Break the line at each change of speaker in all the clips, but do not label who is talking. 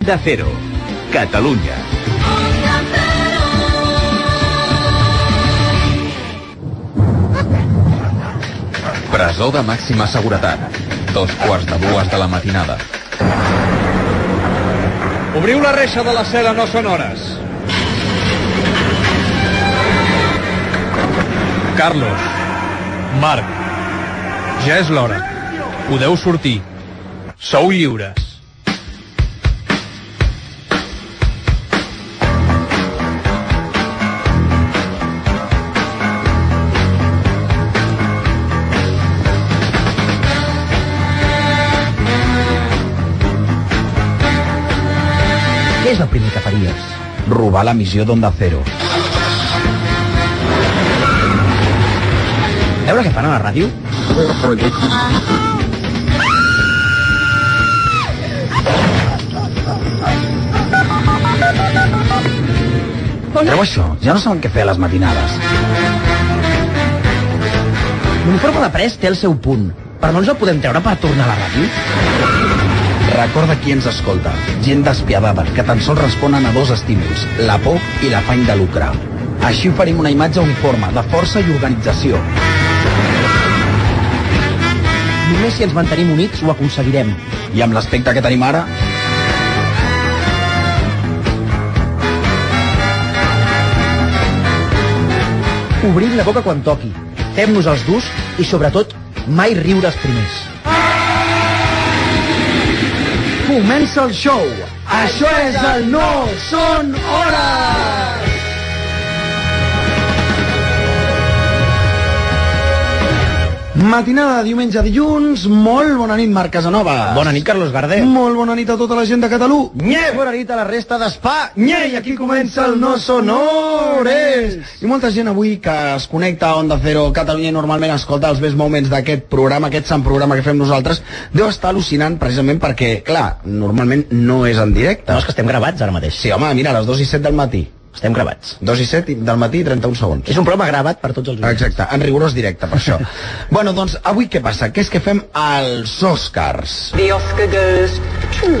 Onda Cero, Catalunya.
Presó de màxima seguretat. Dos quarts de dues de la matinada.
Obriu la reixa de la cel·la, no són hores. Carlos. Marc. Ja és l'hora. Podeu sortir. Sou lliures.
Què és el primer que faries?
Robar la missió d'Onda Cero.
Veure què fan a la ràdio?
Treu això, ja no saben què fer a les matinades.
L'uniforme de pres té el seu punt, però no ens el podem treure per tornar a la ràdio?
Recorda qui ens escolta. Gent despiadada, que tan sols responen a dos estímuls, la por i l'afany de lucrar. Així oferim una imatge uniforme, de força i organització.
Només si ens mantenim units ho aconseguirem.
I amb l'aspecte que tenim ara...
Obrim la boca quan toqui, fem-nos els durs i, sobretot, mai riure els primers. Comença el show! Això és el No Són Hores!
Matinada de diumenge a dilluns, molt bona nit Marc Casanova.
Bona nit, Carlos Gardel.
Molt bona nit a tota la gent de Catalunya.
Nye, bona nit a la resta d'Espanya!
Nye, i aquí comença el No Sonores! I molta gent avui que es connecta a Onda Cero Catalunya i normalment escolta els més moments d'aquest programa, aquest sant programa que fem nosaltres, deu estar al·lucinant precisament perquè, clar, normalment no és en directe.
No, és que estem gravats ara mateix.
Sí, home, mira, a les 2 i 7 del matí.
Estem gravats.
2 i 7 del matí i 31 segons.
És un programa gravat per tots els oients.
Exacte, en rigorós directe, per això. bueno, doncs, avui què passa? Què és que fem als Oscars?
The Oscar goes to.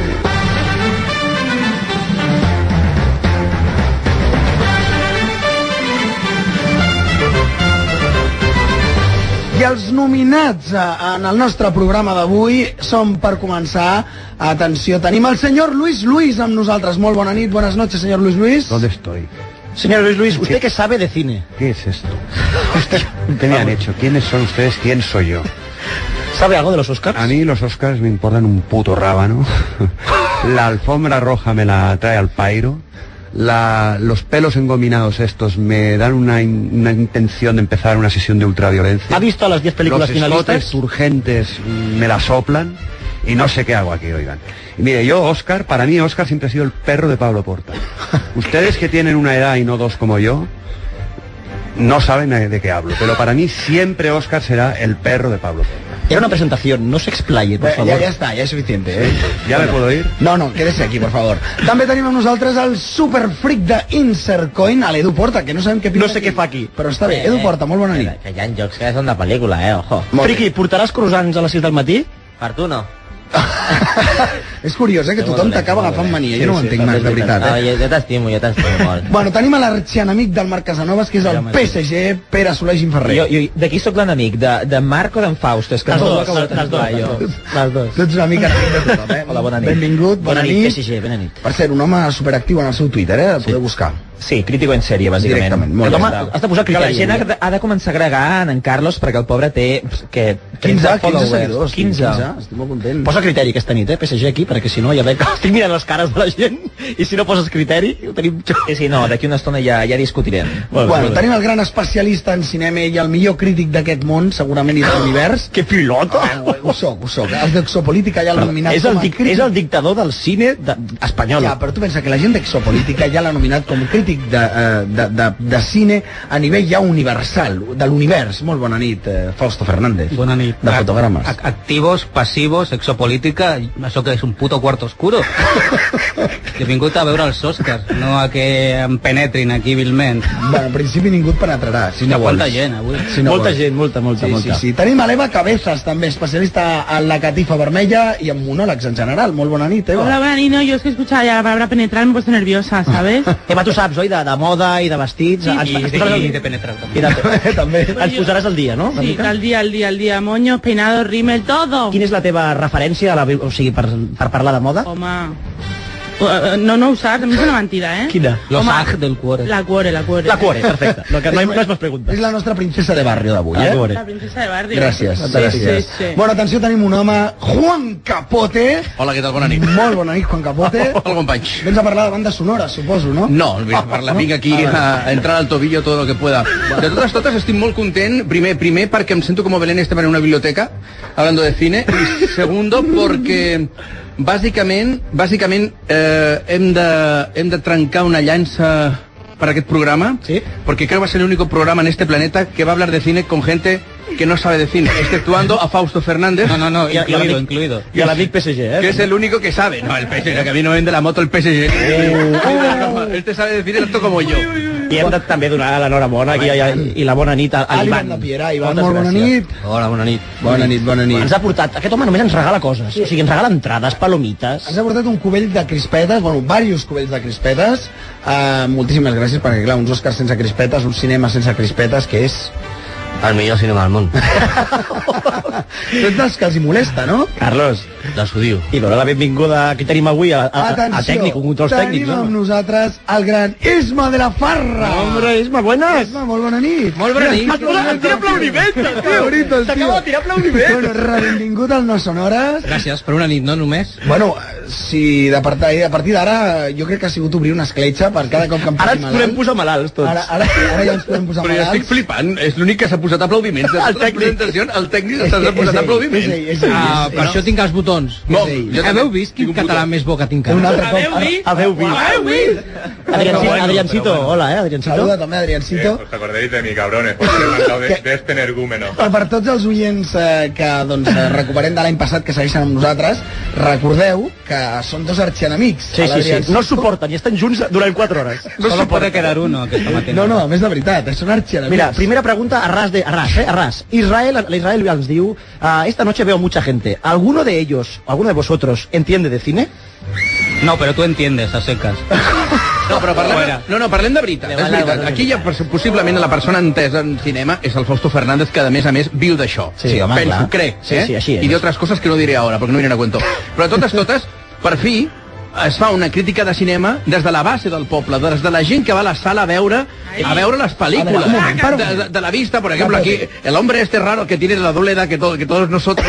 I els nominats eh, en el nostre programa d'avui són, per començar, atenció, tenim el senyor Luis Luis amb nosaltres. Molt bona nit, bones noches, senyor Luis Luis.
¿Dónde estoy?
Señor Luis Luis, ¿usted qué sabe de cine?
¿Qué es esto? ¿Qué me han hecho? ¿Quiénes son ustedes? ¿Quién soy yo?
¿Sabe algo de los Oscars?
A mí los Oscars me importan un puto rábano. La alfombra roja me la trae al pairo. La- los pelos engominados estos me dan una, in- una intención de empezar una sesión de ultraviolencia.
¿Ha visto a las 10 películas
Los escotes
finalistas?
urgentes mm, me la soplan y no sé qué hago aquí, oigan. Y mire, yo, Oscar, para mí Oscar siempre ha sido el perro de Pablo Porta. Ustedes que tienen una edad y no dos como yo, no saben eh, de qué hablo, pero para mí siempre Oscar será el perro de Pablo Porta.
Era una presentación, no se explaye, por
Bé,
favor.
ja, ja està, ja és suficient, eh?
¿Ya me puedo ir?
No, no, quédese aquí, por favor. També tenim amb nosaltres el superfric de Insercoin, a l'Edu Porta, que no sabem què pinta
No sé què fa aquí. Eh,
Però està bé, Edu Porta, molt bona nit.
Que hi ha jocs que són de pel·lícula, eh, ojo.
Molt bé.
Friki, portaràs croissants a les 6 del matí?
Per tu no.
És curiós, eh, que tothom t'acaba agafant mania. Jo no ho entenc mai, de veritat,
Ah,
No,
eh?
jo, jo t'estimo, jo t'estimo molt.
Bueno, tenim a l'arxienemic del Marc Casanovas, que és el PSG, Eh, Pere Soler Gimferrer.
Jo, jo, de qui sóc l'enemic? De, de Marc o d'en Faust? És que
Les
no ho
dues,
acabo de
les dues,
tenir
les
jo.
dues. Les dues.
Tu ets una mica enemic de tothom, eh?
Hola, bona nit.
Benvingut, bona,
Bona nit,
nit.
PSG, bona nit.
Per ser un home superactiu en el seu Twitter, eh? El podeu buscar.
Sí, crítico en sèrie, bàsicament.
Directament, molt
Que
bé.
la-
Has de posar
Que la
criteri,
gent ha de- ha de començar a agregar en, en Carlos perquè el pobre té... pss, Que,
15,
30
15
followers.
seguidors.
15.
15, estic molt content.
Posa criteri aquesta nit, eh, PSG aquí, perquè si no ja veig que estic mirant les cares de la gent i si no poses criteri ho tenim xo-
Sí, sí, no, d'aquí una estona ja, ja discutirem.
Molt bé,
Bueno,
molt bé.
tenim el gran especialista en cinema i el millor crític d'aquest món, segurament, i de l'univers.
Que pilota!
Ah, ho soc, ho soc. Els d'Exopolítica ja l'han nominat
és, el
com a
dic,
crític.
és el dictador del cine de, espanyol.
Ja, però tu pensa que la gent d'Exopolítica ja l'ha nominat com crític de, eh, de, de, de cine a nivell ja universal, de l'univers. Molt bona nit, eh, Fausto Fernández.
Bona nit.
De fotogrames.
Ac- Activos, passivos, exopolítica, això que és un puto cuarto oscuro. Jo he vingut a veure els Oscars, no a que em penetrin aquí vilment.
Bueno, en principi ningú et penetrarà, si no vols.
Quanta gent avui.
Si no
molta
vols.
gent, molta, molta,
Sí, sí,
molta.
sí. Tenim a l'Eva Cabezas, també, especialista en la catifa vermella i en monòlegs en general. Molt bona nit, Eva.
Hola, buena no, yo es que escuchaba ya la palabra penetrar me he puesto nerviosa, ¿sabes?
Eva, tu saps, oi, de, de moda i de vestits...
Sí,
ens-
i-
ens
i-
posaràs al-
i de
penetrar també.
I de,
també.
Ens posaràs al dia, no? Una
Sí,
mica?
al día, al día, al día, moños, peinados, rímel, todo.
Quina és la teva referència, a la, bi- o sigui, per, per parlar de moda?
Home, eh, no, no usar, también es una mentira, ¿eh?
Quina?
Los Aj del cuore.
La cuore, la cuore.
La cuore, perfecte. No, que no, hi- no es més pregunta.
És la nostra princesa de barrio d'avui,
La
eh?
cuore.
La princesa de barrio.
Gràcies,
Sí,
gràcies.
Sí, sí,
Bueno, atenció, tenim un home, Juan Capote.
Hola, què tal? Bona nit.
Molt bona nit, Juan Capote.
Hola, companys.
Vens a parlar de bandes sonores, suposo, no? Ah,
No, vinc a
Ah,
parlar, vinc aquí a, a entrar al tobillo todo lo que pueda. De totes totes estic molt content, primer primer perquè em sento com Belén Esteban en una biblioteca, hablando de cine, i segundo perquè bàsicament, bàsicament eh, hem, de, hem de trencar una llança per aquest programa,
Sí?
porque creo que va a ser el único programa en este planeta que va a hablar de cine con gente que no sabe de cine, exceptuando a Fausto Fernández.
No, no, no,
Ja- ja
incluido,
dic.
incluido.
I a l'amic PSG, eh?
Que es el único que sabe. No, el PSG, que a mí no vende la moto el PSG. Este sabe decir tanto como yo.
I hem de també donar l'enhorabona i, i, i la bona nit a, a
Ah,
l'Ivan.
l'Ivan de Piera, Ivan,
Moltes
molt bona
gràcies.
nit.
Hola, bona nit.
Bona nit, bona nit.
Ens ha portat... Aquest home només ens regala coses. O sigui, ens regala entrades, palomites...
Ens ha portat un cubell de crispetes, bueno, diversos cubells de crispetes. Uh, moltíssimes gràcies, perquè clar, uns Oscars sense crispetes, un cinema sense crispetes, que és...
El millor cinema del món.
Tu ets dels que els hi molesta, no?
Carlos,
Dels ho diu.
i veure la benvinguda que tenim avui a, a, a, a tècnic, un controls
tenim
tècnics.
amb
No?
nosaltres el gran Isma de la Farra.
Hombre, Isma, buenas!
Isma, molt bona nit.
Molt bona nit.
T'acaba
aplaudiments,
de tirar aplaudiments. Bueno, benvingut al No Sonores.
Gràcies per una nit, no només.
Bueno, si de part- a partir d'ara jo crec que ha sigut obrir una escletxa per cada cop que em
Ara
posi
ens podem posar malalts tots.
Ara, ara, sí, ara ja ens podem posar
Però jo estic
malalts.
flipant, és l'únic que s'ha posat aplaudiments. De
El
tota la
tècnic.
presentació, el tècnic
És
s'ha
ell,
posat
és ell,
aplaudiments.
és ell, és ell,
Ah,
és
per
ell.
això tinc els botons.
No,
ell.
jo també
Heu vist
tinc
quin
un Ah,
català
botó.
més bo que tinc?
Un altre cop.
Adeu, vi.
Adeu, vi.
Adeu, vi.
Adrianci-
Bueno,
Adriancito, hola, eh, Adriancito.
Saluda també, Adriancito.
os acordaréis de mi, cabrones, por ser mandado de, de este energúmeno.
Però per tots els oients eh, que doncs, eh, recuperem de l'any passat que segueixen amb nosaltres, recordeu que són dos arxienemics.
Sí, sí, sí.
l'Adriancito-
No es suporten i estan junts durant 4 hores.
No Solo puede quedar uno, aquest home. té.
No, no, a més de veritat, eh, són arxienemics.
Mira, primera pregunta a ras de a ras, eh, a ras. Israel, l'Israel ens diu, ah, esta noche veo mucha gente. ¿Alguno de ellos, alguno de vosotros entiende de cine?
No, però tu entiendes, a seques.
No, però parlem,
Fuera.
no, no, parlem de veritat,
Le
és
va la
veritat.
bona
Aquí hi ha pers- possiblement la persona entesa en cinema és el Fausto Fernández, que a més a més viu d'això.
Sí, sí, home,
Penso,
clar.
crec,
Sí,
eh?
sí, així és.
I d'altres coses que no diré ara, perquè no aniré a cuento. Però totes, totes, per fi, es fa una crítica de cinema des de la base del poble, des de la gent que va a la sala a veure a veure les
A
pel·lícules
veure, un moment, para un
de, de,
moment.
de la vista, por ejemplo, aquí el hombre este raro que tiene la doble edad que, todo, que todos nosotros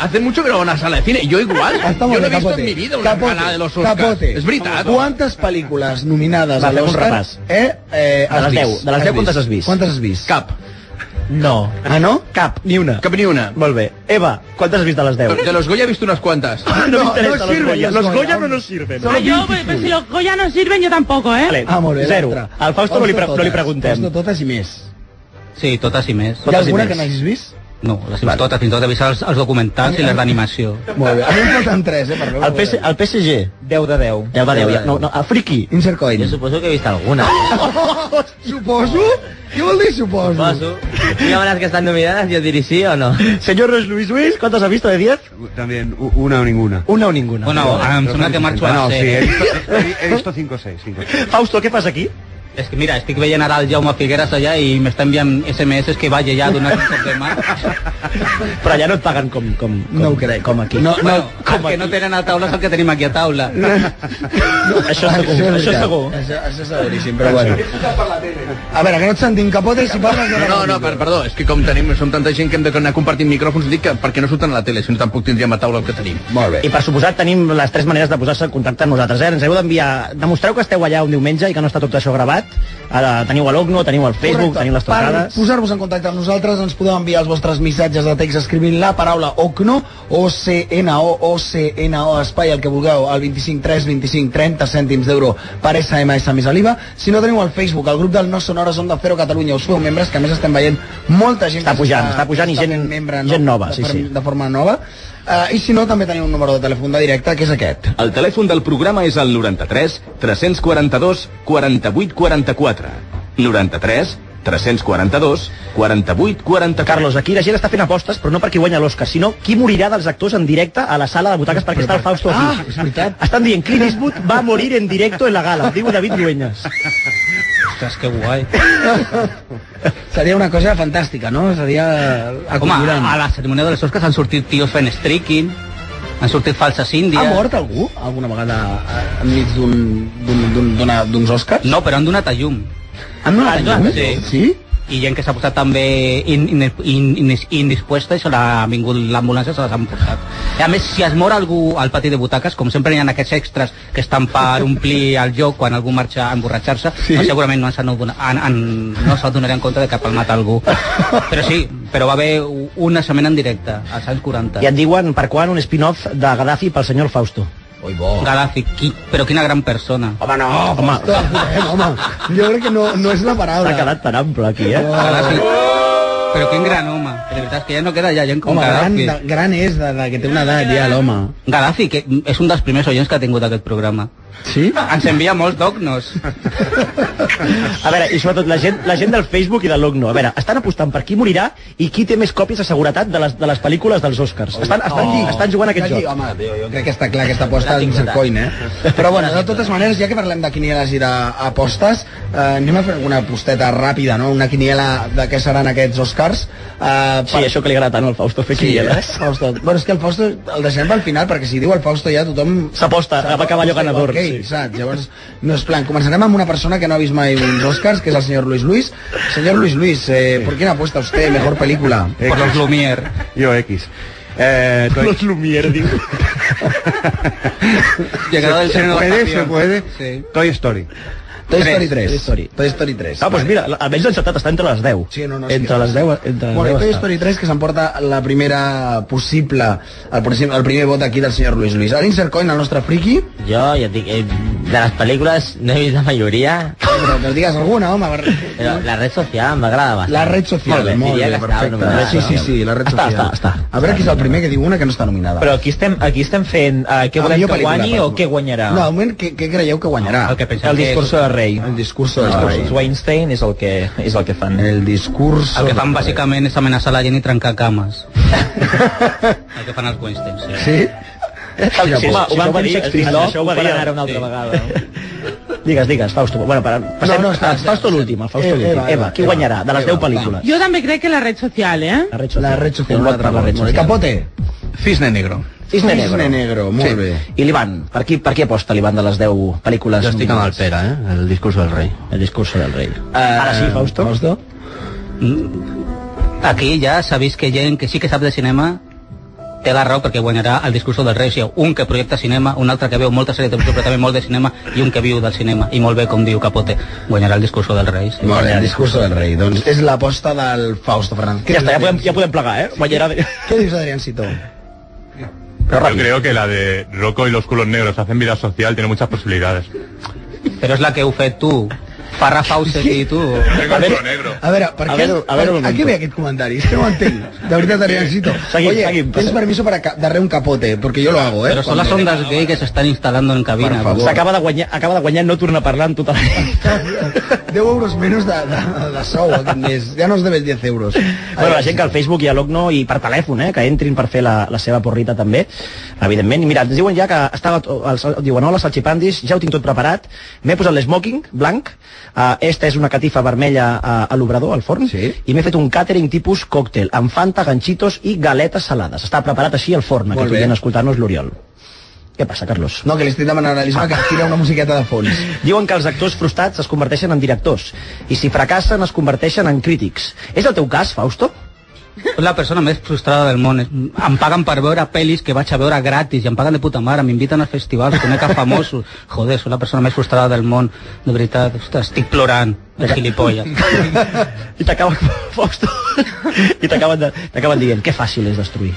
hace mucho que no va a una sala de cine, yo igual,
Està
yo no
molt
he
bé,
visto
Capote.
en mi vida una
Capote,
gala de los Oscars,
Capote.
és veritat.
Quantes pel·lícules nominades
Va,
a
fem un
l'Oscar
repàs.
eh, eh,
De
has
les
vist?
10, de les 10 quantes has vist?
Quantes has vist?
Cap.
No.
Ah, no?
Cap, ni una.
Cap ni una.
Molt bé. Eva, quantes has vist de les 10?
De los Goya he visto unas cuantas.
no, m'interessa,
no sirven les Goya,
no nos sirven.
Ah, yo, pues, pues, si los Goya no sirven, yo tampoco, ¿eh?
Vale,
Ah, molt bé,
zero.
l'altra.
Al Fausto no li, pre
totes,
no li preguntem.
Fausto totes i més.
Sí, totes i més.
Hi ha
Totes i
alguna
més.
que no hagis vist?
No, les vale. totes, fins i tot he vist els, els documentals i les d'animació.
Molt bé. A mi em falten tres, eh, per veure.
El, PS el PSG,
10 de 10.
10 de 10. Ja. No, no, el friki.
Insert coin.
suposo que he vist alguna.
Suposo? Què vol dir suposo?
Suposo. Hi ha unes que estan nominades, jo diré sí o no.
Señor Luis Luis, ¿cuántas has visto de 10?
También u- una o ninguna. ah,
Una o ninguna.
Bueno,
Ah,
em sembla que marxo a
No,
la
sí,
sèrie.
he
¿eh?
visto, he- he visto cinco o seis. cinco o seis.
Fausto, ¿qué pasa aquí?
És que mira, estic veient ara el Jaume Figueras allà i m'està enviant SMS que vagi allà a donar un cop de mà.
Però allà no et paguen com, com, com,
No ho crec.
com aquí.
No, no,
Bueno, el que no tenen a taula és el que tenim aquí a taula.
Això
Ah,
segur,
és
això
veritat.
segur.
Això, això és seguríssim, però bueno. A veure, que no et sentim capote si parles... de la
No, no,
pel·lícula.
per, perdó, és que com tenim, som tanta gent que hem d'anar compartint micròfons, dic que perquè no surten a la tele, si no tampoc tindríem a taula el que tenim.
Molt bé.
I per suposat tenim les tres maneres de posar-se en contacte amb nosaltres. Eh? Ens heu d'enviar... Demostreu que esteu allà un diumenge i que no està tot això gravat. Ara, teniu a l'Ogno, teniu al Facebook,
Correcte.
teniu les
Per
trucades...
posar-vos en contacte amb nosaltres ens podeu enviar els vostres missatges de text escrivint la paraula OCNO OCNO, OCNO, espai, el que vulgueu, al 25 3 25 30 cèntims d'euro per SMS més IVA. Si no teniu el Facebook, el grup del No Sonores Onda Cero Catalunya, us feu membres, que a més estem veient molta gent...
Està
que
pujant, està pujant i
està
gent-
membre,
gent nova,
de,
sí,
forma-
sí.
De forma nova. Uh, I si no, també teniu un número de telèfon de directe, que és aquest.
El telèfon del programa és el 93 342 48 44. 93 342 48 44.
Carlos, aquí la gent està fent apostes, però no perquè guanya l'Oscar, sinó qui morirà dels actors en directe a la sala de butaques perquè està el Fausto aquí.
Ah, és veritat.
Estan dient, Clint Eastwood va morir en directo en la gala, diu David Dueñas.
Ostres, que guai.
Seria una cosa fantàstica, no? Seria
Home,
acollonant.
a, a la cerimònia de les Oscars han sortit tios fent streaking, han sortit falses índies...
Ha mort algú alguna vegada eh, enmig d'un- d'un- d'un- d'una- d'uns Oscars?
No, Oh, però han donat a llum. Ah,
Han donat a llum?
Sí.
sí?
I gent que s'ha posat també in, in, in, in, indispuesta i se l'ha vingut l'ambulància i se les han portat. I a més, si es mor algú al pati de butaques, com sempre hi ha aquests extras que estan per omplir el lloc quan algú marxa a emborratxar-se, sí? no, segurament no s'han adonat- han- han- no s'adonaré en compte de que ha palmat algú. Però sí, però va haver un naixement en directe, als anys 40.
I et diuen per quan un spin-off de Gaddafi pel senyor Fausto.
Oi, bo.
Gaddafi, qui, però quina gran persona.
Home, no, home. Home, home, jo crec que no, no és la paraula.
S'ha quedat tan ample aquí, eh?
Gaddafi. Però quin gran home. De veritat és que ja no queda ja gent com
Home, gran,
Gaddafi.
de, gran és, de, de, que té una edat ja, l'home.
Gaddafi, que és un dels primers oients que ha tingut aquest programa.
Sí?
Ens envia molts dognos.
A veure, i sobretot la gent, la gent del Facebook i de l'Ogno. A veure, estan apostant per qui morirà i qui té més còpies de seguretat de les, de les pel·lícules dels Oscars. Estan, estan,
Oh.
oh. estan jugant a aquest
Estan lli-
joc.
Home, tio, jo crec que està clar que està aposta dins el coin, eh? Però bueno, de totes maneres, ja que parlem de quinieles i d'apostes, eh, anem a fer alguna posteta ràpida, no? Una quiniela de què seran aquests Oscars. Eh,
Sí, això que li agrada tant al Fausto fer
Sí, eh?
quinieles.
Fausto. Bueno, és que el Fausto el deixem al final, perquè si diu el Fausto ja tothom...
S'aposta,
s'aposta
va acabar allò
igual
ganador,
que ell,
sí.
Saps? Llavors, no és plan. Començarem amb una persona que no ha vist mai uns Oscars, que és el senyor Luis Luis. Senyor Luis Luis, eh, ¿por quién apuesta usted? Mejor película.
Por los Lumière.
Yo X. Eh,
Por los Lumière, digo.
Llegará del
se, se
segundo
puede,
avión.
se puede.
Sí.
Toy Story.
Toy Story 3.
Toy Story.
Toy Story 3.
Ah, doncs mira, la- almenys l'encertat està entre les 10.
Sí, no, no, sí.
entre les 10, entre les
Bueno, i
10
Toy
està.
Story 3 que s'emporta la primera possible, el, possi- el primer vot aquí del senyor Luis Luis. A l'Insert Coin, el nostre friki,
Jo, ja et dic, eh, de les pel·lícules no he vist la majoria,
però que digues alguna, home. Per...
però la red social m'agrada bastant.
La red social,
molt bé,
molt
diria
bé,
que
perfecte.
estava nominada.
Sí, sí, sí, la red
Està,
social.
està,
A veure qui és el primer que diu una que no està nominada.
Però aquí estem, aquí estem fent eh, què
Ah,
volem
millor
que
pel·lícula,
guanyi
per
o què guanyarà.
No, de moment, què, què creieu que guanyarà?
El que pensem El que discurso és-
de
del rei.
El discurso
el
del rei.
discurs Weinstein és el que, és el que fan.
El discurso...
El que fan bàsicament és amenaçar la gent i trencar cames. el que fan els Weinstein, sí.
Sí?
Home,
Sí,
ho
si
van
no va
fer
dir-
Shakespeare
si
Love,
això ho va
ho faran
dir-
ara una altra
sí.
vegada. Digues, digues, Fausto. Bueno, para, passem
no, espera,
a Fausto l'últim, a Fausto
Eva,
l'últim.
Eva,
Eva, qui
Eva,
guanyarà de les
Eva,
10 pel·lícules?
Jo també crec que la red social, eh?
La red social.
La red social.
Un vot per la red social.
Capote.
Cisne negro.
Cisne
Cisne
Negro.
Negro, molt bé.
I l'Ivan, per qui, per qui aposta l'Ivan de les 10 pel·lícules?
Jo estic amb el Pere, eh? El discurso del rei.
El discurso del rei.
Eh,
Ara sí, Fausto.
Fausto?
Mm, Aquí ja s'ha vist que gent que sí que sap de cinema té la raó perquè guanyarà el discurso del rei. O sigui, un que projecta cinema, un altre que veu molta sèrie de televisió però també molt de cinema i un que viu del cinema i molt bé, com diu Capote, guanyarà el discurso del rei. Sí.
Molt bé, el discurso del rei. Doncs és l'aposta del Fausto Fernández.
Ja està, ja podem, ja podem plegar, eh? Guanyarà...
Què dius, Adriancito?
Yo creo que la de Rocco y los culos negros hacen vida social, tiene muchas posibilidades.
Però és la que heu fet tu, Farrah Fawcett i tu.
Tengo el culo negro.
A veure, per
A
què,
veure- a veure un
a, què
momento.
ve aquest comentari? És que no ho entenc. De veritat, Adriancito.
Seguim,
Oye,
seguim,
tens permiso para ca- darle un capote, porque yo lo hago, eh?
Però són les
Cuando-
ondes gay que s'estan instal·lant en cabina.
S'acaba de guanyar, acaba de guanyar no tornar a parlar en tota la...
10 euros menys de, de, de sou aquest mes. Ja no us debes 10 euros.
Bueno, la gent que al Facebook i a l'Ogno i per telèfon, eh, que entrin per fer la, la seva porrita també, evidentment. I mira, ens diuen ja que estava, to- els, diuen, hola, salxipandis, ja ho tinc tot preparat, m'he posat l'esmoking blanc, uh, esta és una catifa vermella a, a l'obrador, al forn, sí. i m'he fet un catering tipus còctel, amb fanta, ganxitos i galetes salades. Està preparat així al forn,
Molt
que
bé.
podien escoltar-nos l'Oriol. Què passa, Carlos?
No, que li estic demanant a l'Isma que tira una musiqueta de fons.
Diuen que els actors frustrats es converteixen en directors i si fracassen es converteixen en crítics. És el teu cas, Fausto?
Soc la persona més frustrada del món. Em paguen per veure pel·lis que vaig a veure gratis i em paguen de puta mare, m'inviten a festivals, conec a famosos. Joder, soc la persona més frustrada del món, de veritat. Ostres, estic plorant, de gilipolles.
I t'acaben, Fausto, i t'acaben de- t'acaben dient, que fàcil és destruir.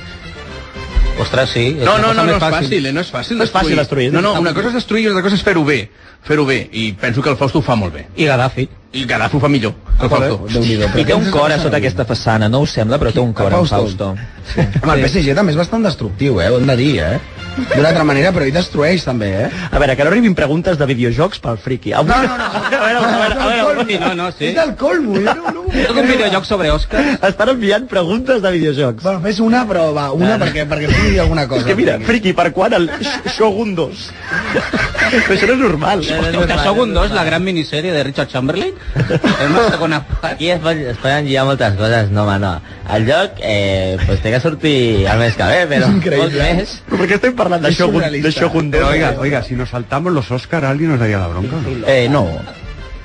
Ostres, sí. és
No,
una
no,
cosa
no, no
més
és fàcil, eh? no és fàcil
No és fàcil destruir.
No, no, una cosa és destruir i una cosa és fer-ho bé. Fer-ho bé. I penso que el Fausto ho fa molt bé.
I Gaddafi.
I Gaddafi ho fa millor. El Fausto.
I té un cor a sota aquesta façana, no ho sembla, però té un
Ah,
cor, en Fausto.
Fausto. Home, el PSG també és bastant destructiu, eh? Ho hem de dir, eh? D'una altra manera, però ell destrueix també, eh?
A veure, que no arribin preguntes de videojocs pel friki. Avui...
No, no, no.
A veure, a veure, a veure.
Sí, no, no, sí.
És del colmo, eh? No, no.
Tot un videojoc sobre Òscar.
Estan enviant preguntes de videojocs.
Bueno, fes una, però va, una perquè, perquè et digui alguna cosa.
És que mira, friki, per quan el Sh- Shogun 2? Però això no és normal.
Que Shogun 2, la gran miniserie de Richard Chamberlain, és una segona part.
Aquí es, pot, es poden lligar moltes coses, no, home, no. El lloc, eh, pues té que sortir el mes que ve, però molt més.
¿Por qué estoy hablando
de Shogun- de Shogun
Pero,
dos?
oiga,
Eh,
oiga, si nos saltamos los Oscar, ¿alguien nos daría la bronca?
Eh, no.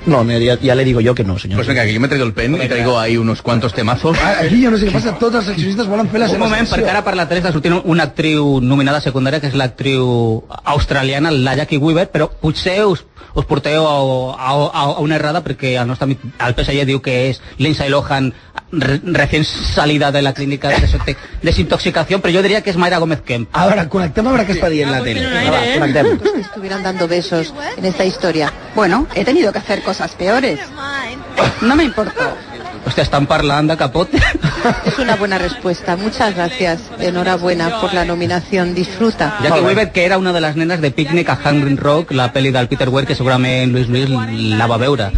No, no, ya, ya le digo yo que no, señor.
Pues venga, que yo me he traído el pen y traigo ahí unos cuantos temazos.
Ah, Aquí jo no sé què passa, tots els seccionistes volen fer la
Un
seva
moment, perquè ara per la 3 ha sortit una actriu nominada secundària, que és l'actriu australiana, la Jackie Weaver, però potser us, us porteu a, a, a, a una errada, perquè el nostre amic, el PSG diu que és Lindsay Lohan re, recién salida de la clínica de desintox- desintoxicació, però jo diria que és Mayra Gómez Kemp.
A veure, connectem a veure què està dient la tele.
Va, connectem.
que estuvieron dando besos en esta historia. Bueno, he tenido que hacer cosas peores. No me importó.
Hòstia, estan parlant de capote.
Es una buena respuesta. Muchas gracias. Enhorabuena por la nominación. Disfruta.
Ah,
Jackie Weaver, que era una de les nenes de Picnic a Hanging Rock, la pel·li del Peter Weir, que segurament Luis Luis la va veure.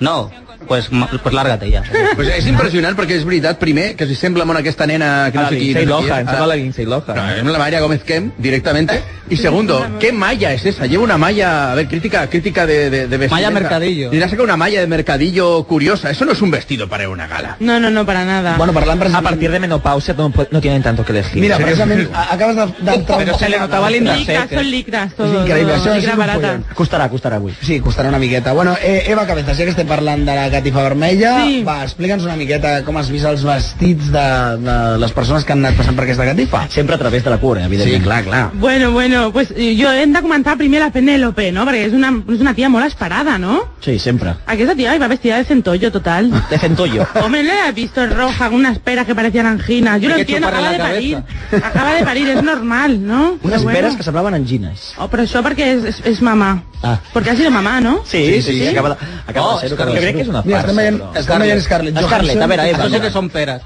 No, pues, ma- pues lárgate ja.
Pues és impressionant perquè és veritat, primer, que si sembla molt aquesta nena que no
Ah,
sé qui...
Lindsay
no sé qui eh, ah,
Lohan,
és.
sembla la
Lindsay Lohan.
No, es la María Gómez Kem directamente. Y segundo, ¿qué malla es esa? Lleva una malla, a ver, crítica, crítica de, de, de vestimenta.
Malla mercadillo.
Y le saca una malla de mercadillo curiosa. Eso no es un vestido para ir a una gala.
No, no, no, para nada.
Bueno, a partir de menopausia no, po- no tienen tanto que elegir.
Mira, precisament, a- acabes de... de
Però se le notava
Licras, son licras, todo.
És increïble,
todo,
això és
licra
un
barata.
follon.
Costarà, costarà avui.
Sí, costarà una miqueta. Bueno, eh, Eva Cabezas, ja que estem parlant de la catifa vermella,
Sí.
va, explica'ns una miqueta com has vist els vestits de, de les persones que han anat passant per aquesta catifa.
Sempre a través de la eh, cura,
evidentment. Sí, clar, clar.
Bueno, bueno, pues eh, jo hem de comentar primer la Penélope, no? Perquè és una, és una tia molt esperada, no?
Sí, sempre.
Aquesta tia iba vestida de centollo total.
De centollo.
Hombre, no la he visto roja, con unas peras que parecían anginas. Yo lo
Hay que
entiendo,
chuparle
acaba de
la
parir. Acaba de parir, es normal, ¿no?
Unes
Pero bueno.
peres que semblaven angines.
Oh, pero eso porque es, es, es mamá.
Ah.
Porque ha sido mamá, ¿no?
Sí, sí, sí, Oh, acaba de, acaba
Oh,
de ser-ho. Carles.
Mira, estem veient, estem veient Scarlett Johansson.
Scarlett, a veure, Eva.
Això sí que són peres.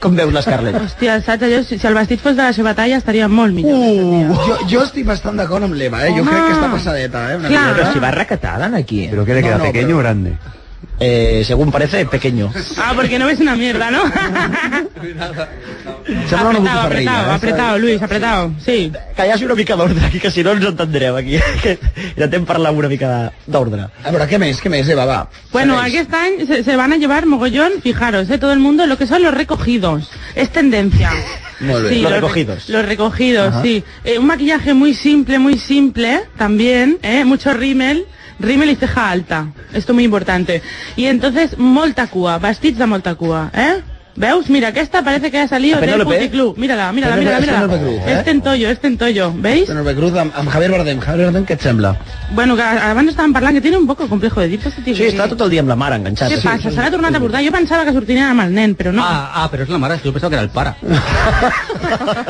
Com veus la Scarlett?
Hòstia, saps? Jo, si, si el vestit fos de la seva talla estaria molt millor.
Uh, jo, jo estic bastant d'acord amb l'Eva, eh? Jo
Home.
crec que està passadeta, eh? Una
Clar.
miqueta.
Però si
va recatada aquí. ¿Pero
qué le queda, pequeño
pero-
o grande?
Eh, según parece, pequeño.
Ah, porque no ves una mierda, ¿no?
Sembla una
apretado,
botifarrilla,
apretado,
eh?
apretado, Luis, apretado. Sí.
Callar-se una mica d'ordre aquí, que si no ens entendrem aquí. Que Intentem parlar amb una mica de- d'ordre.
A veure, què més, què més, Eva, va.
Bueno, aquí están, se, se van a llevar mogollón, fijaros, ¿eh? todo el mundo, lo que son los recogidos. Es tendencia.
Molt bé.
Sí,
Los
re-
recogidos.
Los recogidos,
Ajá.
sí. Eh, un maquillaje muy simple, muy simple, también, ¿eh? mucho rímel, rímel y ceja alta. Esto muy importante. Y entonces, molta cua, vestits de molta cua, ¿eh? ¿Veus? Mira, que esta parece que ha salido
A
del
Penélope.
puticlub. Mírala, mírala, mírala,
Penélope-
mírala.
Penélope Cruz, ¿eh?
Es tentollo, es tentollo. ¿Veis?
Penélope Cruz amb, amb Javier Bardem. Javier Bardem, què et sembla?
Bueno, que abans estàvem parlant que tiene un poco complejo de tipo este tío.
Sí, està tot el dia amb la mare enganxada.
Què passa? Se l'ha tornat a portar? Jo pensava que sortirien amb el nen, però no.
Ah, però és la mare, jo pensava que era el pare.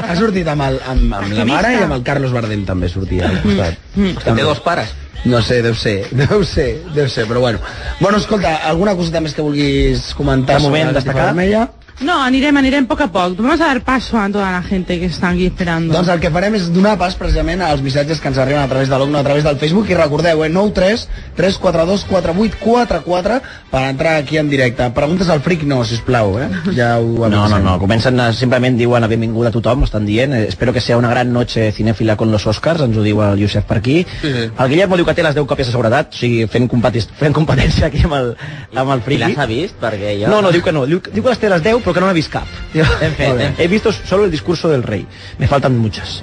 Ha sortit amb, el, amb, amb la mare i amb el Carlos Bardem també sortia
Mm,
al costat.
Que té dos pares.
No sé, deu ser, deu ser, deu ser, però bueno. Bueno, escolta, alguna coseta més que vulguis comentar?
De moment,
sobre la
destacar?
Tifa Vermella?
No, anirem, anirem poc a poc. Vamos a dar paso a toda la gente que está aquí esperando.
Doncs el que farem és donar pas precisament als missatges que ens arriben a través de l'OGNO, a través del Facebook i recordeu, eh, 93 342 4844 per entrar aquí en directe. Preguntes al fric no, sisplau, eh? Ja ho
No, no,
avisem.
no, comencen a, simplement diuen a benvinguda a tothom, estan dient, eh, espero que sea una gran noche cinèfila con los Oscars, ens ho diu el Josep per aquí.
Sí, sí.
Ah,
El Guillermo diu que té les 10 còpies de seguretat, o sigui, fent, competis, fent competència aquí amb el, amb el
I
friki.
l'has vist? Perquè jo...
No, no, diu que no, diu, diu que les té les 10 però que no n'ha vist cap.
Hem fet,
Molt bé.
hem
He visto solo el discurso del rei, me faltan muchas.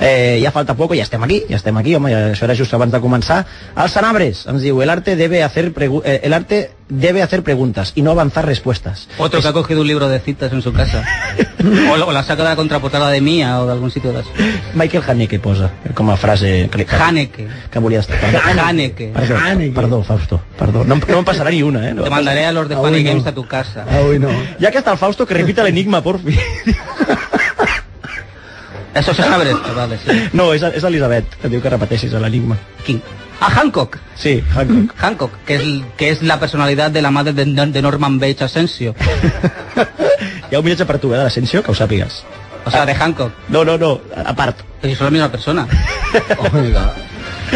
Eh, ja falta poco, ja estem aquí, ja estem aquí, home, ja, això era just abans de començar. El Sanabres ens diu, el arte debe hacer, pregu- eh, el arte debe hacer preguntas y no avanzar respuestas.
Otro que ha cogido un libro de citas en su casa. O, lo- o la saca de la contraportada de Mía o de algún sitio de eso.
Michael Haneke posa com a frase que, que,
Haneke.
que volia estar.
Haneke.
Perdó, perdó, perdó, Fausto, perdó. No, no em passarà ni una, eh? No. Ah,
Te mandaré a los de
Avui
Funny
no.
Games a tu casa.
Ya que está el Fausto, que repita el enigma, por fin.
Eso se sabe, esto, vale, sí.
No, és, és Elisabet, que diu que repeteixis l'enigma.
Qui? A Hancock. Mm,
Sí, Hancock.
Hancock, que es, que es la personalidad de la madre de, de Norman Bates Asensio.
Hi ha un missatge per tu, eh, de l'Ascensió, que ho sàpigues.
O sea, de Hancock.
No, no, no, a part.
Però si són la misma persona.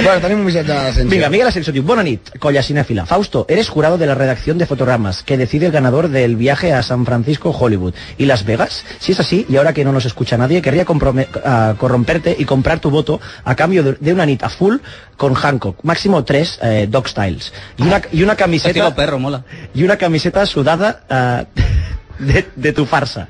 Bueno, tenim un missatge a l'Ascensió. Vinga, Miguel Ascensió diu, bona nit, colla cinèfila. Fausto, eres jurado de la redacción de fotogramas que decide el ganador del viaje a San Francisco, Hollywood y Las Vegas. Si es así, y ahora que no nos escucha nadie, querría comprome- ah, corromperte y comprar tu voto a cambio de, de una nit a full con Hancock. Máximo tres eh, dog styles. Y una, y una camiseta...
Estilo Este perro, mola.
Y una camiseta sudada ah, de, de tu farsa.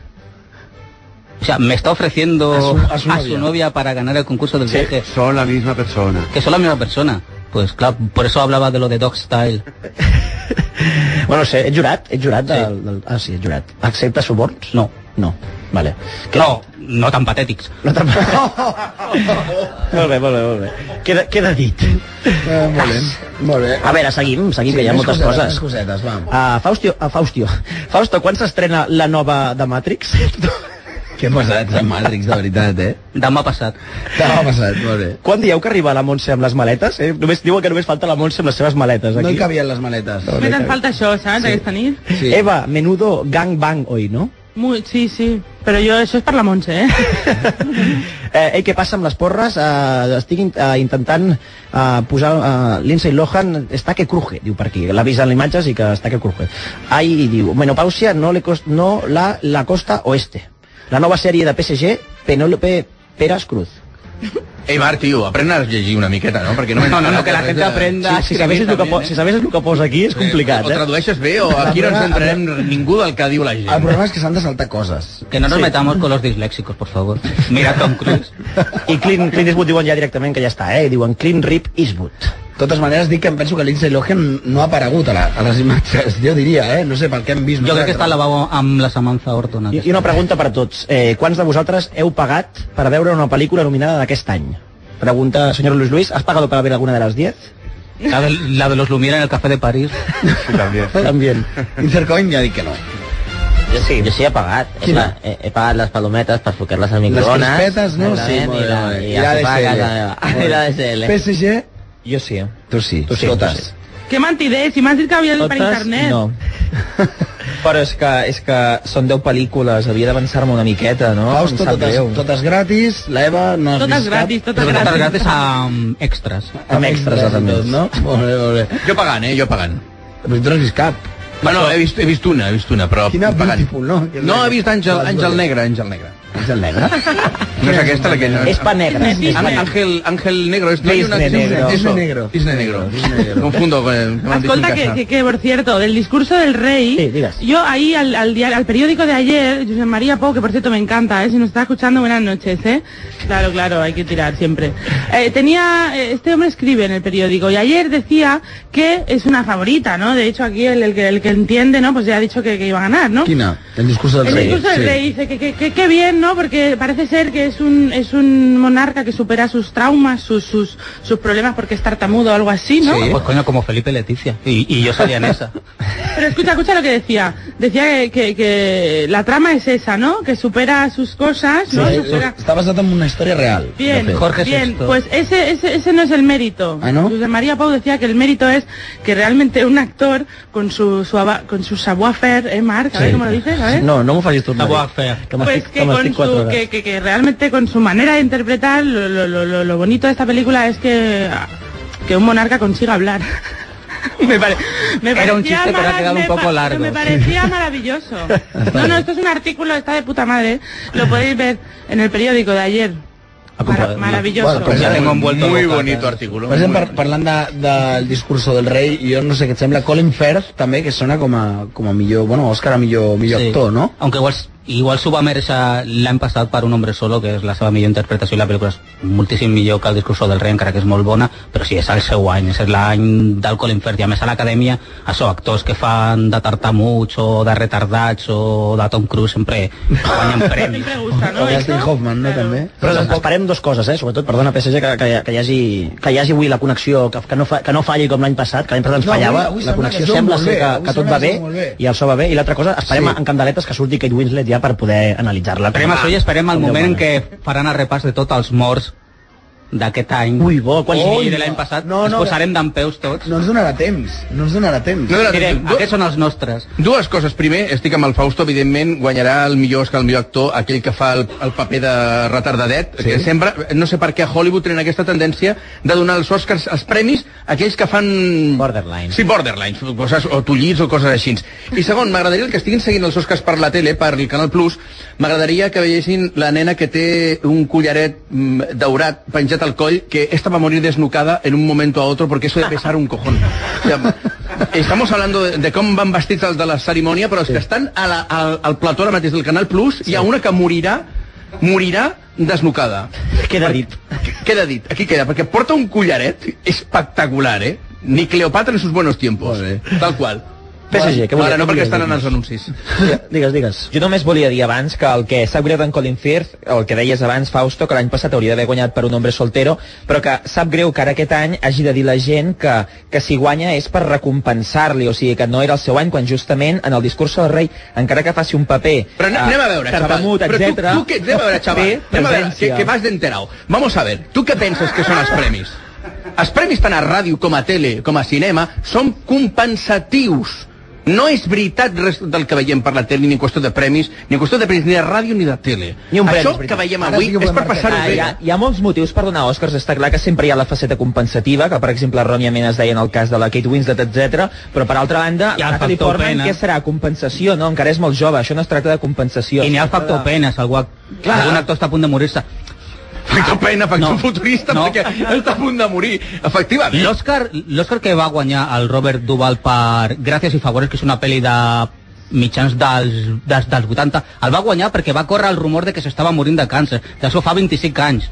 O sea, me está ofreciendo
A su-
a
a
su,
su
novia.
novia.
para ganar el concurso del
Sí,
viaje.
Son la misma persona.
Que son la misma persona. Pues claro, por eso hablaba de lo de Dog Style.
Bueno, sé, he jurat, he jurat del, del... Ah, sí, he jurat. Accepta suborns?
No.
No, vale.
No, no tan patètics.
No tan Molt bé, molt bé, molt bé. Queda, queda dit.
Eh, molt bé, molt bé.
A veure, seguim,
Sí,
seguim, sí, que hi ha
més
moltes
cosetes,
coses.
més cosetes, va.
Uh, Faustio, uh, Faustio. Fausto, quan s'estrena la nova de Matrix?
Què pesats, a Matrix, de veritat, eh?
Demà passat.
Demà passat, molt bé.
Quan dieu que arriba la Montse amb les maletes? Eh? Només diuen que només falta la Montse amb les seves maletes. Aquí.
No hi cabien les maletes.
No, no hi
Només en
cabien.
falta això, saps, sí. aquesta nit?
Sí. Eva, Eh, menudo gangbang hoy, no?
Muy, sí, sí. Però jo, això és per la Montse, eh?
Eh, ei, què passa amb les porres? Eh, estic in eh, intentant eh, posar... Eh, Lindsay Lohan està que cruje, diu per aquí. L'ha vist en imatges i que està que cruje. Ai, i diu, menopausia no, le cost, no la, la costa oeste. La nova sèrie de PSG, Penélope Peras Cruz.
Ei, Marc, tio, apren a llegir una miqueta, no? Perquè no,
No, no, no, que la
gente
gent aprenda a Si- si sabés escribir el que també, po- eh? si sabés el que posa aquí és complicat,
o,
eh?
O tradueixes bé o aquí no ens entenem ningú del que diu la
Ah.
gent.
El problema és que s'han de saltar coses.
Que no nos metamos con los disléxicos, por favor. Mira Tom Cruise.
I Clint, Clint Eastwood diuen ja directament que ja està, eh? Diuen Clint Rip Eastwood.
De totes maneres, dic que em penso que Lindsay Lohan no ha aparegut a, la, a les imatges, jo diria, eh? No sé per què hem vist.
Jo crec que
nosaltres.
està al lavabo amb la Samantha Orton.
I, I una pregunta per a tots. Eh, quants de vosaltres heu pagat per veure una pel·lícula nominada d'aquest any? Pregunta, senyor Luis Luis, ¿has pagado para ver alguna de las 10?
La de, la de los Lumière en el Café de París.
También.
También.
Intercoin ja dic que no.
Yo sí, yo sí he pagado. He, pa- he- he pagado las palometas para fuquearlas al microondas.
crispetas, ¿no?
También,
Sí,
y
muy
la,
bien.
y
Y
la
la
que pagas,
DSL.
la- y la DSL.
PSG...
Jo
eh?
sí.
Tu sí,
tu sí, totes.
Que mentider, si m'has dit que havia dit per internet.
No. Però és que, és que són 10 pel·lícules, havia d'avançar-me una miqueta, no?
Fausto,
Em sap
totes-
greu.
totes gratis, la Eva no has vist cap.
Però totes gratis amb extras.
Amb extras, a més. No? Molt bé, molt bé.
Jo pagant, eh? Jo pagant.
Però tu no has vist cap.
Bueno, he vist, he vist una, he vist una, però
Quina
pagant.
beautiful, no?
No, he vist Àngel, Àngel Negre, Àngel Negre.
Àngel Negre?
No és aquesta la que... No,
És pa negre. És pa negre.
Ángel, Ángel Negro. És, no, hi ha una-
Cisne negro.
Eso.
Cisne
negro.
Cisne Negro. Confundo con... el- me han dicho en
Escolta, que,
casa.
que, que, por cierto, del discurso del rey, yo ahí al, al, diario- al periódico de ayer, José María Pau, que por cierto me encanta, ¿eh? si nos está escuchando, buenas noches, ¿eh? Claro, claro, hay que tirar siempre. Eh, tenía, eh, este hombre escribe en el periódico, y ayer decía que es una favorita, ¿no? De hecho, aquí el, el que, el que entiende, ¿no? Pues ya ha dicho que, que iba a ganar, ¿no?
Quina? El discurs del
El
rei.
discurso del
sí.
rey dice que que, que- que bien, ¿no? Porque parece ser que es un, es un monarca que supera sus traumas, sus, sus, sus problemas porque es tartamudo o algo así, ¿no?
Ah, Pues coño, como Felipe Leticia. Y, y yo salía en esa.
Pero escucha, escucha lo que decía. Decía que, que- que la trama es esa, ¿no? Que supera sus cosas,
Sí,
¿no?
sí,
Supera-
Està basat en una història real. de
Bien,
fet.
bien. Pues ese, ese, ese no es el mérito.
¿Ah, no?
José María Pau decía que el mérito es que realmente un actor con su, su ava- con su savoir-faire, ¿eh, Marc? A ver cómo lo dices, a ver.
No, no m'ho facis tornar.
Savoir-faire.
Que
Pues
m'estic
que, con
pues
su,
4 hores.
que, que- que realmente con su manera de interpretar, lo, lo- lo- lo- lo bonito de esta película es que, que un monarca consiga hablar. me pare- me
Era un
parecía
chiste, pero ha
mara-
quedado un
me
poco
pa-
largo.
Me parecía maravilloso. No, no, esto es un artículo, está de puta madre. Lo podéis ver en el periódico de ayer. Mara- maravilloso.
Bueno, pues ya tengo envuelto
Muy
bocatas.
bonito artículo.
Per exemple, par parlant de, del discurso del rei, jo no sé què et sembla, Colin Firth també, que sona com a, com a millor, bueno, Òscar a millor, millor
Sí.
actor, no?
Aunque igual, igual su va mereixer l'any passat per un hombre solo, que és la seva millor interpretació i la pel·lícula és moltíssim millor que el discurso del rei, encara que és molt bona, però sí, és el seu any, és l'any del Colin Firth. I a més a l'acadèmia, això, actors que fan de tartamuts o de retardats o de Tom Cruise sempre guanyen premis.
O Dustin Hoffman, no, també?
Però tampoc... esperem dues coses, eh? sobretot, perdona, PSG, que, que, que, hi hagi, que hi hagi avui la connexió, que, que, no, fa, que no falli com l'any passat, que l'any passat ens
No, avui-
fallava,
avui
la
sembla
connexió
que som
sembla
molt
ser
bé,
que,
avui
que tot
sembla
va
que
bé,
som molt bé.
i el so va bé, i l'altra cosa,
Sí.
esperem sí. en candeletes que surti Kate Winslet ja per poder analitzar-la.
Esperem això i esperem el
Com Déu
moment en
mana.
què faran el repàs de tots els morts d'aquest any. Ui, bo,
quants
Ui,
hi-
de l'any passat. No,
No, no,
no, Ens posarem d'en peus tots.
No ens donarà temps, no ens donarà temps.
No donarà temps. Du-
aquests són els nostres.
Dues coses. Primer, estic amb el Fausto, evidentment, guanyarà el millor Oscar, el millor actor, aquell que fa el, el paper de retardadet,
Sí.
sí. que sempre, no sé per què a Hollywood tenen aquesta tendència de donar els Oscars, els premis, a aquells que fan... Borderline. Sí, borderline, coses, o tullits o coses així. I segon, m'agradaria el que estiguin seguint els Oscars per la tele, per el Canal Plus, m'agradaria que veiessin la nena que té un collaret mm, daurat penjat al coll, que esta va morir desnucada en un moment a otro porque eso de pesar un cojón. O sea, Estamos hablando de, de com van vestits els de la cerimònia, però els que estan a la, al, al plató ara mateix del Canal Plus, hi ha una que morirà morirà desnucada. Queda dit. Queda dit, aquí queda, perquè porta un collaret espectacular, eh? Ni Cleopatra en sus buenos tiempos, tal qual.
PSG, què volia-
Ara no, perquè
què volia
estan
dir?
en els anuncis.
Digues, digues. Jo només volia dir abans que el que s'ha guanyat en Colin Firth, el que deies abans, Fausto, que l'any passat hauria d'haver guanyat per un hombre soltero, però que sap greu que ara aquest any hagi de dir la gent que, que si guanya és per recompensar-li, o sigui que no era el seu any, quan justament en el discurs del rei, encara que faci un paper...
Però anem,
eh,
anem a veure, xaval.
tartamut,
Però tu,
etcètera,
tu què, anem a veure, xaval.
té
anem a veure, que,
presència.
que vas d'enterau. Vamos a ver, tu què penses que són els premis? Els premis tant a ràdio com a tele, com a cinema, són compensatius. No és veritat res del que veiem per la tele, ni en qüestió de premis, ni en qüestió de premis, ni de ràdio, ni de tele. Això que veiem avui és per passar-ho
Ah,
bé.
hi, ha, hi ha molts motius per donar Oscars, està clar que sempre hi ha la faceta compensativa, que per exemple erròniament es deia en el cas de la Kate Winslet, etc. però per altra banda,
Hi ha el
la
factor
Natalie Portman,
pena.
què serà? Compensació, no? Encara és molt jove, això no es tracta de compensació.
I n'hi ha el
Es tracta
factor pena, si algú,
Clar.
algun actor està a punt de morir-se.
Factor pena, factor
no.
futurista,
No.
perquè està a punt de morir. Efectivament.
L'Oscar l'Oscar que va guanyar el Robert Duval per Gràcies i Favores, que és una pel·li de mitjans dels, dels, dels 80, el va guanyar perquè va córrer el rumor de que s'estava morint de càncer. D'això fa 25 anys.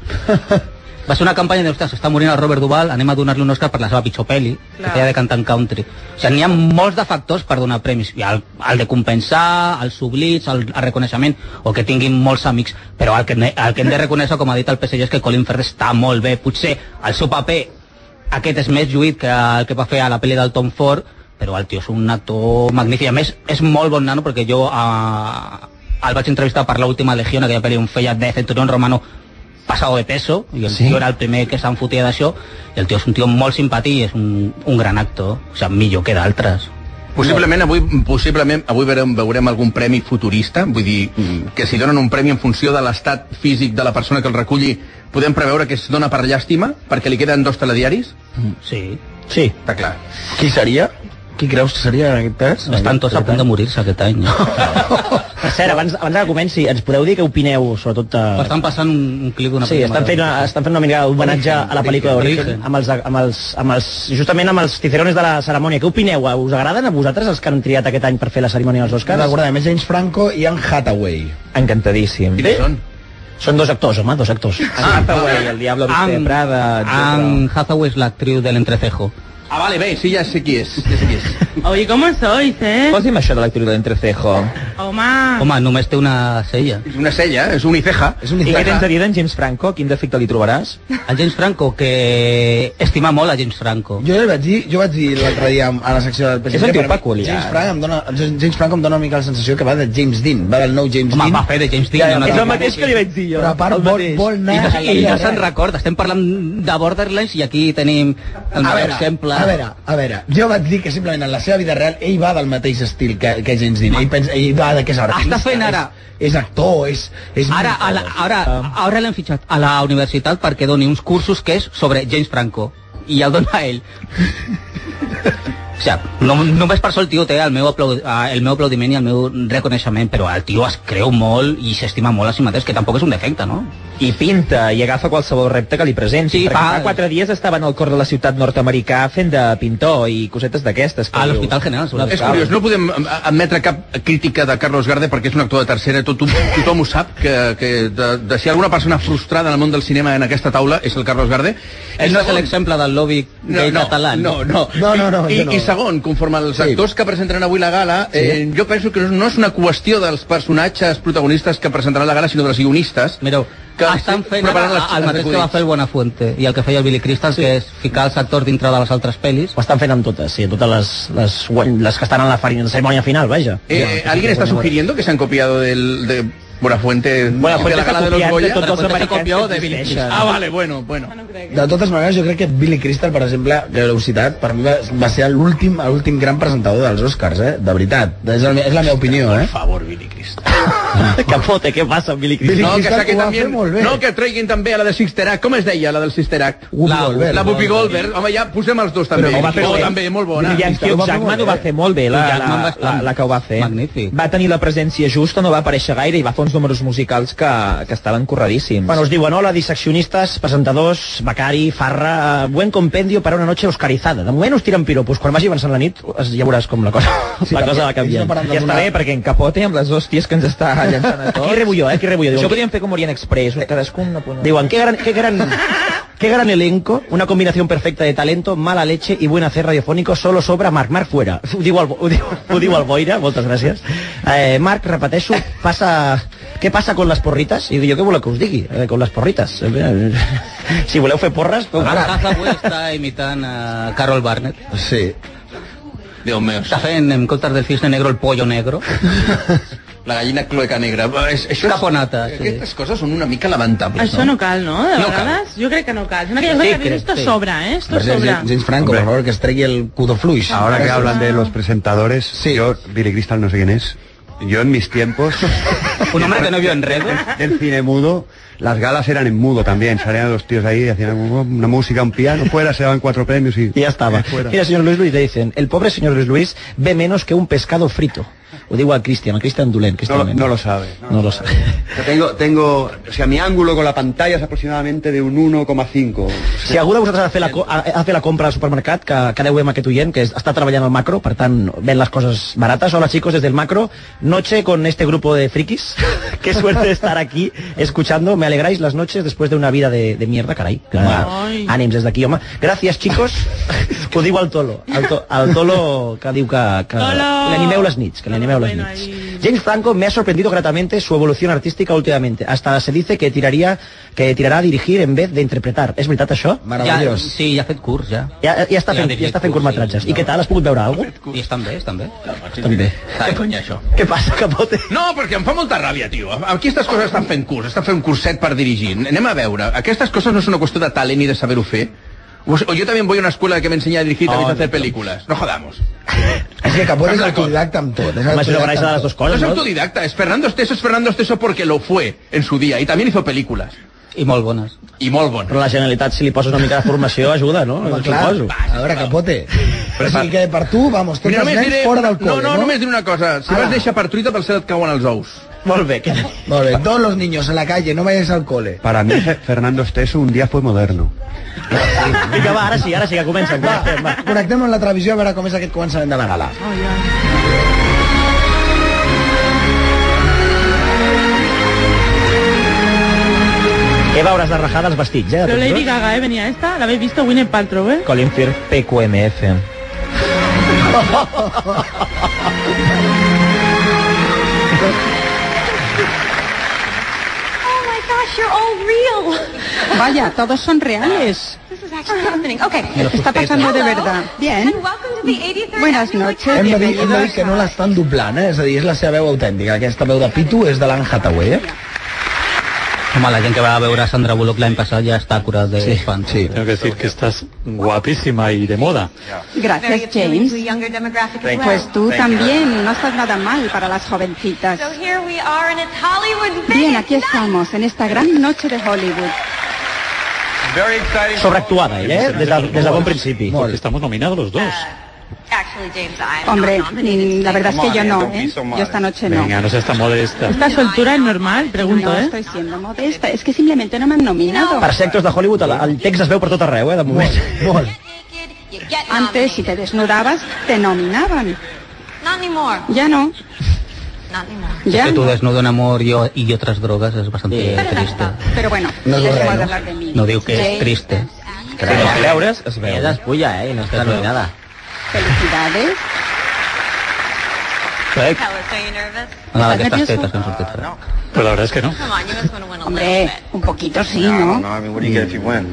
Va ser una campanya de, ostres, s'està morint el Robert Duval, anem a donar-li un Oscar per la seva pitjor pel·li, que
Clar.
feia de cantant country. O sigui, n'hi ha molts de factors per donar premis. Hi ha el, el de compensar, els oblits, el, el reconeixement, o que tinguin molts amics. Però el que, ne- el que hem de reconèixer, com ha dit el PSG, és que Colin Firth està molt bé. Potser el seu paper aquest és més lluït que el que va fer a la pel·li del Tom Ford, però el tio és un actor magnífic. A més, és molt bon nano, perquè jo eh, el vaig entrevistar per l'última Legió, en aquella pel·li on feia de centurión romano pasado de peso, i el sí. tio era el primer que se'n fotia d'això, i el tio és un tio molt simpàtic i és un, un gran actor, o sigui, millor que d'altres.
Possiblement avui, possiblement avui veurem, veurem algun premi futurista, vull dir, que si donen un premi en funció de l'estat físic de la persona que el reculli, podem preveure que es dona per llàstima, perquè li queden dos telediaris?
Sí.
Sí. Està clar.
Qui seria? Qui creus que seria en aquest cas?
Estan tots a punt de morir-se aquest any.
Per cert, abans, abans que comenci, ens podeu dir què opineu, sobretot... Eh...
Estan passant un, un clip d'una
Sí, estan fent, una, estan fent una mica d'homenatge a la pel·lícula d'Origen,
Origen.
amb els, amb els, amb els, justament amb els ticerones de la cerimònia. Què opineu? Us agraden a vosaltres els que han triat aquest any per fer la cerimònia dels Oscars?
Recordem, és James Franco i Anne Hathaway.
Encantadíssim.
Quins són?
Són dos actors, home, dos actors.
Ah, Hathaway, el Diablo Viste de Prada,
Anne Hathaway és l'actriu de l'entrecejo.
Ah, vale, bé, sí, ja sé qui és. Ja sé qui és.
Oye, ¿cómo sois, eh?
Pues
Posi'm això de l'actriu de l'entrecejo.
Home,
Ah.
Home, només té una cella.
És una cella, és uniceja.
És
I què tens a dir d'en James Franco? Quin defecte li trobaràs?
El James Franco, que estima molt a James Franco.
Jo ja vaig dir, jo vaig dir l'altre dia a la secció del PSG.
És un tio
per mi,
peculiar.
James Franco, em dona, James Franco em dona una mica la sensació que va de James Dean, va del nou James
Home,
Dean.
va fer de James Dean, no, no, no.
Però a part vol, vol
I
anar...
no, i no se'n recorda, estem parlant de Borderlands i aquí tenim el
a
meu
veure,
exemple.
a veure, a veure, jo vaig dir que simplement en la seva vida real ell va del mateix estil que, que James Dean, ell, pensa, ell va de que és artista,
Està fent ara-
és, és actor, és... és
Ara, a la, ara,
Um,
ara l'hem fitxat a la universitat perquè doni uns cursos que és sobre James Franco i el dona a ell. O sigui, no, només per això el tio té el meu, aplaudi, eh, el meu aplaudiment i el meu reconeixement, però el tio es creu molt i s'estima molt a si mateix, que tampoc és un defecte, no?
I pinta, i agafa qualsevol repte que li presenti.
Sí,
perquè
fa-
fa quatre dies estava en el cor de la ciutat nord-americà fent de pintor i cosetes d'aquestes. que
A
dius.
l'Hospital
General.
És curiós, no podem eh, admetre cap crítica de Carlos Garde perquè és un actor de tercera, tot, tothom ho sap, que, que de, de, si hi ha alguna persona frustrada en el món del cinema en aquesta taula és el Carlos Garde.
Ell no és
Segon-
l'exemple del lobby gay
no,
català.
No, no.
No, no, no,
I,
jo no.
I segon, conforme als sí. actors que presentaran avui la gala, sí. eh, jo penso que no- no és una qüestió dels personatges protagonistes que presentaran la gala, sinó dels guionistes.
Mireu,
que
estan fent ara
preparant les
el mateix que va fer el Buenafuente i el que feia el Billy Crystal, sí. que és ficar els actors dintre de les altres pel·lis.
Ho estan fent amb totes, sí, totes les, les, guany- les que estan en la, fari- en la cerimònia final, vaja.
Eh, ¿Alguien está sugiriendo que se han copiado del, de Buenafuente,
Buenafuente
de la gala
está
de los
copiando
Goya?
todos los
Buenafuente
americanos
copió
que
de Billy
existeixen.
Crystal. Ah, vale, bueno, bueno.
De totes maneres, jo crec que Billy Crystal, per exemple, que l'heu citat, per mi va, va ser l'últim l'últim gran presentador dels Oscars, eh? De veritat. És, el, és la meva opinió, eh?
favor, Billy Crystal. Capote, ¿qué pasa, Billy
Crystal?
No, que
Billy
saquen
Crystal ho va
també...
fer molt bé.
No, que treguin també a la de Sister Act. Com es deia, la del Sister Act?
La- Goldberg.
La Whoopi Goldberg. Home, ja posem els dos també.
Però ho va fer
oh,
bé.
també, molt bona.
I en Hugh Jackman ho va fer molt bé, la,
Hugh
la,
Jackman
la,
va-
la, la que ho va fer.
Magnífic.
Va tenir la presència justa, no va aparèixer gaire i va fer uns números musicals que, que estaven corredíssims.
Bueno, os digo, ¿no? La diseccionistas, presentadors, Becari, Farra... eh, Buen compendio para una noche oscarizada. De moment us tiren piropos. Quan vagi avançant la nit es- ja veuràs com la cosa,
Sí,
la
també,
cosa va canviant.
ells no paren de I està donar- bé, perquè en Capote, amb les hòsties que ens està llançant a tots...
Aquí rebo jo, eh? Aquí rebo jo.
Això
Diuen,
ho podríem fer com Orient Express, cadascun no pot...
Diuen, qué gran, qué gran, qué gran elenco, una combinación perfecta de talento, mala leche y buen hacer radiofónico, solo sobra Marc, Marc fuera. Ho diu el, Bo- ho diu, ho diu el Boira, moltes gràcies. Eh, Marc, repeteixo, passa, què passa con les porrites? I jo què voleu que us digui, eh, con les porrites? Eh, eh, Si voleu fer porres, feu
Ara
porres.
avui està imitant a ah, Carol Barnett.
Sí.
Déu meu. Està fent en comptes del cisne negro el pollo negro.
La gallina cloeca negra. És, això és...
Caponata, sí.
Aquestes coses són una mica lamentables.
Això ah, no cal, no? De
No cal.
vegades? Jo crec que no cal. Són aquelles
Sí,
coses que
crec,
dius, esto
sí.
sobra, eh? Esto
Per exemple,
sobra.
James- James Franco, per favor, que es tregui el cudo fluix.
Ahora que hablan de los presentadores, yo, Billy Crystal, no sé quién es. Yo en mis tiempos.
Un hombre que no vio enredo.
Del cine mudo. Las galas eran en mudo también. Salían los tíos ahí, hacían una música, un piano, fuera, se daban cuatro premios y.
Y ya estaba. Mira, señor Luis Luis, le dicen, el pobre señor Luis Luis ve menos que un pescado frito. Ho diu a Cristian, a Cristian Dulén. Cristian
No, lo-
Dulén.
no lo sabe.
no lo sabe.
Yo tengo, tengo, o sea, mi ángulo con la pantalla es aproximadamente de un 1,5.
Si algú de vosaltres ha de fer la, co- ha, ha de fer la compra al supermercat, que, que deu amb aquest oient, que es- està treballant al macro, per tant, ven les coses barates. Hola, chicos, desde el macro, noche con este grupo de frikis. Qué suerte de estar aquí escuchando. Me alegráis las noches después de una vida de, de mierda, caray. Que-
Ai.
Ànims des d'aquí, home. Gràcies, chicos. Ho diu el Tolo. El, to, el Tolo que diu que, que
Tolo!
l'animeu les nits, que l'animeu les nits. James Franco me ha sorprendido gratamente su evolución artística últimamente. Hasta se dice que tiraría que tirará a dirigir en vez de interpretar. És veritat això?
Ja, sí, ja ha fet curs, ja.
Ja, ja, està
Ja ha
fent,
dirigit
ja està fent
curs,
curtmetratges.
sí.
I què tal? Has pogut veure alguna cosa?
I estan bé, estan bé.
Estan bé.
Què cony, això?
Què passa, Capote?
No, perquè em fa molta ràbia, tio. Aquí aquestes coses estan fent curs, estan fent un curset per dirigir. Anem a veure. Aquestes coses no és una qüestió de talent ni de saber-ho fer. O, o yo también voy a una escuela que me enseña a dirigir y también a hacer películas. No jodamos.
És que Capone és autodidacta amb tot. És autodidacta amb tot.
No es autodidacta, es Fernando Esteso, es Fernando Esteso porque lo fue en su día y también hizo películas.
I molt bones.
I molt bones.
Però la Generalitat, si li poses una mica de formació, ajuda, no?
Home, clar,
Suposo.
a veure, Capote. O sigui que per tu, vamos, tots
Mira,
els
només
nens
diré,
fora del col·le,
no, no, només diré una cosa. Si
Ara.
vas deixar per truita, pel cel et cauen els ous.
Molt bé. Que...
Molt bé, todos los niños en la calle, no vayáis al cole.
Para mí, Fe- Fernando Esteso un día fue moderno.
Vinga, va, ara sí, ara sí que comencen. Connectem,
va. Connectem amb la televisió a veure com és aquest començament de la gala.
Eva, hauràs de rajar dels vestits, eh? de
Pero
tots
Lady
dos.
Gaga, ¿eh? Venía esta. ¿La habéis visto? Winnie Paltrow, ¿eh?
Colin Firth, PQMF.
Oh my gosh, you're all real. Vaya, todos son reales.
This is actually happening. Okay.
Está pasando de
Hello,
verdad. Bien.
and welcome to the 83rd
Buenas
Hem de, dir,
noches.
hem de dir que no l'estan doblant, eh? És a dir, és la seva veu autèntica. Aquesta veu de Pitu és de l'Anne Hathaway, eh?
Home, la gent que va a veure Sandra Bullock l'any passat ja està curada de sí, fan.
Sí.
Tengo que decir que estás guapísima y de moda.
Gracias, James. Pues tú también, no estás nada mal para las jovencitas.
So here we are and it's Hollywood's
Bien, aquí estamos, en esta gran noche de Hollywood.
Sobreactuada, ella, eh? Des de, des de bon principi.
Porque estamos nominados los dos.
Actually, James, I'm
Hombre,
not nominated.
mm, la verdad es que yo no, ¿eh? Yo esta noche no.
Venga, no seas tan modesta.
¿Esta soltura es normal? Pregunto,
No
¿eh?
estoy siendo modesta, es que simplemente no me han nominado.
Per ser actors de Hollywood, el, el text es veu per tot arreu, eh, de moment.
Molt,
Antes, si te desnudabas, te nominaban.
Not anymore.
Ya no.
Not anymore.
Es
Ya
que tu
no.
desnudo en amor yo, y otras drogas es bastante triste.
Pero bueno,
No es
les voy a
bueno.
hablar de mí.
No digo que
Sí.
es triste.
Si no veures, es veu.
Ella es pulla, eh, i no està nominada.
Felicidades.
Tell us, are you nervous?
Nada, que estas tetas que han
sortit
ara.
Pues la verdad es que no.
Come on, you must want to win a little
Hombre,
bit.
un poquito sí, ¿no?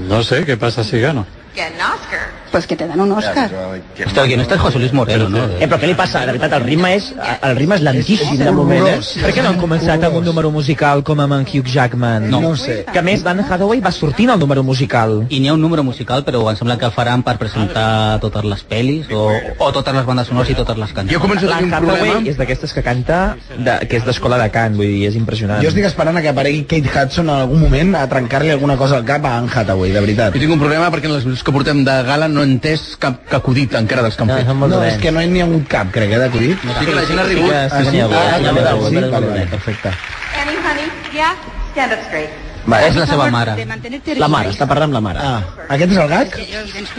No sé qué pasa si gano.
Get an Oscar.
Pues que te dan un Oscar.
Hòstia, el guionista és José Luis Moreno, no?
Eh, però què li passa? De veritat, el ritme és, el ritme és lentíssim de moment, eh?
Per què no han començat amb un número musical com amb en Hugh Jackman?
No ho sé.
Que a més, Dan Hathaway va sortint al número musical.
I n'hi ha un número musical, però em sembla que faran per presentar totes les pel·lis o, o totes les bandes sonores i totes les cançons.
La Hathaway és d'aquestes que canta, de, que és d'escola de cant, vull dir, és
Ah.
impressionant.
Jo estic esperant a que aparegui Kate Hudson en algun moment a trencar-li alguna cosa al cap a Anne Hathaway, de veritat.
Jo tinc un problema perquè en les minuts que portem de gala no he entès cap, cap acudit encara dels que han
Ah,
fet.
No, és que no hi ha hagut cap, crec, eh, d'acudit.
Sí que la gent ha rigut.
Ah, sí,
Sí,
ah,
sí, sí,
ah, ah,
sí,
sí,
sí,
vale, vale,
sí.
perfecte.
Annie, honey, yeah? Stand up straight.
Vale.
És la seva mare. La mare, està parlant amb la mare.
Ah, aquest és el gag?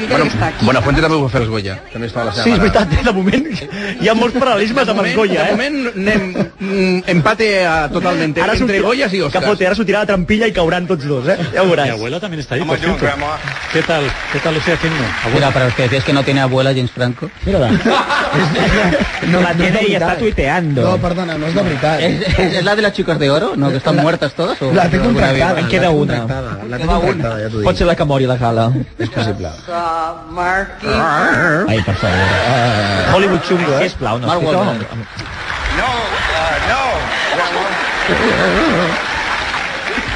Bueno, Buenafuente també ho va fer els Goya. També estava la seva
Sí, és
mare.
veritat, eh, de moment hi ha molts paral·lelismes amb els Goya,
De
eh?
moment anem mm, empate a, totalmente
Ara
entre
sortirà-
Goyas y Oscars.
Capote, ara sortirà la trampilla i cauran tots dos, eh? Ja ho
Mi
veuràs.
abuela también está ahí, por cierto. ¿Qué tal? ¿Qué tal lo estoy haciendo?
Mira, para los que decías que no tiene abuela James Franco.
Mírala.
no, la
tiene y está
tuiteando.
No, perdona, no és de veritat.
Eh,
¿Es, es, es la de las chicas de oro? ¿No? ¿Que están muertas todas? O
La té
alguna
contractada.
viva?
la té contractada, La té contractada, ja t'ho dic.
Pot ser la que mori la gala.
És possible.
Ai, per favor.
Uh,
Hollywood xungo, eh?
Sisplau, no.
Mark
estic
Wahlberg.
amb- amb-
uh,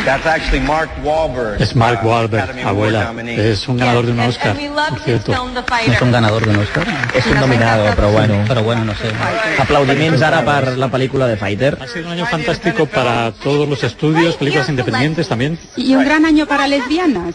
That's actually Mark Wahlberg.
Es Mark
uh,
Wahlberg,
Academy Award
abuela.
nominee.
Es un ganador de un Oscar, por cierto.
¿No es un ganador de un Oscar?
Es un nominado, pero bueno.
Pero bueno, no sé.
Aplaudiments ara per la pel·lícula de Fighter.
Ha sido un año fantástico para todos los estudios, películas independientes también.
Y un gran año para lesbianas.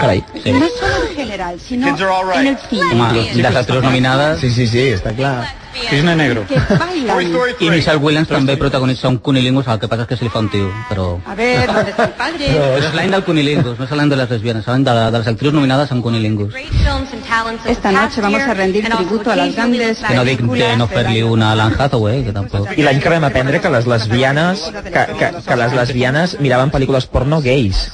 Caray, sí.
No solo en general, sino
Kids are all right.
en el
Home,
cine.
de les tres nominades... Sí,
sí, sí, està clar.
Cristina Negro.
Que bailan.
I Michelle Williams també protagonitza un cunilingus, el que passa és que se li fa un tio, però...
A ver, ¿dónde está el padre?
Però és l'any del cunilingus, no és l'any de les lesbianes, és l'any de, la- de les actrius nominades en cunilingus.
Esta noche vamos a rendir tributo a las grandes
Que no dic de no fer-li una a l'Anne Hathaway, que tampoc...
I l'any que vam aprendre que les lesbianes que, que, que les lesbianes miraven pel·lícules porno gais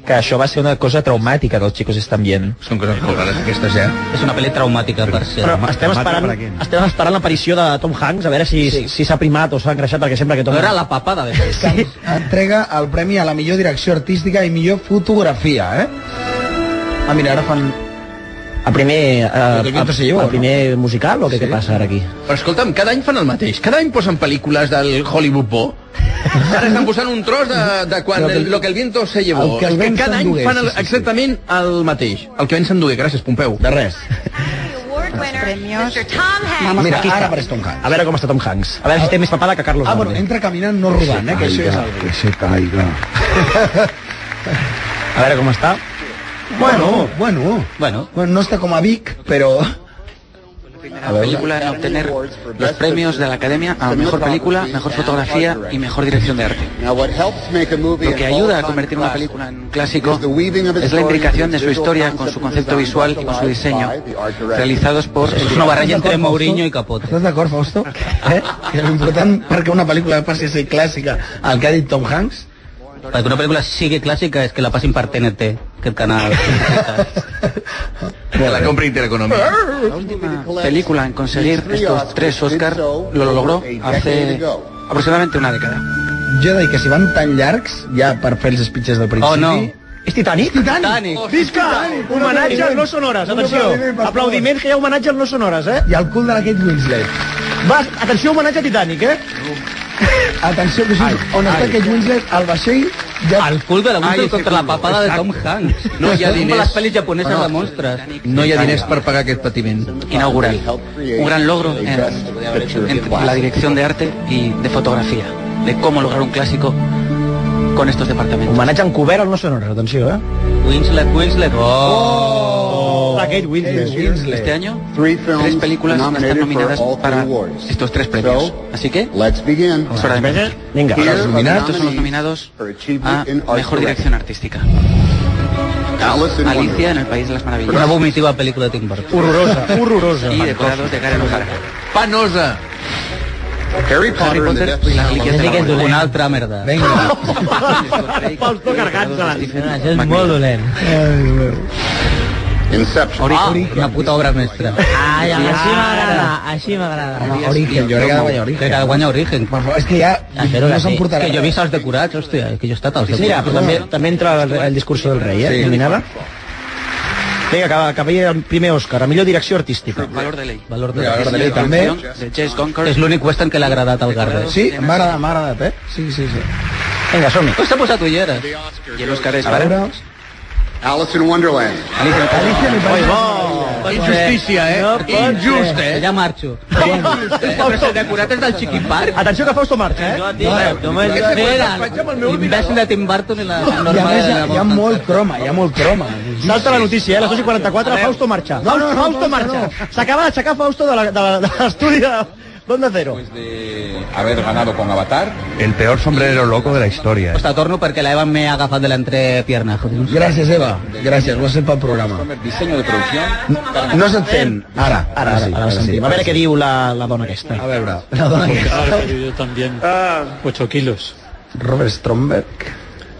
que això va ser una cosa traumàtica dels xicos estan bien.
Són coses molt rares aquestes, eh?
És una pel·li traumàtica per ser.
Però estem esperant, estem esperant l'aparició de Tom Hanks, a veure si s'ha si, s'ha primat o s'ha engreixat, perquè sempre que Tom...
No era la
papada de
sí.
Entrega el premi a la millor direcció artística i millor fotografia, eh? Ah, mira, ara fan...
El primer, eh,
El
el,
primer se llevó,
el primer musical o què, sí. què passa ara aquí?
Però escolta'm, cada any fan el mateix. Cada any posen pel·lícules del Hollywood Bo. Ara estan posant un tros de, de quan lo
Lo que
que,
el-
el, lo que el viento se llevó.
el que el
És
vent
cada any
s'endugués,
fan el,
sí, sí, sí.
exactament el mateix. El que vent s'endugué. Gràcies, Pompeu. De res.
Premios. Mr. Tom Hanks.
Mira,
aquí
ara
està.
apareix Tom Hanks.
A veure com està Tom Hanks. A veure si té més papada que Carlos
Ah, bueno, entra caminant, no robant, eh? Que això és el...
Que se caiga. A veure com està.
Bueno, bueno. Bueno. No està com a Vic, però...
La película en obtener los premios de la Academia a Mejor Película, Mejor Fotografía y Mejor Dirección de Arte. Lo que ayuda a convertir una película en un clásico es la imbricación de su historia con su concepto visual y con su diseño, realizados por...
Es una baralla entre Mourinho i Capote.
Estàs d'acord, Fausto? Eh? Que l'important perquè una pel·lícula passi a ser clàssica, el que ha dit Tom Hanks,
Perquè una pel·lícula sigui clàssica és que la passin per TNT, aquest canal.
Que la compri Intereconomía.
La última película en conseguir estos tres Oscar lo logró hace aproximadamente una década.
jo dic que si van tan llargs, ja per fer els speeches del principi...
Oh, no.
És Titanic? Titanic!
Visca! Homenatge al No Sonores, atenció. Aplaudiments, que hi ha homenatge al No Sonores, eh?
I el cul de la Kate Winslet.
Va, atenció, homenatge a Titanic, eh?
Atenció, que sí, on està Kate Winslet, al vaixell... Ja...
El cul de la
Ai,
Winslet
ese
contra la
culo,
papada de
exacte.
Tom Hanks.
No hi ha
És com
diners.
les pel·lis japoneses
No.
de monstres.
No hi ha diners per pagar aquest patiment.
Inaugural. Un gran logro en, en la dirección de arte y de fotografía, de cómo lograr un clásico con estos departamentos.
Homenatge encobert al No Sonores, atenció, eh?
Winslet, Winslet.
Oh! La Kate Winslet.
Este año, tres películas están nominadas para estos tres premios. Así que, es hora de empezar.
Venga.
Ahora,
Los nominados.
estos son los nominados a Mejor Dirección Artística. Alicia en el País de las Maravillas.
Una vomitiva pel·lícula de Tim Burton.
Horrorosa, horrorosa.
Y decorados de Karen O'Hara.
Panosa. Harry
Potter, y las reliquias de la
que és
muerte.
una altra merda.
Vinga.
Fausto Carganza.
És molt dolent.
Inception.
Ah,
una puta obra mestra.
Ah,
Ah,
Ai, així m'agrada, així m'agrada.
Origen, jo crec que ha de guanyar Origen.
Que ha de guanyar Origen. Ah,
Per favor, és que ja
Espero
no
que
se'n
sí.
portarà.
Que jo he vist els decorats, hòstia, que jo he estat als decorats.
Mira, pues però també, també entra el, el discurso del rei, eh?
Sí.
Sí. Nominada. Vinga, que acabi el primer Òscar, a millor direcció artística.
Valor de ley.
Valor
de Ley. Valor de Ley
també.
De James Gunker.
És l'únic western que l'ha agradat al Garre.
Sí, m'ha agradat, m'ha agradat, eh? Sí, sí, sí.
Vinga, som-hi.
Pues s'ha posat ulleres.
I l'Òscar és...
A veure...
Alice in Wonderland.
Alicia me parece...
pues,
Injustícia, eh? Injust, eh?
Ja marxo. Eh,
El decorat és del Chiqui Park.
Atenció que Fausto marxa, eh?
No, no, no, imbècil de Tim Burton i la
I a
norma
més
de
hi ha,
la
hi ha molt croma, hi ha molt croma.
Salta la notícia, eh? A les 2 i 44,
Adeu.
Fausto marxa.
No, no, no,
Fausto
Fausto,
marxa. S'acaba d'aixecar Fausto de la- de la- de l'estudi de Onda Cero.
Haber ganado con Avatar. El peor sombrero loco de la historia.
Hasta torno perquè la Eva m'he agafat de l'entrepierna.
Gràcies, Eva. Gràcies, ho has fet pel programa.
Diseño de producción.
No se't sent. Ara,
Ara, sí, ara, sí. A veure què diu la, la dona aquesta.
A veure, la dona
Ha
aquesta.
perdido también 8 kilos.
Robert Stromberg.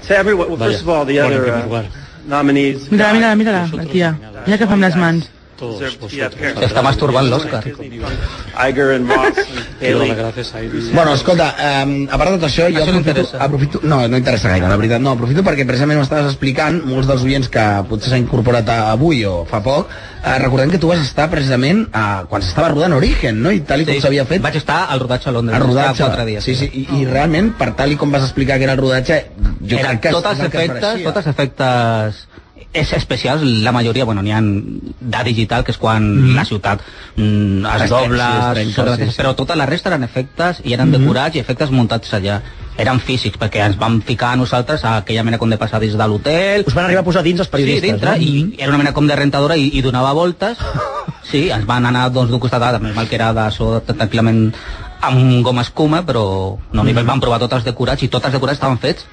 So everyone, well,
Vaya,
first of all, the
bueno, en
other
primer
uh, nominees.
Mira, mira, mira, la tia. Mira que fa amb les mans.
Està masturbant l'Òscar.
Iger and Ross and
Quiero
Bailey.
dar gracias a Iris.
Bueno, escolta, eh, a part de tot això, jo aprofito, aprofito... No, no interessa gaire, la veritat, no. Aprofito perquè precisament m'estaves explicant, molts dels oients que potser s'han incorporat a- avui o fa poc, eh, recordem que tu vas estar precisament eh, quan s'estava rodant Origen, no? I tal i com s'havia fet...
Vaig estar al rodatge a Londres.
El rodatge.
Estava Quatre dies.
Sí, sí, i, i realment, per tal i com vas explicar que era el rodatge, jo
Eren
crec que...
tots els
és el que es
efectes,
mereixia.
tots els efectes és especials, la majoria, bueno, n'hi ha de digital, que és quan
Mhm.
la ciutat mm, es
Es
dobla,
trenca, sí, es trenca,
sobre-
sí, sí.
però tota la resta eren efectes i eren
Mhm.
decorats i efectes muntats allà. Eren físics, perquè ens vam ficar a nosaltres a aquella mena com de passar dins de l'hotel...
Us van arribar a posar dins els periodistes,
Sí, dintre,
no? Mm-hmm.
i era una mena com de rentadora i, i donava voltes. Sí, ens van anar doncs, d'un costat a l'altre, mal que era de so, tranquil·lament amb goma escuma, però no, mm.
Mm-hmm.
van provar tots els decorats i tots els decorats estaven fets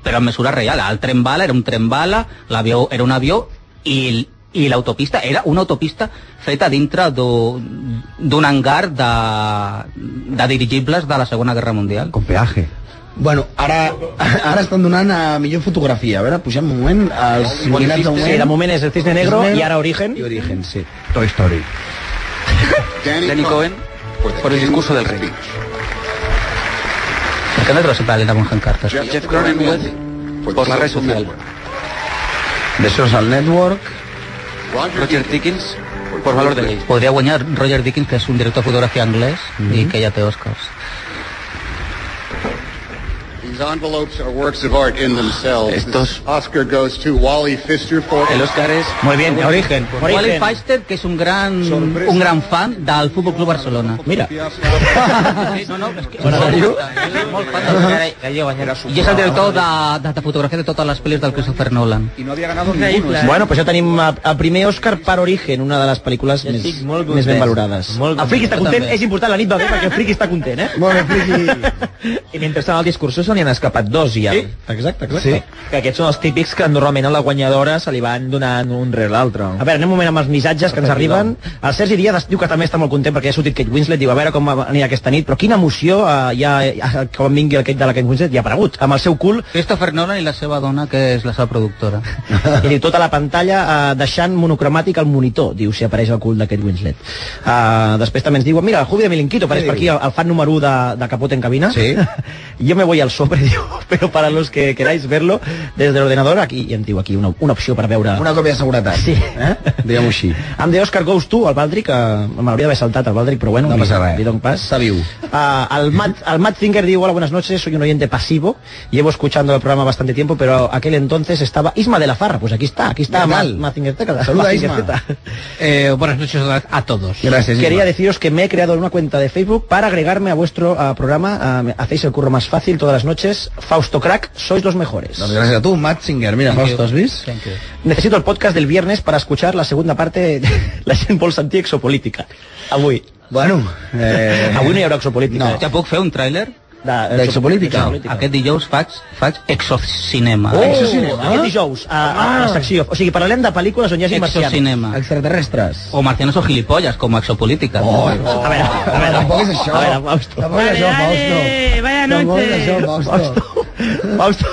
però en mesura real. El tren bala era un tren bala, l'avió era un avió i, l- i l'autopista era una autopista feta dintre d'u- d'un hangar de, de dirigibles de la Segona Guerra Mundial.
Con peaje.
Bueno, ara, ara estan donant a millor fotografia. A veure, pugem un moment els nominats d'un moment.
Sí, de moment és el Cisne Negro i ara Origen.
I Origen, sí.
Toy Story.
Danny Cohen, por el discurso del rey.
Per què no trobes sempre l'Helena Bonham Carter?
Y Jeff Cronenweth, por la red social.
The Social Network.
Roger Dickens, por valor de ley.
Podria guanyar Roger Dickens, que és un director de fotografia anglès i que ja té Oscars.
These envelopes are works of art in themselves. This Oscar goes to Wally Pfister for... El Oscar es...
Muy bien, Origen.
Wally Feister, que és un gran, un gran fan del Futbol Club Barcelona. Mira. no, no, és que... Molt fan del Ferrari, que havia guanyat. I és el director de, de, de fotografia de totes les pel·lis del Christopher Nolan.
Y no había ganado
Increïble.
ninguno.
Bueno, pues ja tenim a- el primer Òscar per Origen, una de les pel·lícules més, més ben valorades. El Friki està
Jo
content,
també.
és important, la nit va bé perquè el Friki està content, eh?
Molt bé, Friki.
I mentrestant al discurso se n'hi han escapat dos ja. Sí,
exacte,
exacte.
Que aquests són els típics que normalment a la guanyadora se li van donant un rere l'altre.
A veure, anem un moment amb els missatges que ens arriben. El Sergi Díaz diu que també està molt content perquè ha sortit Kate Winslet, diu a veure com va venir aquesta nit, però quina emoció eh, ja, ja quan vingui el Kate de la Kate Winslet, ja ha aparegut, amb el seu cul,
Christopher Nolan i la seva dona, que és la seva productora.
i diu tota la pantalla eh, deixant monocromàtic el monitor, diu si apareix el cul de Kate Winslet. Eh, després també ens diuen, mira, el Jubi de Milinquito, apareix per aquí el, el fan número 1 de, de Capote en cabina. Sí. Yo me voy al sobre, diu, però para los que queráis verlo desde el ordenador, aquí, i em diu aquí una, una opció per veure...
Una còpia de seguretat.
Sí.
Eh? Diguem-ho així.
Em de Oscar Goes tu, el Baldric, que m'hauria d'haver saltat el Baldric, però bueno,
No
li-
passa res.
li dono pas.
Està viu.
Ah, el, Matt, el Matt Singer digo, hola, buenas noches, soy un oyente pasivo, llevo escuchando el programa bastante tiempo, pero aquel entonces estaba Isma de la Farra, pues aquí está, aquí está
¿Qué
Matt,
tal?
Matt Singer. Teca-
Saluda,
Matt
Isma.
Singer, Teca.
Eh, buenas noches a, a todos.
Quería deciros que me he creado una cuenta de Facebook para agregarme a vuestro ah, programa, Ah, me- hacéis el curro más fácil todas las noches, Fausto Crack, sois los mejores.
Doncs gràcies a tu, Matt Singer. Mira,
Thank
Fausto,
you.
has vist?
Necesito el podcast del viernes para escuchar la segunda parte de la gent vol sentir exopolítica. Avui.
Bueno, eh...
Avui no hi haurà exopolítica.
Ja puc fer un tràiler?
D'exopolítica?
Aquest dijous faig, faig exocinema. Ah!
Oh, aquest dijous, a, a,
Ah.
a la secció. O sigui, parlarem de pel·lícules on hi hagi marcians.
Exocinema.
Extraterrestres.
O marcianos o gilipollas, com a exopolítica.
Oh,
A veure, a veure.
Tampoc és això.
A veure, Fausto.
Tampoc és això, Fausto.
Vaya
Tampoc és
noche.
això, Fausto.
Fausto,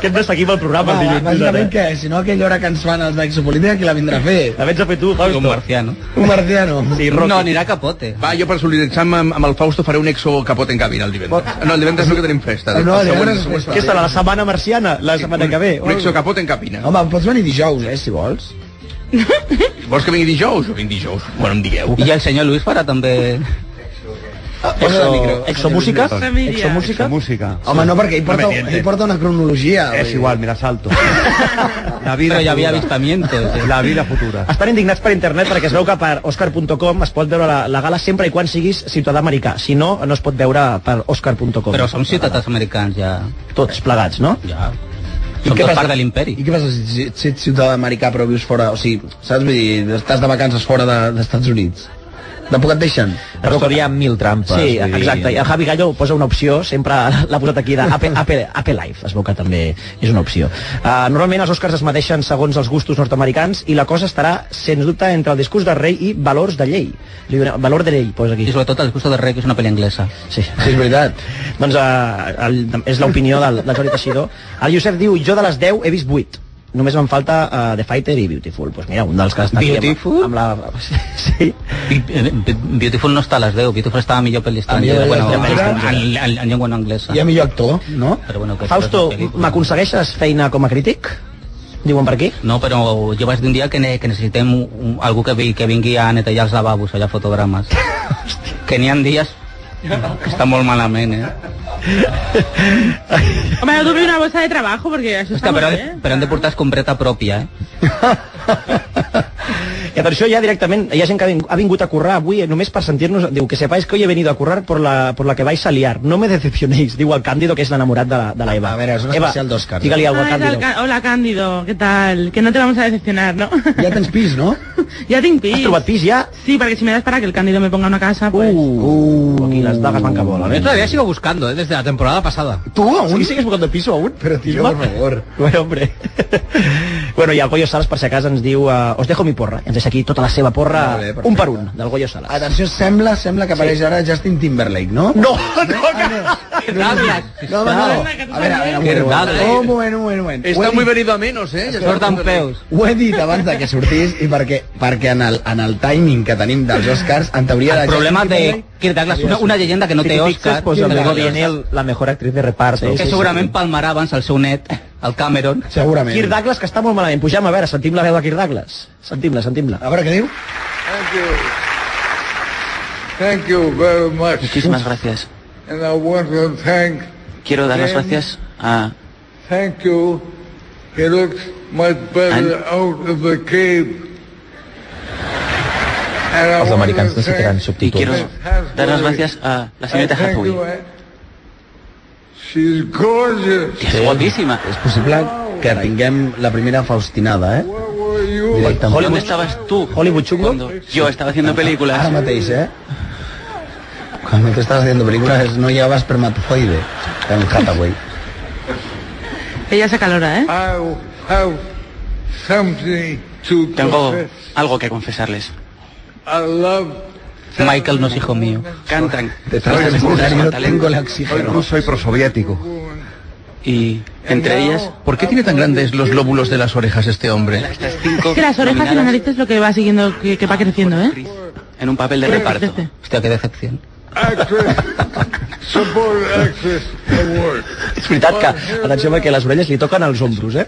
que hem d'estar aquí pel programa el dilluns.
Bàsicament que, si no, aquella hora que ens fan els d'Exopolítica, qui la vindrà a fer?
La vens a fer tu, Fausto.
Un marciano.
Un marciano.
Sí, Rocky.
No, anirà a capote.
Va, jo per solidaritzar-me amb, amb el Fausto faré un exo capot en cabina el divendres. No, el divendres no que tenim festa.
No,
El següent-
divendres
el següent es
és
fa.
Aquesta era la setmana marciana, la setmana que ve.
Un exo capot en cabina.
Home, pots venir dijous, eh, si vols.
Vols que vingui dijous? Jo vinc dijous. Bueno, em digueu.
I el senyor Luis farà també...
Ah, Exo, exomúsiques?
Familiar.
Exomúsica?
Música.
Home, no, perquè ell porta, ell porta una cronologia.
Es igual, mira, salto.
La vida
ja havia
avistamientos. eh.
La vida futura.
Estan indignats per internet perquè es veu que per oscar.com es pot veure la, la gala sempre i quan siguis ciutadà americà. Si no, no es pot veure per oscar.com.
Però som ciutadans americans ja.
Tots plegats, no?
Ja. Som tot part de l'imperi.
I què passa si, si si ets ciutadà americà però vius fora, o sigui, saps? Vull dir, estàs de vacances fora de- d'Estats de, Units. Tampoc et deixen.
Però hi ha mil trampes.
Sí,
vull dir.
exacte. I el Javi Gallo posa una opció, sempre l'ha posat aquí, d'Ape Life, es veu que també és una opció. Uh, normalment els Oscars es mateixen segons els gustos nord-americans i la cosa estarà, sens dubte, entre el discurs del rei i valors de llei. Li dona- Valor de llei, posa aquí.
I sobretot el Gusto de Rey, que és una pel·li anglesa.
Sí.
Sí, és veritat.
Doncs eh, el, és l'opinió del, del Jordi Teixidor. El Josep diu, jo de les 10 he vist 8. Només em falta uh, The Fighter i Beautiful. Pues mira, un dels que està
Beautiful?
aquí amb, amb la... Sí.
I, eh, Beautiful no està a les 10, Beautiful està a millor pel·li
A
estrangera,
millor
bueno,
pel·li estrangera.
en, en, en llengua no anglesa.
Hi ha millor actor, no?
Però bueno, que
Fausto,
això és una pel·lícula.
m'aconsegueixes feina com a crític? Diuen per aquí?
No, però jo vaig dir un dia que, ne, que necessitem un, un, algú que, vi, que vingui a netejar els lavabos, allà a fotogrames. que n'hi ha dies que està molt malament, eh?
Hombre, yo tuve una bolsa de trabajo porque eso está
Hòstia, però,
muy
han de-
bien.
però han de portar escombreta pròpia, eh?
I per això ja directament hi ha gent que ha ving- ha vingut a currar avui eh, només per sentir-nos, diu que sepáis que hoy he venido a currar por la, por la que vais a liar, no me decepcionéis, diu el Càndido que és l'enamorat de, la- de la Eva.
A veure, és un
Eva,
especial d'Òscar. eh?
Digue-li alguna
Ah,
cosa
és
al
el
Càndido.
Ca- hola, Cándido, ¿qué tal? Que no te vamos a decepcionar, ¿no?
Ja tens pis, no?
ya te impís.
Has trobat pis ja?
Sí, porque si me das para que el Cándido me ponga una casa, pues...
Uh, aquí les dagues van cap a volar.
Yo todavía sigo buscando, ¿eh? desde la temporada pasada.
Tu, aún?
Sí, sigues buscando piso aún?
Però, tio,
Isma?
per favor.
Bueno, hombre. bueno, i el Goyo Salas, per si acas, ens diu uh, Os dejo mi porra. Ens deixa aquí tota la seva porra,
Molt bé, perfecte.
un per un, del Goyo Salas.
Atenció, sembla, sembla que apareix ara Justin Timberlake, no?
No,
No,
no,
home, no. A veure, a veure, un moment. Un moment, un moment, un moment. Ho he
Está muy
dit-
venido a menos, eh? Ja
Surten
està.
peus.
Ho he dit abans de que sortís i perquè, perquè en, el, en el timing que tenim dels Oscars, en teoria...
El
la
problema
Justin
de
Timberlake-
Kirk Douglas, una, una llegenda que no té Oscar,
pues,
Kirk
luego
Douglas.
viene el- la mejor actriz de reparto.
que segurament palmarà abans el seu net, el Cameron.
Segurament.
Kirk Douglas, que està molt malament. Pugem, a veure, sentim la veu de Kirk Douglas. Sentim-la, sentim-la.
A veure què diu.
Thank you. Thank you very much.
Muchísimas gracias.
And I want to thank,
Quiero dar las gracias
ah,
a
thank you. He looks much better out of the cave. And I
Els
want
americans
to thank
necessitaran
y quiero
subtítols.
dar las gracias a la señorita
I thank you,
Hathaway.
eh? She's gorgeous.
que Es guapísima.
És possible que tinguem la primera Faustinada, eh?
Where were you?
Directament.
¿Dónde estabas tú
Hollywood chungo.
cuando yo estaba haciendo
Ara
películas?
mateix, eh? Cuando te estás haciendo películas no llevas espermatozoide en Hathaway.
Ella se calora, ¿eh?
I have something to
Tengo
confess.
algo que confesarles.
I love
Michael no es hijo mío.
Cantan.
Te estás
cantan con
haciendo
muchísimo
tengo el
talento.
oxígeno.
No soy prosoviético.
Y entre ellas,
¿Por qué tiene tan grandes los lóbulos de las orejas este hombre?
estas cinco
Es que las orejas y la
nominadas
nariz es lo que va siguiendo, que, que va creciendo, ¿eh?
en un papel de
Creo que
reparto.
crece.
Hòstia, que decepció.
actress, support actress award.
És veritat que, atenció, perquè les orelles li toquen als ombros, eh?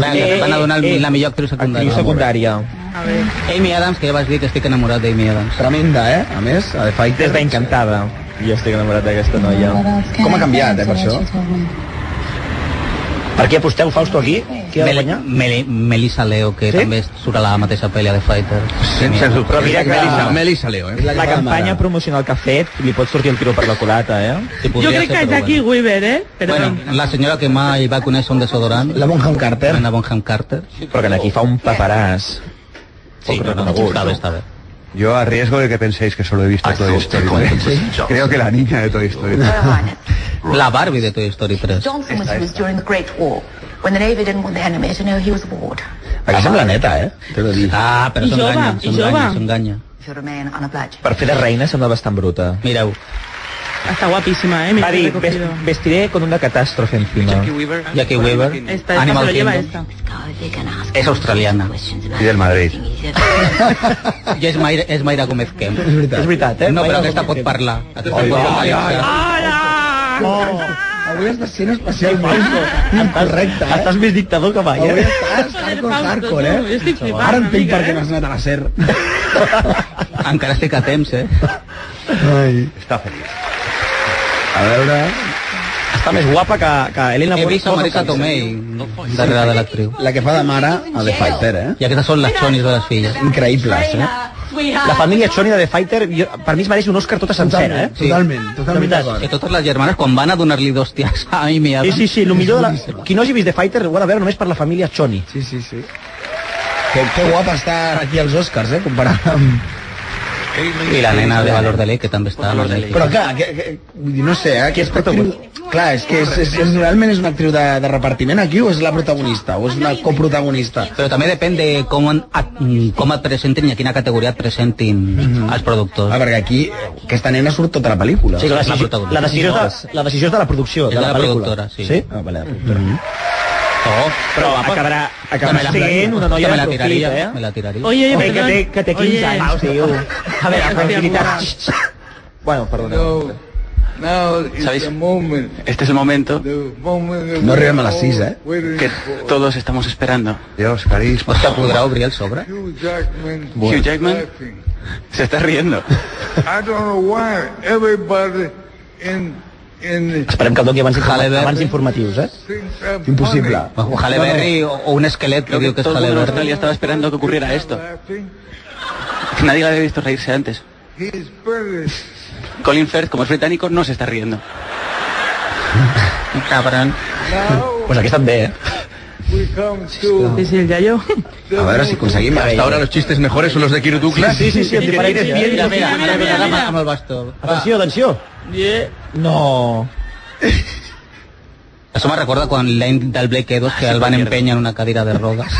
Vinga, van a donar el- la millor actriu secundària.
Actriz secundària.
A ver.
Amy Adams, que ja vas dir que estic enamorat d'Amy Adams.
Tremenda, eh? A més, a The Fighter.
Des d'encantada. Jo estic enamorat d'aquesta noia.
Com ha canviat, eh, per això?
Per què aposteu, Fausto, aquí? Qui ha de guanyar?
Mel Melissa Leo, que
Sí?
també surt a la mateixa pel·li a The Fighter. Amy
Sense
Adams.
dubte.
Però mira que-
Melissa, Melissa Leo, eh?
La campanya promocional que ha fet li pot sortir el tiro per la culata, eh?
Sí,
Yo
podria
creo
ser,
que es
però
Jackie Weaver, ¿eh? Pero
Bueno, bueno, la senyora que mai va conèixer un desodorant,
La Bonham Carter.
Anna Bonham Carter.
Però que aquí fa un paperàs.
Sí, però no, està bé, està bé.
Yo a riesgo de que penséis que solo he visto Toy Story 3. Creo que la niña de Toy Story 3.
La Barbie de Toy Story 3.
Johnson was used during the Great War, when the Navy didn't want the enemy to know he was aboard.
Aquí sembla neta, eh? T'he de dir.
Ah, però
I jove,
s'enganya,
i jove.
s'enganya, s'enganya.
If you remain unobliged.
Per fer de reina sembla bastant bruta.
Mireu,
Está guapísima, ¿eh? Me
Va
he
dir,
recogido.
"Ves- vestiré con una catástrofe encima.
Jackie Weaver.
Jackie Weaver.
Esta, esta se lo lleva esta.
Es australiana.
I del Madrid.
I és Mayra, és Mayra Gómez Kemp. És veritat. És veritat, eh? No, però aquesta pot parlar. Aquesta pot parlar.
Oh. Avui has de ser especialment incorrecte, eh?
Estàs més dictador que mai,
Avui
eh?
estàs hardcore, hardcore, eh?
Jo estic flipant
Ara
una
entenc
mica,
per què
eh?
no has anat a la SER.
Encara estic a temps, eh?
Ai.
Està feliç.
A veure...
Està més guapa que, que Elena
He vist a Marisa Tomei darrere de l'actriu.
La que fa de mare a The Fighter, eh?
I aquestes són les xonis de les filles.
Increïbles, eh?
Ah,
La família Choni de The Fighter, jo, per mi es mereix un Òscar tota sencera, eh?
Sí.
De veritat.
Que totes les germanes, quan van a donar-li dos tias a Amy
Sí,
Adams...
sí, sí, el millor de la... Qui no hagi vist The Fighter ho ha de veure només per la família Choni.
Sí, sí, sí. Que, que guapa estar aquí als Oscars, eh? Comparat amb...
I la nena de Valor de Ley, que també
Ah,
està...
Però clar, que, que, vull dir, no sé, eh? Que és protagonista. Clar, és que és, és, és, realment és una actriu de, de repartiment aquí o és la protagonista? O és una coprotagonista?
Però també depèn de com, en- a, mm, com et presentin i a quina categoria et presentin els productors.
Ah, perquè aquí eh, aquesta nena surt tota la pel·lícula.
Sí, la
És la
decisió,
protagonista.
la decisió, és de, la decisió és de la producció,
És
de la,
de la
pel·lícula.
productora, sí.
sí?
Ah, vale, la productora.
Oh,
Però acabarà, acabarà
la-
sent una noia
me la
de profil,
tiraria,
eh?
me la tiraria.
Oye, oye,
Ei, que
perdón.
té, que té 15
Oye.
anys, tio. A veure, la tranquil·litat. Bueno, perdona.
¿Sabéis? Este es el momento
No arribem a les 6, eh?
que todos estamos esperando.
Dios, París.
Hòstia, podrà obrir el sobre?
Hugh Jackman se está riendo.
Esperem que el doni abans,
Halle
informa
Berry.
abans informatius, eh?
Impossible.
O Halle Berry o, o un esquelet que diu que és
Todo el
Halle
mundo en
Berry.
Australia estaba esperando que ocurriera esto. Que nadie la había visto reírse antes. Colin Firth, como es británico, no se está riendo.
Cabron.
Pues aquí estan bé, eh?
Sí, sí, el yayo.
A veure si aconseguim...
Hasta ahora los chistes mejores son los de Kirk Douglas.
Sí, sí, sí, et diferents,
Sí,
eh?
sí,
Mira,
sí,
mira, mira, mira,
mira.
amb el bastó.
Atenció, atenció.
Yeah.
No.
Això me recorda quan l'any del Blake Edwards que el van empènyer en una cadira de rodes.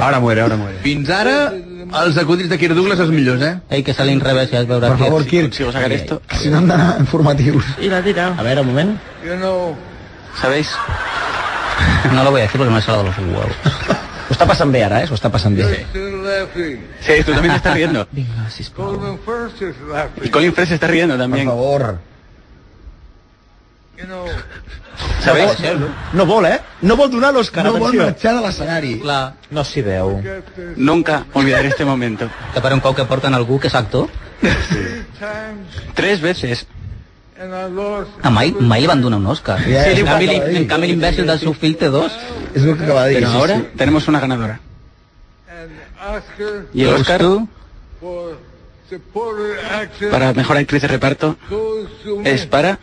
Ahora muere, ahora muere.
Fins ara, els acudits de Kirk Douglas els millors, eh?
Ei, que sale en revés i has veure
Per favor, Kirk,
Consigo sacar esto.
si no hem d'anar informatius.
Y la ha tirado.
A veure, un moment.
¿Sabéis?
No lo voy a decir porque me ha salado los huevos.
Ho està passant bé ara, eh? S'ho està passant bé.
Sí, tú también te estás riendo. Y Colin Firth se está riendo
Per
también.
favor.
¿Sabéis?
No vol, eh? No vol donar l'Òscar,
No vol
atenció.
marxar de l'escenari.
Clar,
No s'hi veu.
Nunca olvidaré este momento.
que per un cop que porten algú que és actor,
Tres veces.
a Ah, mai, mai li van donar un Òscar.
Ja,
en
diu
canvi,
que-
li- en canvi l'imbècil del seu fill té dos.
És el que acaba de dir.
Pero
sí,
ahora
sí.
tenemos una ganadora. Y el Oscar para mejor actriz de reparto es para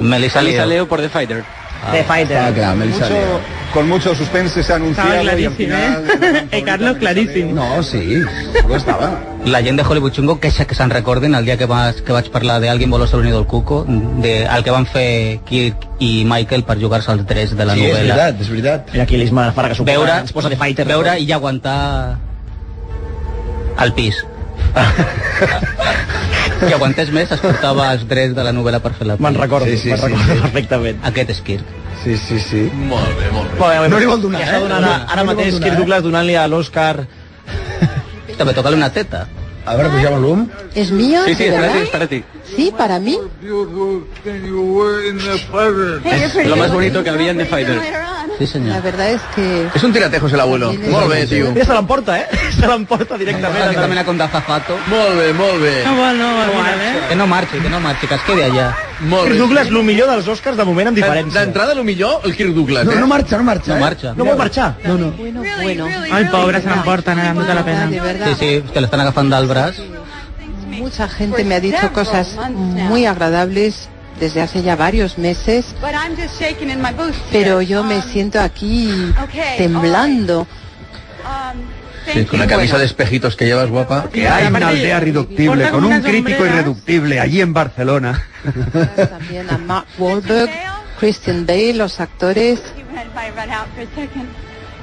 Melissa
Alisa
Leo.
Leo por The Fighter.
The Fighter.
Ah, clar, Melissa Leo.
Con mucho suspense se ha
Estaba
anunciado y al
clarísimo,
final...
¿eh? Eh, Carlos, clarísimo.
No, sí, no estava.
La gent de Hollywood Chungo queixa que se'n recorden el dia que, vas, que vaig parlar de Alguien voló ser unido al cuco, de, el que van fer Kirk i Michael per jugar-se als drets de la
Sí, és
novel·la.
veritat, és veritat.
Mira aquí l'Isma Farra que s'ho posa,
Veure,
ens posa The Fighter.
veure i aguantar
eh?
al pis. Si aguantés més, es portava els drets de la novel·la per fer la
Me'n
pel·li.
recordo,
Sí, sí,
me'n
sí,
recordo
sí.
perfectament.
Aquest és Kirk.
Sí, sí, sí.
No
li vol donar,
ja està
eh?
donant,
No
ara,
li- no
ara
li vol
mateix
donar,
Kirk
eh?
Douglas donant-li a l'Òscar
També toca-li una teta.
A veure, puja volum.
¿Es mío?
Sí, sí,
¿De
es para ti,
verdad?
es para ti.
Sí, para mí.
Es lo más bonito que había en The Fighter.
Sí, senyor.
La verdad es que...
És un tiratejos el abuelo. Molt bé, tio.
Mira, se l'emporta, eh? Se l'emporta
Pasa que també
directament.
la conta Zafato.
Molt bé, molt bé.
No, vol, no, vol, mira, eh?
Que no marxi, que no marxi, que es quedi allà.
Molt
Kirk
bé.
Douglas, el millor dels Oscars de moment amb diferència.
D'entrada, el millor, el Kirk Douglas,
No,
eh?
no marxa, no marxa.
No
eh?
marxa.
No vol marxar.
No, no.
Bueno, bueno.
Ay, pobre, se l'emporten, eh? Tota la
De
pena.
verdad,
Sí, sí, que l'estan agafant del braç.
mucha gente me ha dicho cosas muy agradables desde hace ya varios meses, pero yo me siento aquí temblando.
Sí, con la camisa de espejitos que llevas, guapa.
Que hay una
Aparte,
aldea irreductible
cortan
con un
unas
crítico
hombreras.
irreductible allí en Barcelona.
También a Mark Wahlberg, Christian Bale, los actores.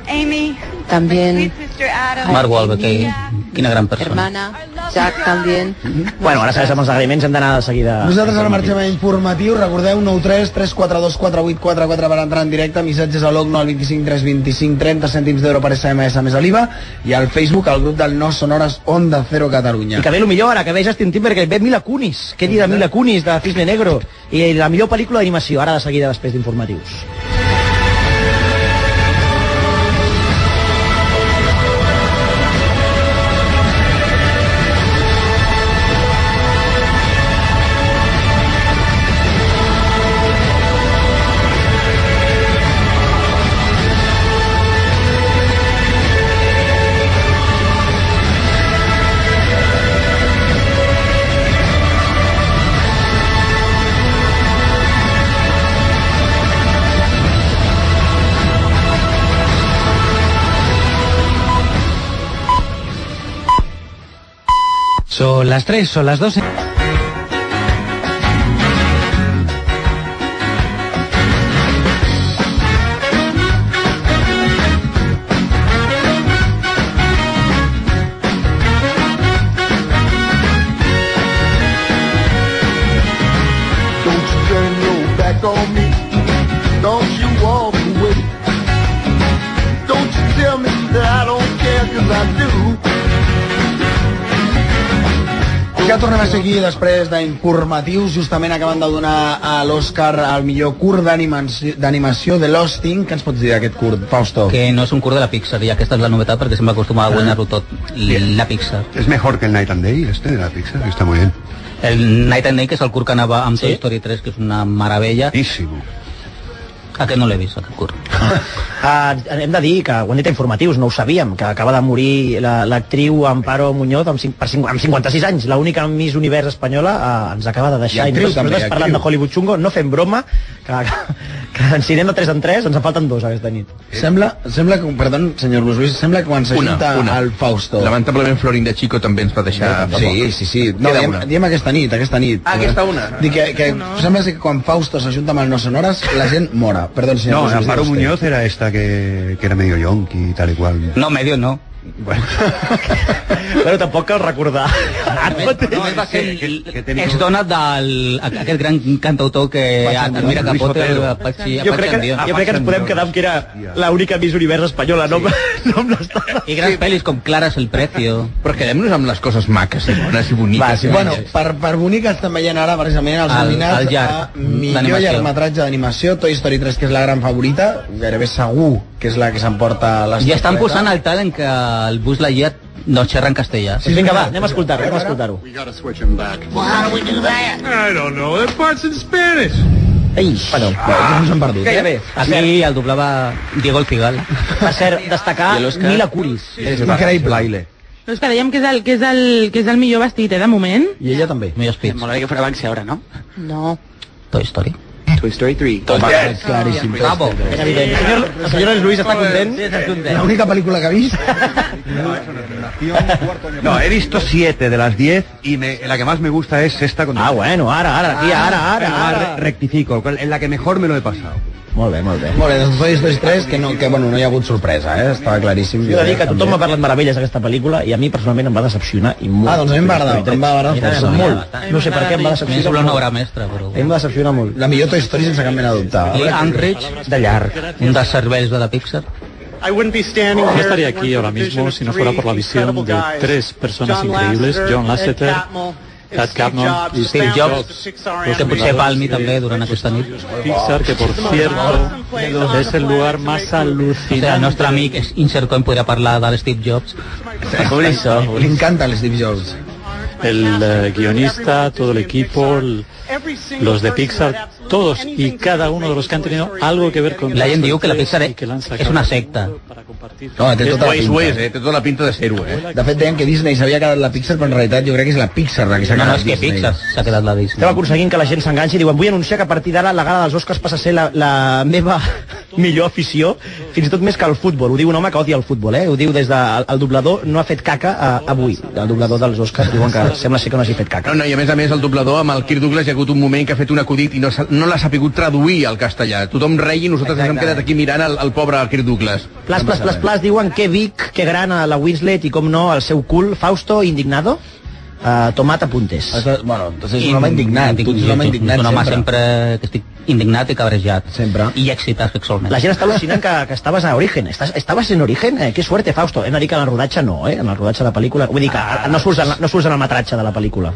Amy,
También
Mr. Adam,
Mark Wahlberg, que-
quina gran
hermana, Jack también.
Bueno, ara sabes amb els agraïments hem d'anar de seguida.
Nosaltres ara marxem a informatiu, recordeu 93 342 4844 per entrar en directe, missatges a l'OCNO al 25 325 30 cèntims d'euro per SMS més a l'IVA i al Facebook al grup del No Sonores Onda Cero Catalunya.
I que ve el millor, ara que ve Justin Timberlake, ve Mila Kunis. Què dir de Mila Kunis, de Cisne Negro? I la millor pel·lícula d'animació, ara de seguida després d'informatius.
Son las 3, son las 12.
Don't you turn your back on me. Don't you walk away. Don't you tell me that I don't care, cause I do.
Ja tornem a ser aquí després d'informatius, justament acabant de donar a l'Òscar el millor curt d'animació d'animació de l'Hosting. Què ens pots dir d'aquest curt, Fausto?
Que no és un curt de la Pixar, i aquesta és la novetat perquè sempre acostuma a guanyar-ho tot l- la Pixar.
Es Ah. mejor que el Night and Day, este de la Pixar, está muy bien.
El Night and Day, que és el curt que anava amb Toy Story 3, que és una meravella.
Boníssim.
Aquest no l'he vist, aquest curt.
Ah, hem de dir que ho han dit a informatius, no ho sabíem, que acaba de morir la- l'actriu Amparo Muñoz amb, cinc, per cinc, amb 56 anys, l'única Miss Univers espanyola ah, ens acaba de deixar.
I actriu
nosaltres-
també,
nosaltres
actriu.
parlant de Hollywood Chungo, no fem broma, que, que, que ens anirem de 3 en 3, ens en falten dos aquesta nit.
Sembla, sembla que, perdó, senyor Luis Luis, sembla que quan s'ajunta al Fausto...
Lamentablement Florinda Chico també ens va deixar... fa
Sí,
poc.
sí, sí. No,
Queda
diem,
una.
diem aquesta nit, aquesta nit.
Ah, aquesta una.
Dic que, que sembla ser que quan Fausto s'ajunta amb el No Sonores, la gent mora. Perdó, senyor.
No,
Luis Luis,
Amparo
digues
Muñoz era esta que, que era medio yonki y tal y cual.
No, medio no.
Però tampoc cal recordar.
No, va ser ex-dona del, aquest gran cantautor que eh, admira Capote, Apache,
jo crec, que, jo crec que ens podem quedar amb que era l'única Miss Univers espanyola, no, no amb les
I grans pel·lis com Claras el Precio.
Però quedem-nos amb les coses maques i bones i boniques.
Va, sí,
i
bueno,
boniques.
per, per bonic estem veient ara precisament els
El-
nominats
el llarg
a millor
d'animació.
llargmetratge d'animació Toy Story 3 que és la gran favorita gairebé segur que és la que s'emporta les
I estan posant el talent que el Buzz Lightyear no xerra en castellà.
Sí, vinga, va, anem
a escoltar-ho, anem a escoltar-ho.
We gotta switch him back.
Well, how do we do that?
I don't know, that part's in Spanish.
Ei, bueno,
ja ens hem perdut,
Gairebé.
Aquí el doblava Diego El Figal.
Per cert, destacar Mila Kunis.
És increïble.
Baile.
Doncs que dèiem que és el, que és el, que és el millor vestit, eh, de moment.
I ella també.
Millor
Em molaria que fuera Banksy ahora, ¿no?
No.
Toy Story.
Toy Story 3.
Toy Story. Yes.
Claríssim.
Bravo.
Era evident. El senyor, el senyor Luis està content?
Sí, està content.
L'única pel·lícula que ha vist.
No, he visto siete de las diez y me- la que más me gusta es esta. Con ah,
bueno, ahora, ahora, tía, ahora, ahora, ahora.
rectifico, en la que mejor me lo he pasado.
Molt bé, molt bé.
Molt bé, doncs Toy Story 3 que no, que, bueno, no hi ha hagut sorpresa, eh? Estava claríssim.
Jo he de dir que tothom m'ha parlat meravelles d'aquesta pel·lícula i a mi personalment em va decepcionar i
Ah,
molt.
doncs a mi em va agradar, em va agradar força.
molt. No sé per què em va
Més
decepcionar.
una
molt.
obra mestra, però...
A mi em va decepcionar molt.
La millor Toy Story sense cap mena de dubte.
I Enrich,
de llarg,
un dels cervells de la Pixar.
I wouldn't be standing
No
here
estaría
if it
aquí
weren't
ahora
for the vision
mismo
of
si no fuera por la
three
visión de
incredible guys.
tres personas
John
increíbles,
Lasseter,
John Lasseter,
Ed Catmull,
Ted
Steve
Catmull
Jobs,
y
Steve
Steve
Jobs,
Jobs,
Que
Pues,
potser palmi també durant aquesta nit.
Pixar, que por cierto es el lugar más
O sigui, el
alucinante.
nostre amic és Insert Coin podrà parlar de l'Steve Jobs.
Li encanta l'Steve Jobs.
El eh, guionista, todo el equipo, el- los de Pixar, todos y cada uno de los que han tenido algo que ver con
La gent
Toy
diu que la
Story
Pixar
y que la han
és
sacado.
una secta.
No, té
És
tota la
Waze,
pinta.
Waze, eh? Té tota la pinta de ser-ho, eh?
De fet, deien que Disney s'havia quedat la Pixar, però en realitat jo crec que és la Pixar la que s'ha
No,
quedat
no, és que
Disney.
Pixar s'ha quedat la Disney.
Estem aconseguint que la gent s'enganxi i diuen vull anunciar que a partir d'ara la gala dels Oscars passa a ser la, la meva millor afició, fins i tot més que el futbol. Ho diu un home que odia el futbol, eh? Ho diu des del de, el doblador, no ha fet caca a, avui. El doblador dels Oscars diuen que sembla ser que no hagi fet caca.
No, no, i a més a més el doblador amb el Kirk Douglas hi ha hagut un moment que ha fet un acudit i no, s'ha- no l'ha sapigut traduir al castellà. Tothom rei i nosaltres ens hem quedat aquí mirant el, el pobre Kirk Douglas.
Plas, plas, plas, plas, diuen que Vic, que gran a la Winslet i com no, el seu cul, Fausto, indignado, uh, Tomat, apuntes.
bueno,
entonces un home indignat, tu ets un home indignat
un home
sempre.
sempre que estic indignat i cabrejat. Sempre. I excitat sexualment.
La gent està al·lucinant que, que estaves a Origen. Estàs, estaves en Origen? Eh, que suerte, Fausto. Hem de dir que en el rodatge no, eh? En el rodatge de la pel·lícula. Vull dir que ah, no, surts en, no surts en el metratge de la pel·lícula.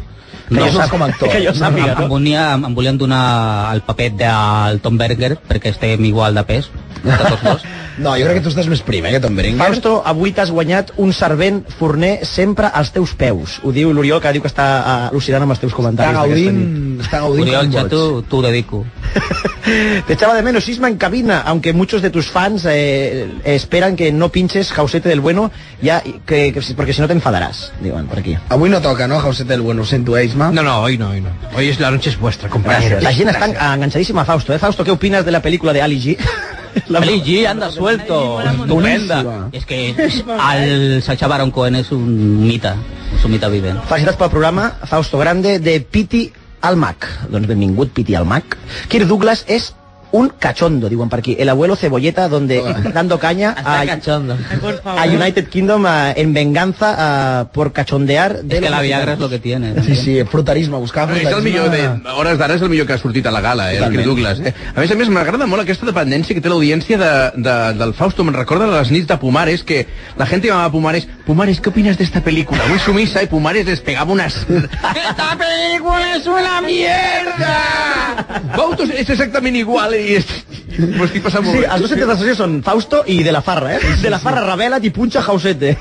Que
No
jo
surts
sap-
com a actor.
Que jo
No,
sàpiga,
em, em,
no?
volia, em volien donar el paper del Tom Berger perquè estem igual de pes. De tots dos.
No, jo crec que tu estàs més prim, eh, que Tom Berenguer.
Fausto, avui t'has guanyat un servent forner sempre als teus peus. Ho diu l'Oriol, que diu que està eh, al·lucinant amb els teus comentaris. d'aquesta nit.
està
Oriol, ja tu, tu dedico.
Te echaba de menos, Isma, en cabina, aunque muchos de tus fans eh, esperan que no pinches Jausete del Bueno, ya que, que- porque si no te enfadarás, diuen per aquí.
Avui no toca, no, José del Bueno? Ho sento, eh, Isma?
Ah. No, no, hoy no, hoy no. Hoy es la noche es vuestra, compañeros.
Gràcies. La gent està enganxadíssima a Fausto, eh? Fausto, què opines de la pel·lícula de Ali G? La
Ali G anda suelto, estupenda. Es que al Sacha Baron Cohen es un mita, es un mita vive.
Felicitats pel programa, Fausto Grande, de Piti al Mac. Doncs benvingut, Piti al Mac. Kirk Douglas és un cachondo, diuen per aquí. El abuelo cebolleta, donde dando caña a,
eh,
a United Kingdom eh, en venganza eh, por cachondear. de
Es que
los
la Viagra es lo que tiene. Sí,
sí, frutarisme,
Ah,
buscava
És el millor de, a hores d'ara és el millor que ha sortit a la gala, eh, el Kirk Douglas. Eh? A més a més, m'agrada molt aquesta dependència que té l'audiència de, de, del Fausto. Me'n recorda de les nits de Pumares, que la gent llamava a Pumares, Pumares, què opines d'esta pel·lícula? Avui sumissa, i Pumares les pegava unes...
Esta película es una mierda.
Fausto és exactament igual, i és... M'ho estic passant molt
Sí,
bé.
els dos centres d'associació són Fausto i De la Farra, eh? De la Farra revela't i punxa Jausete.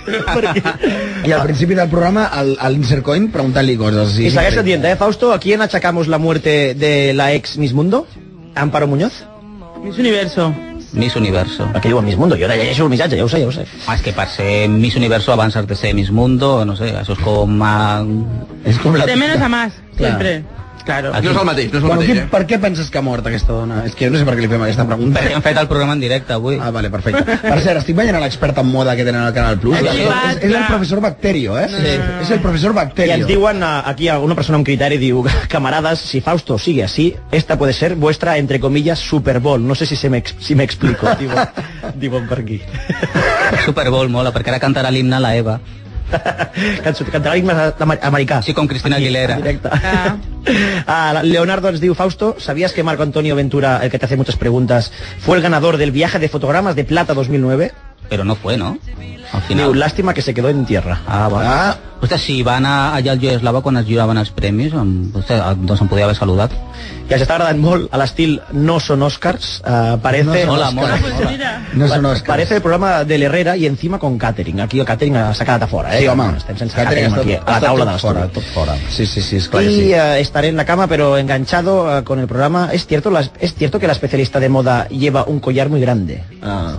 I al principi del programa, el- a l'Insert Coin, preguntant-li coses.
Y segueix dient, eh, Fausto, ¿a quién achacamos la muerte de la ex Miss Mundo? Amparo Muñoz?
Miss Universo.
Miss Universo.
Aquí diuen Miss Mundo, jo ara llegeixo el missatge, ja ho sé, ja ho sé.
Ah, és que per ser Miss Universo abans has de ser Miss Mundo, no sé, això és com... A...
És com
De menos a más, siempre. Claro.
Aquí. bueno,
eh?
qui- Per què penses que ha mort aquesta dona? És que jo no sé per què li fem aquesta pregunta.
Perquè hem fet el programa en directe avui.
Ah, vale, perfecte. Per cert, estic veient a l'expert en moda que tenen al Canal Plus. és,
Sí,
és, és el professor Bacterio, eh? Sí. És el professor
I ens
Bacterio.
diuen, eh, aquí alguna persona amb criteri diu, camaradas, si Fausto sigue así, esta puede ser vuestra, entre comillas, Super Bowl. No sé si se me, ex- si me explico, diuen, diuen per aquí.
Super Bowl mola, perquè ara cantarà l'himne la Eva.
Cançó- Cantarà l'himne amer- americà.
Sí, com Cristina Aguilera.
Ah, Leonardo nos diu, Fausto, ¿sabías que Marco Antonio Ventura, el que te hace muchas preguntas, fue el ganador del viaje de fotogramas de plata 2009?
Però no fue, no? Al
Diu,
final.
lástima que se quedó en tierra.
Ah, va. Ah. Ostres, si va anar allà al Jugoslava quan es juraven els premis, em, ostres, doncs em podia haver saludat.
I ens està agradant molt a l'estil no son Oscars, eh, parece...
No son Hola, Oscars. mola,
Oscars.
mola.
No son Oscars.
Parece el programa del Herrera i encima con catering. Aquí el catering s'ha quedat a fora, eh?
Sí, home.
Estem sense
Catering
catering,
està-
aquí, a la
està
taula
tot
de
fora,
l'estudi.
tot fora. Sí, sí, sí, esclar que
Y
sí.
eh, estaré en la cama, pero enganchado eh, con el programa. Es cierto, las- es cierto que la especialista de moda lleva un collar muy grande.
Ah.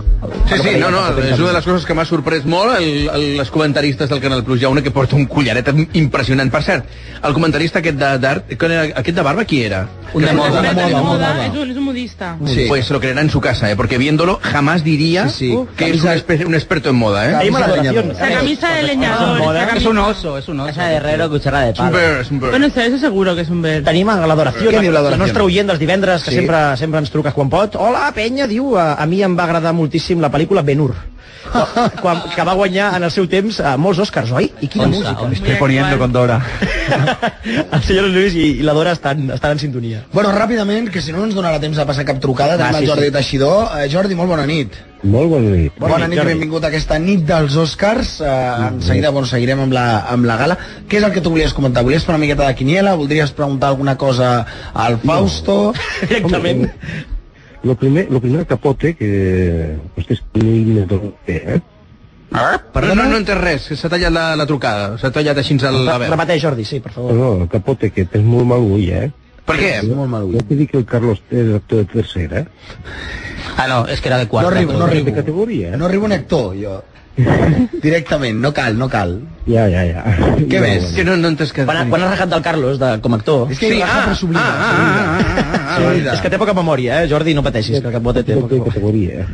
Sí, sí, no, no, és una de les coses que m'ha sorprès molt el, el, les comentaristes del Canal Plus, hi ha una que porta un collaret impressionant, per cert el comentarista aquest de, d'art, que era- aquest de barba qui era?
Un
Que-
Es un
que-
experto en
que-
moda, es un, es un modista.
Sí. Pues se lo creerá en su casa, ¿eh? porque viéndolo jamás diría que es un, exper- un experto en moda. ¿eh?
Hay mala relación.
La camisa de leñador. esa camisa-
oso, es un oso.
Esa de Herrero, cuchara de palo.
Bueno, eso, eso seguro que es un ver.
Tenim a l'adoració,
Què
la,
diu
la, la
l'adoració?
nostra oient dels divendres, que
Sí.
sempre, sempre ens truques quan pot. Hola, penya, diu, a, a mi em va agradar moltíssim la pel·lícula Ben-Hur, quan, que va guanyar en el seu temps a molts Oscars, oi? I quina
Once,
música.
once. Estoy poniendo con Dora.
El senyor Lluís i, i la Dora estan, estan en sintonia.
Bueno, ràpidament, que si no no ens donarà temps de passar cap trucada,
Va,
tenim
Ah, sí,
el Jordi
sí.
Teixidor. Eh, Jordi, molt bona nit.
Molt bona nit.
Bona, bona nit, i benvingut a aquesta nit dels Oscars. Eh, en seguida, bueno, seguirem amb la, amb la gala. Què és el que tu volies comentar? Volies fer una miqueta de quiniela? Voldries preguntar alguna cosa al Fausto? No.
Directament.
Lo primer, lo primer capote que... pues, Vostès no més d'on té, eh?
Ah, Perdona, no, no he entès res, que s'ha tallat la, la trucada, s'ha tallat així el, la veu.
Repeteix, Jordi, sí, per favor.
No, el capote que tens molt mal ull, eh?
Per què?
És molt mal ull. Ja t'he dit que el Carlos és actor de tercera, eh?
Ah, no, és que era de quarta.
No arribo, no arribo.
De categoria, eh?
No arribo un actor, jo. Directament, no cal, no cal.
Ja, ja, ja.
Què més? Que no, no en t'has quedat.
Quan, ha- quan has rajat del Carlos de, com a actor?
És que Sí, raja, ah, però s'oblida, ah,
Sí, és que té poca memòria, eh, Jordi, no pateixis, que el capote té poca
memòria.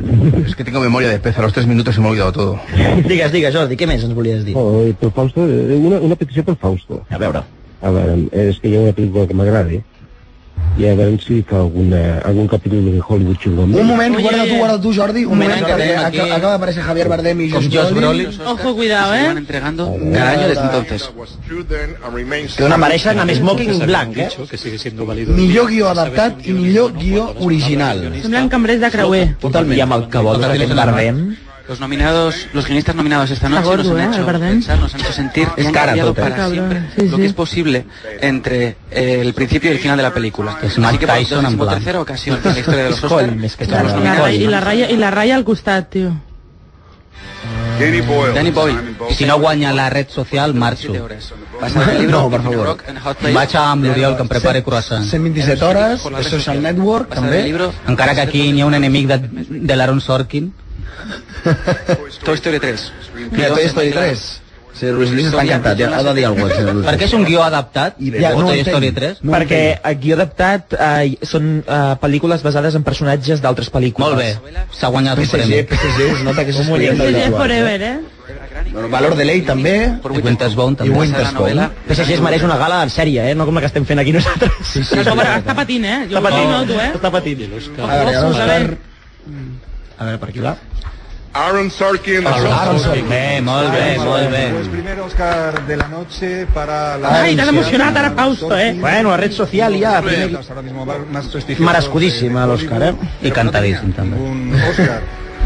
Es que tengo memoria de pez, a los tres minutos se me ha olvidado todo.
Digues, digues, Jordi, què més ens volies dir?
Oh, eh, per Fausto, eh, una, una petició per Fausto.
A veure.
A veure, eh, és que hi ha una pel·lícula que m'agrada i a veure si fa alguna, algun capítol de Hollywood xungón.
Un moment, guarda tu, guarda tu, Jordi. Un moment, que
Jordi,
ve- aca- acaba de aparèixer Javier Bardem i Josh Brolin.
Ojo, cuidado, eh?
entregando cada año desde entonces.
Que on apareixen amb smoking blanc, eh? Millor guió adaptat i millor guió original.
Semblen cambrers de creuer.
Totalment. I amb el que vols, aquest Bardem.
Los nominados, los guionistas nominados esta
Está
noche nos
gordo,
han
¿eh?
hecho
El Bardem.
pensar, nos han hecho sentir y
Es
han
cara
cambiado
total.
para
Cabrón,
siempre
sí,
lo
sí.
que es posible entre eh, el principio y el final de la película. Así
Mike
que por
Tyson en
la
blanc.
tercera ocasión en la historia de los
És coll,
Oscars,
més que
están los
cara.
La
nominados.
ratlla- I la ratlla, i la ratlla al costat, tio.
Danny Boyle. Danny Boyle.
I si no guanya la red social, marxo.
No, per favor.
Vaig amb l'Oriol, que em prepare croissant.
127 hores, The Social Network, també.
Encara que aquí n'hi ha un enemic de, de l'Aaron Sorkin.
Toy Story 3.
Mira, Toy Story 3. Sí, Luis Luis està encantat, ja, ha de dir alguna cosa.
Per què és un guió adaptat?
Ja, no
Toy
entenc.
Story 3?
No
perquè aquí adaptat eh, són eh, pel·lícules basades en personatges d'altres pel·lícules.
Molt bé, s'ha guanyat un premi.
PSG, es nota que s'escriu.
PSG forever, eh?
Bueno, Valor de Ley, també.
I Wintersbone
I
també.
Wintersbone.
PSG es mereix una gala en sèrie, eh? No com la que estem fent aquí nosaltres. Sí,
No, sobre, està patint, eh? Jo
Està patint,
no, tu, eh?
Està patint.
A veure,
Ojo,
l'Òscar-
a veure.
A veure, per aquí va.
Aaron Sorkin.
Aaron Sorkin. Bé, molt bé, molt bé.
primer Oscar de la noche para la...
Ai, t'has emocionat ara, Fausto, eh?
Bueno, la red social ja... primer-
Ahora mismo va más prestigioso.
Merescudíssim, a l'Òscar, eh?
I cantadíssim, també.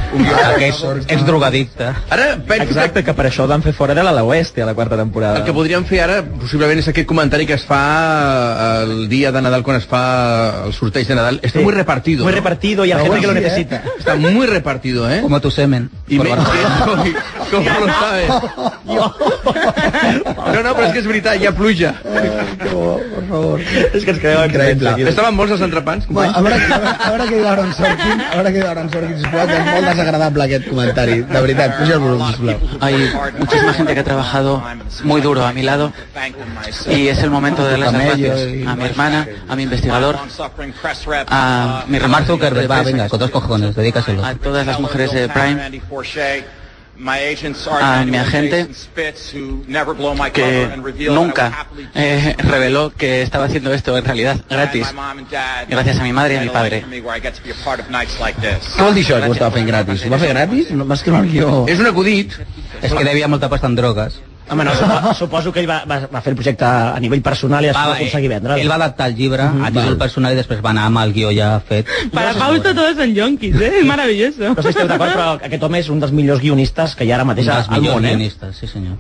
Ah,
Aquest exdrogadicte.
Ara penso que
Exacte, que per això el van fer fora de l'ala oeste a la quarta
El que
temporada.
podríem fer ara, possiblement, és aquest comentari que es fa eh, el dia de Nadal, quan es fa el sorteig de Nadal. Està
Sí.
muy repartido.
Muy
¿no?
repartido y hay
Está
gente que lo
guay, ¿eh?
necesita.
Está muy repartido, ¿eh?
Como tu semen.
Y me...
Por
¿Cómo,
barba.
lo sabes? No, no, però és que és veritat, hi ha pluja.
Por favor.
És que ens quedem
Increïble.
Estaven molts els entrepans,
Va,
companys?
a veure, a veure, a veure què diu l'Aaron Sorkin, a veure què diu l'Aaron Sorkin, sisplau, que és molt desagradable aquest comentari, de veritat, puja el volum, sisplau.
Hay muchísima gente que ha trabajado muy duro a mi lado y es el momento de darles las gracias a mi hermana, a mi investigador, a mi
Mark Zuckerberg, va, venga, con dos cojones, dedícaselo.
a todas las mujeres de Prime
a
Ah,
a
mi
mi agente
que
que nunca eh, reveló que estaba haciendo esto en realidad gratis. Gracias a mi madre y a mi padre.
Què vol dir això, que ho estava fent gratis? Ho va fer gratis? No, va escriure el guió.
És un acudit.
És que devia molta pasta en drogues.
Home, no, supo- suposo que ell va, va, va fer el projecte a nivell personal i es va
eh,
aconseguir vendre'l.
Ell va adaptar el llibre
Mhm,
a títol personal i després va anar amb el guió ja fet.
Para Fausto todos son yonkis, eh? Es maravilloso.
No sé si esteu d'acord, però aquest home és un dels millors guionistes que hi ha ara
Un
mateix
dels
al
millors
món, eh?
guionistes, sí senyor.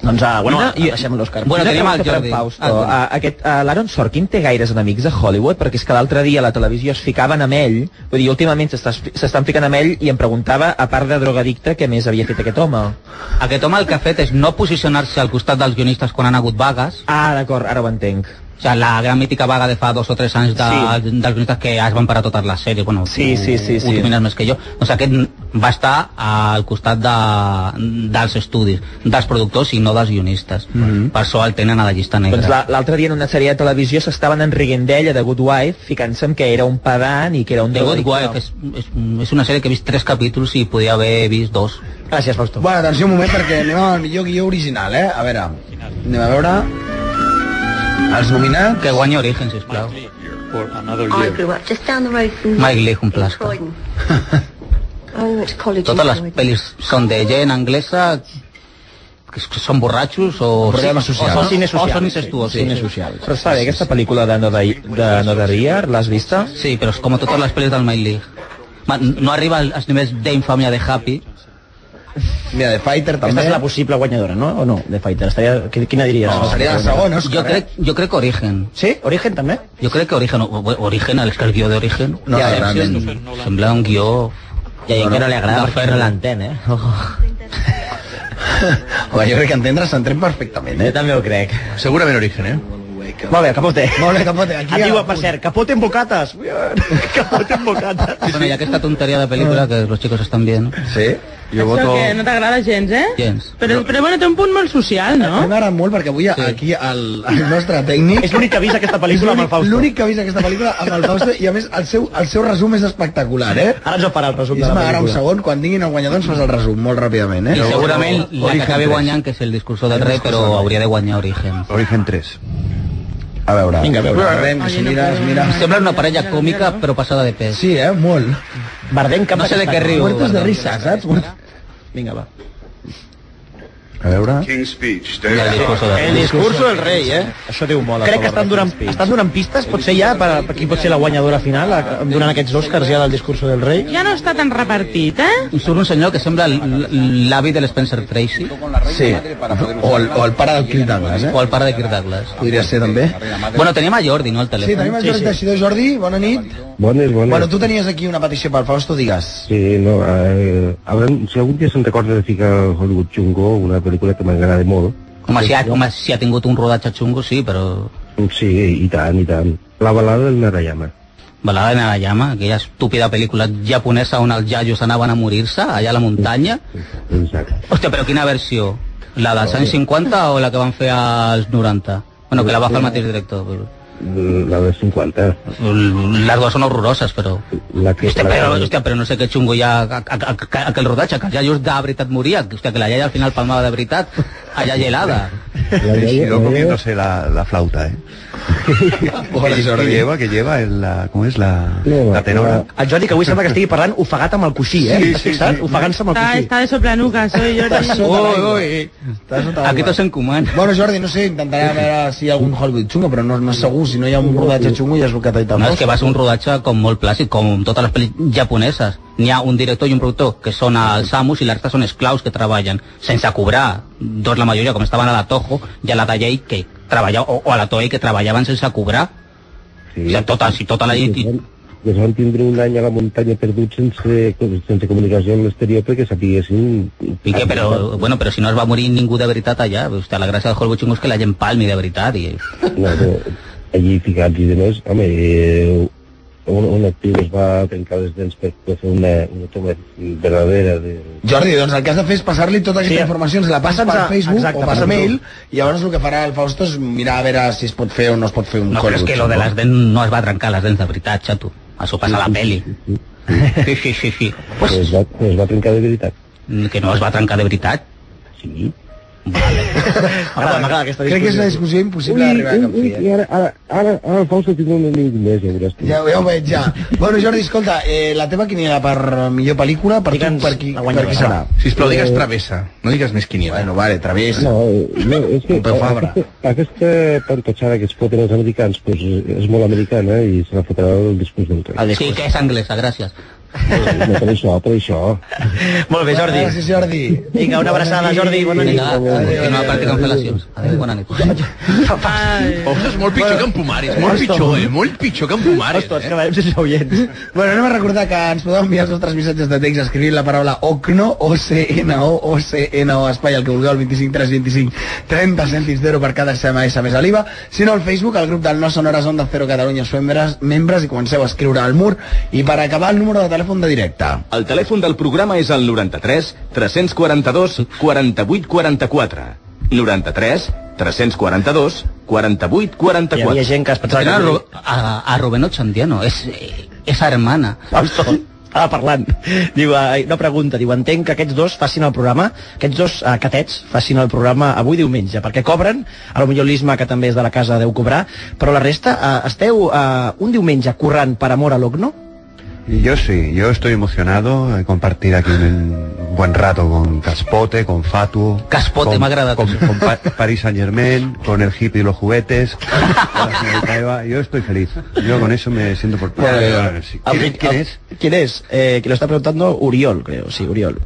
Doncs,
Ah,
uh, bueno,
Mira,
i... deixem l'Òscar.
Bueno,
Mira
tenim
que
el
pregunta
Jordi.
per en Fausto.
Ah,
Ah, aquest, ah, L'Aaron Sorkin té gaires enemics a Hollywood perquè és que l'altre dia a la televisió es ficaven amb ell vull dir, últimament s'està- s'estan ficant amb ell i em preguntava, a part de drogadicte, què més havia fet aquest home.
Aquest home el que ha fet és no posicionar-se al costat dels guionistes quan han hagut vagues.
Ah, d'acord, ara ho entenc.
O sigui, la gran mítica vaga de fa dos o tres anys de, sí. dels guionistes que es van parar totes les sèries. Bueno,
Sí,
tu,
sí, sí,
Ho
sí.
domines més que jo. Doncs aquest va estar al costat de, dels estudis, dels productors i no dels guionistes.
Mhm.
Per això el tenen a la llista negra.
Doncs la- l'altre dia en una sèrie de televisió s'estaven enriguent d'ella, de Good Wife, ficant-se en que era un pedant i que era un
The Good
drogadicte.
Wife és, és, és una sèrie que he vist tres capítols i podia haver vist dos.
Gràcies, Fausto.
Bueno, atenció un moment, perquè anem al millor guió original, eh? A veure, anem a veure... Els nominats...
Que guanyi Origen, sisplau.
I grew up just down the road from
Mike Lee, un plàstic.
Croydon. I went to college
Totes les
in Croydon.
pel·lis són de gent anglesa que s- que són borratxos o...
Problemes socials.
O
O cine
són, o
social.
són incestuosos.
Cine social.
Però està bé, aquesta pel·lícula de Noda, de Noda Riar, l'has vista?
Sí, però és com totes les pel·lis del Mike Lee. Ma- No arriba als nivells d'infàmia de Happy.
Mira, The Fighter
Aquesta és la possible guanyadora, no? O no, de Fighter? Estaria... qui- Quina diries?
Jo
¿eh?
eh?
crec, jo crec que Origen.
Sí? Origen també?
Jo crec que Origen, o- o- Origen, el, el guió d'Origen.
No,
ja,
realment.
em Sembla un guió...
Hi ha gent que no li agrada
de
perquè
ferro.
no
eh?
Home, jo crec que entendre s'entén perfectament, eh?
Jo també ho crec.
Segurament origen, eh?
Molt bé, Capote.
Molt bé, Capote, aquí
Et
a la
diuen,
punta.
per cert, Capote en bocates. Capote en bocates.
Ah, Bueno, hi ha aquesta tonteria de pel·lícula que los chicos estan bien.
Sí?
Jo
Això
voto...
que no t'agrada gens, eh?
Gens.
Però, però bueno, té un punt molt social,
A
no?
mi m'agrada molt perquè avui sí. aquí el, el nostre tècnic...
És l'únic que ha vist aquesta pel·lícula amb el Fausto.
L'únic que ha vist aquesta pel·lícula amb el Fausto i a més el seu, el seu resum és espectacular, eh?
Ara ens ho farà el resum de la
Isma, ara un
pel·lícula.
segon, quan diguin el guanyador ens fas el resum, molt ràpidament, eh?
I segurament la que acabi
tres.
guanyant, que és el discurs del rei, però hauria de guanyar Origen.
Origen 3.
A veure,
Vinga,
Vinga,
a
a
veure.
Rem, que si mires, mires...
Sembla una parella còmica, però passada de pes.
Sí, eh? Molt.
Bardem
cap No sé de què riu.
Muertes de
Bardem.
risa, saps?
Vinga, va.
A veure...
King's Speech. ¿eh?
El discurso del rei, eh?
Això diu molt.
Crec que estan donant, estan donant pistes, potser ja, per, per qui pot ser la guanyadora final, a- durant aquests Oscars ja del discurso del rei.
Ja no està tan repartit, eh?
I surt un senyor que sembla l- l'avi de l'Spencer Tracy.
Sí, o el, o el pare del Kirk Douglas, eh?
O el pare de Kirk Douglas.
Podria ser, també.
Bueno, tenim a Jordi, no, al
Sí, tenim
telèfon?
el Jordi Teixidor. Jordi, bona nit.
Bones, bones.
Bueno, tu tenies aquí una petició pel Fausto, digues.
Sí, no, eh, haurem, si algun dia se'n recorda de ficar el Hollywood Chungo, una pel·lícula que m'agrada molt.
Home, si ha, home, si ha tingut un rodatge xungo, sí, però...
Sí, i tant, i tant. La balada del Narayama.
Balada en la llama, aquella estúpida pel·lícula japonesa on els jaios anaven a morir-se, allà a la muntanya.
Exacte.
Hòstia, però quina versió? La dels anys 50 o la que van fer als 90? Bueno, que la va fer el mateix director. però-
La de 50.
Les dues són horroroses, però...
La que...
Hòstia,
la-
però, hòstia, però no sé què xungo hi ha a- a- a- a- aquell rodatge, que els jaios de veritat moria, hòstia, que la iaia al final palmava de veritat, allà gelada.
La
Si
iaia-
no
la iaia-
comiéndose la, la flauta, ¿eh?
Hola,
¿Qué,
Jordi.
lleva? ¿Qué lleva? El, la, ¿Cómo es la, la tenora?
El Jordi, que avui sembla que estigui parlant ofegat amb el coixí, eh?
Sí, sí,
Saps?
sí.
Ofegant-se amb el
Està,
coixí.
està de soplanuca, soy Jordi.
oi.
Aquí tots s'encomanen.
Bueno, Jordi, no sé, intentaré veure si hi ha algun Hollywood xungo, però no, no és segur, si no hi ha un rodatge xungo ja és el que t'ha dit el
No, és que
Fausto.
va ser un rodatge com molt plàcid, com totes les pel·lis japoneses. N'hi ha un director i un productor que són els amos i la resta són esclaus que treballen sense cobrar. Dos, la majoria, com estaven a la Toho i a la Tallei, que treballava, o, o a la Toei, que treballaven sense cobrar. Sí. O sigui, totes, i tota la gent... I...
que es van doncs tindre un any a la muntanya perdut sense, sense comunicació amb l'exterior perquè sapiguessin...
I que, però, bueno, però si no es va morir ningú de veritat allà, hòstia, la gràcia del Hollywood Xingu és que la gent palmi de veritat. I...
No, però allí ficats i demés, home, eh, un, un actiu es va trencar les dents per per fer una, una toma verdadera de...
Jordi, doncs el que has de fer és passar-li tota aquesta
Sí,
sí, informació, ens la passes
passa'ns
per
a-
Facebook
exacte,
o per
passa'ns-ho.
mail, i llavors el que farà el Fausto és mirar a veure si es pot fer o no es pot fer un
No, però és
Hollywood
que lo de
xungo.
les dents no es va trencar les dents de veritat, xato. Això passa a la peli. Sí, sí, sí, sí. Mm,
Pues... Es, va, es va trencar de veritat.
Que no es va trencar de veritat.
Sí.
M'agrada, m'agrada aquesta
Crec que és una discussió impossible d'arribar a cap fi, eh?
i ara, ara, ara, ara el Fausto tindrà un amic més, ja veuràs. tu.
Ja, ja ho veig, ja. Bueno, Jordi, escolta, eh, la teva quiniela per millor pel·lícula, per, tu, per, qui, per qui serà? Eh,
Sisplau, digues travessa. No digues més quiniela.
Bueno, vale, travessa.
No, no, és que
Pompeu Fabra.
aquesta, aquesta pantotxada que es foten els americans pues, és molt americana i se la fotrà el discurs d'un tren.
Sí, que és anglesa, gràcies.
No, per això, per això.
Molt bé, Jordi.
Gràcies, Jordi.
Vinga, una abraçada, Jordi. Bona nit.
Vinga, continuem practicant fel·lacions. Adéu, bona nit.
Ostres, molt pitjor que en Pumaris, molt pitjor, eh? Molt pitjor que en Pumaris,
Ostres,
eh?
acabarem sense oients.
Bueno, anem a recordar que ens podeu enviar els vostres missatges de text escrivint la paraula OCNO, O-C-N-O, O-C-N-O, espai, el que vulgueu, el 25 3 25 30 cèntims d'euro per cada SMS més a l'IVA. Si no, al Facebook, al grup del No Són Hores Onda Cero Catalunya, us feu membres, membres i comenceu a escriure al mur. I per acabar, el número de telèfon de directe.
El telèfon del programa és el 93 342 48 44. 93 342 48 44.
Hi havia gent que es pensava
Era
que...
Ru- a, a Rubén Ochandiano, és, eh, és hermana.
Fausto, estava parlant. Diu, eh, una pregunta, diu, entenc que aquests dos facin el programa, aquests dos eh, catets facin el programa avui diumenge, perquè cobren, a lo millor l'Isma, que també és de la casa, deu cobrar, però la resta, eh, esteu eh, un diumenge currant per amor a l'Ogno?
Yo sí, yo estoy emocionado de compartir aquí un buen rato con Caspote, con Fatuo.
Caspote,
con-
me agrada.
Con, con Pa- Paris Saint Germain, con el hippie y los juguetes. con la señorita Eva. Yo estoy feliz. Yo con eso me siento por.
Pues,
Sí. ¿Quién, quién es?
¿Quién es? Eh, que lo está preguntando Uriol, creo, sí, Uriol.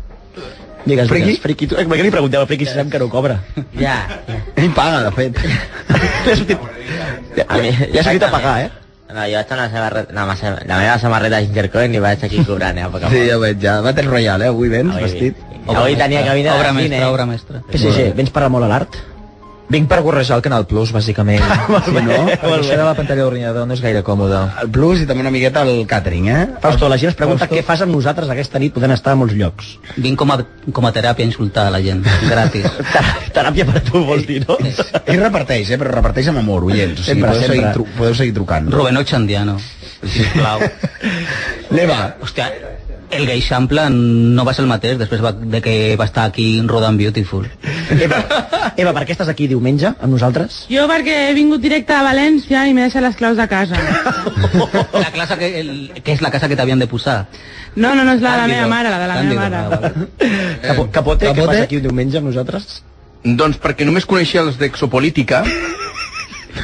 Digues,
Friki?
digues, friki, tu, eh, per què li pregunteu a friki si sap que no cobra?
Ja.
Ell paga, de fet.
Li ha sortit, li ha- li ha sortit a pagar, eh?
No, jo vaig amb la, samarreta, la, massa, la meva samarreta Gingercoin i vaig aquí cobrant, eh, a poc a poc.
Sí, ja ho veig, ja. Battle Royale, eh? Avui vens
Avui
vestit.
Avui tenia cabina
obra
de cine. ¿eh?
Eh,
mestra, obra mestra.
PSG, vens parlar molt a l'art? Ah,
Vinc per gorrejar el Canal Plus, bàsicament. si no, perquè això de la pantalla d'ordinador no és gaire còmode.
El Plus i també una miqueta el catering, eh?
Fausto, la gent es pregunta què fas amb nosaltres aquesta nit, podem estar a molts llocs.
Vinc com a, com a teràpia insultada a la gent, gratis.
teràpia per tu, vols dir, no?
Ell reparteix, eh? Però reparteix amb amor, oients. O sigui,
Sempre,
podeu, seguir,
sempre.
tru- podeu seguir trucant.
Rubén Ochandiano, sisplau.
Leva.
Hòstia, el gay Xample no va ser el mateix després va- de que va estar aquí rodant Beautiful.
Eva, per què estàs aquí diumenge amb nosaltres?
Jo perquè he vingut directe a València i m'he deixat les claus de casa.
La classe que, el, que és la casa que t'havien de posar.
No, no, no, és la de la
Candido,
meva mare, la de la
Candido,
meva mare.
Capo- Capote, què passa aquí diumenge amb nosaltres?
Doncs perquè només coneixia els d'Exopolítica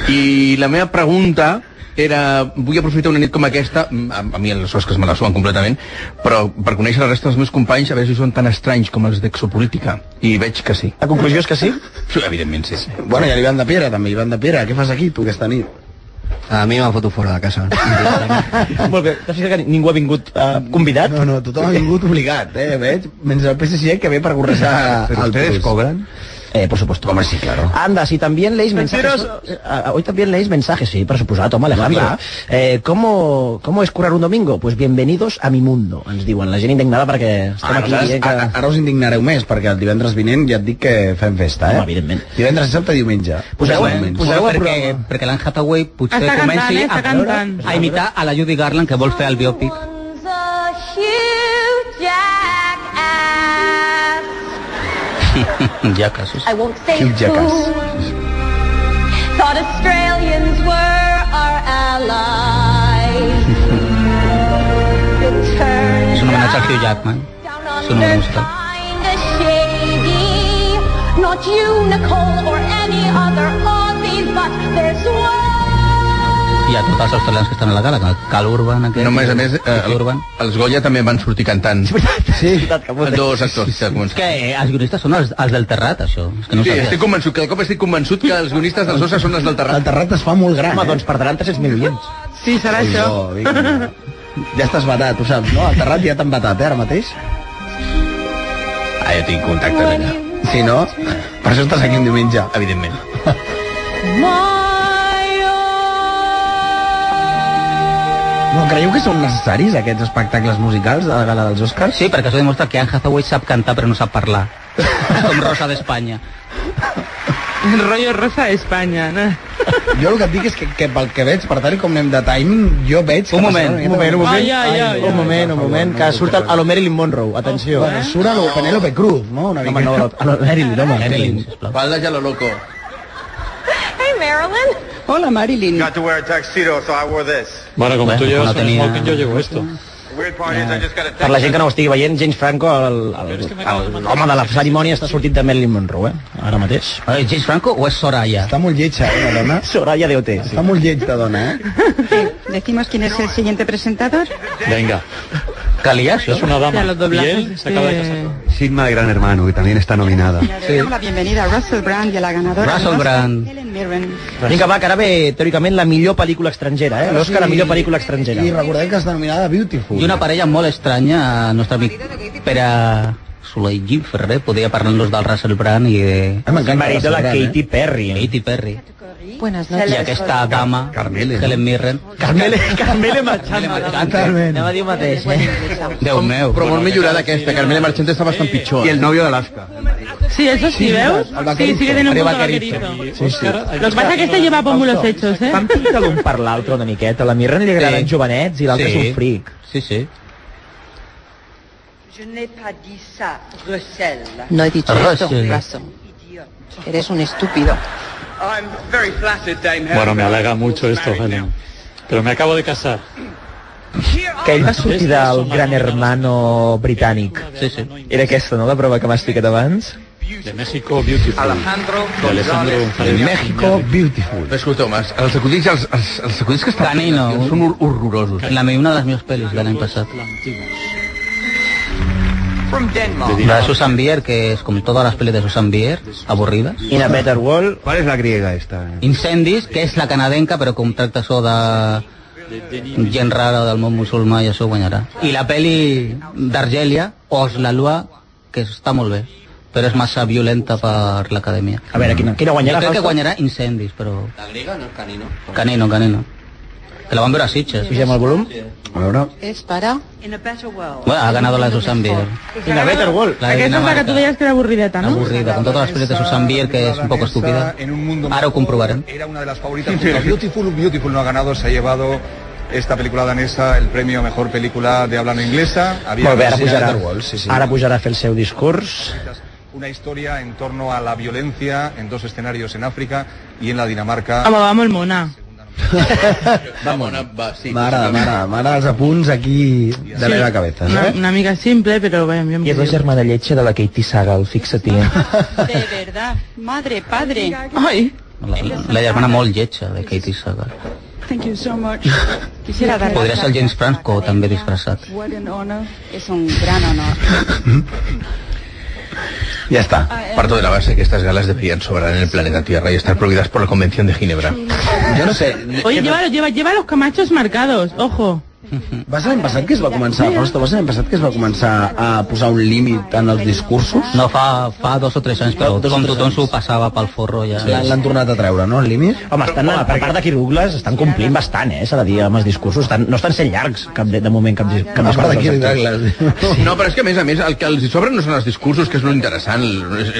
i la meva pregunta era, vull aprofitar una nit com aquesta, mm, a, a mi les osques me la suen completament, però per conèixer la resta dels meus companys, a veure si són tan estranys com els d'Exopolítica. I veig que sí.
La conclusió és que sí?
Sí, evidentment sí.
Bueno, i a l'Ivan de Piera, també. Ivan de Piera, què fas aquí, tu, aquesta nit?
A mi m'han fotut fora de casa.
Molt bé, t'has fixat que ningú ha vingut eh, convidat?
No, no, tothom ha vingut obligat, eh, veig? Menys el PSC que ve per gorrejar
Però
el
ustedes
Plus.
cobran? Eh, por supuesto.
Hombre, sí, claro.
Anda, si también leéis mensajes... eh, ah, hoy también leéis mensajes, sí, por supuesto, toma, Alejandro.
Venga.
Eh, ¿cómo, ¿Cómo es currar un domingo? Pues bienvenidos a mi mundo, ens diuen. La gent indignada perquè eh, estem
Ara,
aquí dient
nosaltres,
que...
ara, ara us indignareu més, perquè el divendres vinent ja et dic que fem festa, eh?
Home, evidentment.
Divendres, dissabte i diumenge.
Poseu,
Més o menys.
poseu perquè, perquè l'Anne Hathaway potser
Està cantant,
comenci
eh? Està cantant.
a, a imitar a la Judy Garland que vol fer el biòpic. ja casos.
I won't say
Hugh Jackass.
who. Thought Australians were our allies. You'll turn
És un homenatge al Hugh Jackman. És un homenatge.
kind of shady, not you, Nicole, or any other Aussies, but there's
I a tots els australians que estan a la gala, que el Cal Urban, aquest...
No, a més a més, eh, el, els Goya també van sortir cantant.
Sí,
Dos actors. Sí,
És que els guionistes són els, els del Terrat, això. És que no
sí
sabies.
estic convençut, cada cop estic convençut que els guionistes dels Osses són els del Terrat.
El Terrat es fa molt gran,
Home,
eh?
doncs perdran 300.000 oients.
Sí, serà
Ui,
això.
no, vinga. ja estàs batat, ho saps, no? El Terrat ja t'han batat, eh, ara mateix?
Ah, jo tinc contactes allà.
Sí, no? Per això estàs aquí un diumenge.
Evidentment.
No, creieu que són necessaris aquests espectacles musicals de la gala dels Oscars?
Sí, perquè això demostra que Anne Hathaway sap cantar però no sap parlar. És com Rosa d'Espanya.
El rotllo rosa d'Espanya. No?
Jo el que et dic és que, que pel que veig, per tal i com anem de timing, jo veig...
Un moment,
Un moment, un moment,
Ai, ai, ai,
un
ai.
moment, un moment, que surt el, a lo Marilyn Monroe, atenció.
Bueno, surt a lo Penélope Cruz, no? Una
Home,
mica.
no, a lo Marilyn, home. Marilyn.
Falda ja lo loco.
Hey, Marilyn.
Hola, Marilyn.
Got to wear a tuxedo, so I wore this.
Bueno, como
Bueno,
tú llevas
no
un
tenía-
smoking, yo llevo esto.
The weird part is I just got a
Per la gent que no ho estigui veient, James Franco, el, el, el, home de la cerimònia, està sortit de Marilyn Monroe, eh? ara mateix.
Eh, James Franco o és Soraya?
Està molt lletja, eh, la dona?
Soraya de OT, sí.
Està molt lleig de dona, eh?
Decimos quién es el siguiente presentador.
Venga,
Calia, això?
es una
Ya
dama.
los
Y
doblajes.
él se acaba de casar.
Sigma de Gran Hermano, que también está nominada.
Le damos la bienvenida a Russell Brand y a la ganadora
Russell
del Oscar,
Brand.
Helen Mirren.
Vinga, va, que ara ve, teòricament, la millor pel·lícula estrangera, eh? L'Òscar, la millor pel·lícula estrangera.
Ah, I recordeu que està nominada Beautiful.
I una parella molt estranya, el nostre amic Pere Soler i Jim Ferrer, podia parlar-nos del Russell Brand i de
Ah, m'encanta
Marit de la
Russell Brand,
Katy Perry. eh?
Katy Perry.
Buenas
I aquesta dama,
Carmele, no?
Helen Mirren.
Carmele, Carmele Machado.
Totalment.
Anem a dir el mateix, eh? Déu meu.
Però molt millorada aquesta, Carmela Marchante està bastant pitjor.
Y
eh?
el novio de Alaska.
Sí, eso sí, ¿veus? Sí, sí que tiene un punto vaquerito. Lo que pasa es que este lleva pómulos hechos, ¿eh?
Fan pinta d'un per l'altre una miqueta. La Mirren li agraden
Sí.
jovenets i l'altre
Sí.
és un fric.
Sí, sí.
No he dicho esto,
Russell.
Russell. Eres un estúpido.
I'm very flattered, Dame Helen.
Bueno, me alega mucho esto, Helen. Pero me acabo de casar.
Que ell va sortir del gran hermano britànic.
Sí, sí.
Era aquesta, no?, la prova que m'has ficat abans.
De México, Beautiful.
Alejandro
De Alejandro
González.
González.
De México, Oh, Beautiful. Escolteu, els, els acudits, els, els, els acudits que estan fent,
Canino.
són hor- horrorosos.
La me una de les meves pel·lis de l'any passat.
from Denmark.
De
La
"Ah,
de
Dinamarca.
Susan Bier, que es como todas las pelis de Susan Bier, aburridas.
In a Better World.
¿Cuál es la griega esta?
Incendis, que és la canadenca, però com tracta això de gent rara del món musulmà i això guanyarà. I la peli d'Argèlia, Os la Lua, que està molt bé, però és massa violenta per l'acadèmia.
A veure, quina, quina guanyarà?
Jo crec que
Fausto?
guanyarà incendis, però...
La griega no, canino.
Canino, canino. Que la van veure a Sitges.
Pugem el volum?
A veure...
Es para...
Bueno, ha ganado la de Susan Bier.
Quina Better
World. La de
Aquesta és la que tu
Dinamarca.
deies que era avorrideta, no?
Avorrida, con todas las pelis de Susan Bier, que es un poco estúpida. Ara ho comprovarem.
Era una de las favoritas. junto a Beautiful, Beautiful no ha ganado, se ha llevado esta película danesa el premio a mejor película de habla no inglesa. Había
Molt bé, ara
Sí,
pujarà,
Outer Worlds, sí, sí.
ara pujarà a fer el seu discurs.
Una historia en torno a la violencia en dos escenarios en África y en la Dinamarca.
Home, va molt mona.
Vamos, va, sí.
Mare, mare, mare, els apunts aquí darrere la cabeza.
Una, una mica simple, però bé, jo em
I és la
quedo.
germana lletja de la Katie Sagal, fixa-t'hi. eh?
De verdad, madre, padre.
Ay.
La, la germana molt lletja de Katie Sagal.
Thank you so much. Quisiera dar
Podria ser el James Franco, també disfressat.
What an honor. Es un gran honor.
Ya está. Parto de la base que estas galas deberían sobrar en el planeta Tierra y estar prohibidas por la Convención de Ginebra.
Yo no sé.
Oye, lleva, lleva, lleva los camachos marcados, ojo.
Va ser l'any passat que es va començar, Fausto, va ser l'any passat que es va començar a posar un límit en els discursos?
No, fa, fa dos o tres anys, però com tothom s'ho passava pel forro ja...
L'han- L'han tornat a treure, no, el límit?
Home, estan, a, per part d'aquí Douglas, estan complint bastant, eh, s'ha de dir, amb els discursos. Estan, no estan sent llargs, cap de, de moment, cap, dis- cap discurs. dels actors.
No, però és que a més a més el que els hi sobren no són els discursos, que és l'interessant.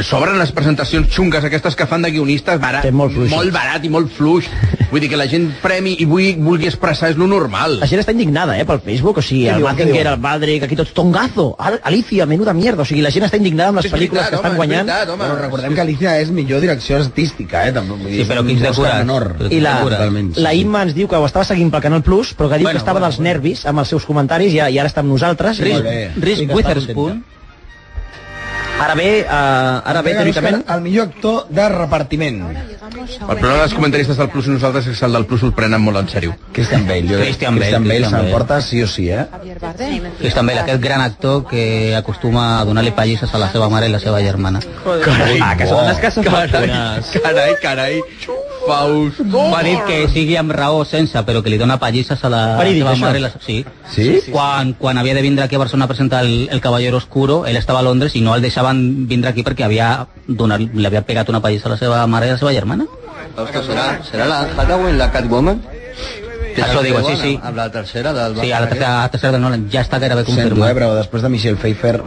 Sobren les presentacions xungues aquestes que fan de guionistes barat, molt, molt barat i molt fluix. Vull dir que la gent premi i vulgui, vulgui expressar és lo normal.
La gent està indignada, eh, pel Facebook, o sigui,
Què
el
diuen, què
Mazinger,
diuen?
el Badrick, aquí tots, Tongazo, Al- Alicia, menuda mierda, o sigui, la gent està indignada amb les pel·lícules que estan guanyant.
Bueno, recordem que Alicia és millor direcció artística, eh? Tampoc, vull dir,
Sí, però quins
és un Oscar
decorats.
menor.
I la,
Totalment, sí,
la
sí.
Imma ens diu que ho estava seguint pel Canal Plus, però que
Bueno,
diu que estava dels nervis amb els seus comentaris i, i ara està amb nosaltres.
Reese-
Molt bé.
Reese
Sí que està
Witherspoon.
contenta. Ara ve, uh, ara ve,
Entrega
teòricament...
l'Oscar al millor actor de repartiment.
El problema dels comentaristes del Plus i nosaltres és que el del Plus ho prenen molt en sèrio.
Christian Bale, jo
Christian Bale,
Christian Bale
Christian
se'n
Bale.
porta sí o sí, eh?
Que és també aquest gran actor que acostuma a donar-li pallisses a la seva mare i la seva germana.
Carai,
ah, que
bo.
són les que són
Carai, carai, carai. Fausto.
M'ha dit que sigui amb raó o sense, però que li dona pallisses a la
Ah,
Verídic,
seva
això?
mare. i La... Sí.
Sí?
Quan, quan havia de vindre aquí a Barcelona a presentar el, el Caballero Oscuro, ell estava a Londres i no el deixaven vindre aquí perquè havia donat, li havia pegat una pallissa a la seva mare i a la seva germana.
Fausto, serà, serà la Hathaway, la Catwoman? Que
Això
és
digo,
Catwoman,
sí, sí.
Amb la tercera del...
Sí, a la tercera, a la tercera de Nolan ja està gairebé
Sento, eh,
confirmat.
però després de Michelle Pfeiffer...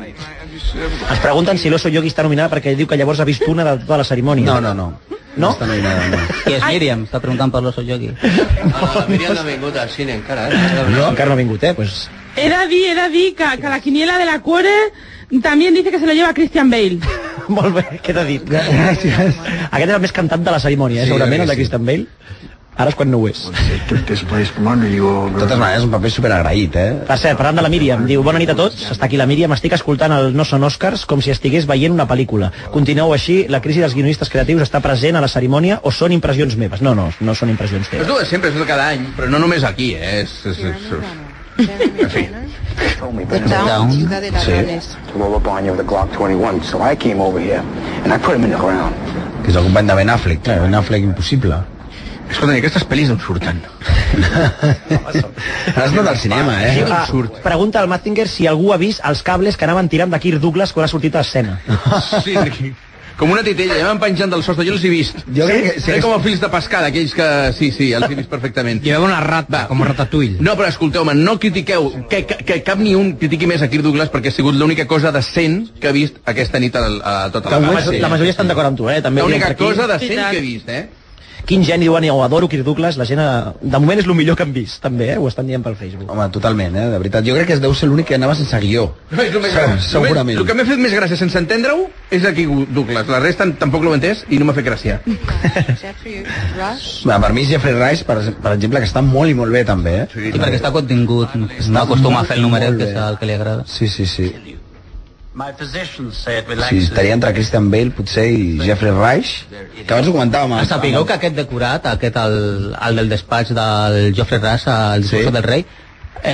Es pregunten si l'Oso Yogi està nominada perquè diu que llavors ha vist una de tota la cerimònia.
No, no, no.
No?
Està nominada, no.
Qui és Míriam? Està preguntant per l'Oso Yogi.
Ah, Miriam no ha vingut al cine encara, eh?
No, encara no ha vingut, eh? Pues...
He de dir, he de dir que, que la quiniela de la cuore también dice que se lo lleva Christian Bale.
Molt bé, queda dit. Gràcies. Aquest és el més cantat de la cerimònia, eh,
Sí,
segurament,
jo crec que
el de
sí.
Christian Bale. Ara és quan no ho és.
De totes maneres, un paper superagraït, eh?
Per cert, parlant de la Míriam, diu Bona nit a tots, està aquí la Míriam, estic escoltant el No són Oscars com si estigués veient una pel·lícula. Continueu així, la crisi dels guionistes creatius està present a la cerimònia o són impressions meves? No, no, no són impressions
És
teves.
el de sempre, és el de cada any, però no només aquí, eh? És, és, és, és... En fi.
Town, ciudad de ladrones.
Lola Banya of the Glock 21, so I came over here and I put him in the ground.
Que és el company de Ben Affleck, clar, Ben Affleck impossible.
Escolta, aquestes pel·lis on surten?
Has anat al cinema, eh?
Ah, pregunta al Mazinger si algú ha vist els cables que anaven tirant de Kirk Douglas quan ha sortit a escena.
Ah,
Sí, sí. com una titella, ja van penjant del sostre, jo els he vist.
Jo crec que-
Sí, com a fills de pescada, aquells que... Sí, sí, els he vist perfectament. Hi
havia una rata,
com
ratatouille.
No, però escolteu-me, no critiqueu, que, que, que cap ni un critiqui més a Kirk Douglas perquè ha sigut l'única cosa decent que he vist aquesta nit a, a tota
La,
la,
majo- la majoria estan d'acord amb tu, eh? També ho
L'única
diem per aquí.
cosa decent que he vist, eh?
Quin geni, diuen, ho adoro, Kirk Douglas, la gent, eh, de moment és el millor que han vist, també, eh? Ho estan dient pel Facebook.
Home, totalment, eh? De veritat. Jo crec que es deu ser l'únic que anava sense guió.
No, és el més-
Se-
el més-
Segurament.
El que m'ha fet més gràcia sense entendre-ho és aquí Douglas. La resta tampoc l'ho he entès i no m'ha fet gràcia.
Va, per mi Jeffrey Rice, per, per exemple, que està molt i molt bé, també, eh?
Sí, perquè està contingut, no acostuma a fer el numeret que és el que li agrada.
Sí, sí, sí.
My physician said
Sí, estaria entre Christian Bale, potser, i Jeffrey Rice, que abans ho comentàvem.
Ah, sapigueu que aquest decorat, aquest el, el del despatx del Joffre Ras, el discurso sí. del rei, eh,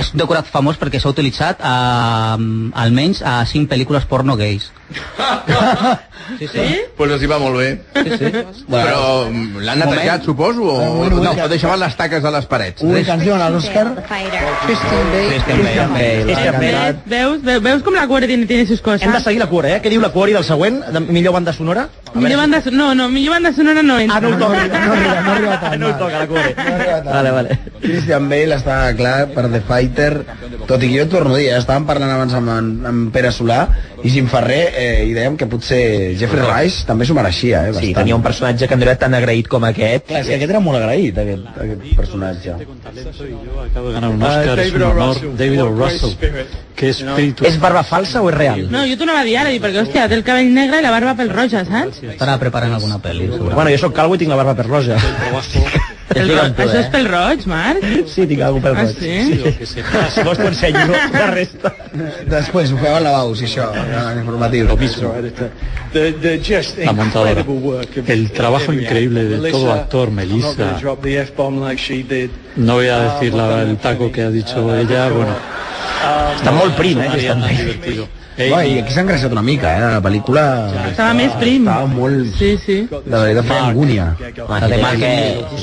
és un decorat famós perquè s'ha utilitzat a, almenys a cinc pel·lícules porno gais.
Sí, sí. Pues els hi va molt bé. Sí, sí. Però mm, l'han netejat, suposo, o no, no, deixaven les taques a les parets.
Una canció a l'Òscar. Christian Bale. Christian Bale.
Christian Bale. Eh, Veus, veus, veus com la cuore tiene, tiene sus cosas.
Ah. Hem de seguir la cuore, eh? Què diu la cuore del següent? De millor banda sonora? A
Millor banda sonora, no, no, millor banda sonora no entra.
Ah, no ho toca, no arriba, no arriba tant. No ho
va.
toca, la cuore.
Vale, vale. Christian Bale està clar per The Fighter, tot i que jo torno a dir, eh, estàvem parlant abans amb, en, amb Pere Solà i Jim Ferrer eh, i dèiem que potser Jeffrey Rice també s'ho mereixia, eh,
Sí, tenia un personatge que no era tan agraït com aquest.
Clar, és que aquest era molt agraït, aquest, aquest personatge.
Acabo de ganar un Oscar, és un honor. David O. Russell, que és espíritu...
És barba falsa o és real?
No, jo t'ho anava a dir ara, dic, perquè, hòstia, té el cabell negre i la barba pel roja, saps?
Estarà preparant alguna pel·li.
Bueno, jo sóc calvo i tinc la barba per roja. eh?
El ro-
eh?
Això és pel roig, Marc?
Sí, tinc algú pel
Ah,
roig.
sí?
Si vols t'ho ensenyo, la resta.
Després ho feu al lavabo, si això, en informatiu. eh.
The, the just
La montadora.
incredible work of
El trabajo increíble de todo actor,
I'm not going
Melissa.
to drop the F-bomb like she did. Ah,
No voy a decir la- el taco que ha dicho ella, bueno.
Està molt prim, eh,
Mariana,
Christian Bale.
divertido.
Ah,
Va, i aquí s'ha engreixat una mica, eh, la pel·lícula...
Estava més prim.
Estava molt...
Sí, sí.
De veritat fa angúnia.
Home, si tenim que...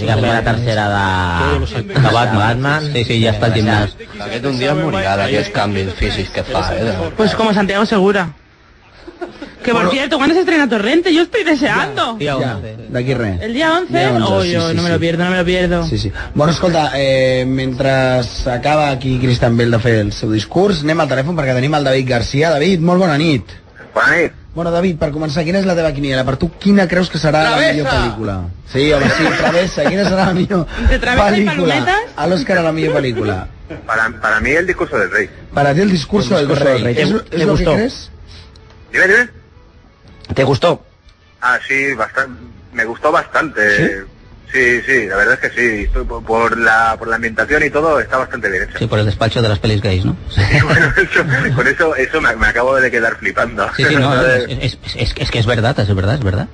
Diguem una tercera de... de Batman. Batman. Sí, sí, ja està al gimnàs.
Aquest un dia morirà d'aquests canvis físics que fa, eh? de-
Pues como Santiago Segura. Que por cierto, ¿cuándo se estrena Torrente? Yo estoy deseando.
Ja, d'aquí res.
El día 11,
Día 11,
oh,
sí,
yo
sí,
no me lo
sí.
pierdo, no me lo pierdo.
Sí, sí. Bueno, escolta, eh, mentre acaba aquí Cristian Bell de fer el seu discurs, anem al telèfon perquè tenim el David Garcia. David, molt bona nit.
Bona nit.
Bueno, David, per començar, quina és la teva quiniela? Per tu, quina creus que serà la millor pel·lícula? Sí, home, sí, Travessa. Quina serà la millor
Entre Travessa i
pel·lícula?
Palometas?
A l'Òscar la millor pel·lícula.
Para, para mí el discurso del rey.
Para ti el discurso,
El discurso
del
del
rey.
rey.
¿Es,
¿Te-
es
te
lo
gustó?
que crees?
Dime, dime.
¿Te gustó?
Ah, sí, bastante. Me gustó bastante. ¿Sí? Sí, la verdad es que sí. Estoy Por, por la, por la ambientación y todo está bastante bien hecho.
Sí, por el despacho de las pelis gays, ¿no?
Bueno, eso- con eso, eso me, me acabo de quedar flipando.
Sí, sí, no, no, es, es- es- es que es verdad, es verdad, es verdad.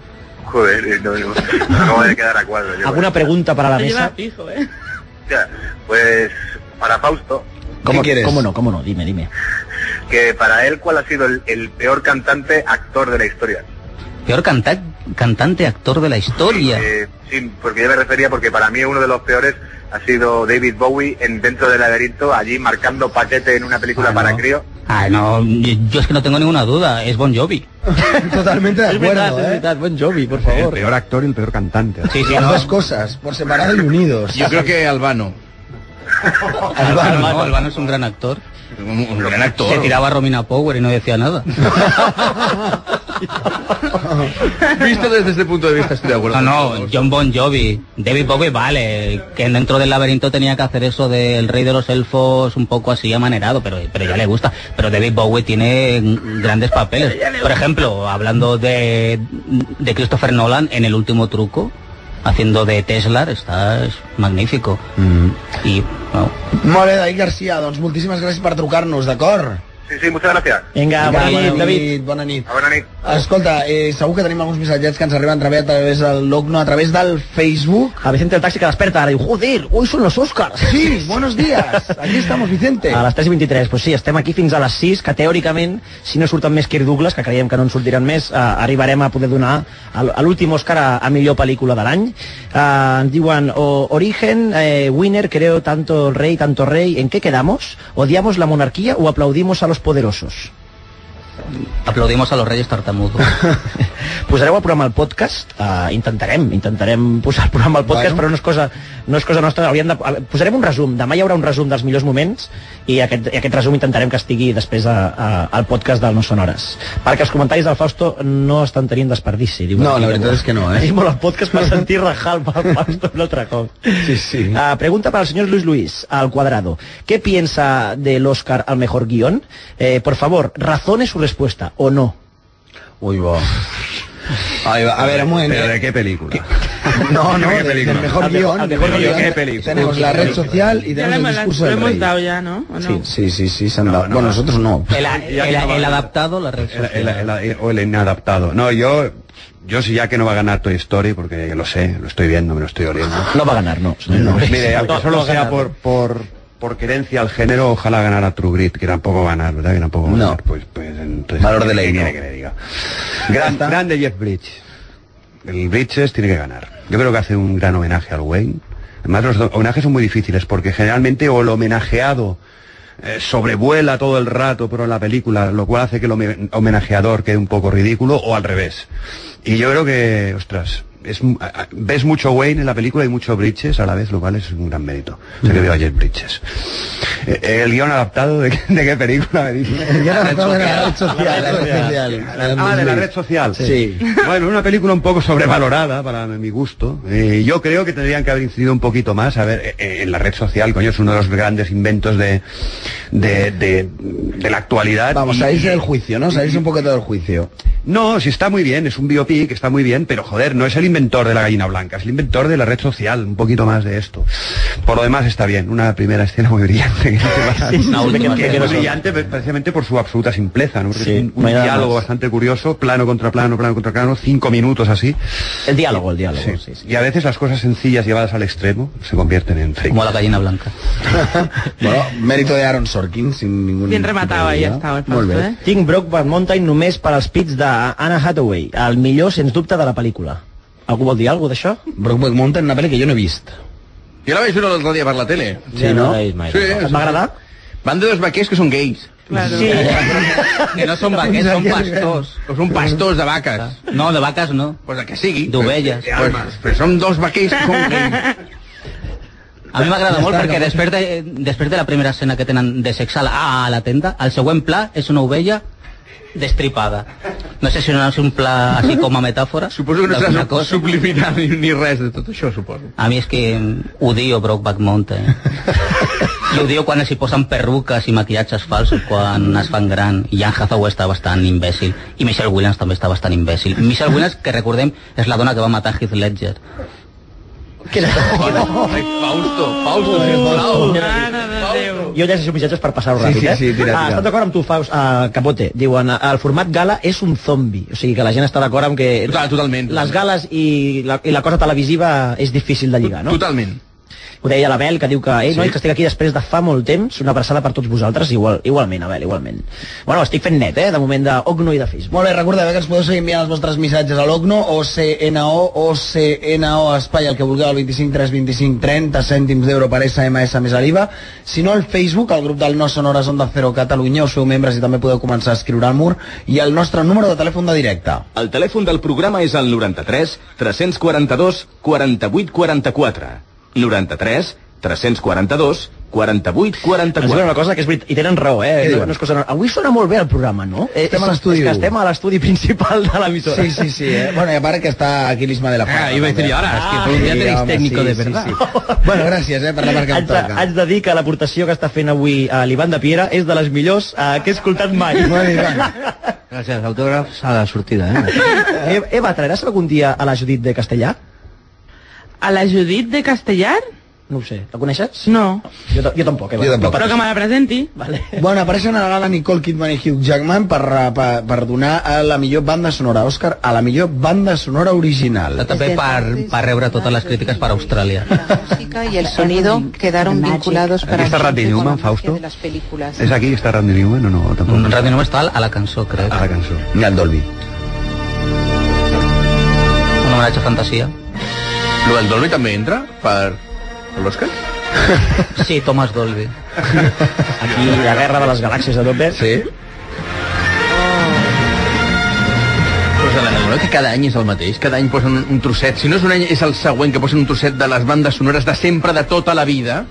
Joder, eh, no, no, me acabo de quedar a cuadro. yo.
¿Alguna pregunta para la
Te lleva
mesa?
fijo, eh.
Hostia, Pues para Fausto,
¿Cómo,
quieres?
¿Cómo no? ¿Cómo no? Dime, dime.
que para él, ¿cuál ha sido el, el peor cantante actor de la historia?
Peor canta- cantante actor de la historia.
Eh, sí, porque yo me refería porque para mí uno de los peores ha sido David Bowie en Dentro del laberinto, allí marcando paquete en una película para crío.
Ah, no, yo, yo es que no tengo ninguna duda, es Bon Jovi.
Totalmente de
Es
acuerdo,
verdad, es
¿eh?
verdad. Buen Jovi, por
El
favor.
peor actor y el peor cantante.
Sí, sí,
Las
no.
dos cosas, por separado y unidos.
Yo creo que Albano.
Albano, no, Albano es un gran actor.
Un, un gran actor.
Se tiraba a Romina Power y no decía nada.
Visto desde este punto de vista, estoy de acuerdo.
No, no, John Bon Jovi, David Bowie, vale, que dentro del laberinto tenía que hacer eso del rey de los elfos un poco así amanerado, pero, pero ya le gusta. Pero David Bowie tiene mm, grandes papeles. Por ejemplo, hablando de, de Christopher Nolan en El último truco, haciendo de Tesla, está es magnífico. Y, no.
Molt bé, David Garcia, doncs moltíssimes gràcies per trucar-nos, d'acord?
Sí, sí, muchas gracias.
Venga,
Vinga,
bona nit, David.
Bona nit.
Buena nit.
Escolta, eh, segur que tenim alguns missatgets que ens arriben a través, a través del Logno, a través del Facebook.
A Vicente el taxi que desperta ara diu, joder, hoy son los Oscars.
Sí, buenos días. Aquí estamos, Vicente.
A les 3 i 23, doncs sí, estem aquí fins a les 6, que teòricament, si no surten més Kirk Douglas, que creiem que no en sortiran més, eh, arribarem a poder donar el- a l'últim Òscar a, a millor pel·lícula de l'any. Eh, ens diuen, o, Origen, eh, Winner, creo, tanto el rey, tanto rey, ¿en qué quedamos? ¿Odiamos la monarquía o aplaudimos a los poderosos?
Aplaudimos a los reyes tartamudos.
Posareu el programa al podcast? Eh, intentarem, intentarem posar el programa al podcast,
Bueno.
però no és cosa, no és cosa nostra. Hauríem de, a veure, posarem un resum, demà hi haurà un resum dels millors moments i aquest, i aquest resum intentarem que estigui després a, a, al podcast del No Són Hores. Perquè els comentaris del Fausto no estan tenint desperdici. Diuen
No,
aquí,
la veritat és que no, eh?
Tenim molt el podcast per sentir rajar el Fausto un altre cop.
Sí, sí.
Ah, pregunta para el señor Luis Luis, al cuadrado. ¿Qué piensa del Oscar al mejor guión? Eh, por favor, razone su respuesta, o no.
Ui, bo. Ai, va, a ver, un moment.
¿Pero de
eh,
qué película?
No, no,
¿Qué
de-
película?
del mejor
Al mejor-
guión.
al ah, mejor
del
guión,
guión.
¿qué película?
Tenemos la red social y
Ya la
tenemos el
hemos-
discurso
lo
del
hemos
rey.
dado ya, ¿no? ¿O no?
Sí, sí, sí, sí, s'han no, Bueno, nosotros no.
El, el- el- el adaptado, la red
El- el-
social.
el- el- o el inadaptado. No, yo, yo sí ya que no va a ganar Toy Story, porque ya lo sé, lo estoy viendo, me lo estoy oliendo.
No va a ganar, no. señor Luis.
Mire, aunque
Pues, No, no va
solo
a
sea
ganar.
por, por, por querencia al género, ojalá ganara True Grit, que tampoco va a ganar, ¿verdad? Que tampoco va a
No.
ganar. Pues, pues, en- Entonces,
Valor de
¿qué
ley,
quiere
no.
que le diga? Gran- grande Jeff Bridges. El Bridges tiene que ganar. Yo creo que hace un gran homenaje al Wayne. Además, los do- homenajes son muy difíciles porque generalmente o el homenajeado eh, sobrevuela todo el rato, pero en la película, lo cual hace que el home- homenajeador quede un poco ridículo, o al revés. Y yo creo que, ostras, es, mu- a- a- ves mucho Wayne en la película y mucho Bridges a la vez, lo cual es un gran mérito. O sea que veo a Jeff Bridges. Eh, ¿El guión adaptado de, qué- de qué película me dice?
El guión adaptado de la red social, la red social.
Ah, de la red social.
Sí.
Bueno, una película un poco sobrevalorada para mi gusto. Eh, yo creo que tendrían que haber incidido un poquito más. A ver, eh, eh, en la red social, coño, es uno de los grandes inventos de, de, de, de la actualidad.
Vamos,
Y-
salís del juicio, ¿no? Salís un poquito del juicio.
no, si está muy bien, es un biopic, está muy bien, pero joder, no es el inventor de la gallina blanca, es el inventor de la red social, un poquito más de esto. Por lo demás está bien, una primera escena muy brillante. que
Sí, sí, sí,
que
sí, sí,
es
sí,
muy
sí.
brillante pre- precisamente por su absoluta simpleza, ¿no? Porque
Sí,
es un, un
no hay nada
diálogo
más.
bastante curioso, plano contra plano, plano contra plano, cinco minutos así.
El diálogo, el diálogo.
Sí. Y a veces las cosas sencillas llevadas al extremo se convierten en fake.
Como la gallina blanca.
Bueno, mérito de Aaron Sorkin, sin ningún...
Ben rematado ahí estava el
Molt
Fausto,
bé.
eh?
Tinc Brokeback Mountain només per als pits d'Anna Hathaway, el millor, sens dubte, de la pel·lícula. Algú vol dir alguna cosa d'això?
Brokeback Mountain, una pel·li que jo no he vist.
Jo la vaig veure l'altre dia per la tele.
Sí, no?
Sí,
Et va agradar?
Van de dos vaquers que són gais.
Claro.
Sí.
Que no són vaquers, són pastors.
Però són pastors de vaques.
No, de vacas Ah, no.
Pues el que sigui.
D'ovelles.
Pues, pues, però són dos vaquers que són gais.
A mi m'agrada
Ja
molt
està,
perquè
no?
després de, després de la primera escena que tenen de sexe a la, a la tenda, el següent pla és una ovella destripada. No sé si no és un pla així com a metàfora.
Suposo que no
d'alguna
serà
cosa.
subliminal ni, ni res de tot això, suposo.
A mi és que odio Brokeback Mountain. I odio quan s'hi posen perruques i maquillatges falsos quan es fan gran. I Anne Hathaway està bastant imbècil. I Michelle Williams també està bastant imbècil. Michelle Williams, que recordem, és la dona que va matar Heath Ledger.
Ai, Fausto, Fausto, sisplau.
Mare de Déu.
Jo llegeixo missatges per passar-ho
Sí,
ràpid,
sí,
eh?
sí, tira, tira.
Ah, estan d'acord amb tu, Faust, ah, Capote. Diuen, ah, el format gala és un zombi. O sigui que la gent està d'acord amb
Eh,
que...
Total, totalment.
Les gales i la, i la cosa televisiva és difícil de lligar, no?
Totalment.
Ho deia l'Abel, que diu que, ei, noi, que estic aquí després de fa molt temps, una abraçada per tots vosaltres, igual, igualment, Abel, igualment. Bueno, estic fent net, eh, de moment d'Ogno i de Facebook.
Molt bé, recordeu eh, que ens podeu seguir enviant els vostres missatges a l'OCNO o CNO o CNO Espai, el que vulgueu, al 25 3 25 30 cèntims d'euro per SMS més arriba. Si no, al Facebook, al grup del No Sonores Onda Cero Catalunya, us feu membres i també podeu començar a escriure al mur i el nostre número de telèfon de directe.
El telèfon del programa és el 93 342 48 44. 93 342 48
Ens diuen
44.
una cosa que és veritat, i tenen raó, eh? No,
diuen?
no és cosa... no- Avui sona molt bé el programa, no? Eh,
Estem
és-
a l'estudi
és que
u.
Estem a l'estudi principal de l'emissora.
Sí, sí, sí, eh? Bueno, i a part que està aquí l'Isma de la Parra.
Ah, iba a decir yo ahora, es que por un día
Sí,
tenéis
home,
técnico
sí,
de
sí,
verdad.
sí. Bueno, gràcies, eh, per la marca que
Haig
em
de,
toca.
haig de dir que l'aportació que està fent avui a l'Ivan de Piera és de les millors eh, que he escoltat mai.
Molt bé,
Gràcies, autògrafs a la sortida, eh?
Eva, Eva, traeràs algun dia a la Judit de Castellà?
A la Judit de Castellar?
No ho sé, la coneixes?
No,
Jo, ta- jo tampoc, Eva.
Jo tampoc.
però que me la presenti.
Vale.
Bueno, apareixen a la gala Nicole Kidman i Hugh Jackman per, eh, per, per donar a la millor banda sonora Òscar a la millor banda sonora original.
També per, per rebre totes les crítiques per Austràlia.
La música y el sonido quedaron vinculados para
Aquí está
siempre
Randy
con la
Newman,
magia
Fausto.
de las películas.
¿Es aquí que está Randy Newman o no? Tampoco.
Radio Nova Mm, està a la cançó, crec.
A la canción.
Ni al Dolby.
Un homenatge a fantasia.
Lo del Dolby també entra per, per l'Òscar?
Sí, Thomas Dolby.
Aquí, la guerra de les galàxies de López.
Sí?
Pues a la Neu, no? que cada any és el mateix, cada any posen un trosset. Si no és un any, és el següent que posen un trosset de les bandes sonores de sempre, de tota la vida.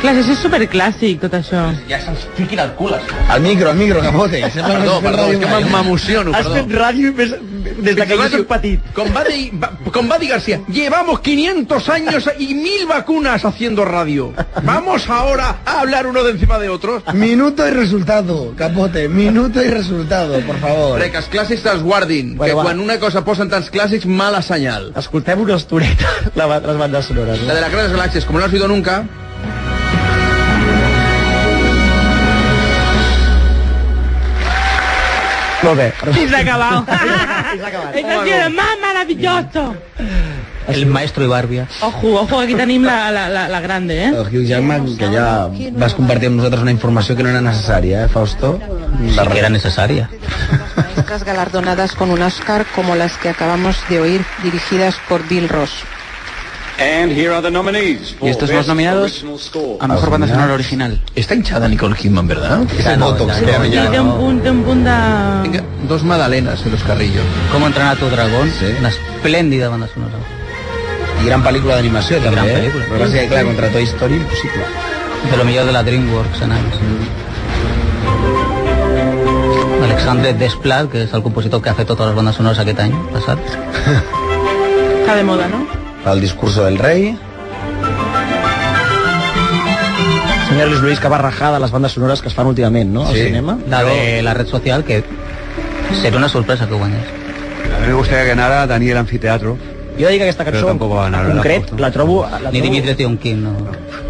Clar, això és superclàssic, tot això.
Ja se'ls fiquin al cul, això.
Al micro, al micro, capote. Sembla
Perdó,
que
perdó, és que m'em-
mamá.
m'emociono,
Has
perdó.
fet ràdio més, des de que jo soc petit.
Com va, dir, va- com va dir García, llevamos 500 años y mil vacunas haciendo radio. Vamos ahora a hablar uno de encima de otros.
Minuto y resultado, capote. Minuto y resultado, por favor.
Re, que els clàssics te'ls guardin,
Bueno,
que
va.
quan una cosa posen tants clàssics, mala senyal.
Escoltem una estoneta la, ba- les bandes sonores.
La de las grandes galaxias, como no has oído nunca.
Molt bé.
I s'ha acabat.
s'ha acabat.
Això ha sido más maravilloso.
El maestro Ibarbia.
Ojo, ojo, aquí tenim la, la, la, la grande, eh?
El Hugh Jackman, que ja vas compartir amb nosaltres una informació que no era necessària, eh, Fausto?
Sí que era necessària.
Estas galardonadas con un Oscar como las que acabamos de oír, dirigidas por Bill Ross.
And here are the nominees for
Y estos son los
Best
nominados
Original Score.
a mejor banda sonora original.
Está hinchada Nicole Kidman, ¿verdad?
Es el Botox,
Sí, té un punt, té un punt de...
Dos magdalenas en los carrillos.
Com entrenar tu dragón, una esplèndida banda sonora.
I gran pel·lícula d'animació, també,
gran
eh?
pel·lícula.
Però va ser, clar, contra Toy Story, impossible.
De lo millor de la DreamWorks en anys. Alexandre Desplat, que és el compositor que ha fet totes les bandes sonores aquest any passat.
Està de moda, no?
El discurso del rei.
Senyor Luis Luis, que va rajar de les bandes sonores que es fan últimament, no? Al cinema.
La de la red social, que serà una sorpresa que guanyés.
A mí me gustaría que ganara Daniel Anfiteatro.
Jo dic que aquesta
Però
cançó, en,
tampoco va ganar,
en concret,
tampoc,
la trobo... La
Ni
trobo...
Dimitri Tionquín, no.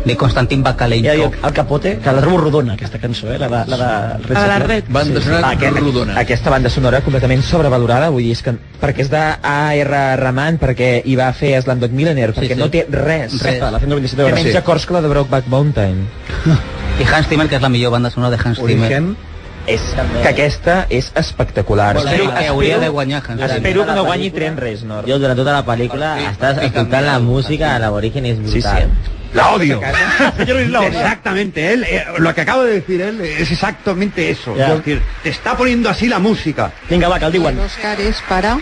Ni Constantin
Ja
Bakalenkov.
dic, el capote, que la trobo rodona, aquesta cançó, eh? La de... La de,
A la
Social.
red.
Banda sonora rodona.
Aquesta banda sonora completament sobrevalorada, vull dir, és que, perquè és d'A.R. Rahman, perquè hi va fer Slam Dog Millionaire, perquè
sí.
no té res.
Res.
La fem 27
euros.
Té menys
Sí.
acords que la de Brokeback Mountain.
I Hans Zimmer, que és la millor banda sonora de Hans Zimmer.
Origen. És que aquesta és espectacular.
Bueno,
Espero-
la que hauria de guanyar Hans Zimmer.
Espero que no guanyi Trent Reznor.
Yo
tota
durante toda la película estás escuchando la música al aborigen y es brutal.
La odio. Señor Luis, la odio. Exactamente, él, eh, lo que acaba de decir él eh, es exactamente eso.
Ya.
Es decir, te está poniendo así la música.
Vinga, va, que el diuen.
El Oscar es para...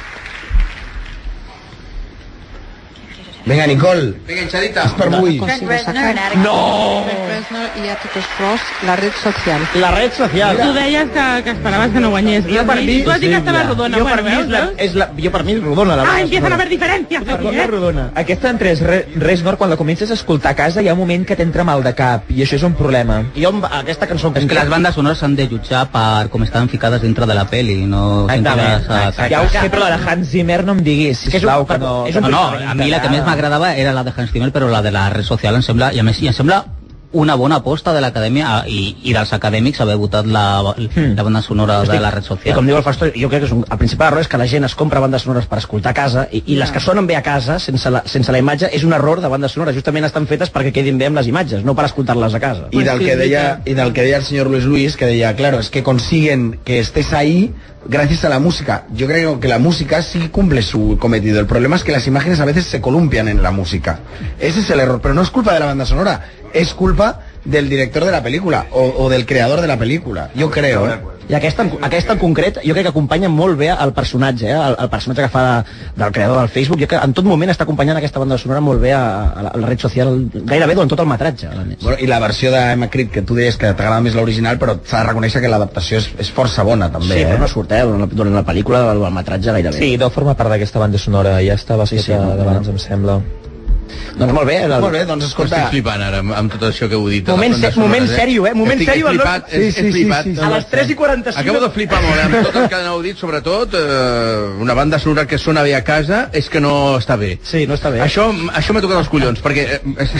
Vinga, Nicole.
Venga, hinchadita.
per avui.
No! I Atticus Ross, la red social.
La red social.
Tu deies que, que esperaves que no guanyés.
Jo per mi...
tu has dit que estava rodona.
Jo per
bueno,
mi és
veus,
la...
veus?
És la jo per mi és rodona, la
Ah,
banda
empiezan a
sonora.
haver diferències aquí, eh?
rodona.
Aquesta entre és re, Reznor, quan la comences a escoltar a casa, hi ha un moment que t'entra mal de cap, i això és un problema.
Jo amb aquesta cançó...
És que les bandes sonores s'han de jutjar per com estaven ficades dintre de la peli, no sentir-les a...
Ja ho sé, però la de Hans Zimmer no em diguis, sisplau, que no...
no, no, a mi la que més m'agradava era la de Hans Zimmer, però la de la red social em sembla, i a més, i em sembla una bona aposta de l'acadèmia ah, i, i dels acadèmics haver votat la,
Hmm.
la banda sonora de la red
I
social.
com diu el Fastó, jo crec que és un, el principal error és que la gent es compra bandes sonores per escoltar a casa i, i les que sonen bé a casa, sense la, sense la imatge, és un error de bandes sonores. Justament estan fetes perquè quedin bé amb les imatges, no per escoltar-les a casa.
Y del, que deia, y del que deia el señor Luis Luis, que decía, claro, es que consiguen que estés ahí gracias a la música. Yo creo que la música sí cumple su cometido. El problema es que las imágenes a veces se columpian en la música. Ese es el error, pero no es culpa de la banda sonora, es culpa del director de la película o, o del creador de la película. Yo creo, ¿eh?
I aquesta, en- aquesta en concret jo crec que acompanya molt bé el personatge, eh? el, el personatge que fa de, del creador del Facebook, jo crec que en tot moment està acompanyant aquesta banda sonora molt bé a, a, la, a la red social, gairebé durant tot el metratge. A més.
Bueno, I la versió d'Emma Creed, que tu deies que t'agrada més l'original, però s'ha de reconèixer que l'adaptació és, és força bona, també,
Sí,
eh?
però no surt, eh? Durant la, durant la pel·lícula, el, el metratge gairebé.
Sí, deu formar part d'aquesta banda sonora, ja estava sí, sí, d'abans, em sembla.
Doncs molt bé. El...
Molt bé, doncs escolta...
Estic flipant ara amb, amb tot això que heu dit. de
Moment,
les
se,
bandes
moment
sonores,
sèrio, eh? Moment
Estic
sèrio. el
flipat,
nostre-
és- és flipat. eh?
A les 3 i 45...
Acabo de flipar molt eh? amb tot el que heu dit, sobretot eh, una banda sonora que sona bé a casa és que no està bé.
Sí, no està bé.
Això, això m'ha tocat els collons, perquè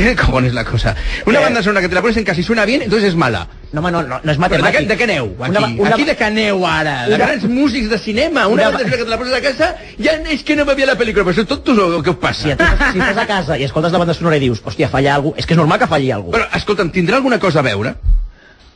eh, com és la cosa. Una banda sonora que te la pones en casa i suena bien, entonces és mala.
Eh? No, home, no, no, no és
Però de,
matemàtic.
què- de què aneu? Aquí,
Una ba- una-
aquí de què aneu ara? De
Una-
grans músics de cinema. Una,
Una
banda sonora que te la poses a casa, ja és que no m'havia la pel·lícula, però això tot tu sabeu què us passa.
Si, tu, si estàs a casa i escoltes la banda sonora i dius, hòstia, falla alguna és que és normal que falli alguna
Però, escolta'm, tindrà alguna cosa a veure?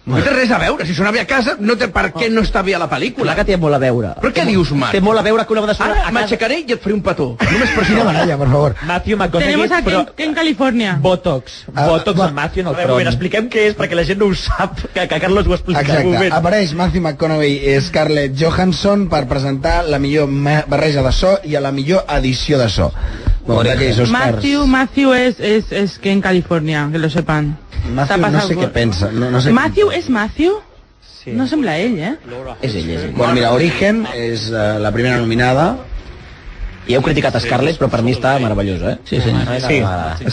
No té res a veure, si sonava a casa, no té per què no està bé a la pel·lícula.
Clar que té molt a veure.
Però què dius, Marc?
Té molt a veure que una banda sonora...
Ara m'aixecaré i et faré un petó. Només per
Quina baralla, per favor.
Matthew
Tenemos
McConaughey,
aquí
però...
en California.
Botox.
Ah,
Botox amb Matthew en el
Però,
front.
expliquem què és, perquè la gent no ho sap, que, que Carlos ho explica.
Exacte, apareix Matthew McConaughey i Scarlett Johansson per presentar la millor ma- barreja de so i a la millor edició de so. Bon, d'aquells Oscars.
Matthew, Matthew es, es, es que en California, que lo sepan. Está
Matthew no
pasado
sé què
por-
pensa. No, no sé
Matthew és Matthew? No sembla ell, eh?
És ell, és ell. Bueno, mira, Origen és eh, la primera nominada.
I heu criticat a Scarlett, però per mi està meravellosa, eh?
Sí, senyor.
Sí,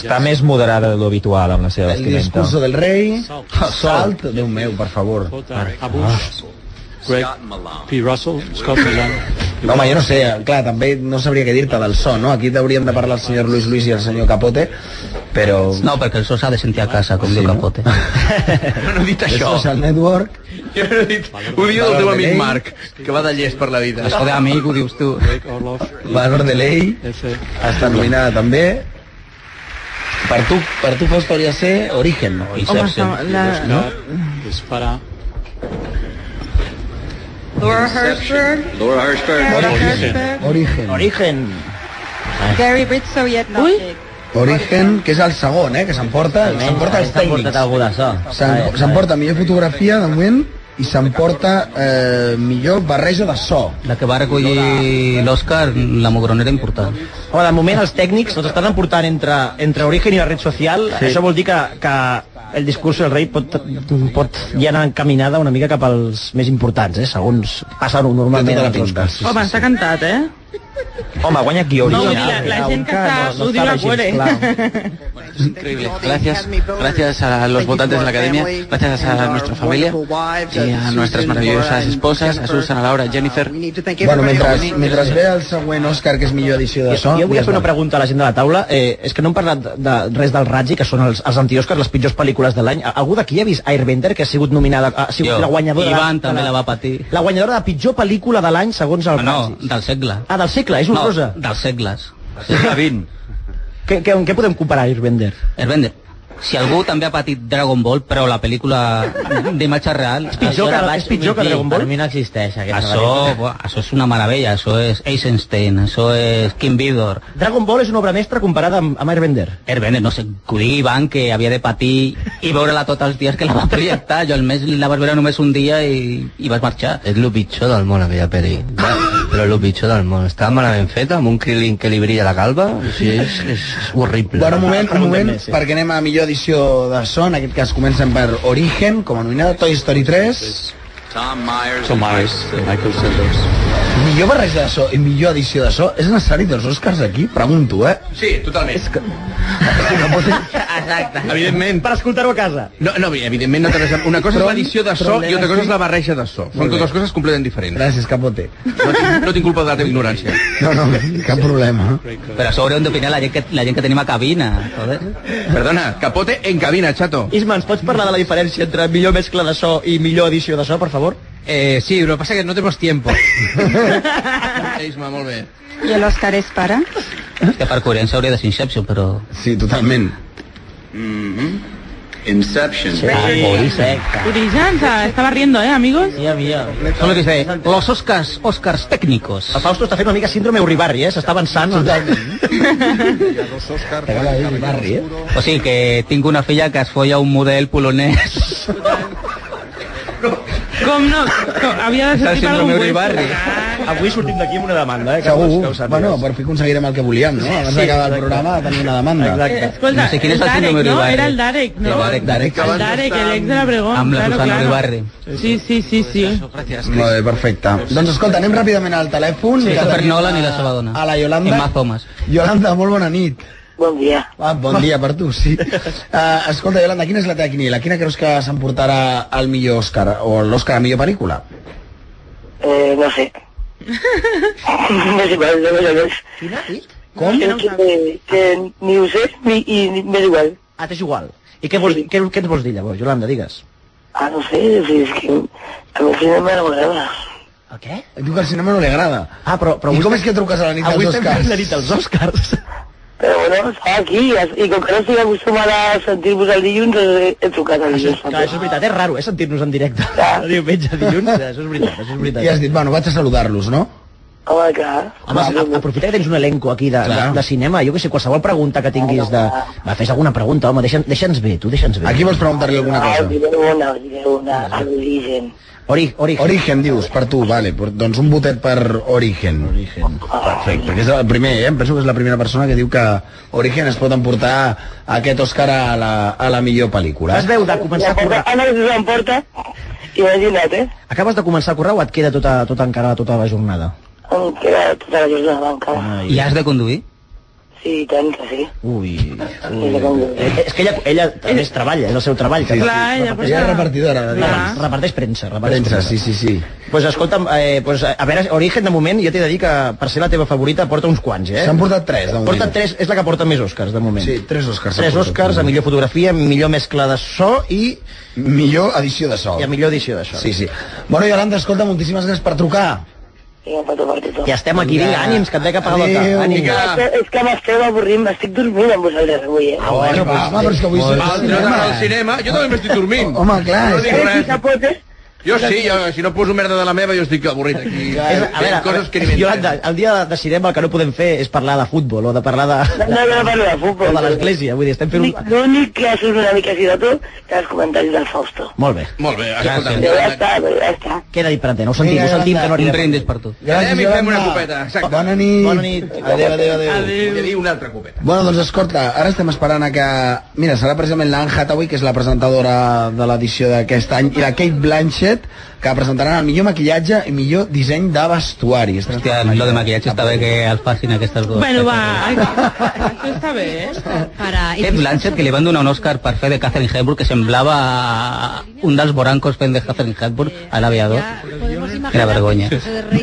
està més moderada de l'habitual amb la seva
El discurso
vestimenta.
del rei. Salt. Déu meu, per favor. Ah.
Greg P. Russell, Scott Milan,
No, home, jo no sé, clar, també no sabria què dir-te del so, no? Aquí t'hauríem de parlar el senyor Luis Luis i el senyor Capote, però...
No, perquè el so s'ha de sentir a casa, com sí, diu Capote. No?
no he dit això.
El Social Network...
Jo no he dit... Ho diu el teu amic Marc, que va de llest per la vida.
Això d'amic ho dius tu.
Valor de ley, ha estat nominada també. Per tu, per tu Fausto, hauria de ser Origen o Inception.
Home, la-
no?
Es para
Laura Hershberg,
Laura Hirschberg.
Laura
Origen.
Hershberg,
Origen. Origen.
Gary Ritzo, yet not big.
Origen, que és el segon, eh, que s'emporta, s'emporta els tècnics. S'em- S'emporta millor fotografia, de moment, i s'emporta eh, millor barreja de so.
La que va recollir l'Òscar, la mogronera important.
Home, de moment els tècnics ens estan emportant entre, entre Origen i la red social.
Sí.
Sí. Això vol dir que, que el discurs del rei pot, pot ja anar encaminada una mica cap als més importants, eh? segons passa normalment
Té tota la
als
pinta.
Oscars.
Home, està cantat, eh?
Home, guanya guió
No, vull dir, la, la gent que està... ho diu la cuore.
Increíble. Gracias, gracias a los votantes de la academia, gracias a nuestra familia y a nuestras maravillosas esposas, a Susan, a Laura, a Jennifer.
Bueno, mentre, mentre ve el següent Òscar, que és millor edició de so...
Jo volia
ja
fer una
està.
pregunta a la gent de la taula. Eh, és que no hem parlat de, de res del Ratzi, que són els, els anti-Oscars, les pitjors pel·lícules de l'any. A- Algú d'aquí ha vist Airbender, que ha sigut nominada, ha sigut
Jo.
la guanyadora...
Ivan
de
també la va patir.
La guanyadora de pitjor pel·lícula de l'any, segons el
No,
Razzies.
del segle.
Ah, del segle, és horrorosa.
No, dels segles.
segle Què, què, què podem comparar Airbender?
Airbender. Si algú també ha patit Dragon Ball, però la pel·lícula d'imatge real... És
pitjor que- és pitjor que Dragon Ball?
Per mi no existeix
aquesta
Això,
pel·lícula.
buah, això és una meravella, això és Eisenstein, això és Kim Vidor.
Dragon Ball és una obra mestra comparada amb, amb Airbender.
Airbender, no sé, que ho digui Ivan, que havia de patir i veure-la tots els dies que la va projectar. Jo al mes la vas veure només un dia i, i vas marxar.
És el pitjor del món, aquella pel·li. Va, Però el pitjor del món. Està malament feta, amb un Krillin que li brilla la calva. O sigui, és, és horrible.
Bueno, un moment, un moment, perquè anem a millor edició de so, en aquest cas comencem per Origen, com a nominada Toy Story 3,
Tom Myers.
Tom Myers, Michael Sellers.
millor barreja de so i millor edició de so, és necessari dos Oscars aquí? Pregunto, eh?
Sí, totalment. És que...
Exacte.
Evidentment.
Per escoltar-ho a casa.
No, no, evidentment no té res a- Una cosa és l'edició de so i altra cosa és la barreja de so. Són
Molt bé.
totes coses completament diferents.
Gràcies, Capote.
No tinc, no tinc culpa de la teva ignorància.
No, no, cap problema.
Però a sobre on d'opinar la, gent que, la gent que tenim a cabina. Joder.
Perdona, capote en cabina, chato.
Isma, ens pots parlar de la diferència entre millor mescla de so i millor edició de so, per favor?
Eh, sí, lo que pasa es que no tenemos tiempo.
Isma, molt bé.
I el Oscar és para?
És que per coherència hauria de ser Inception, però...
Sí, totalment.
Mhm. Inception.
Ah,
Origen, se estaba riendo, ¿eh, amigos?
Mía, mía. Són el que es deia, los Oscars, Oscars tècnicos.
El Fausto està fent una mica síndrome Uribarri, eh? S'està avançant.
Barri, eh? O sigui que tinc una filla que es folla un model polonès.
Com no? Com, havia de sortir per algun lloc.
Avui sortim d'aquí amb una demanda, eh? Que
Ah. Segur.
que ho sàpigues.
Bueno, per fi aconseguirem el que volíem, no? Abans
Sí,
d'acabar el
exacte.
programa tenim una demanda.
Exacte.
Escolta,
No sé quin
el
és el
Darek,
síndrome
no?
Uribarri.
Era el Darek, no?
El Darek, Darek.
El Darek, el ex de la Bregón.
Amb la
claro,
Susana
claro.
Uribarri.
Sí, sí, sí, sí.
Molt bé, perfecte. Doncs escolta, anem ràpidament al telèfon.
Sí,
que
Christopher
tenim
Nolan
a-
i la seva dona.
A la Yolanda.
Emma Thomas.
Yolanda, molt bona nit.
Bon dia.
Ah, bon dia per tu, sí. Uh, escolta, Yolanda, quina és la teva quiniela? Quina creus que s'emportarà el millor Òscar? O l'Òscar a millor pel·lícula?
Eh, no sé. no sé, però no, no, no.
Com?
Crec que, que ni ho sé ni, i ni- m'és igual.
Ah, t'és igual. I què, vols, què, què ens vols dir, llavors, Yolanda, digues?
Ah, no sé, o sigui, és que a mi el cinema no m'agrada.
Diu que el cinema no li agrada.
Ah, però... però
I
avui
com
estem-
és que truques a la nit
avui
dels
estem
Òscars?
fent la nit dels Oscars.
Però Eh, bueno, estava aquí i com que no estic acostumada a sentir-vos el dilluns, he, he trucat el
Això,
dilluns.
és- Ah, clar, això és veritat, és raro, eh, sentir-nos en directe. De diumenge a dilluns, eh, això és veritat, això és veritat.
I has dit, bueno, vaig a saludar-los, no?
Home, clar.
Home, a- aprofita que tens un elenco aquí de, de, de cinema, jo que sé, qualsevol pregunta que tinguis de... Va, fes alguna pregunta, home, deixa'ns deixa bé, tu deixa'ns bé.
Aquí vols preguntar-li alguna
Ah,
cosa?
diré una, diré una, a l'origen.
Ori, origen.
Origen, dius, per tu, vale. per- Doncs un votet per Origen. Origen. Perfecte, que és el primer, eh? Em penso que és la primera persona que diu que Origen es pot emportar aquest Òscar a la, a la millor pel·lícula.
Es veu de començar a currar.
Ara que s'emporta, imagina't, eh?
Acabes de començar a currar o et queda tota, tota encara tota la jornada?
Em queda tota la jornada encara.
I has de conduir?
Sí, i tant que sí.
Ui, ui. Eh, És que ella, ella també es treballa, és el seu treball.
Sí,
també.
clar, ella, pues,
Reparteix-
clar.
repartidora,
Reparteix, reparteix premsa. Reparteix
Premsa, sí, sí, sí.
Pues escolta'm, eh, pues, a veure, Origen, de moment, jo t'he de dir que per ser la teva favorita porta uns quants, eh?
S'han portat tres, de moment.
Porta tres, és la que porta més Oscars de moment.
Sí, tres Oscars.
Tres Oscars, a millor fotografia, millor mescla de so i...
Millor edició de so.
I a millor edició de so.
Sí, sí. Bueno, Yolanda, escolta, moltíssimes gràcies per trucar.
Ja estem aquí, vinga, ànims, que et veig a pagar
Adéu.
l'altre. Ànims.
Vinga.
És que, és que m'esteu avorrint, m'estic dormint amb vosaltres avui, eh?
Ah, bueno, pues, home, però és que avui
Va,
és
al cinema. al cinema, jo també m'estic dormint.
Home, Ah, clar,
No
és
dic
que-
res.
Jo sí, jo, si no poso merda de la meva, jo estic avorrit aquí.
És, a veure,
coses que ni
Yolanda, el dia de cinema el que no podem fer és parlar de futbol o de parlar de...
No, no, no parlo de futbol.
O de l'església, vull dir, estem fent un...
L'únic que ha surt una mica així de tot que els comentaris del Fausto.
Molt bé.
Molt bé,
Però ja està, però ja està.
Queda dit per antena, ho sentim, ho sentim, que no arribem.
per tu.
Anem i fem una copeta, exacte.
Bona nit.
Bona nit.
Adéu, adéu, adéu.
Volia dir una altra copeta.
Bueno, doncs escolta, ara estem esperant a que... Mira, serà precisament l'Anne Hathaway, que és la presentadora de l'edició d'aquest any, i la Kate Blanchett, que presentaran el millor maquillatge i millor disseny de vestuari. Estem
Hòstia, lo de maquillaje está bien que al fácil aquestes dues.
Bueno, va, esto está bien.
¿eh?
Para...
Kate Blanchett, que li van donar un Oscar per fer de Catherine Hepburn, que semblava un dels borancos fent de Catherine Hepburn a l'aviador. Era vergonya.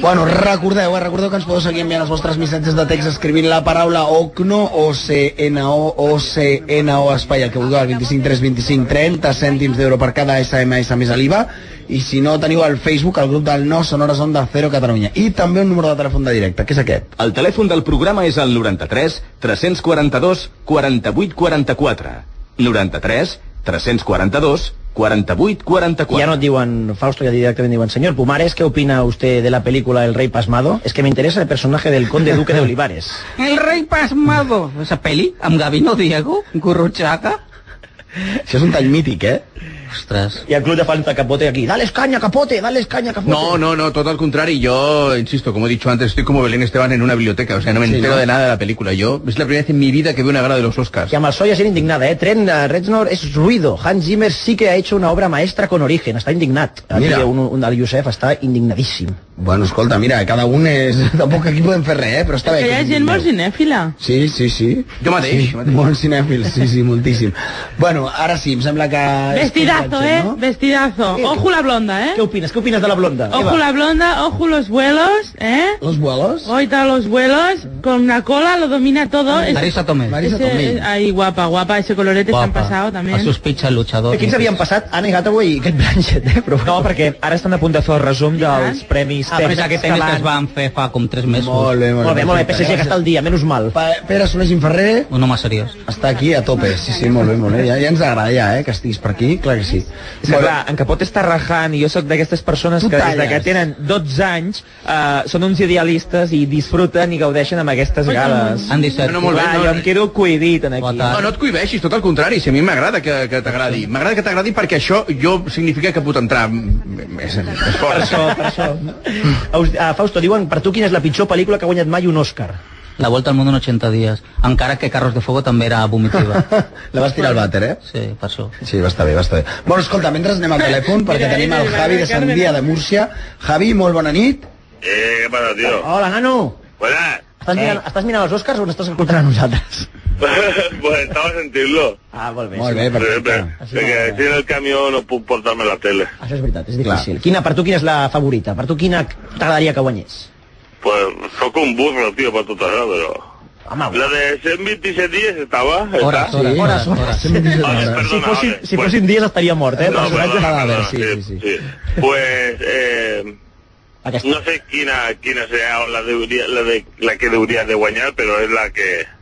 Bueno, recordeu, eh, recordeu que ens podeu seguir enviant els vostres missatges de text escrivint la paraula OCNO, O-C-N-O, O-C-N-O, espai, el que vulgueu, al 25 3 25 30 cèntims d'euro per cada SMS més a l'IVA, i si no teniu al Facebook, el grup del No Sonora Onda Cero Catalunya, i també un número de telèfon de directe, que és aquest.
El telèfon del programa és el 93 342 48 44. 93 342 48 44.
Ja no et diuen Fausto, ja directament diuen Señor Pumares, ¿qué opina usted de la película El Rey Pasmado? Es que me interesa el personaje del Conde Duque de Olivares.
El rei pasmado. Esa peli, amb Gavino Diego, Gurruchaga.
Això és un tall mític, eh?
Ostres.
I el club de fans de Capote aquí. Dale caña, Capote, dale caña, Capote.
No, no, no, todo al contrario. Yo, insisto, como he dicho antes, estoy como Belén Esteban en una biblioteca. O sea, no me
Sí,
entero
¿no?
de nada de la película. Yo, es la primera vez en mi vida que veo una gala de los Oscars.
Y amb el so ja sent indignada, eh? Trent eh, Reznor es ruido. Hans Zimmer sí que ha hecho una obra maestra con origen. Està indignat. Aquí
Mira.
un, un, el Josep està indignadíssim.
Bueno, escolta, mira, eh, cada un és... Tampoc aquí podem fer res, eh? Però està bé.
Que hi ha gent molt cinèfila.
Sí, sí, sí.
Jo mateix,
Sí, molt cinèfil, sí, sí, moltíssim. Bueno, ara sí, em sembla que...
Vestidazo, eh? Vestidazo. Ojo la blonda, eh?
¿Qué opinas? ¿Qué opinas de la blonda?
Ojo la blonda, ojo los vuelos, ¿eh?
¿Los vuelos? Ah,
Oita los vuelos, con la cola lo domina todo. Ese-
Marisa Tomei. Marisa
ese-
Tomei.
Ay, guapa, guapa, ese colorete se han pasado también.
A sospecha el luchador.
Quins havien passat? Anne Hathaway i Kate Blanchett, eh? Però...
No, perquè ara estan a punt de fer el resum dels premis
Ah, però és aquest tenis que es van fer fa com 3 mesos.
Molt bé, molt,
Molt bé, molt bé, PSG que està al dia, menys mal.
Pa Pere Soler Ginferrer
Un home seriós.
està aquí a tope, sí, sí, molt bé, molt bé. Ja, ja ens agrada ja, eh, que estiguis per aquí, clar que sí.
És que clar, en Capot està rajant i jo sóc d'aquestes persones
Tu
que des de
talles.
que tenen 12 anys eh, són uns idealistes i disfruten i gaudeixen amb aquestes gales.
Han deixat-
No, no, molt bé, no, jo em quedo cuidit en aquí.
No, no et cohibeixis, tot al contrari, si a mi m'agrada que, que t'agradi. M'agrada que t'agradi perquè això jo significa que puc entrar m- més, més fort.
Per això, per això. Aus- ah, Fausto, diuen, per tu quina és la pitjor pel·lícula que ha guanyat mai un Òscar?
La vuelta al mundo en 80 dies. Encara que Carros de Fuego també era vomitiva.
La vas tirar al vàter, eh?
Sí, per això.
Sí, va estar bé, va estar bé. Bueno, escolta, mentre anem al telèfon, perquè
Mira,
tenim
mira,
el
mira,
Javi de Sant
Carmen.
Dia de Múrcia. Javi, molt bona nit.
Eh, ¿qué pasa, tío?
Hola, nano.
Buenas.
Estàs mirant, estàs mirant els Òscars o n'estàs escoltant a nosaltres?
pues estaba a sentirlo.
Ah, molt bé.
Molt
sí.
bé,
Pero, que estoy en el camión no puedo portarme la tele.
Això és veritat, és difícil. Quina, per tu quina és la favorita? Per tu quina t'agradaria que guanyés?
Pues soy un burro, tío, para tu tarea, pero... La de 127 días estaba. ¿está?
Horas, horas, horas, horas. pues Si fossin, si fossin dies estaria mort, eh?
Ah, No,
Personatge
perdona,
cadàver,
perdona,
sí, sí, sí.
Pues, eh... No sé quina, quina serà la, deuria, la, de, la que deuria de guanyar, però és la que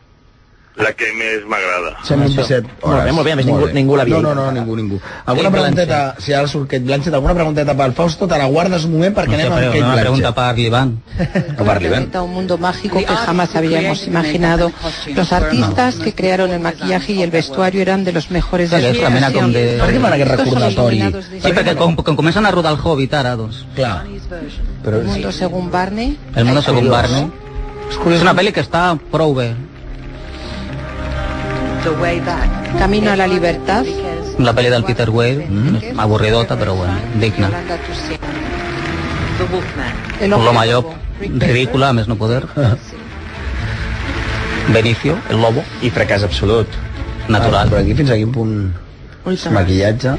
la que més m'agrada.
127 hores.
Molt bé, molt
pues
bé, a més ningú- ningú l'havia
No, no,
dit.
no, ningú, ningú. Alguna
Kate
pregunteta, si ara surt Kate Blanchett, alguna pregunteta pel Fausto, te la guardes un moment perquè
No sé,
anem amb
però
Kate
una pregunta
Blanchett.
per l'Ivan.
Representa un mundo mágico que jamás habíamos imaginado. Los artistas que crearon el maquillaje y el vestuario eran de los mejores de
Sí,
su
és la mena com
generación.
de...
Per què fan aquest recordatori?
Sí, perquè com, com comencen a rodar el Hobbit ara, doncs.
Clar. Però
El mundo según Barney.
El mundo según Barney.
És
És una pel·li que està prou bé.
Camino a la libertad.
La pel·li del Peter Weir, mm. avorridota, però bueno, digna.
El
L'home
hombre
llop, ridícula, a més no poder.
Benicio, el lobo.
I fracàs absolut.
Natural. Ah, però aquí fins a quin punt... Maquillatge.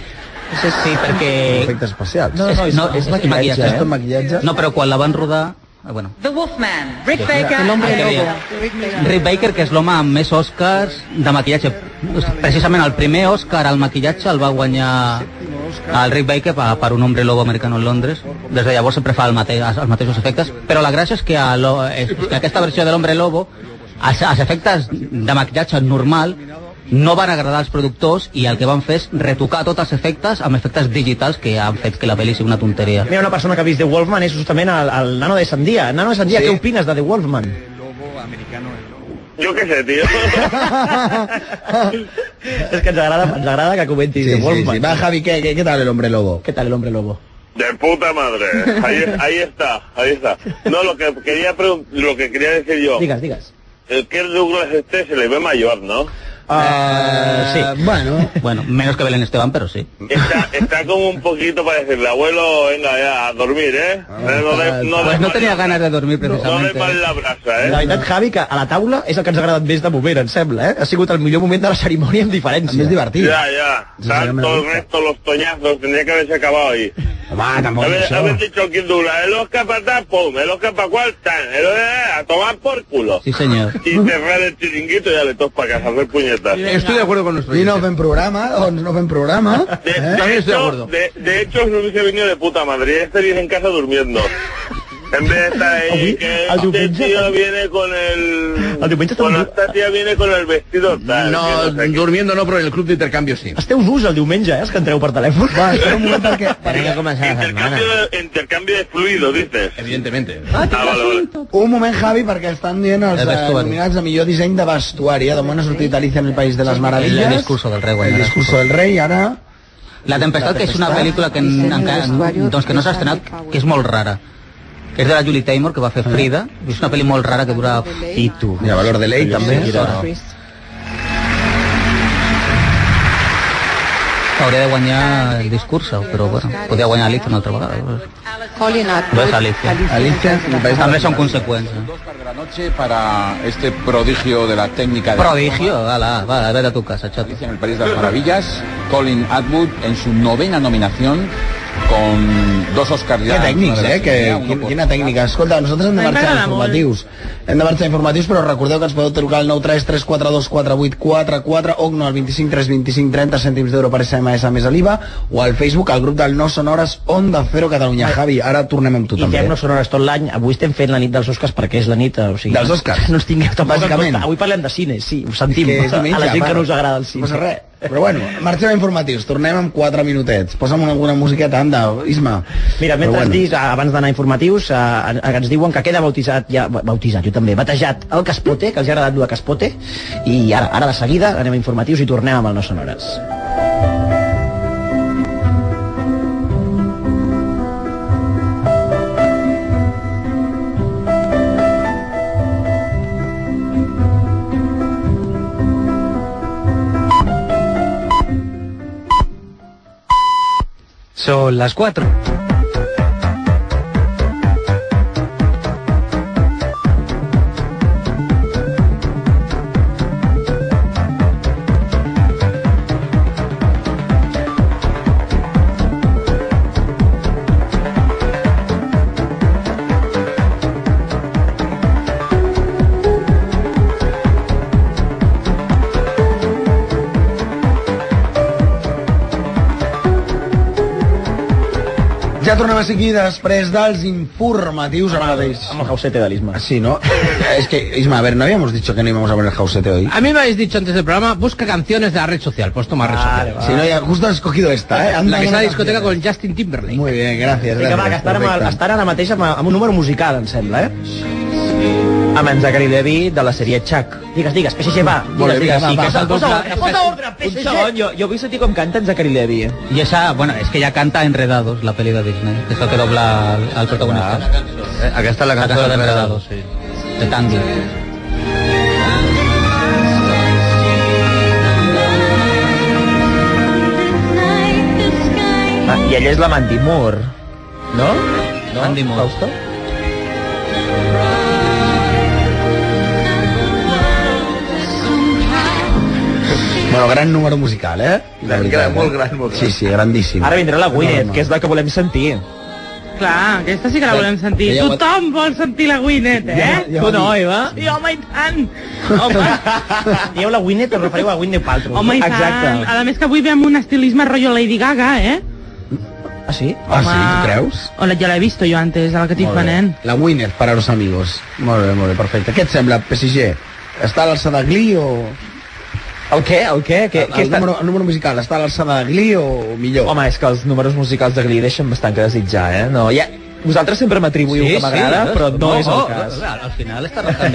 Sí, sí, perquè...
Efectes especials.
No, no, és- és maquillatge, eh?
És tot maquillatge.
No, però quan la van rodar... Ah, Bueno,
The Wolfman, Rick
Sí.
Baker.
El hombre
and
lobo.
Lobo. Rick Baker.
Rick Baker, que és l'home amb més Oscars de maquillatge. Precisament el primer Oscar al maquillatge el va guanyar el Rick Baker per, per un hombre lobo americano en Londres. Des de llavors sempre fa el mate els mateixos efectes, però la gràcia és que, a lo, és que aquesta versió de l'hombre lobo, els, els efectes de maquillatge normal no van agradar als productors i el que van fer és retocar tots els efectes amb efectes digitals que han fet que la pel·li sigui una tonteria.
Mira, una persona que ha vist The Wolfman és justament el, el nano de Sandia. Nano de Sandia, sí. què opines de The Wolfman?
Yo qué sé, tío.
és que ens agrada, ens agrada que comentis
Sí,
The
sí,
Wolfman.
sí. Va, Javi, què, què, què tal el hombre lobo?
Què tal el hombre lobo?
De puta madre. ¿eh? Ahí, ahí está, ahí está. No, lo que quería pregun- lo que quería decir yo.
Digas, digas.
El que el Douglas este se le ve mayor, ¿no?
Uh, sí. Bueno. bueno, menos que Belén Esteban, pero sí.
Está, está como un poquito para decirle, abuelo, venga ya a dormir, ¿eh? No, de, no, de-
pues no tenía ganas de dormir
no de
precisamente.
mal la brasa, ¿eh?
La veritat, Javi, que a la taula és el que ens ha agradat més de moment, em sembla, eh? Ha sigut el millor moment de la cerimònia amb diferència.
El més divertit.
Ya, ya. Tanto el resto, los toñazos, tendría que haberse acabado ahí.
Home, tampoco
Haber,
eso.
haber dicho el Kid Douglas, el Oscar para tal, pum, el Oscar para cual, tan, el Oscar, a tomar por culo.
Sí, señor.
Y cerrar el chiringuito y dale todos para casa, a hacer puñetas.
Estoy de acuerdo con
Pues
nuestro
I no fem programa, doncs no fem programa. ¿Eh?
De, de hecho, De, de hecho, no hubiese venido de puta madre. Ya estaría en casa durmiendo. En vez de estar ahí, que este tío viene con el... Bueno, esta tía viene con el vestido tal. que
No,
sé qué.
durmiendo no, però en el club d'intercanvi sí.
Esteu durs el diumenge, eh, els que entreu per telèfon. Va, espera un moment perquè...
Tenia que començar la setmana.
Intercambio de fluido, dices.
Evidentemente.
Ah, vale, vale.
Un moment, Javi, perquè estan dient els
El
eh,
vestuari.
nominats a millor disseny de vestuari. eh? De moment ha sortit Alicia en el País de les Meravilles.
El discurso del rey,
El
guanyarà.
discurso del rei, ara...
La Tempestad, que és una pel·lícula que, en- encara, doncs que no s'ha estrenat, que és molt rara. Que és de la Julie Taymor, que va fer Frida. És una pel·li molt rara que dura... I tu.
Mira, Valor de Ley, també.
Hauria de guanyar el discurso, però bueno, podria guanyar Alicia una altra vegada.
Colin
No
Atwood.
és Alicia. També són conseqüències.
para la noche para este prodigio de la técnica de
Prodigio, ala, va, vete a tu casa, chato.
en el País de las Maravillas, Colin Atwood en su novena nominación con dos Oscars
Que
ya.
tècnics, eh? Que,
Uno
quin-
por-
quina tècnica. Escolta, nosaltres hem de
A mi
marxar
m'agrada molt.
informatius. Hem de marxar informatius, però recordeu que ens podeu trucar al 933424844 o no al 25 325 30 cèntims d'euro per SMS a més a l'IVA o al Facebook, al grup del No Sonores Onda Cero Catalunya. Javi, ara tornem amb eh? tu
I
també.
fem no sonores tot l'any. Avui estem fent la nit dels Oscars perquè és la nit... O sigui,
Dels Oscars?
No ens tingueu tampoc en
Bàsicament.
compte. Avui parlem de cine, sí, ho sentim.
És que és diumenge,
a la gent
va.
que no us agrada el
No
cine.
passa res. Però bueno, marxem a informatius. Tornem amb 4 minutets. Posa'm alguna musiqueta, anda, Isma.
Mira,
Però
mentre
bueno.
bueno. dis, abans d'anar a informatius, eh, en- ens diuen que queda bautitzat, ja, bautitzat, jo també, batejat el Caspote, que els ha agradat dur a Caspote, i ara, ara de seguida anem a informatius i tornem amb el No Sonores.
Son las 4.
Ja tornem a ser aquí després dels informatius ara mateix. Amb
el jausete de l'Isma.
Sí, no? És que, Isma, a ver, no habíamos dicho que no íbamos a ver el jausete hoy.
A mí me habéis dicho antes del programa, busca canciones de la red social. Pues toma red social.
Si no, ya justo has escogido esta, ¿eh? Anda,
la que está
no
en
me
la discoteca con Justin Timberlake.
Muy bien, gracias.
Vinga, va, que estan, amb, el- estan ara mateix amb, amb un número musical, em sembla, eh? Amb en Zachary Levy de la sèrie Chuck. Digues, digues, PSG va.
Molt bé,
Digues,
vinga,
digues, sí,
va,
que
va,
posa,
va,
posa,
va, va,
ordre, posa ordre,
Un
PSG.
segon, jo, jo vull sentir com canta en Zachary Levy.
Y esa, bueno, es que ya canta Enredados, la peli de Disney. que Es la que dobla al, al protagonista.
Acá está la canción de Enredados,
sí. De Tandy.
Ah, I ella és la Mandy Moore, no? no?
Mandy Moore.
Fausto?
Bueno, gran número musical, eh? La
Gran,
veritat,
gran, molt
eh?
gran, molt gran.
Sí, sí, grandíssim.
Ara vindrà la Gwyneth, que
és la que volem sentir.
Clar, aquesta sí que la volem sentir.
Ja ho-
Tothom vol sentir la Gwyneth, eh?
Ja- ja ho Tu no, dic. Eva?
Sí, home, i tant. Home,
Dieu la Winnet, us referiu a Winnet Paltrow.
home i tant. A més que avui ve amb un estilisme rotllo Lady Gaga, eh?
Ah, sí?
Ah, sí,
Home.
tu creus?
Hola, ja l'he vist jo antes, a la que eh? tinc
Molt bé.
nen.
La Winner, para los amigos. Molt bé, molt bé, perfecte. Què et sembla, PSG? Està a l'alçada de Glee o...
El què? El què? Què,
El, el, número, el número musical està a l'alçada de Glee o millor?
Home, és que els números musicals de Glee deixen bastant que desitjar, eh? No, ja, vosaltres sempre m'atribuïu
Sí,
que m'agrada,
sí,
però no,
no,
és el
no,
cas.
no,
al final està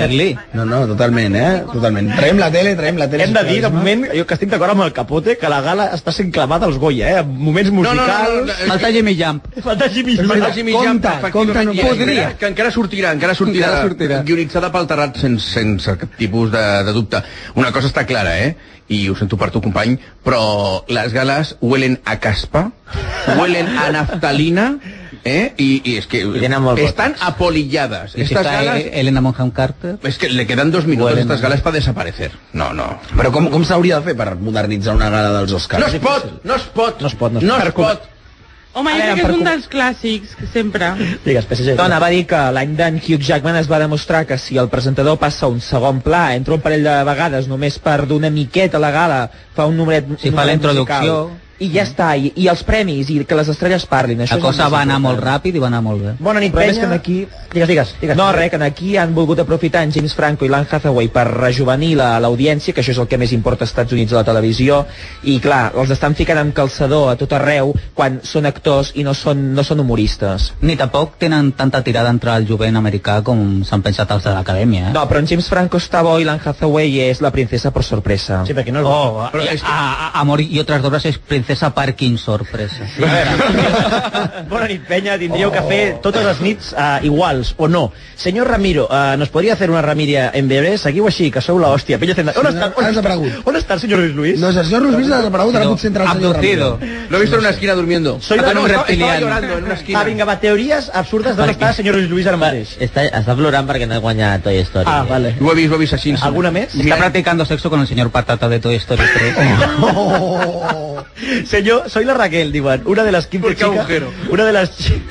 No, no, totalment, eh? Totalment. Traiem la tele, traiem la tele.
Hem de dir, de moment, jo que estic d'acord amb el Capote, que la gala està sent clavada als Goya, eh? En moments musicals...
Falta
Jimmy Jump. Falta Jimmy Jump.
Falta Jimmy Jam, efectivament,
compte,
que
podria.
encara- eh? Que encara sortirà, encara sortirà,
Encara sortirà.
guionitzada pel Terrat sense, sense cap tipus de, de dubte. Una cosa està clara, eh? I ho sento per tu, company, però les gales huelen a caspa, huelen a naftalina, eh? I, i és que
molt
estan apolillades.
I si
Estas
està
gales...
Elena Monham Carter...
Es que le quedan dos minutos a estas galas para desaparecer. No, no.
Però com, com s'hauria de fer per modernitzar una gala dels Oscars?
No es pot, no es pot. No es pot, no es pot.
Home,
A
jo
veure,
crec que
per
és un
com-
dels clàssics, sempre.
Digues, PSG.
Dona va dir que l'any d'en Hugh Jackman es va demostrar que si el presentador passa un segon pla, entra un parell de vegades només per donar miqueta a la gala, fa un numeret...
Si
un
fa la
numeret
introducció.
musical, I ja està, i, i els premis, i que les estrelles parlin. Això
La
és el
cosa
més
va anar molt
important.
ràpid eh? i va anar molt bé.
Bona nit, Però
Penya.
penya. que en aquí... Digues, digues, digues. No, res, que en aquí han volgut aprofitar en James Franco i l'Anne Hathaway per rejuvenir la- l'audiència, que això és el que més importa als Estats Units a la televisió, i clar, els estan ficant amb calçador a tot arreu quan són actors i no són, no són humoristes.
Ni tampoc tenen tanta tirada entre el jovent americà com s'han pensat els de l'acadèmia, eh?
No, però en James Franco està bo i l'Anne Hathaway és la princesa per sorpresa. Sí,
perquè no és...
Oh, a, a- a- Amor y otras obras es Princesa Parking Sorpresa.
Bona nit, penya. Tindríeu que fer totes les nits uh, iguals, o no. Senyor Ramiro, uh, ¿nos podría hacer una Ramiria en breve? Seguiu així, que sou la hòstia. Pella Zenda... On està, on, està, on està el senyor Luis Luis?
No, el senyor Luis Luis ha desaparegut, ara
No,
potser entra el senyor
abducido.
Ramiro.
Lo he visto en una esquina durmiendo.
Soy
Ah, no,
un
estaba- estaba
reptiliano.
llorando en una esquina.
Ah, vinga, va, teories absurdes d'on està el senyor Luis Luis ara mateix.
Està, està plorant perquè no he guanyat Toy Story.
Ah, vale.
Ho he vist, ho he vist així.
Alguna més?
Está practicando sexo con el señor Patata de Toy Story 3.
Oh, Señor, soy la Raquel, digan, una de las 15 chicas, una de las chi-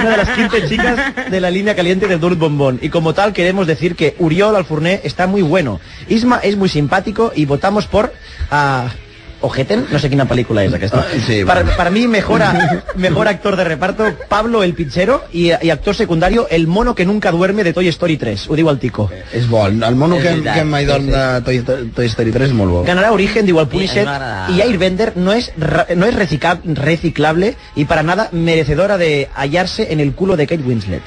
una de las 15 chicas de la línea caliente de Durt Bombón y como tal queremos decir que Uriol Alfurné está muy bueno. Isma es muy simpático y votamos por a Ojeten, no sé qué película es aquesta.
Ah,
para, para mí mejora mejor actor de reparto Pablo el Pinchero y, y actor secundario el mono que nunca duerme de Toy Story 3. Ho digo al tico.
És bo, el mono
És
que,
veritat,
que mai
sí,
dorm
sí.
de Toy, Toy Story 3 és molt bo.
Ganará Origen, de igual Puniset
a mí me agrada.
y Airbender no es ra- no es recica- reciclable y para nada merecedora de hallarse en el culo de Kate Winslet.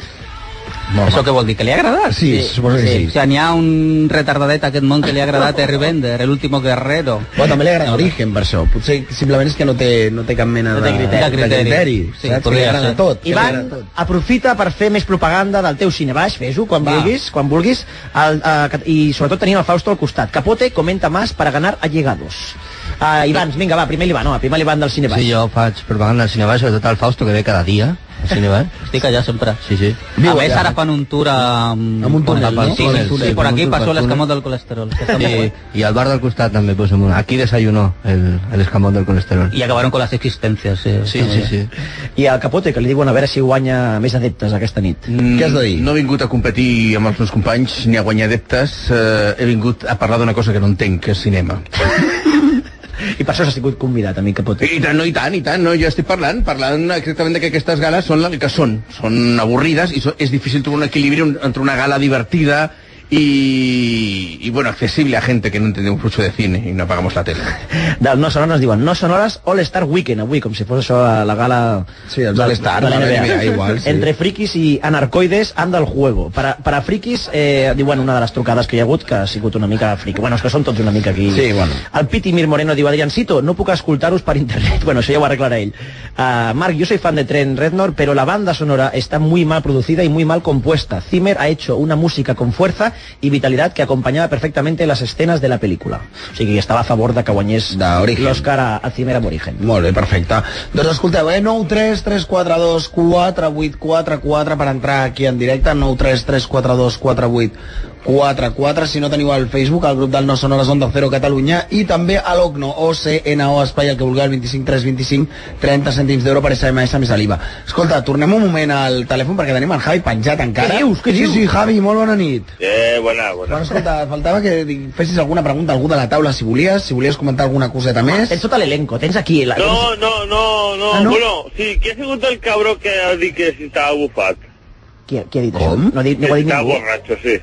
Això què vol dir? Que li ha agradat?
Sí, suposo que sí.
O sigui, n'hi ha un retardadet a aquest món que li ha agradat Harry Bender, el último guerrero.
Bueno, també li agrada Origen per això. Potser simplement és que no té, no té cap mena
No
de,
té criteri.
Ah, de criteri.
Sí,
saps? Que li
podria
agrada
ser.
tot. que li agrada
Ivan, aprofita per fer més propaganda del teu cine baix, fes-ho quan vulguis, quan vulguis, el, eh, que- i sobretot tenim el Fausto al costat. Capote comenta más para ganar allegados. Uh, Ivan, vinga, va, primer l'Ivan, home, primer l'Ivan del cine baix.
Sí, jo faig propaganda al cinema, sobretot al Fausto, que ve cada dia al cinema.
Estic allà sempre.
Sí, sí.
a més, ara fan un tour amb...
Amb un túnel,
amb el
no?
túnel,
Sí, sí,
sí,
amb
per
un
aquí
túnel,
passó
per túnel.
l'escamot del colesterol. Que està molt
I,
guai.
i al bar del costat també posem una. Aquí desayunó el, el escamón del colesterol.
I acabaron con las existencias, sí.
Sí, sí, sí.
I al Capote, que li diuen a veure si guanya més adeptes aquesta nit.
Què has de dir? Mm, No he vingut a competir amb els meus companys ni a guanyar adeptes, eh, he vingut a parlar d'una cosa que no entenc, que és cinema.
I per això s'ha sigut convidat a mi, Capote.
I tant, no, i tant, i tant, no, jo estic parlant, parlant exactament de que aquestes gales són el que són, són avorrides i so, és difícil trobar un equilibri un- entre una gala divertida y, y bueno, accesible a gente que no entendemos mucho de cine y no pagamos la tele.
del No Sonores diuen No Sonores All Star Weekend avui, com si fos això a la gala sí,
els All Star, la NBA, igual, sí.
Entre frikis i anarcoides anda el juego. Para, para frikis, eh, diuen una de les trucades que hi ha hagut, que ha sigut una mica friki. Bueno, és que són tots una mica aquí.
Sí, bueno.
El Piti Mir Moreno diu, Adriancito, no puc escoltar-vos per internet. Bueno, això ja ho arreglarà ell. Uh, Marc, yo soy fan de Tren Rednor, pero la banda sonora está muy mal producida y muy mal compuesta. Zimmer ha hecho una música con fuerza y vitalidad que acompañaba perfectamente las escenas de la película. O sigui, estava a favor de que guanyés l'Òscar a, a Zimmer amb Origen.
Molt bé, perfecte. Doncs escolteu, eh? 9 3 3 4 2 4 8 4 4 per entrar aquí en directe, 9 3 3 4 2 4 8 44, si no teniu al Facebook, al grup del No Sonores Onda Cero Catalunya, i també a l'OCNO, OCNO, espai, el que vulgueu, el 25 3 25, 30 cèntims d'euro per SMS més IVA. Escolta, tornem un moment al telèfon perquè tenim el Javi penjat encara.
Què dius? Què dius?
Sí, sí, Javi, molt bona nit.
Eh, bona, bona.
Bueno, escolta, faltava que dic, fessis alguna pregunta a algú de la taula, si volies, si volies comentar alguna coseta més.
Tens tot l'elenco, tens aquí... La...
No, no, no, no.
Ah, no?
Bueno, sí, qui ha sigut el cabró que ha dit que si estava bufat?
Qui, qui ha dit Com? això? No, ha dit, no ho ha
que
dit
estava
ningú.
borratxo, sí.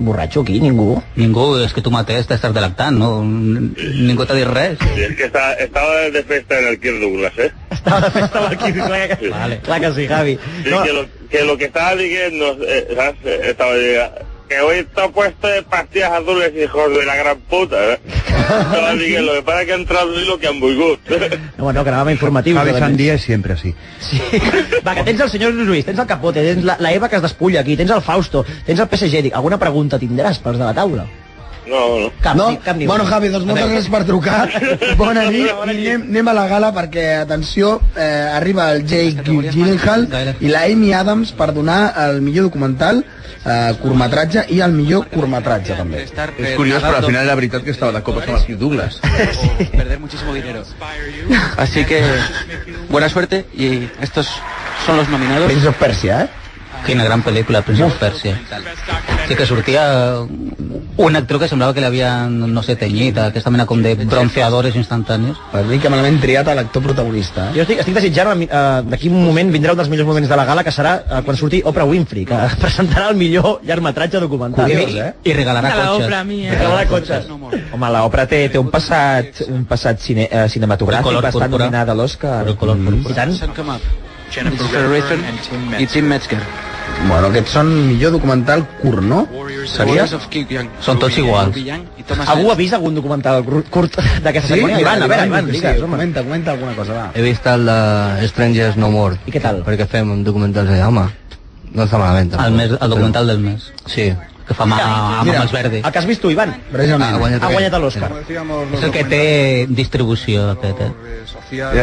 Borratxo aquí, ningú.
Ningú, és que tu mateix t'estàs delectant, no? Ningú t'ha dit res.
Sí, es que está- estaba de fiesta en el Kirk Douglas, ¿eh?
Estaba de fiesta en el Kirk Douglas. Vale. Clar que sí, Javi.
Sí, que, lo, que lo que estaba diciendo, eh, ¿sabes? Estaba diciendo, que hoy está puesto de pastillas azules, hijos de la gran puta, ¿eh? Estaba diciendo, lo que pasa es que ha entrado y lo que han vulgut.
No, bueno, que anàvem informatius.
Javi
realment.
Sandía és sempre així.
Va, que tens el senyor Lluís, tens el Capote, tens la, la Eva que es despulla aquí, tens el Fausto, tens el PSG. Dic, alguna pregunta tindràs pels de la taula?
No, no.
Cap,
no?
ni- cap ni
bueno,
una.
Javi, doncs moltes
Adéu.
gràcies per trucar. Bona nit. I anem, anem a la gala perquè, atenció, eh, arriba el Jake Gyllenhaal i la Amy Adams per donar el millor documental, eh, curtmetratge i el millor curtmetratge, també.
És curiós, però al final la veritat que estava de copes amb el Kirk Douglas.
Perder muchísimo dinero. Así que, buena suerte y estos son los nominados.
Prince
of Persia, eh?
Quina gran pel·lícula, Prince of Persia. Sí que sortia uh, un actor que semblava que l'havien, no sé, tenyit, uh, aquesta mena com de bronceadores instantanis.
Per mi que me l'han triat a l'actor protagonista.
Jo estic, estic desitjant, eh, d'aquí un moment vindrà un dels millors moments de la gala, que serà eh, quan surti Oprah Winfrey, que presentarà el millor llargmetratge documental.
Curiós, eh?
I regalarà
De la cotxes. Oprah a mi, eh?
Regalarà cotxes. Home, la Oprah té, té un passat, un passat cine, eh,
El
cinematogràfic
color
bastant
púrpura.
nominada a l'Oscar. I tant.
Jennifer Rayford y Tim Metzger.
Bueno, aquests són millor documental curt, no? Seria?
Warriors of Kyung.
Són tots iguals.
Algú ha vist algun documental cur- curt d'aquesta
Sí,
cerimònia? Ivan, a veure, Ivan,
sí,
digues, home.
comenta, comenta alguna cosa, va.
He vist el de Uh, Strangers No More. I què tal? Perquè fem un documental de home, no està malament.
El, mes, el documental
de...
del mes.
Sí.
Que fa mà amb els verdi.
El que has vist tu, Ivan?
Precisament.
Ha guanyat
Ha
aquest.
guanyat l'Oscar.
És el que té distribució, aquest, eh?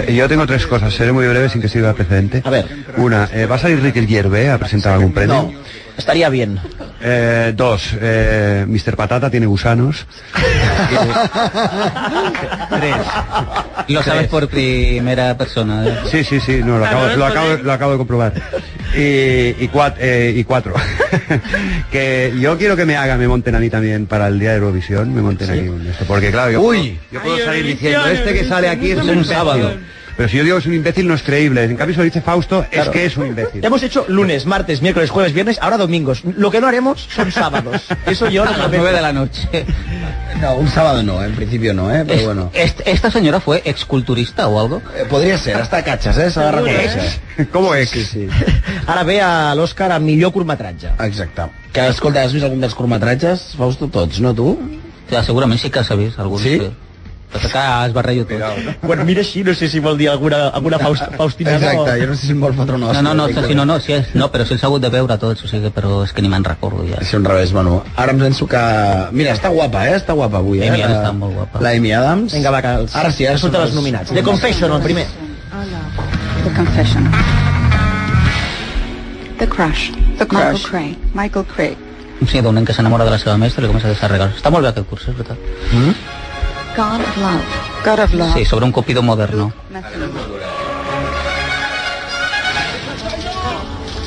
Eh, Yo tengo tres cosas, seré muy breve sin que sirva de precedente. A ver. Una, eh, ¿va a salir Rick el Hierve a presentar algún premio?
No, estaría bien.
Eh, dos, eh, Mr. Patata tiene gusanos.
Lo sabes por primera persona. eh?
Sí, sí, sí, Ah, no, lo acabo, lo acabo, lo acabo de comprobar. Y, y, cuat- eh, y cuatro. que yo quiero que me haga, me monten a mí también para el día de Eurovisión, me monten aquí un esto, porque claro, yo
Uy,
yo puedo salir diciendo, este que sale aquí es un
Eurovisión.
sábado. Pero si yo digo que es un imbécil no es creíble, en cambio si lo dice Fausto es
Claro.
que es un imbécil.
Ya hemos hecho lunes, martes, miércoles, jueves, viernes, ahora domingos. Lo que no haremos son sábados. Eso yo
A las nueve de la noche.
No, un sábado no, en principio no, eh? Però bueno.
Est- ¿Esta señora fue exculturista o algo?
Eh, podria ser, està a catxes, eh? S'ha de reconèixer.
¿Cómo es?
Sí, sí.
Ara ve a l'Òscar a millor curtmetratge.
Exacte. Que, escolta, has vist algun dels curtmetratges? Fausto, tots, no tu?
Ja, segurament sí que s'ha vist alguns. Sí? Però que es barrello tot.
Quan mira així, no sé si vol dir alguna, alguna faust, faustina
Exacte,
o...
jo no sé si em vol fotre una
No,
hòstia.
no, no,
dic,
sí,
eh.
sí, no, no, sí, és, no, però sí els ha hagut de veure tots, o sigui, però és que ni me'n recordo ja.
Sí, un revés, bueno. Ara em penso que... Mira, està guapa, eh? Està guapa avui, eh?
Amy Adams
La-
està molt guapa.
La Amy Adams.
Vinga, va, que els...
Ara sí, ara
surten els nominats. The Confession, el primer.
The Confession. The Crush. The Crush. Michael Cray. Michael Cray.
Sí, d'un nen que s'enamora de la seva mestra i li comença a deixar regals. Està molt bé aquest curs, és veritat. Mm?
God of Love. God of Love.
Sí, sobre un copido moderno.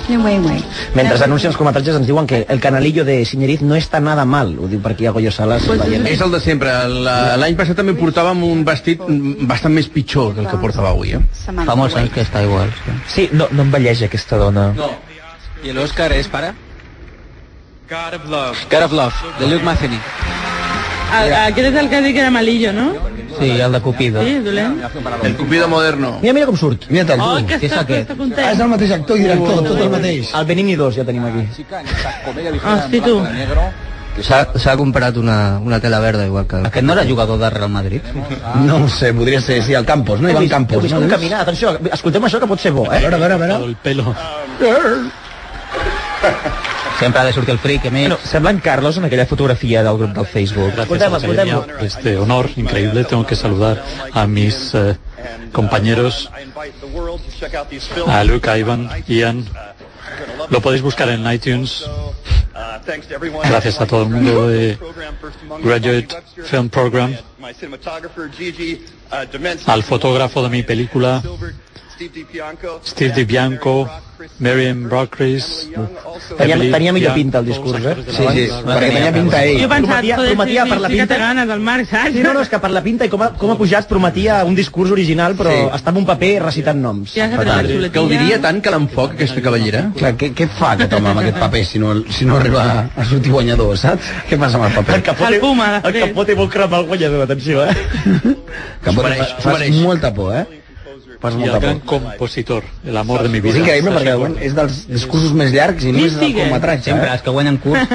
New Way Way.
Mentre anuncien els curtmetratges ens diuen que el canalillo de Siñeriz no està nada mal. Ho diu per aquí a Goyo Salas. veient.
És el de sempre. La- L'any passat també portàvem un vestit mm, bastant més pitjor que el que portava avui, eh?
Fa molts anys que està igual. Sí,
sí no, no envelleix aquesta dona.
No. Y el Oscar es para. God of Love, de Luke Matheny.
A- Aquest és el que ha dit que era malillo, no?
Sí, el de Cupido.
Sí, dolent.
El Cupido moderno.
Mira, mira com surt.
Mira tal,
Oh, que està, que està content. Oh,
Ah, és el mateix actor i director, tot el mateix.
El Benigni 2 ja tenim aquí.
Hosti, Ah, tu.
S'ha s'ha comprat una, una tela verda igual que...
Aquest no era jugador de Real Madrid?
No ho sé, podria ser, sí, el Campos, no?
Heu
Ivan
vist- heu
Campos,
vist
no?
com camina? Atenció, escoltem això que pot ser bo, eh?
A veure, a veure, a veure.
El pelo.
Sempre ha de sortir el fric, a més.
Bueno, sembla en Carlos en aquella fotografía del grupo del Facebook.
Gracias a Sevilla por este honor increíble. Tengo que saludar a mis eh, compañeros, a Luke, a Ivan, Ian. Lo podéis buscar en iTunes, Gracias a todo el mundo de Graduate Film Program, al fotógrafo de mi película, Steve DiBianco, Marion Brockris,
Tenia,
Emily
tenia millor
Bian-
pinta el discurs, eh?
Sí, sí, perquè tenia pinta ell.
Jo pensava,
Prometia,
joder,
prometia per la
sí, sí,
pinta...
que té ganes del Marc, saps?
Sí, no, no, és que per la pinta i com ha, com ha pujat prometia un discurs original, però
Sí.
sí. està en un paper recitant noms.
Ja s'ha tret la xuletilla.
Gaudiria tant que l'enfoc aquesta cavallera.
Clar, què, què fa aquest home amb aquest paper si no, si no arriba a, a sortir guanyador, saps? Què passa amb el paper? El
Capote, el, Puma, el Capote vol cremar el guanyador, atenció, eh?
Capote,
s'ho mereix,
fas,
s'ho mereix.
molta por, eh? Fas
Y
molta
el
por.
gran compositor, el amor de mi vida.
És increíble perquè bueno, és dels discursos més llargs i més del eh? cometratge.
Sempre,
els que guanyen curs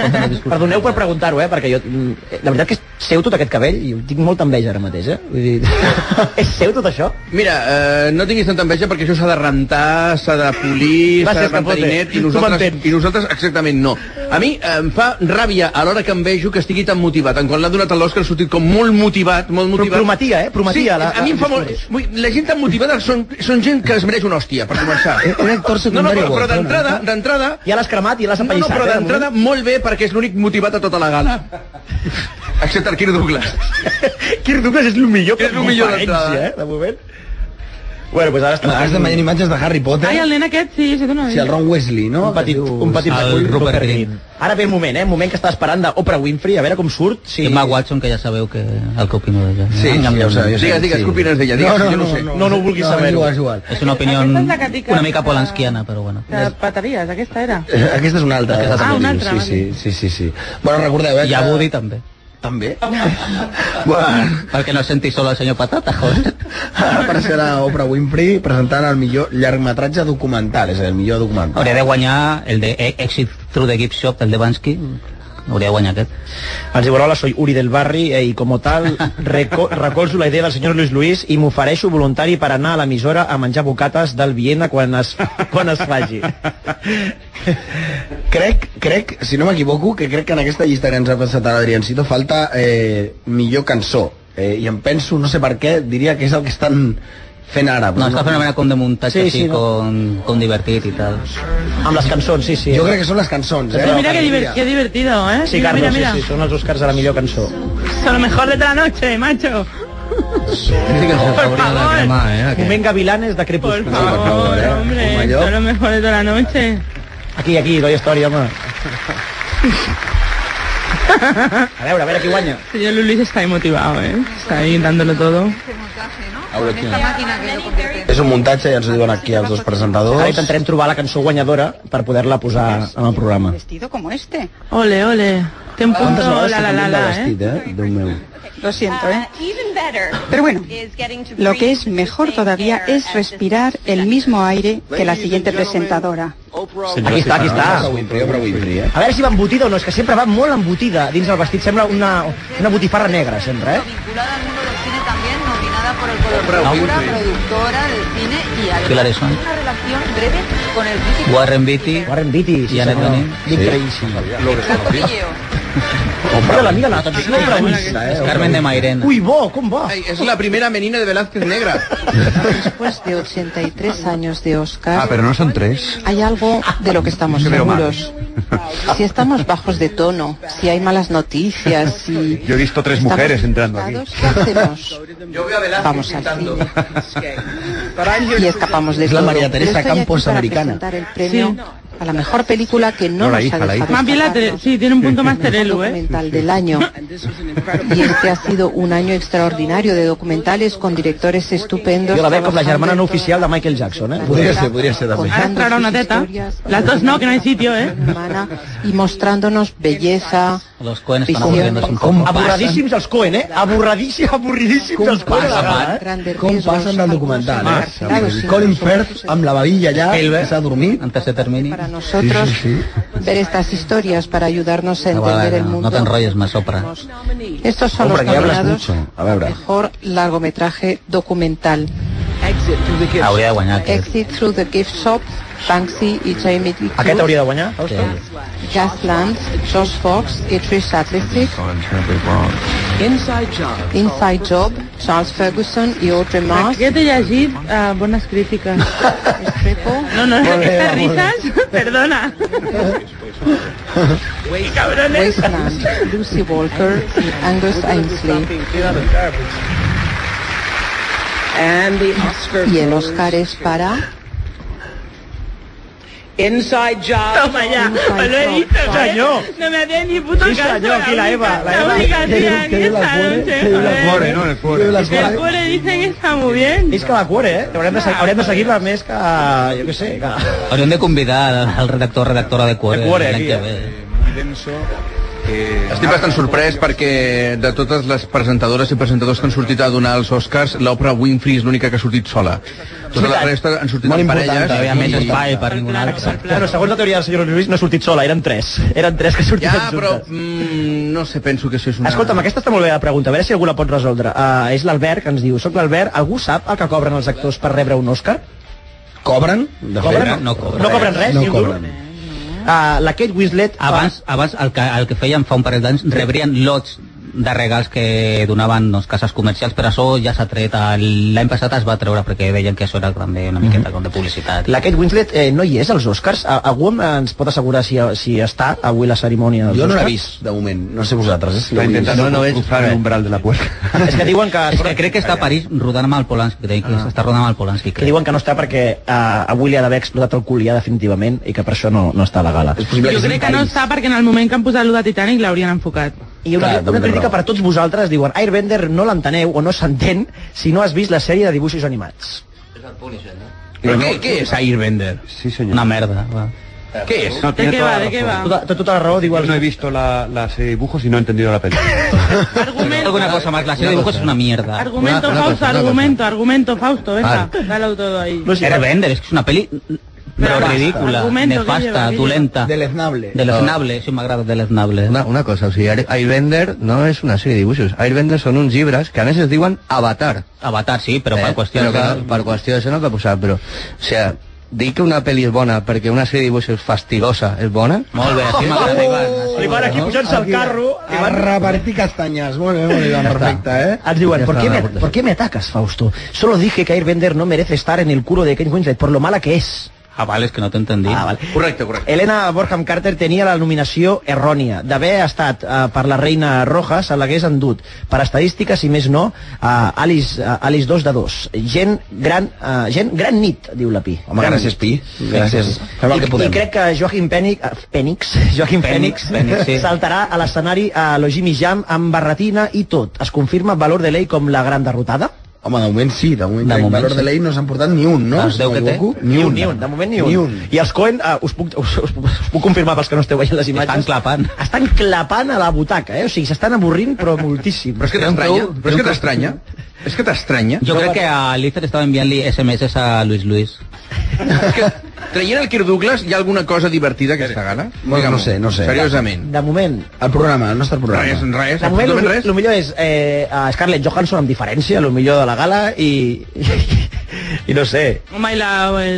Perdoneu per preguntar-ho, eh? Perquè jo, mm, eh, la veritat que és seu tot aquest cabell i tinc molta enveja ara mateix, eh? Vull dir, és seu tot això?
Mira, eh, no tinguis tanta enveja perquè això s'ha de rentar, s'ha de polir, s'ha de
Gràcies,
rentar
Capote.
net i
Tu
nosaltres,
m'entens.
i nosaltres exactament no. A mi eh, em fa ràbia a l'hora que em vejo que estigui tan motivat. En quan l'ha donat a l'Òscar ha sortit com molt motivat, molt motivat.
prometia, eh? Prometia
Sí,
la-
a mi em fa molt... Vull, dir, la gent tan motivada són, són gent que es mereix una hòstia, per començar.
Eh,
Un actor secundari
No, no, però, però
bo,
d'entrada... d'entrada...
Ja l'has cremat i l'has
No, no,
apallissat,
però
eh, de
d'entrada molt bé perquè és l'únic motivat a tota la gala. Excepte el Kirk Douglas.
Kirk Douglas és el millor
És el millor d'entrada.
eh? De moment. Bueno, pues ara
Has de veient imatges de Harry Potter.
Ai, el nen aquest, sí, sí, dona
Sí, el Ron Wesley, no?
Un petit, un petit
El
recull,
Rupert
Rupert
Grint.
Grint. Ara ve el moment, eh? El moment que està esperant de Oprah Winfrey, a veure com surt. Si...
Emma Watson, que ja sabeu que el que opino d'ella.
Sí, sí, ja ho sabeu. Digues, digues, què opines d'ella? Digues, jo no ho sé.
No, no ho vulguis
és
saber.
igual, és igual. És una opinió
Aquesta és la que dic que-
una mica polanskiana, però bueno.
Que pataries, aquesta era.
Aquesta és una altra.
Aquesta és
Ah, una altra,
Sí, sí, sí, sí, sí. Bueno, recordeu, eh?
I a
que-
Woody també.
També? bueno,
Perquè no senti sol el senyor Patata, joder.
ara apareixerà Oprah Winfrey presentant el millor llargmetratge documental, és a dir, el millor documental.
Hauria de guanyar el de E- Exit Through the Gift Shop, el de Bansky. Hauria de guanyar aquest.
Els Iborola, soy Uri del Barri eh, y como tal reco recolzo la idea del senyor Luis Luis i m'ofereixo voluntari per anar a l'emissora a menjar bocates del Viena quan es, quan es faci.
Crec, crec, si no m'equivoco, que crec que en aquesta llista que ens ha passat ara Adriancito falta eh, millor cançó. Eh, I em penso, no sé per què, diria que és el que estan fent ara.
No, està fent una mena com de muntatge
Sí,
sí, sí,
sí,
així,
no?
com, com divertit i tal.
Amb les cançons, sí, sí.
Jo crec que són les cançons, eh?
Pero mira qué, diver- qué divertido, ¿eh?
Sí,
mira,
Carlos,
mira, mira.
sí, sí, són els Oscars a la millor cançó.
Son lo mejor de la noche, macho. Por favor.
eh,
eh?
Moment Gavilanes de Crepúsculo.
Por favor, hombre, son lo mejor de toda la noche.
eh? Aquí, aquí, doy història, home. A veure, a veure qui guanya.
Señor Luis está ahí motivado, ¿eh? Está ahí dándolo todo.
És un muntatge, ja ens ho diuen aquí els dos presentadors.
Ara intentarem trobar la cançó guanyadora per poder-la posar en el programa.
Vestido como este.
Ole, ole. Te un
Quantes
punto
hores
la la la
de
la, ¿eh?
vestit, eh? Déu meu.
Lo
Ah,
siento, ¿eh? Pero bueno, lo que es mejor todavía es respirar el mismo aire que la siguiente presentadora.
Aquí està, aquí està.
Oprah Winfrey, Oprah Winfrey, eh?
A veure si va embotida o no, és que sempre va molt embotida dins el vestit, sembla una, una botifarra negra, sempre, eh?
Vinculada al mundo del cine también, nominada por el color
Oprah
púrpura,
Winfrey.
productora del cine y además
Pilar Eson.
tiene una relación breve con el crítico
Warren Beatty.
Warren Beatty,
I Annette Bening.
Franco Pilleo.
Mira la, mira la, atenció, mira la,
És Carmen de Mairena.
Ui, bo, com va?
Ai, és la primera menina de Velázquez Negra.
Después de 83 años de Oscar,
Ah, pero no son tres.
hay algo de lo que estamos
Yo veo mal.
seguros. Si estamos bajos de tono, si hay malas noticias, si...
Yo he visto tres
estamos
mujeres entrando aquí.
asustados, ¿Qué hacemos? Vamos al cine. Y escapamos de
Es la
todo.
María Teresa
Yo estoy aquí
Campos
para
americana.
presentar el premio
Sí.
a la mejor película que no,
No, la
nos
hija,
ha
la
dejado
hija.
Más bien la
escapar.
Tere- sí, tiene un punto más Terelu,
Mejor
¿eh?
documental del año. Y este ha sido un año extraordinario de documentales con directores estupendos.
Jo la veig com la
trabajando
germana
en
no oficial de Michael Jackson, eh?
Podria ser, podria ser també.
Ah, claro, una teta. Las dos no, que no hay sitio, ¿eh?
humana y mostrándonos belleza,
Los Coen estan
Visió.
avorriendo-se un poc.
Avorradíssims els Cohen, eh? Avorradíssims, avorridíssims els Cohen. a la vegada, eh?
grandes
Com
riesgos,
passen del documental,
algunos
eh?
encarcelados sin
Colin
razón
Firth amb la babilla allà,
Spielberg.
s'ha dormit.
En tercer termini.
para nosotros ver estas historias para ayudarnos a
Ah,
entender
vale,
el
no, no
mundo.
t'enrotlles més, Oprah.
Estos son los
Oprah, que hablas
nominados
mucho. A veure.
mejor largometraje documental.
Ah,
Hauria de guanyar aquest.
Exit Through the Gift Shop, Banksy y Jamie Lee
Aquest
Curtis,
hauria de guanyar, Fausto?
Gus Land, Josh Fox y Trish Atlasik,
Inside Job.
Inside Job, Charles Ferguson y Audrey Mars,
Paquete y allí, ah, buenas críticas.
Ripple,
No, no, no,
Ole,
estas
ole.
risas, perdona.
Wasteland, Lucy Walker y Angus Ainsley. Y el Oscar es para
Inside Job.
Toma ya, os lo he dicho,
Sí, senyor.
¿eh? No me hacéis ni puto
Sí,
caso.
senyor, aquí la Eva, la Eva.
única
Que
tía
diu-
en
que diu la
esta
cuore,
noche,
que diu la
joder.
cuore, no, el cuore. Que diu la cuore.
El cuore dicen que está muy bien.
És que la cuore, eh? Haurem de, se- haurem de seguir-la més que... Jo què sé, que...
Hauríem de convidar al redactor redactora de Cuore.
De Cuore,
l'any
aquí,
que
eh?
ve.
Eh, Estic bastant sorprès perquè de totes les presentadores i presentadors que han sortit a donar els Oscars, l'Oprah Winfrey és l'única que ha sortit sola. Tota la resta han sortit en parelles. i-
ningú altre. Exacte. Bueno, segons la teoria del senyor Lluís, no ha sortit sola, eren tres. Eren tres que sortien
Ja,
juntes.
però mm, no sé, penso que això és una...
Escolta'm, aquesta està molt bé la pregunta, a veure si algú la pot resoldre. Uh, és l'Albert que ens diu, soc l'Albert, algú sap el que cobren els actors per rebre un Òscar?
Cobren?
De cobren?
fet, no cobren.
No cobren res?
No
ni un duro?
cobren.
Uh, la Kate Winslet...
Abans, abans el, que, el que feien fa un parell d'anys rebrien lots de regals que donaven doncs, cases comercials, però això ja s'ha tret. el- L'any passat es va treure perquè deien que això era també una miqueta
Mhm.
com de publicitat.
La Kate Winslet eh, no hi és als Oscars? A algú em- ens pot assegurar si, si està avui la cerimònia dels
Jo no l'he
Oscars?
vist, de moment. No sé vosaltres. eh, si
Està
l'heu vist.
intentant
No, no veig.
Bufar l'umbral de la puerta.
És que diuen que... Ah.
És que crec que està a París rodant amb el Polanski, crec que està rodant amb el Polanski.
Que diuen que no està perquè uh, avui li ha d'haver explotat el cul ja definitivament i que per això no, no està a la gala. És
Jo crec que no està perquè en el moment que han posat allò de Titanic l'haurien enfocat.
I una, una crítica per a tots vosaltres diuen Airbender no l'enteneu o no s'entén si no has vist la sèrie de dibuixos animats.
Però què, què és Airbender?
Sí, senyor.
Una merda.
¿Qué es?
¿De qué va? ¿De qué va? Toda, toda la razón, digo,
no he visto la, las eh, dibujos y no he entendido la película.
Alguna cosa más, la serie de dibujos es una mierda.
Argumento, Fausto, argumento, argumento, Fausto, venga, dalo todo ahí.
Airbender, es que es una peli pero
basta.
ridícula,
Argumento,
nefasta,
Guille, Guille.
dolenta.
Deleznable.
Deleznable, eso me agrada, deleznable.
Una, una cosa, o sigui, Air- Airbender no és una sèrie de dibuixos. Airbender són uns llibres que a més es diuen Avatar.
Avatar, sí, però
per qüestió... Però que, no- per qüestió d'això no cal posar, però... O sigui, dir que una pel·li és bona perquè una sèrie de dibuixos fastigosa és bona...
Oh.
Molt bé, així m'agrada, Ivan.
Ivan, aquí pujant-se al carro...
A repartir castanyes. Molt bé, molt bé, Ivan, perfecte, eh?
Ah, Ens diuen, ¿por qué, me, ¿por qué me atacas, Fausto? Solo dije que Airbender no merece estar en el culo de Kate Winslet por lo mala que es.
Ah, vale, es que no te entendí. Ah,
vale.
Correcte, correcte.
Elena Borham Carter tenia la nominació errònia d'haver estat eh, per la reina Roja se l'hagués endut per estadístiques i més no eh, Alice, eh, Alice 2 de 2 gent gran, eh, gent gran nit diu la Pi
Home,
Gran
gràcies,
nit.
Pi. Gràcies. Fem el
I,
que podem.
I crec que Joaquim Pènix, Pènix, Joaquim Pènix,
Phoenix, sí.
saltarà a l'escenari a l'Ojimi Jam amb barretina i tot. Es confirma Valor de Ley com la gran derrotada?
Home, de moment sí, de moment.
De
De
moment
valor
sí.
de ley no s'han portat ni un, no?
Els
Si
deu
no
que té?
m'equivoco. Ni, un,
ni un, de moment ni un. I els Cohen, uh, us, puc, us, us, puc- us puc confirmar pels que no esteu veient les imatges... Estan
clapant.
Estan clapant a la butaca, eh? O sigui, s'estan avorrint, però moltíssim.
Però és que t'estranya, però és que t'estranya. És que t'estranya.
Yo creo que a Lizer estaba enviando SMS a Luis Luis.
Traient el Kirk Douglas, hi ha alguna cosa divertida aquesta gala?
Bueno, no sé, no sé.
Seriosament.
De moment...
El programa, el nostre programa.
Res, res,
De moment,
absolutament
lo,
res.
lo millor és eh, a Scarlett Johansson amb diferència, lo millor de la gala i... I no sé.
Home, i la,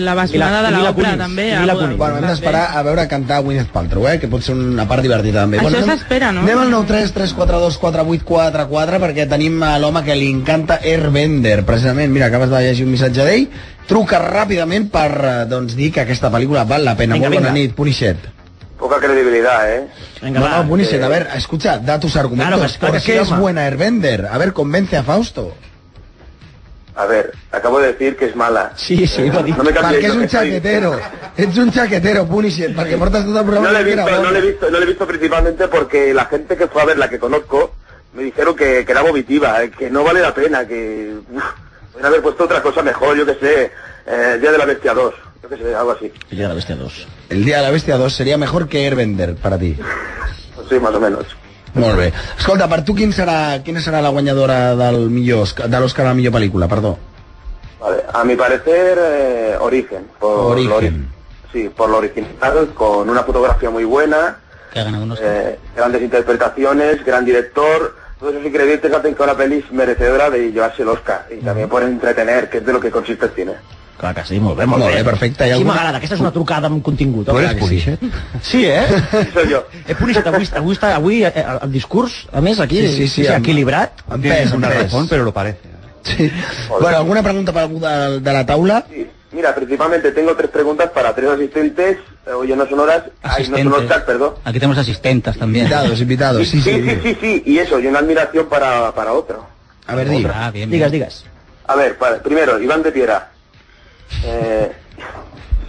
la bastonada de l'Oprah, també. a-
Bueno, hem d'esperar a veure cantar Gwyneth Paltrow, eh? Que pot ser una part divertida, també.
Això
bueno, anem-
s'espera, no?
Anem al 933424844 perquè tenim a l'home que li encanta Airbender, precisament. Mira, acabes de llegir un missatge d'ell. Truca ràpidament per eh, doncs, dir que aquesta pel·lícula val la pena.
Vinga,
Molt bona
vinga.
nit, Punixet.
Poca credibilidad, ¿eh?
no, no, Punixet, a ver, escucha, da tus argumentos.
Claro, pues, claro
¿Por
que
qué
sí,
es
home.
buena Airbender? A ver, convence a Fausto.
A ver, acabo de decir que es mala.
Sí, sí,
no, me cambies,
perquè és
no,
un
estoy-
xaquetero. Ets un xaquetero, Punixet, perquè portes tot el programa
No le, he
dient que
visto,
era
no,
bona.
le he visto, no le he visto principalmente porque la gente que fue a ver, la que conozco, me dijeron que, que era vomitiva, eh, que no vale la pena, que uf, podrían haber puesto otra cosa mejor, yo que sé, eh, el Día de la Bestia 2, yo que sé, algo así.
El Día de la Bestia 2.
El Día de la Bestia 2 sería mejor que Airbender, para ti.
Pues sí, más o menos.
Molt bé. Escolta, per tu quin serà, quina serà la guanyadora del millor, Osc- de l'Oscar a la millor pel·lícula, perdó.
Vale, a mi parecer, eh, Origen. Por
Origen.
lo ori- sí, por lo original, con una fotografía muy buena,
Que ha ganado unos...
eh, grandes interpretaciones, gran director. Todos esos ingredientes hacen que una peli es merecedora de llevarse el Oscar y también por entretener, que es de lo que consiste el cine.
Clar que sí, molt bé, molt,
Molt bé, perfecte. Hi ha
Així
alguna-
m'agrada, aquesta és una trucada amb contingut.
Tu
home,
eres
clar que Sí. sí, eh?
Soy jo.
Eh, Punixet, avui, avui, està, avui eh, el, el discurs, a més, aquí,
Sí, sí, sí,
és
amb-
equilibrat.
amb pes, amb pes.
Pero lo parece.
Sí. Bueno, alguna pregunta per algú de, de la taula? Sí.
Mira, principalmente tengo tres preguntas para tres asistentes, eh, oye, no son horas, ay, no son
Asistentes.
horas, perdón.
Aquí tenemos asistentes también.
Invitados, invitados, sí,
Sí, sí, sí, sí, y eso, y una admiración para, para otro.
A ver, diga.
Digas, digas.
A ver, pa- primero, Iván de Piedra. Eh,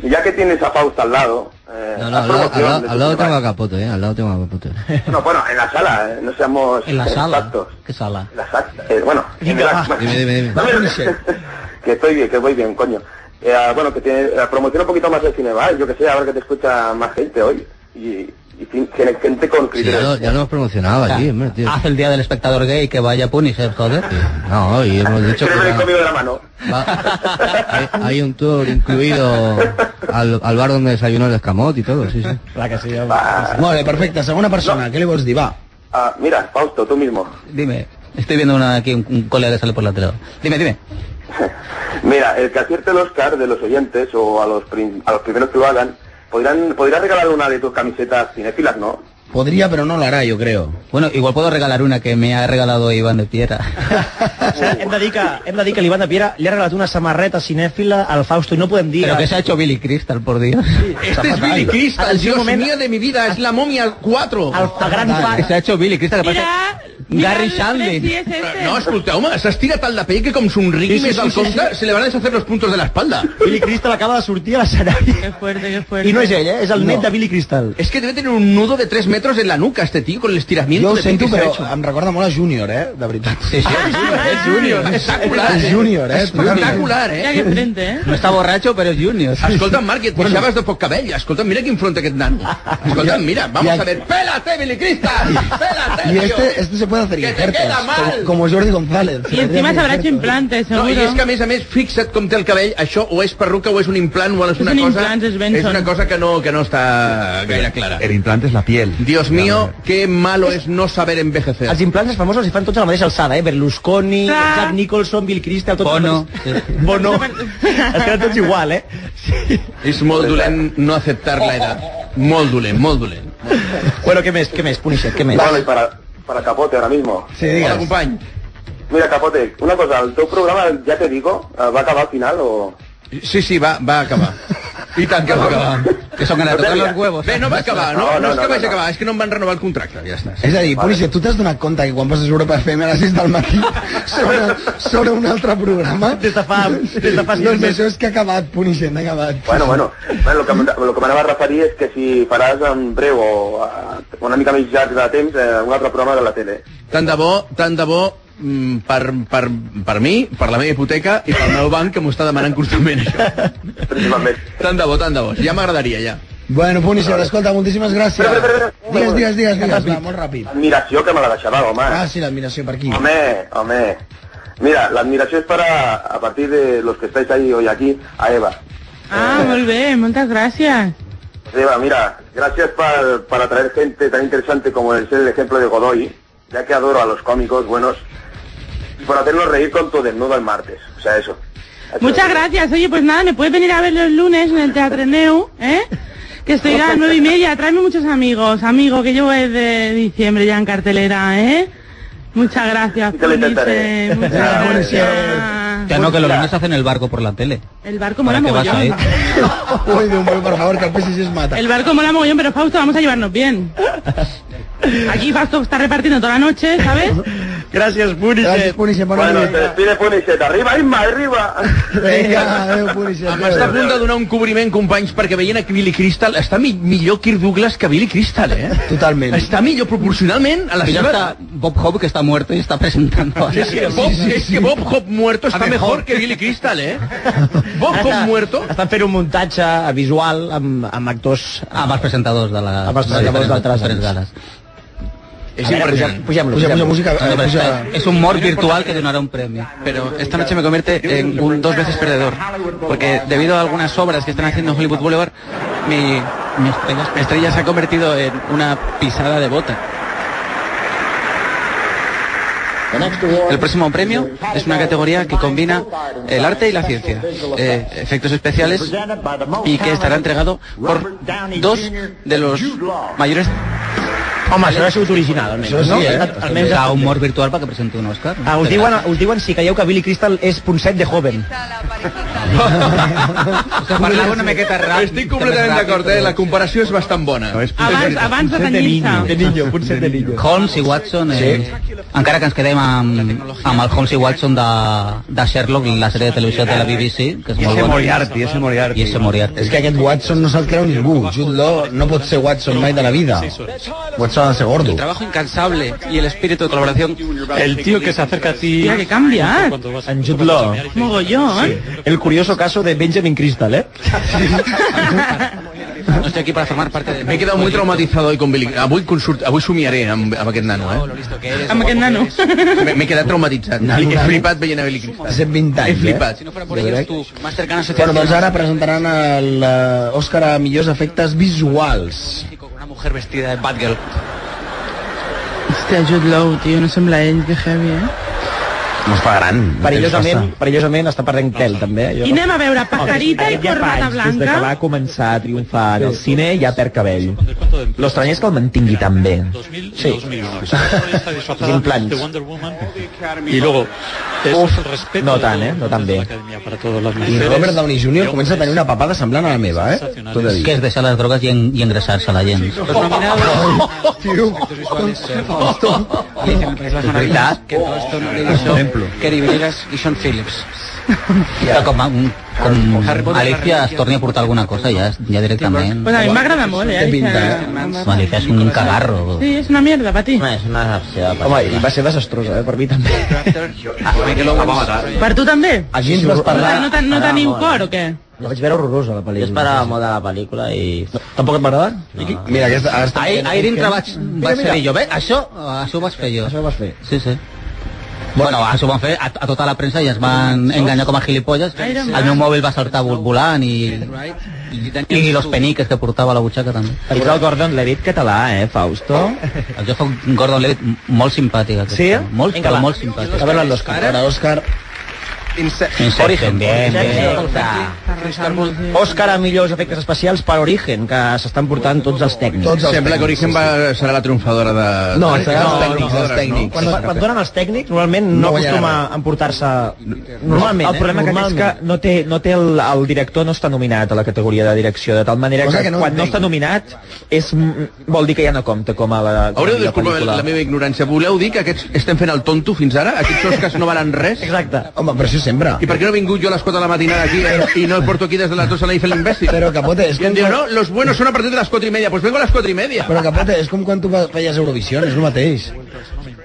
ya que tienes a Fausta al lado, eh,
No, no,
haz
al lado, al
promoción
lado-
de
al
tu
lado
festival.
tengo a Capote, eh. Al lado tengo a Capote.
No, bueno, en la sala, eh, no seamos
En la
eh,
sala.
exactos.
¿Qué sala?
En la sala, eh, bueno, en la-
Dime, dime, dime.
que estoy bien, que voy bien, coño. Eh, ah, bueno, que tiene, eh, promociona un poquito más el cine, ¿vale? Yo que sé, ahora que te escucha más gente hoy. Y, y fin- tiene gente con
Sí, ya,
criterios.
lo, ya lo hemos promocionado aquí, hombre, tío.
Haz el día del espectador gay que vaya a Punisher, joder.
No, y hemos dicho que
Escríbele
va-
conmigo de la mano.
hay, hay un tour incluido al, al bar donde desayunó el escamot y todo, sí, sí.
La que sí,
Molt bé, perfecte. Segona persona, què li vols dir? Va.
Ah, mira, Fausto, tú mismo.
Dime, estoy viendo una, aquí un, un colega que sale por la tele. Dime, dime.
Mira, el que acierte el Oscar de los oyentes o a los, prim- a los primeros que lo hagan, podrán, podrás regalar una de tus camisetas cinéfilas, ¿no?
Podría, pero no lo hará, yo creo. Bueno, igual puedo regalar una que me ha regalado Iván de Piedra.
Hem de dir que, hem de dir que l'Ivan de Piera li ha regalat una samarreta cinèfila al Fausto i no podem dir...
Pero que se ha hecho Billy Crystal, por Dios.
Este es Billy Crystal, Dios mío de mi vida, es la momia 4.
Alfa gran fan. Se ha hecho Billy Crystal, que passa... Gary Shandling.
este.
No, escolteu-me, s'estira tant la pell que com somrigui
Sí, sí,
més
sí,
al
sí,
compte,
sí.
se le van a deshacer los puntos de la espalda.
Billy Crystal acaba de sortir a l'escenari.
Qué fuerte, qué fuerte.
I no és ell, eh? És el net de Billy Crystal.
Es que debe tener un nudo de 3 metros en la nuca este tío con el estiramiento
Jo ho
de pell
sento,
que se ha
però
hecho.
em recorda molt a Junior, eh? De veritat.
Sí, sí.
Es júnior, espectacular.
És júnior, eh?
Espectacular, eh?
Ya que frente, ¿eh?
No està borratxo, però és júnior.
Escolta'm, Marc, i et queixaves de poc cabell. Escolta'm, mira quin front aquest nano. Escolta'm, mira, vamos
ja-
a ver. Pélate, Billy Crystal, pélate,
Y
tío.
este, este se puede hacer
Que te
injertos,
queda mal.
como, como Jordi González.
Y encima se habrá hecho implantes,
No,
seguro.
i és que a més a més, fixa't com té el cabell, això o és perruca o és un implant o és
És
una
un
cosa...
implant, és Benson.
és una cosa que no, que no està gaire clara.
El implante es la piel.
Dios mío, qué malo es no saber envejecer.
Els implants famosos els fan tots a la mateixa alçada, eh? Berlusconi,
Ah.
Jack Nicholson, Bill Crystal, tots...
Bono.
Bono. Es queden tots igual, eh?
És molt dolent no acceptar la edat. Molt dolent, molt dolent.
Bueno, què més, què més, Punisher, què més?
Bueno, y para, para Capote ahora mismo.
Hola, company.
Mira, Capote, una cosa, el teu programa, ya te digo, eh, va a acabar al final o...
Sí, sí, va, va acabar. I tant que va acabar.
Que són ganes de tocar los huevos.
Bé, no va acabar, no,
No, no,
no, no, és que
no,
vaig
no.
acabar, és que no em van renovar el contracte, ja està.
És a dir, Punisher, tu t'has donat compte que quan passes Europa FM a les 6 del matí sobre, sobre un altre programa?
Des de fa... Des de fa sis
Doncs
mesos.
això és que ha acabat, Punisher, ha acabat.
Bueno, bueno, bueno, lo que, em- lo que m'anava a referir és que si faràs en breu o eh, una mica més llarg de temps eh, un altre programa de la tele.
Tant de bo, tant de bo mm, per, per, per mi, per la meva hipoteca i pel meu banc que m'ho està demanant constantment això.
Principalment.
Tant de bo, tant de bo. Ja m'agradaria, ja.
Bueno, Punisher, escolta, moltíssimes gràcies.
Espera, espera, espera.
Digues, digues, digues, digues, va, molt ràpid.
Admiració que me la deixava, home.
Ah, sí, l'admiració per aquí.
Hombre, hombre. Mira, la admiración es para, a partir de los que estáis ahí hoy aquí, a Eva.
Ah, muy bien, muchas gracias.
Eva, mira, gracias para, para traer gente tan interesante como el ser el ejemplo de Godoy, ya que adoro a los cómicos buenos, y por hacernos reír con tu desnudo el martes. O sea, eso.
Muchas gracias. Oye, pues nada, me puedes venir a ver los lunes en el Teatro Neu, ¿eh? Que estoy a las nueve y media. Tráeme muchos amigos, amigo, que yo es de diciembre ya en cartelera, ¿eh? Muchas gracias,
Yo lo intentaré.
Punisher, Muchas
Ah,
gracias.
Ja no, que los lunes hacen el barco por la tele.
El barco mola
Para que vas a ir.
mogollón.
Ui, Déu meu, per favor, que el PSG es mata.
El barco mola mogollón, pero Fausto, vamos a llevarnos bien. Aquí Fausto está repartiendo toda la noche, ¿sabes?
Gràcies, Punisher.
Gràcies, Punisher, bona
Bueno, te
nit.
despide Punisher. Arriba, Isma, arriba.
Vinga, adéu, Punisher.
Em està a punt Ah, de donar un cobriment, companys, perquè veient que Billy Crystal està mi millor Kirk Douglas que Billy Crystal, eh?
Totalment.
Està millor proporcionalment a la
Y ya
seva...
está Bob Hope que está muerto y está presentando. ahora.
Es que, Bob, es que Bob Hope muerto está mejor que Billy Crystal, ¿eh? Bob Hope muerto.
Estan fent un muntatge visual amb, Ah, amb actors...
Amb els presentadors de la...
Amb els presentadors
de
d'altres
diferents gales.
Es
A veure,
pues
impresionante.
Pugem-lo,
Puja, puja
pugem-lo.
música, eh,
No, pero
puja...
es- Es un mor virtual que donará un premio.
Pero esta noche me convierte en un dos veces perdedor. Porque debido a algunas obras que están haciendo en Hollywood Boulevard, mi, mi estrella, mi estrella se ha convertido en una pisada de bota. El próximo premio es una categoría que combina el arte y la ciencia, eh, efectos especiales, y que estará entregado por dos de los mayores
Home, això ha sigut original, almenys.
Això sí,
no?
eh?
Almenys
Hi ha un mort virtual perquè presenti un Òscar.
Ah, us diuen, us diuen si creieu que Billy Crystal és Ponset de Joven.
Parlava una miqueta ràpid. Estic completament d'acord, eh? La comparació és bastant bona.
Abans, abans de tenyir-se.
niño, potser de niño. Holmes i Watson, eh, encara que ens quedem amb, amb el Holmes i Watson de, de Sherlock, la sèrie de televisió de la BBC, que és
I
molt
ese
bona.
Moriarty, ese Moriarty.
I ese Moriarty.
És que aquest Watson no se'l creu ningú. Jude Law no pot ser Watson mai de la vida. Watson ha de ser gordo.
El trabajo incansable y el espíritu de colaboración.
El tío que se acerca a ti...
Mira, que canviat.
En Jude Law.
Mogollón.
El curioso caso de Benjamin Crystal, eh?
No estoy aquí para formar parte de...
Me he quedat molt traumatitzat avui con Billy. Avui, consult... avui somiaré amb, amb aquest nano, eh?
Amb aquest nano.
Me- M'he quedat traumatitzat.
Nano,
He
nano.
flipat veient a Billy Crystal.
Hace 20 anys,
He flipat.
eh?
Por ellos, tu más cercana
Bueno,
asociación...
doncs ara presentaran l'Òscar a millors efectes visuals.
Una mujer vestida de Batgirl.
Hòstia, Jude Law, tio, no sembla ell, que heavy, eh?
No es fa gran.
Perillosament, perillosament està perdent pèl, també. eh?
I anem a veure Pajarita i
Ja fa
Corbata
anys,
Este
Des de
Blanca.
que va començar a triomfar en el cine, ja perd cabell. L'estrany és que el mantingui tan bé. Sí.
Está disfrazada
Sin plans.
de Wonder Woman. Y luego, es respeto
no
de
tan,
todo
eh,
el
no
mundo
tan
de
bé.
la academia para todas las
I
mujeres.
Robert Downey Jr. comença a tenir una papada semblant a la meva, eh? T'ho he de dir.
Que és deixar les drogues i, en, i ingressar-se a la gent.
Los nominados...
Tio,
Dicen el País de las Maravillas que todo esto no lo hizo Kerry Villegas y Sean Phillips.
Però com, com Alicia es torni a portar alguna cosa, ja, ja directament...
Pues a mi m'agrada molt, eh? Alicia.
Alicia és un cagarro.
Sí, és una mierda, per ti.
És una decepció.
Home, i va ser desastrosa, eh? Per mi també.
Michael Owens.
Per tu també?
Així ens vas
No, no, ten- no teniu cor, o què?
La vaig veure horrorosa, la pel·lícula.
Jo esperava molt de la pel·lícula i...
Tampoc et va agradar?
Mira, aquesta... ara està-
Ahir, ahir dintre vaig, vaig fer jo, bé, això, això ho vaig fer jo. Això ho vas fer. Sí, sí. Bueno, això ho van fer a, a tota la premsa i ens van enganyar com a gilipolles.
Iron
El meu mòbil va saltar vol- volant i, i los peniques que portava a la butxaca també.
Ets el Gordon Levitt català, eh, Fausto?
Jo soc un Gordon Levitt molt simpàtic. Aquest.
Sí?
Molt,
Vinga,
però
va.
molt simpàtic.
A veure l'Òscar.
Ara, Òscar...
Inception,
Origen,
bien, bien.
Òscar a millors efectes especials per Origen, que s'estan portant tots els tècnics.
Sembla que Origen va, serà la triomfadora de...
No,
de-
serà els
de-
tècnics,
de-
els
de-
tècnics. Quan,
no?
quan donen els tècnics, normalment no,
No
acostuma
guanyaran.
a emportar-se... Normalment,
el problema
eh?
que
Normalment.
és
que no té, no té el, el director no està nominat a la categoria de direcció, de tal manera
Cosa
que,
que no
quan no
entenc.
està nominat és, mm, vol dir que ja no compta com a la, com a
Haureu de
millor
disculpar la,
pel·lícula.
la meva ignorància. Voleu dir que aquests estem fent el tonto fins ara? Aquests Oscars no valen res?
Exacte.
Home, però això sempre.
I per què no he vingut jo a les 4 de la matinada aquí eh, i no el porto aquí des de les 2 a la nit fent l'imbècil?
Però Capote, és
I em
com...
diu, no, los buenos son a partir de las 4 y media. Pues vengo a las 4 y media.
Però Capote, és com quan tu fe- feies Eurovisió, és el mateix.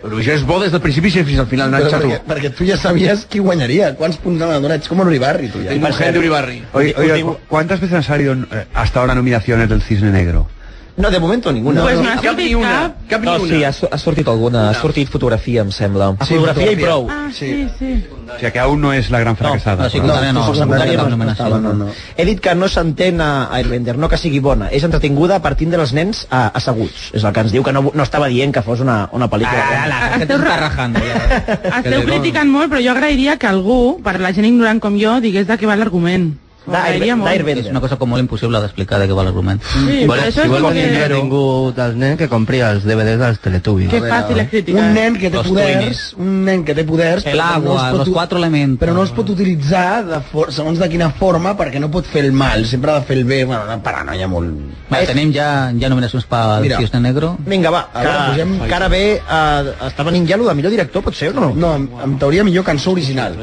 Però això és bo des del principi fins al final,
Però
Nacho, tu.
perquè, perquè tu ja sabies qui guanyaria, quants punts han donat, ets com a Uribarri, tu ja.
Tengo un gen de Uribarri.
Oye, oye, ¿cu- ¿cuántas veces han salido eh, hasta ahora nominaciones del Cisne Negro?
No, de moment ninguna.
Pues no ha
Cap ni
sortit
una.
cap.
Cap ni
No,
una.
sí, ha, su- ha sortit alguna, ha sortit fotografia, em sembla.
Sí, fotografia i prou.
Ah, sí, sí.
O sea, que aún no es la gran fracasada.
no, sí, clar. no,
tu
secundària no,
no,
no,
estava,
no,
no, no. He dit que no s'entén a Airbender, no que sigui bona. És entretinguda partint dels nens a, asseguts. És el que ens diu que no, no estava dient que fos una, una pel·lícula.
Ah, la, que t'està rajant. Ja.
Esteu criticant molt, però jo agrairia que algú, per la gent ignorant com jo, digués de què va l'argument. Ho agrairia molt.
És una cosa com molt impossible d'explicar de què va l'argument.
Sí, però això
si
és
vols
com
dinero
que...
ningú dels nens que compri els DVDs dels Teletubbies.
Que fàcil és criticar. eh?
Un nen que té
Los
poders,
Twinnies.
un nen que té poders,
El
però que
agua,
els pot
los
u-
cuatro elementos.
però no es pot utilitzar de for segons de quina forma perquè no pot fer el mal, sempre ha de fer el bé, bueno, una paranoia molt... Eh?
Vale, tenim ja, ja nominacions pel
Mira.
Cisne Negro.
Vinga, va,
A
que,
veure,
posem...
posem-
que ara ve... Uh, està venint ja lo de millor director, pot ser o no?
No, en, en teoria millor cançó original.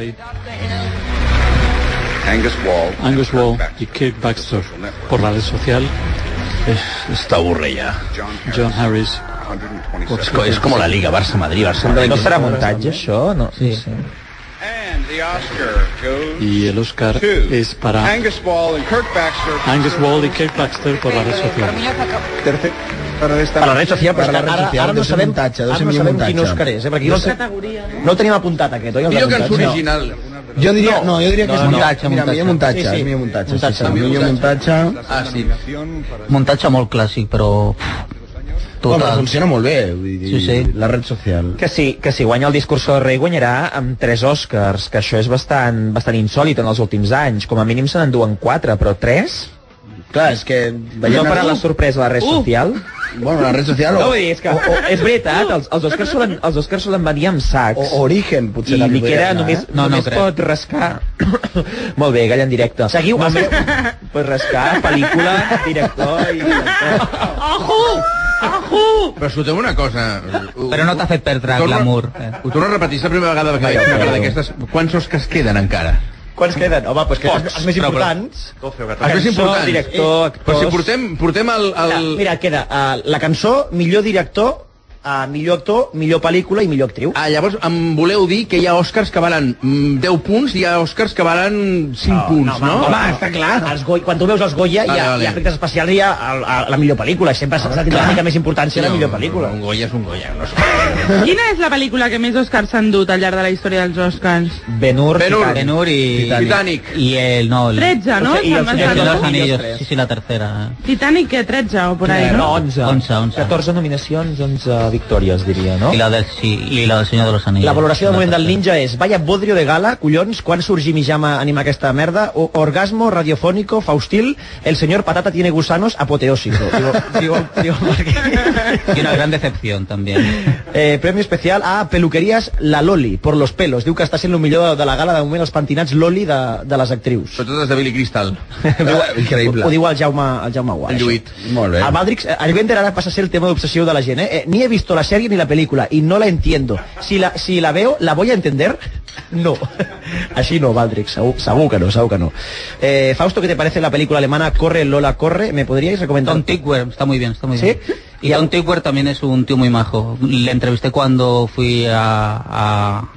Angus Wall. Angus Wall y Kate Baxter por la red social.
Està avorre ja.
John Harris.
És, co- és com la Liga, Barça-Madrid, Barça-Madrid.
No serà muntatge, això? No. Sí. sí.
Y el Oscar es para
Angus Wall and Kirk Baxter.
Angus Wall y Kate Baxter por la red social.
Per la red social, però
Per la
és que
red
ara,
social,
ara no
deu ser
sabem,
muntatge, deu
ara
ser
no
millor
sabem quin
muntatge.
Òscar és, eh?
Dos
Perquè no, sé,
categories.
no el tenim apuntat aquest, oi? el de
Millor cançó
muntatge? No.
original.
Jo diria, no, jo diria que és
No, no,
muntatge,
no.
mira, millor muntatge,
Sí, sí.
és millor muntatge, sí,
Muntatge.
sí, millor muntatge.
Ah, sí.
Muntatge molt clàssic, però...
Home,
Total.
funciona molt bé, vull dir,
Sí, sí.
la red social.
Que si, que si guanya el discurso de rei guanyarà amb tres Oscars, que això és bastant, bastant insòlit en els últims anys. Com a mínim se n'enduen quatre, però tres?
Clar, és que veient
no per a
algú-
la sorpresa a la red social? Uh.
Bueno, la red social o...
No, vull dir, és que o, o, és veritat, els, els Oscars solen, els Oscars solen venir amb sacs.
O- Origen, potser
I
també
li
podria
queda
anar,
només,
eh? No,
no,
no
només
crec.
pot rascar... Molt bé, galla en directe. Seguiu. Només pot rascar pel·lícula, director i...
Ojo! Ojo!
Però escolteu una cosa... Però
no t'ha fet perdre
glamour. Ho torno a repetir, és la primera vegada que veig una cara d'aquestes. Quants Oscars queden encara?
Quants queden? Home, doncs que els,
Pocs,
els més
però-
importants...
Els més importants. Eh, Però si portem... portem el... el...
Mira, mira, queda uh, la cançó, millor director, uh, millor actor, millor pel·lícula i millor actriu.
Ah, llavors em voleu dir que hi ha Oscars que valen mm, 10 punts i hi ha Oscars que valen 5 punts, no?
Home, està clar. Els Goya, quan tu veus els Goya,
Vale,
hi ha,
vale.
hi ha efectes especials i hi ha el, el, la millor pel·lícula. Sempre s'ha de tindre una mica més importància a la millor pel·lícula.
Un Goya és un Goya, no
Quina és la pel·lícula que més Oscars s'han dut al llarg de la història dels Oscars?
Benur,
Ben-Hur.
Benur, Benur y
Titanic.
Y el no. El,
13, ¿no?
Y el,
San
Señor de los
Gonzalo.
Anillos. Sí, sí, la
eh?
tercera.
Titanic, que 13 o por ahí,
No,
¿no?
11. 11, 11.
14 nominacions, 11 victòries, diria, no?
I la del, sí, i la del Senyor de los Anillos.
La valoració de moment del ninja és Vaya bodrio de gala, collons, quan surt Jimmy Jama a animar aquesta merda, o, orgasmo radiofónico, faustil, el senyor patata tiene gusanos, apoteósico. Digo, digo, digo,
Y una gran decepción también.
Eh, premi especial a peluqueries La Loli, por los pelos. Diu que està sent el millor de la gala de moment els pentinats Loli de, de les actrius.
Sobretot les de Billy Crystal.
Increïble. Ho, ho diu el Jaume, el Jaume Guà.
El
això.
Lluït. Molt
A Matrix, eh, el Bender ahora pasa a ser el tema de obsesión de la gent, eh? Eh, Ni he visto la serie ni la película y no la entiendo. Si la, si la veo, ¿la voy a entender? No. Así no, Matrix, segur, segur que no, segur que no. Eh, Fausto, ¿qué te parece la película alemana Corre, Lola, corre? ¿Me podríais recomendar?
Tom Tickwell, está muy bien, está muy bien. Y Tom Tickwell también es un tío muy majo. Le entrevisté cuando fui a, a,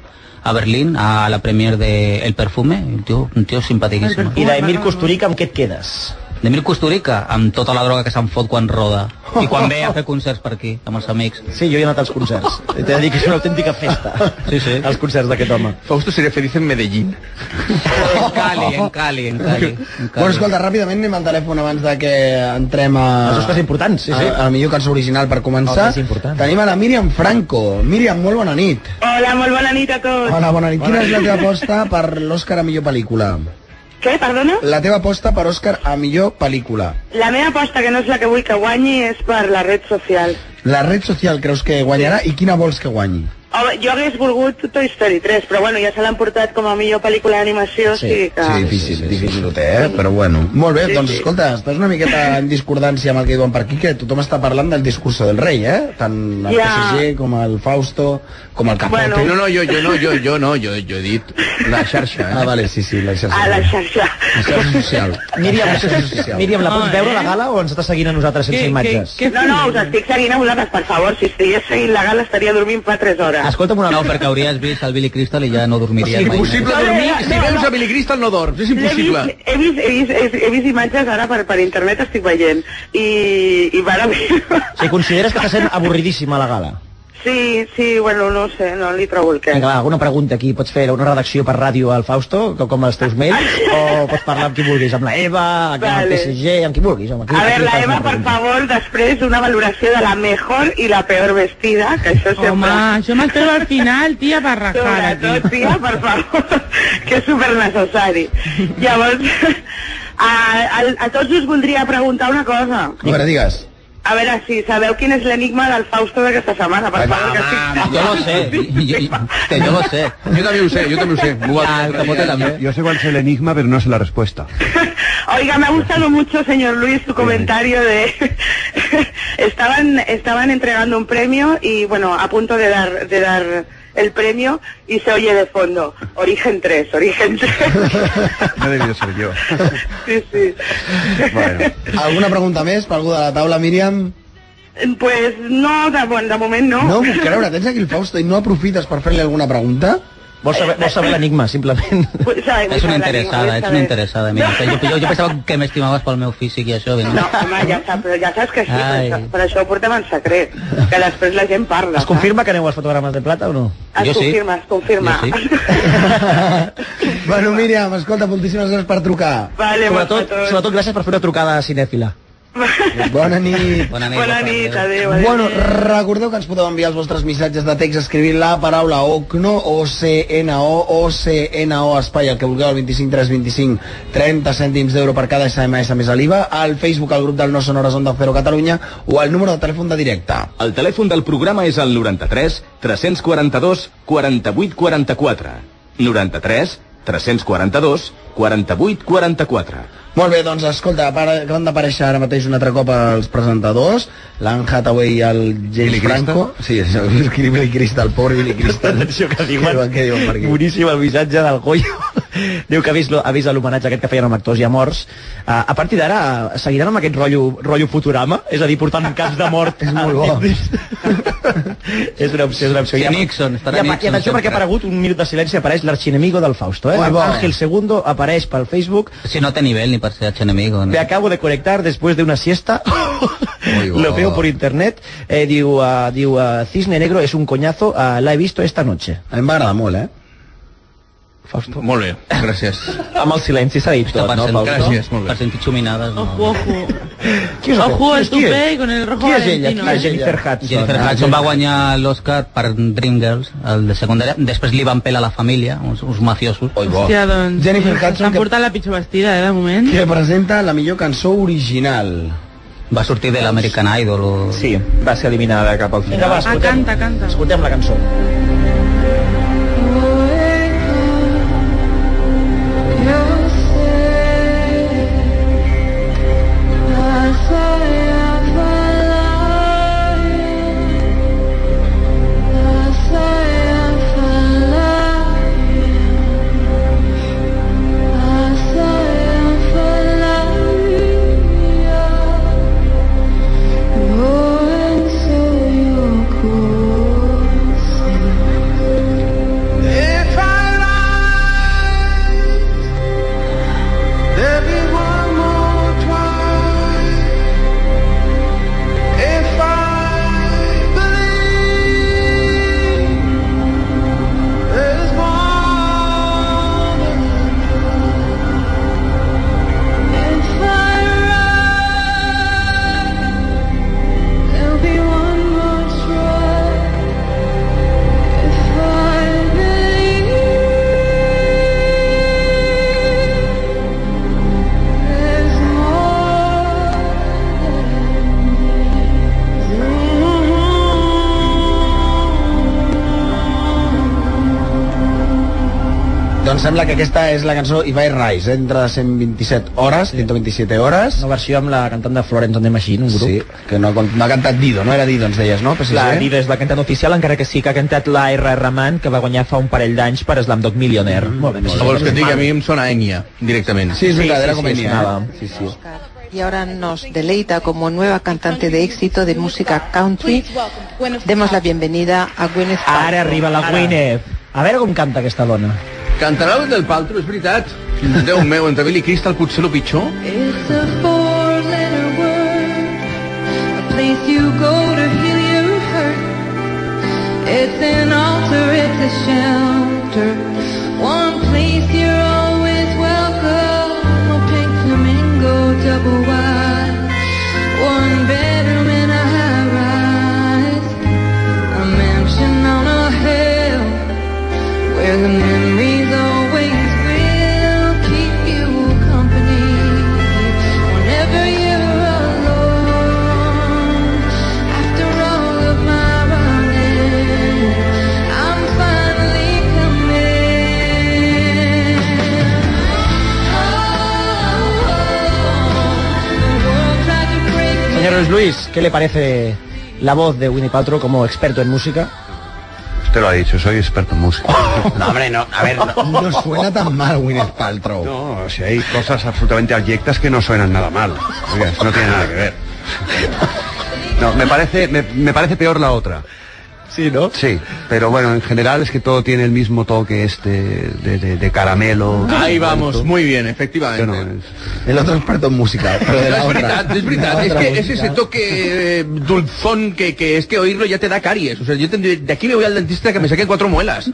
a Berlín, a la premier de El Perfume. Un tío, un tío simpaticísimo.
I d'Emil Costurica, amb què et quedes?
D'Emil Costurica, amb tota la droga que se'n fot quan roda. I quan ve a fer concerts per aquí, amb els amics.
Oh. Sí, jo he anat als concerts. T'he de dir que és una autèntica festa. Sí, sí. Els concerts d'aquest home.
Fausto seria feliç en Medellín.
En Cali, en Cali, en Cali.
Bueno, escolta, ràpidament anem al telèfon abans de que entrem a...
Els Oscars
importants,
sí, sí.
A, a la millor cançó original per començar.
Els més importants.
Tenim a la Míriam Franco. Míriam, molt bona nit.
Hola, molt bona nit a tots.
Hola, bona nit. Quina és la teva aposta per l'Oscar a millor pel·lícula?
Què, perdona?
La teva aposta per Òscar a millor pel·lícula.
La meva aposta, que no és la que vull que guanyi, és per la red social.
La red social creus que guanyarà i quina vols que guanyi?
Home, jo hagués volgut Toy Story 3, però bueno, ja se l'han portat com a millor pel·lícula d'animació, sí. o sigui que...
sí, difícil, sí, difícil ho té, eh? però bueno. Molt bé,
Sí,
doncs
sí.
escolta, estàs una miqueta en discordancia amb el que diuen per aquí, que tothom està parlant del discurso del rei, eh? Tant el
Ja.
PSG com el Fausto, com el Capote.
Bueno. No, no, jo, jo no, jo, jo no, jo, jo he dit la xarxa. Eh?
Ah, vale, sí, sí, la xarxa.
A la xarxa.
La xarxa social.
Míriam,
La xarxa social.
Míriam, la pots
Ah,
veure
eh?
a la gala o ens està seguint a nosaltres sense imatges?
no, no, us estic seguint a vosaltres, per favor. Si estigués seguint la gala estaria dormint fa 3 hores.
Escolta'm una... No, perquè hauries vist el Billy Crystal i ja no dormiries
És
mai.
impossible dormir,
No, no,
si
no,
veus
no.
a Billy Crystal no dorms, és
L'he
impossible.
vist, he, vist, he, vist, he, vist, he vist imatges ara per, per internet, estic veient. I, i van a
Si consideres que està sent avorridíssima la gala?
Sí, sí, bueno, no ho sé, no li trobo el què.
Vinga, va, alguna pregunta aquí, pots fer una redacció per ràdio al Fausto, com, com els teus mails, o pots parlar amb qui vulguis, amb la Eva, amb
Vale.
el PSG, amb qui vulguis. Home, aquí,
A
aquí
ver, la
fas
Eva,
una
per
pregunta.
favor, després una valoració de la mejor i la peor vestida, que això sempre...
Home, jo m'espero al final, tia, per rajar aquí.
Sobretot, tia, per favor, que és super necessari. Llavors, a, a, a tots us voldria preguntar una cosa.
A veure, digues.
A veure si sabeu quin és l'enigma del Fausto d'aquesta setmana, per favor, que estic...
Jo lo sé, jo, jo, que jo lo
Eh,
sé.
Jo també ho sé, jo també ho sé.
Ah, el Capote també.
Yo sé cuál es el enigma, pero no sé la respuesta.
Oiga, me ha gustado mucho, señor Luis, tu comentario de estaban estaban entregando un premio y bueno, a punto de dar de dar el premio y se oye de fondo Origen 3, Origen 3.
No he debido ser yo.
Sí, sí.
Alguna pregunta més per algú de la taula, Míriam?
Pues no, de, bueno, de moment no.
No, puc creure, tens aquí el Fausto i no aprofites per fer-li alguna pregunta?
Vols saber, vols saber l'enigma, simplement?
Pues, sabe,
És
sabe,
una interessada,
sabe.
ets una interessada. Mira, jo, jo, jo pensava que m'estimaves pel meu físic i això, vinga.
No, home, ja saps, però ja saps que sí, per
Ai.
això, per això ho portem en secret, que després la gent parla.
Es confirma que aneu als fotogrames de plata o no?
Es confirma, es confirma.
Bueno, Míriam, escolta, moltíssimes gràcies per trucar.
Vale,
Sobretot, sobretot gràcies per fer una trucada cinèfila.
Bona nit.
Bona
nit.
Bona nit, adéu, adéu.
Bueno, recordeu que ens podeu enviar els vostres missatges de text escrivint la paraula OCNO, O-C-N-O, O-C-N-O, espai, el que vulgueu, el 25 3 25 30 cèntims d'euro per cada SMS més a l'IVA, al Facebook, al grup del No Sonores Onda Cero Catalunya o al número de telèfon de directe.
El telèfon del programa és el 93 342 48 44. 93 342 48 44.
Molt bé, doncs escolta, para- acaben d'aparèixer ara mateix un altre cop els presentadors, l'Anne Hathaway i el James
Billy
Franco. Sí, és el Billy Crystal, pobre Billy Crystal.
Atenció que diuen,
què diuen per aquí?
boníssim el missatge del Goyo diu que ha vist, lo- ha vist l'homenatge aquest que feien amb actors ja morts uh, a partir d'ara eh, seguiran amb aquest rotllo, rotllo Futurama és a dir, portant caps de mort és molt bo és una opció, és una opció
Sí,
I a-
Nixon, estarà
i, a- i
Nixon
atenció perquè ha
sempre.
aparegut un minut de silenci apareix l'arxinemigo del Fausto eh?
Molt bo.
Ángel II apareix pel Facebook
Si no té nivell ni per ser enemigo. Ni...
Me acabo de conectar después de una siesta.
bo.
Lo veo por internet. Eh, diu, ah, diu ah, Cisne Negro es un coñazo. ah, la he visto esta noche.
A mi m'agrada molt, eh?
Fausto.
Molt bé, gràcies.
Amb el silenci s'ha dit
tot, no, Pau?
Gràcies, molt
Per sentir xuminades, no.
Ojo.
Qui és
Ojo al
Qui és?
tupé con el rojo eh.
Qui és ella?
Valentino.
Qui és Jennifer Hudson.
Jennifer Hudson va guanyar l'Oscar per Dreamgirls, el de secundària. Després li van pelar la família, uns, uns mafiosos. Oi,
Hòstia, doncs...
Jennifer
S'han
Hudson, que,
portat la pitjor vestida, eh, de moment.
que presenta la millor cançó original.
Va sortir de l'American Idol. O...
Sí, va ser eliminada cap al
Vinga,
final.
va,
Ah,
escoltem,
canta, canta.
escoltem la cançó.
Doncs sembla que aquesta és la cançó Ibai Rise, eh? entre 127 hores, 127 hores.
Una versió amb la cantant de Florence and the Machine, un grup.
Sí, que no, ha cant- no ha cantat Dido, no era Dido,
doncs,
ens deies, no? PSG?
La Dido és la cantant oficial, encara que sí que ha cantat la R. Rahman, que va guanyar fa un parell d'anys per Slamdog Millionaire.
Mm, Molt bé,
No vols que et digui, a mi em sona Enya, directament.
Sí, és veritat, era com
sí,
venia.
sonava.
eh?
Sí, sí.
Y ahora nos deleita como nueva cantante de éxito de música country. Demos la bienvenida a Gwyneth Paltrow.
Ara arriba la Gwyneth. A veure com canta aquesta dona.
Cantarà el del Paltro, és veritat. Déu meu, entre Billy Crystal potser el pitjor.
It's a four-letter word, a place you go to heal your hurt. It's an altar, it's a shelter, one place you're always welcome. A pink flamingo, double wide, one bedroom in a high rise, a mansion on a hill where the memories always will keep you company whenever you're alone. After all of my running, I'm finally coming. Oh, the world tried to break me.
Señores Luis, ¿qué le parece la voz de Winnie Paltrow como experto en música?
Usted lo ha dicho, soy experto en música.
No, hombre, no, a ver, no, no suena tan mal Gwyneth Paltrow.
No, o sea, hay cosas absolutamente abyectas que no suenan nada mal. Oiga, eso no tiene nada que ver. No, me parece, me, me parece peor la otra.
Sí, ¿no?
Sí, pero bueno, en general es que todo tiene el mismo toque este de, de- de caramelo.
Ahí vamos, muy bien,
Yo no,
efectivamente.
es-
El otro experto en música, pero
No,
de la
es
otra.
veritat, és veritat,
de la
és
otra
que és
música.
ese toque eh, dulzón que, que es que oírlo ya te da caries. O sea, yo tendré, de aquí me voy al dentista que me saquen cuatro muelas.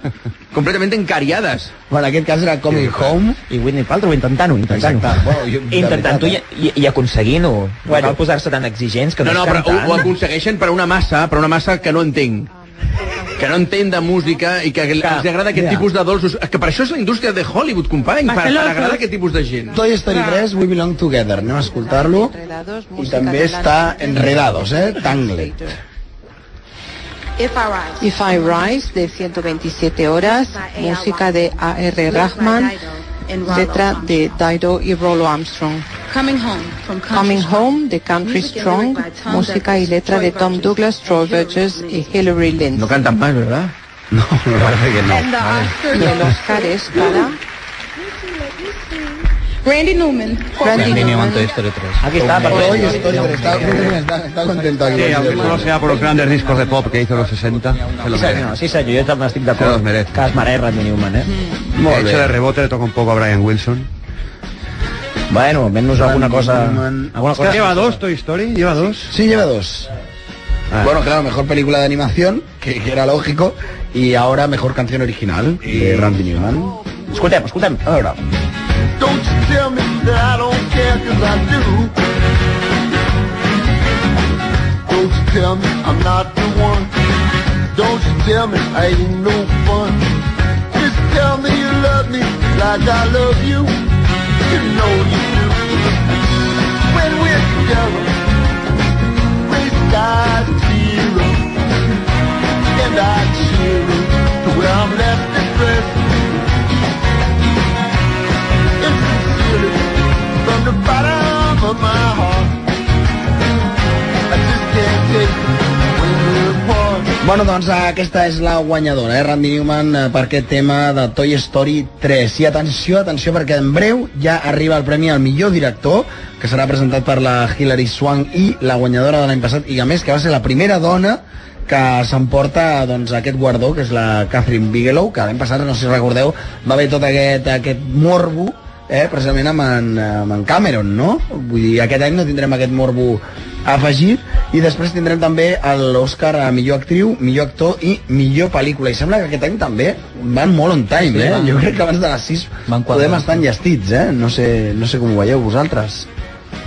completament encariades.
Bueno, en aquest cas era Coming Home
i Whitney Paltrow intentant-ho, intentant-ho.
Bueno, jo, de
Intentant-ho i, i, i aconseguint-ho. Bueno. Cal posar-se tan exigents que
No,
no,
eh. no,
és
però
cantant.
ho, ho aconsegueixen per una massa, per una massa que no entenc. Que no entén de música i que, els agrada aquest
ja.
tipus de dolços. Que per això és la indústria de Hollywood, company, per, per agradar aquest tipus de gent.
Toy Story 3, We Belong Together, anem a escoltar-lo. I també està Enredados, eh? Tangle.
If I Rise. de 127 horas, música de A.R. Rahman, letra de Dido y Rollo Armstrong.
Coming home from
Coming Home de Country Strong, música y letra de Tom Douglas, Troy Burgess y Hillary Lindsay.
No canten más, ¿verdad?
No, me parece que no.
Y el Oscar es para
Randy Newman.
Randy Newman,
Toy Story 3.
Aquí
está,
por
Toy Story 3, está, está, está contento aquí.
Sí, aunque solo sea por los grandes discos de pop que hizo en los 60, se los
Sí, senyor, sí, senyor, jo també estic d'acord.
Se los merece.
Que es mereix Randy Newman, eh?
De hecho, de rebote le toca un poco a Brian Wilson.
Bueno, almenys alguna cosa...
Newman.
Alguna cosa...
Lleva dos Toy Story, lleva dos.
Sí, lleva dos. Bueno, claro, mejor película de animación, que, que era lógico, y ahora mejor canción original de Randy Newman.
Escoltem, escoltem. A veure.
Don't you tell me that I don't care, cause I do. Don't you tell me I'm not the one. Don't you tell me I ain't no fun. Just tell me you love me like I love you. You know you do. When we're together, gray skies and zero. And I cheer to where I'm left distressed. It's sincerely from the bottom of my heart. I just can't take when we're apart.
Bueno, doncs eh, aquesta és la guanyadora, eh, Randy Newman, eh, per aquest tema de Toy Story 3. I atenció, atenció, perquè en breu ja arriba el premi al millor director, que serà presentat per la Hilary Swank i la guanyadora de l'any passat, i a més que va ser la primera dona que s'emporta doncs, aquest guardó, que és la Catherine Bigelow, que l'any passat, no sé si recordeu, va haver tot aquest, aquest morbo eh, precisament amb en, amb en Cameron, no? Vull dir, aquest any no tindrem aquest morbo afegit i després tindrem també l'Oscar a millor actriu, millor actor i millor pel·lícula. I sembla que aquest any també van molt on time,
Sí,
eh?
van-
Jo crec que abans de les 6
Van quatre.
podem estar enllestits, eh? No sé, no sé com ho veieu vosaltres.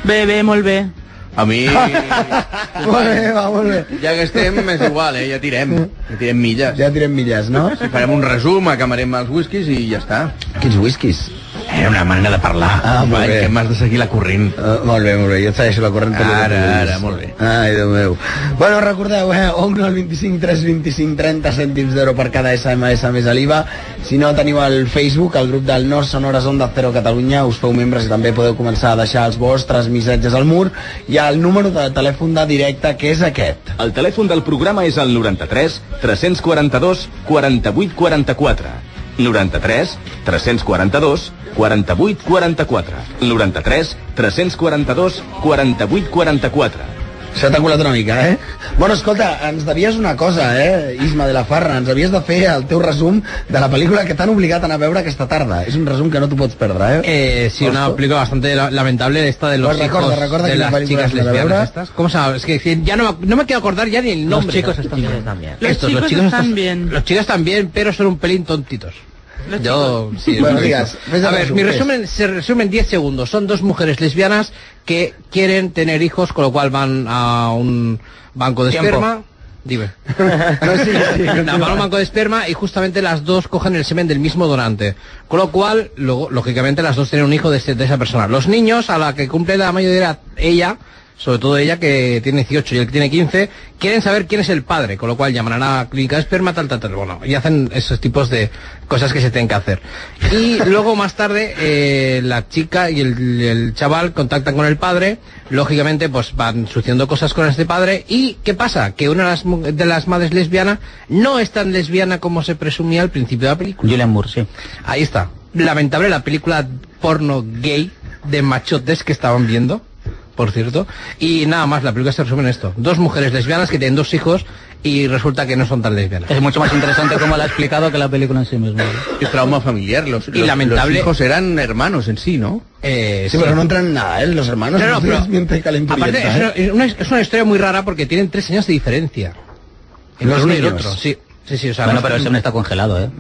Bé, bé, molt bé.
A mi...
molt bé, va, molt bé.
Ja que estem, és igual, eh? Ja tirem. Ja tirem milles.
Ja tirem milles, no?
Farem un resum, acabarem els whiskies i ja està.
Quins whiskies?
Era una manera de parlar.
Ah, molt
Vai,
bé.
que m'has de seguir la corrent.
Uh, molt bé, molt bé, jo et segueixo la corrent. per
Ara,
lo que vulguis.
ara, molt bé.
Ai, Déu meu. Bueno, recordeu, eh, Ongle al 25 3 25 30 cèntims d'euro per cada SMS més a l'IVA. Si no, teniu el Facebook, el grup del Nord Sonores Onda Cero Catalunya, us feu membres i també podeu començar a deixar els vostres missatges al mur. Hi ha el número de telèfon de directe, que és aquest.
El telèfon del programa és el 93 342 48 44. 93 342 48 44. 93 342 48 44.
S'ha tancat una mica, eh? Bueno, escolta, ens devies una cosa, eh, Isma de la Farra, ens havies de fer el teu resum de la pel·lícula que t'han obligat a anar a veure aquesta tarda. És un resum que no t'ho pots perdre, eh?
Eh, sí, una película bastante la- lamentable esta de los
Pues recuerda,
hijos
recuerda
de
que la
las
película
chicas
es la de
lesbianas
Laura.
estas. ¿Cómo se llama? Es que decir, ya no, me- no me quiero acordar ya ni el nombre.
chicos
están bien.
Los chicos están bien.
Los chicos están bien, pero son un pelín tontitos. Yo,
chicos.
sí,
Bueno,
lo he
digas,
visto.
ves el
a ver,
resumen,
mi
¿qué es?
resumen se resume en 10 segundos. Son dos mujeres lesbianas que quieren tener hijos, con lo cual van a un banco de
Tiempo.
esperma. Dime. No, sí, sí, No, van a un banco de esperma y justamente las dos cogen el semen del mismo donante. Con lo cual, luego, lógicamente, las dos tienen un hijo de, ese- de esa persona. Los niños, a la que cumple la mayoría edad, ella, sobre todo ella que tiene 18 y él que tiene 15, quieren saber quién es el padre, con lo cual llaman a la clínica de esperma, tal, tal, tal. Bueno, y hacen esos tipos de cosas que se tienen que hacer. Y luego más tarde eh, la chica y el, el chaval contactan con el padre, lógicamente pues van sucediendo cosas con este padre y ¿qué pasa? Que una de las, mu- de las madres lesbiana no es tan lesbiana como se presumía al principio de la película.
Julian Moore, sí.
Ahí está. Lamentable la película porno gay de machotes que estaban viendo, por cierto. Y nada más, la película se resume en esto. Dos mujeres lesbianas que tienen dos hijos y resulta que no son tan lesbianas.
Es mucho más interesante cómo la ha explicado que la película en sí misma.
El trauma familiar, los,
Y
los-
lamentable-
los hijos eran hermanos en sí, ¿no?
Eh,
Sí, pero no entran en nada, ¿eh? Los hermanos.
No, no,
Ustedes
pero-
mienten que la
Aparte,
impureza,
es una,
¿eh?
es una- es una historia muy rara porque tienen tres años de diferencia.
Los
uno y el
niños.
otro, sí. Sí, sí, o sea,
bueno,
no-
pero el semen está congelado, ¿eh?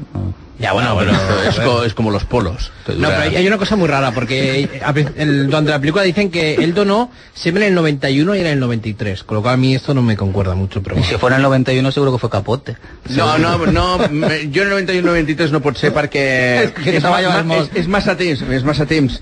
Ya, bueno, pero es, co- es como los polos.
Pues
que
No,
dura-
pero hay hay una cosa muy rara, porque a pri- el- durante la película dicen que él donó siempre en el 91 y en el 93, con lo cual a mí esto no me concuerda mucho. Pero si
fuera en el 91 seguro que fue capote.
No, no, no, me- jo el 91-93 no pot ser perquè
que
és, ma-
treballa
ma-
molt.
és, és massa temps, és massa temps.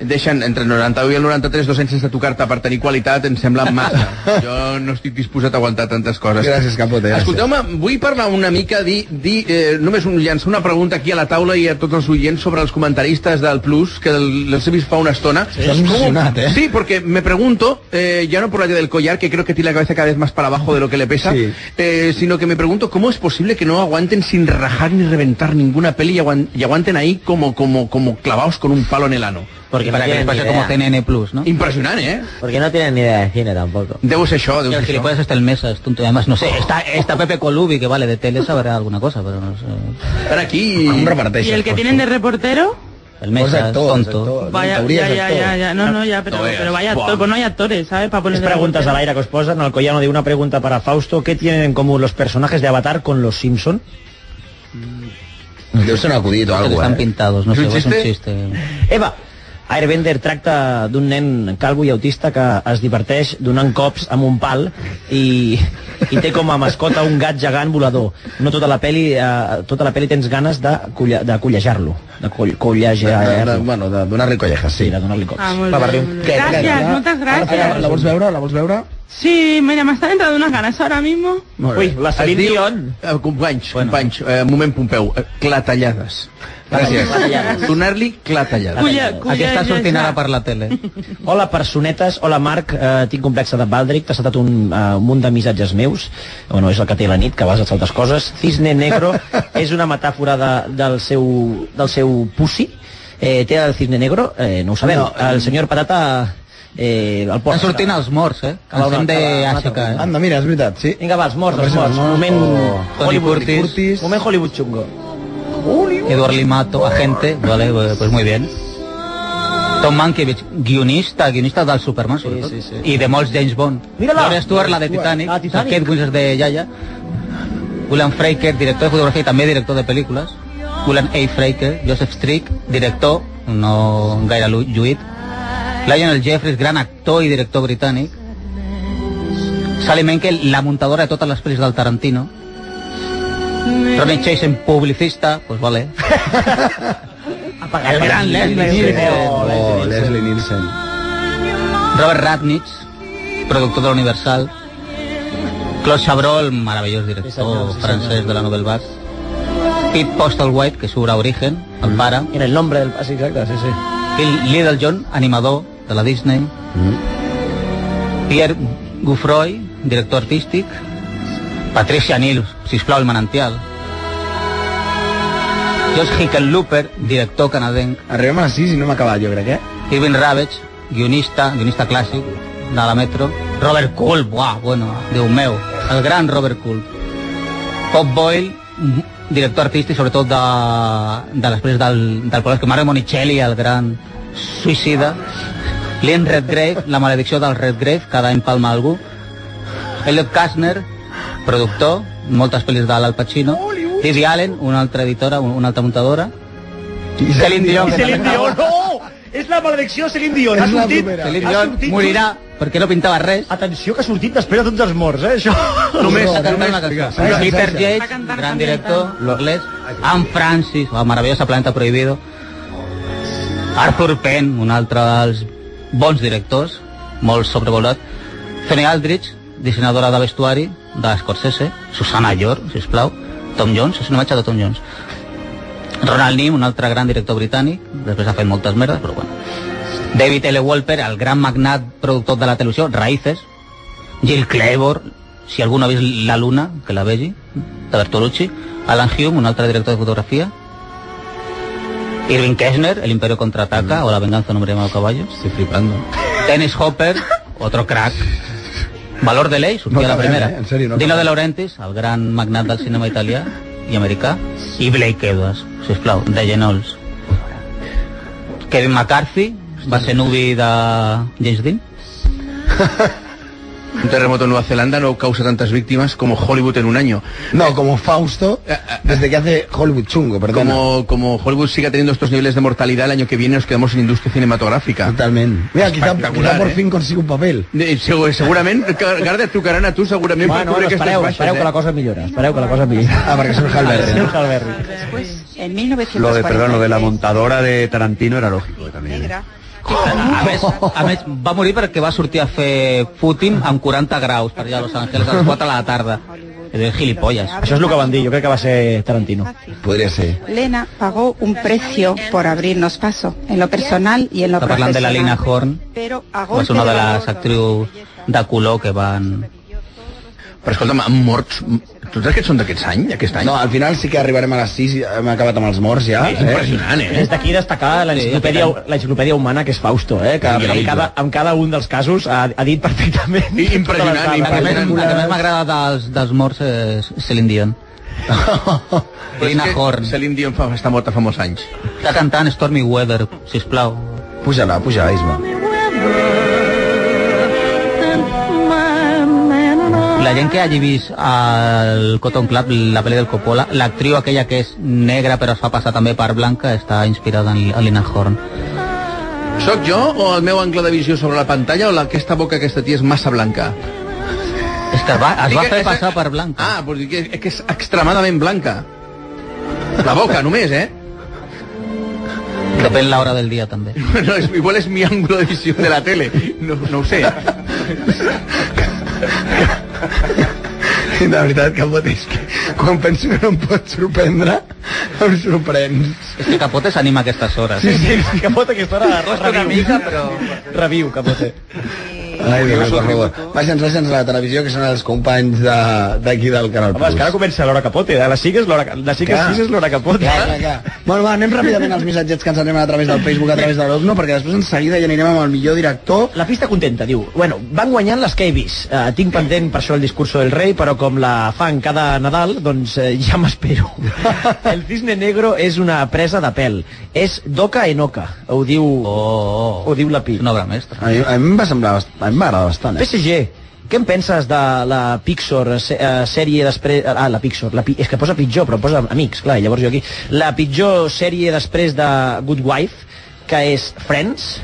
Deixen entre el 91 i el 93 dos anys sense tocar-te per tenir qualitat, em sembla massa. Jo no estic disposat a aguantar tantes coses.
Gràcies, Capote, gràcies.
Escolteu-me, vull parlar una mica, di, di, eh, només un, llançar una pregunta aquí a la taula i a tots els oients sobre els comentaristes del Plus, que el- els he vist fa una estona.
Estás obsesionat, eh?
Sí, porque me pregunto, eh, ya no por allá del collar, que creo que tiene la cabeza cada vez más para abajo de lo que le pesa, eh, sino que me pregunto cómo es posible que no aguanten sin rajar ni reventar ninguna peli y, aguan- y aguanten ahí como, como, como clavados con un palo en el ano.
Porque Para no que les tienen pase ni idea. como TNN Plus, ¿no?
Impresionante, ¿eh?
Porque no tienen ni idea de cine tampoco.
Debo ser yo, debo
El
ser yo.
gilipollas está el mesa, es tonto. Y Además, no sé, está, está Pepe Colubi, que vale, de tele sabrá alguna cosa, pero no sé.
Estar aquí...
reparteix.
¿Y el que tienen de reportero?
El mesa, es tonto.
Vaya, ya, ya, ya, ya, no, no, ya, pero,
No veas.
pero vaya
Buah.
actor, pues no hay actores, ¿sabes? Para poner
Es preguntas al aire que os posan. Alcoyano de una pregunta para Fausto. ¿Qué tienen en común los personajes de Avatar con los Simpson?
Deu ser un acudit o alguna cosa. eh?
Están
pintados,
no
sé,
es
és
un
un
xiste. Eva, Airbender tracta d'un nen calvo i autista que es diverteix donant cops amb un pal i, i té com a mascota un gat gegant volador. No tota la peli, eh, tota la peli tens ganes de, colla, de collejar-lo. De coll, collejar
De- de-
Bueno, de donar-li collejas, sí. De donar-li cops.
Ah, molt
Va,
bé.
Barriu.
Què, Gràcies, què, què? moltes gràcies.
Ara, La vols veure? La vols veure?
Sí, mira, me están entrando unas ganas ahora mismo.
Molt bé.
Uy,
Es diu- Eh, companys, companys, eh, moment Pompeu, eh, clatellades. Gràcies.
Clatellades.
Donar-li clatellades.
Aquesta sortint ara per la tele. Hola, personetes. Hola, Marc. Uh, tinc complexa de Baldric. T'ha saltat un uh, munt de missatges meus. Bueno, és el que té la nit, que vas a saltes coses. Cisne negro és una metàfora de, del, seu, del seu pussi. Eh, té el cisne negro? Eh, no ho sabem.
No,
el senyor Patata... Eh, el porta.
Estan sortint els morts, eh?
Que l'han-
Cançó de
que l'han matat.
Àsica, eh?
Anda, mira, és veritat, sí.
Vinga, va, els morts, els morts. Moment Hollywood Curtis. Moment Hollywood xungo.
Eduard Limato, agente, vale, eh, pues muy bien. Tom Mankiewicz, guionista, guionista del Superman, sobretot, i de molts James Bond.
Mira-la!
Laura Stuart, la de Titanic,
Ah, Titanic.
Kate Winslet de Yaya, William Fraker, director de fotografía y también director de películas, William A. Fraker, Joseph Strick, director, no gaire lu- lluït, Lionel Jeffries, gran actor i director britànic, Sally Menkel, la muntadora de totes les pel·lis del Tarantino, Ronnie Chase, publicista, pues vale,
Apagar
El gran Leslie Nielsen.
Oh, Leslie Nielsen.
Robert Ratnitz, productor de l'Universal. Claude Chabrol, meravellós director francès de la Nouvelle Vague. Pete Postlewhite, que surt a Origen, el pare.
En Mm. el nombre del... Ah, sí, exacte, sí, sí.
Phil Little John, animador de la Disney. Pierre Gouffroy, director artístic. Patricia Neal, sisplau, el manantial. Josh Hickenlooper, director canadenc.
Arribem a les 6 i no hem acabat, jo crec, eh?
Irving Ravage, guionista, guionista clàssic de la Metro. Robert Culp, buah, bueno, Déu meu, el gran Robert Culp. Bob Boyle, m- director artístic, sobretot de, de les pel·lis del, del Polesque. Mario Monicelli, el gran suïcida. Lynn Redgrave, la maledicció del Redgrave, cada any palma algú. Elliot Kastner, productor, moltes pel·lis de l'Al Pacino. Didi Allen, una altra editora, un- una altra muntadora. I Celine Dion. que
Celine
també-
Dion, no! És la maledicció Celine Dion. Ha
És la
sortit,
primera.
ha
Celine Dion
sortit
morirà perquè no pintava res.
Atenció que ha sortit després de tots els morts, eh, això.
Només a cantar una cançó. Peter Yates, gran director, l'Orles, Anne Francis, la meravellosa Planeta Prohibido, Arthur Penn, un altre dels bons directors, molt sobrevolat, Fanny Aldrich, dissenyadora de vestuari de Scorsese, Susana Llor, sisplau, Tom Jones, és una imatge de Tom Jones, Ronald Nim, un altre gran director britànic, després ha fet moltes merdes, però bueno. David L. Wolper, el gran magnat productor de la televisió, Raíces, Jill Clayborne, si algú no ha vist La Luna, que la vegi, de Bertolucci, Alan Hume, un altre director de fotografia, Irving Kessner, El Imperio Contraataca,
Mm.
o La Venganza Nombre Llamado Caballo. Estoy flipando. Dennis Hopper, otro crack. Valor de ley, surgió
No
la
acabem,
primera.
eh? En sèrio, no
Dino
acabem.
de Laurentiis, el gran magnat del cinema italià i americà, i Blake Edwards, sisplau, de Genols. Kevin McCarthy, va ser nuvi de James Dean.
Un terremoto en Nueva Zelanda no causa tantas víctimas como Hollywood en un año. Eh,
No, como Fausto, eh, desde que hace Hollywood chungo, perdón.
Como, como Hollywood siga teniendo estos niveles de mortalidad, el año que viene nos quedamos sin industria cinematográfica. ¿eh?
Totalmente. Mira, quizá, quizá por fin consigo un papel.
Segurament, Garda, et trucaran a tu segurament per
Bueno, bueno,
cobrir aquestes
espereu,
baixes,
espereu que
eh?
la cosa millora, espereu que la cosa millora.
Ah, perquè surt Halberry.
Ah, surt Halberry.
En
Lo de,
1940,
perdón, lo de la montadora de Tarantino era lógico también. eh?
A més, a més, va morir perquè va sortir a fer Putin amb 40 graus per allà a Los Angeles a les 4 de la tarda. Era gilipollas.
Això és el que van dir, jo crec que va ser Tarantino.
Podria ser.
Lena pagó un precio por abrirnos paso, en lo personal y en lo
Està parlant de la Lina
profesional.
Horn,
Pero a
va ser
golpe
una de
de
les actrius de color que van...
Però escolta'm, han mort... Tots aquests són d'aquest any, d'aquest any?
No, al final sí que arribarem a les 6 i hem acabat amb els morts ja.
És impressionant, eh? Des d'aquí destacar la enciclopèdia, la enciclopèdia humana, que és Fausto, eh? Que
Increïble.
en cada, en cada un dels casos ha, ha dit perfectament...
Impressionant,
La que més, la que més m'agrada dels, dels morts és Celine Dion. Lina Horn.
Celine Dion fa, està morta fa molts anys.
Està cantant Stormy Weather, sisplau.
Puja-la, puja, Isma.
La gent que hagi vist al Cotton Club, la pel·li del Coppola, l'actriu aquella que és negra però es fa passar també per blanca, està inspirada en, en Lina Horn.
Soc jo o el meu angle de visió sobre la pantalla o la, aquesta boca aquesta tia és massa blanca?
És que va, es va
Dic que
fer
és-
passar per blanca.
Ah, pues dic que, és que és extremadament blanca. La boca només, eh?
Depèn l'hora del dia també.
No, és, igual és mi ángulo de visió de la tele. No, no ho sé.
De veritat, Capot, és que quan penso que no em pot sorprendre, em sorprens.
És que Capote s'anima a aquestes hores. eh?
Sí, sí, Capote, aquesta hora
Costa una mica, però...
Reviu, Capote.
Ai, Déu meu, per favor. Baixa'ns, baixa'ns a la televisió, que són els companys de- d'aquí de, del Canal
Home, és que ara comença l'hora Capote, eh? A les 5 és l'hora les cinc a
Clar.
sis és l'hora eh? Capote.
Clar, clar, clar. Bueno, va, anem ràpidament als missatgets que ens anem a través del Facebook, a través de l'Ogno, perquè després en seguida ja anirem amb el millor director.
La pista contenta, diu. Bueno, van guanyant les que he vist. Uh, tinc pendent per això el discurso del rei, però com la fan cada Nadal, doncs uh, ja m'espero. el cisne negro és una presa de pèl. És d'oca en oca, ho diu, oh, ho diu la Pi.
Una obra mestra.
A mi, a mi em va semblar, bast- a mi m'agrada bastant, eh?
PSG, què en penses de la Pixar se, eh, sèrie després... Ah, la Pixar, la, pi- és que posa pitjor, però posa amics, clar, i llavors jo aquí. La pitjor sèrie després de Good Wife, que és Friends,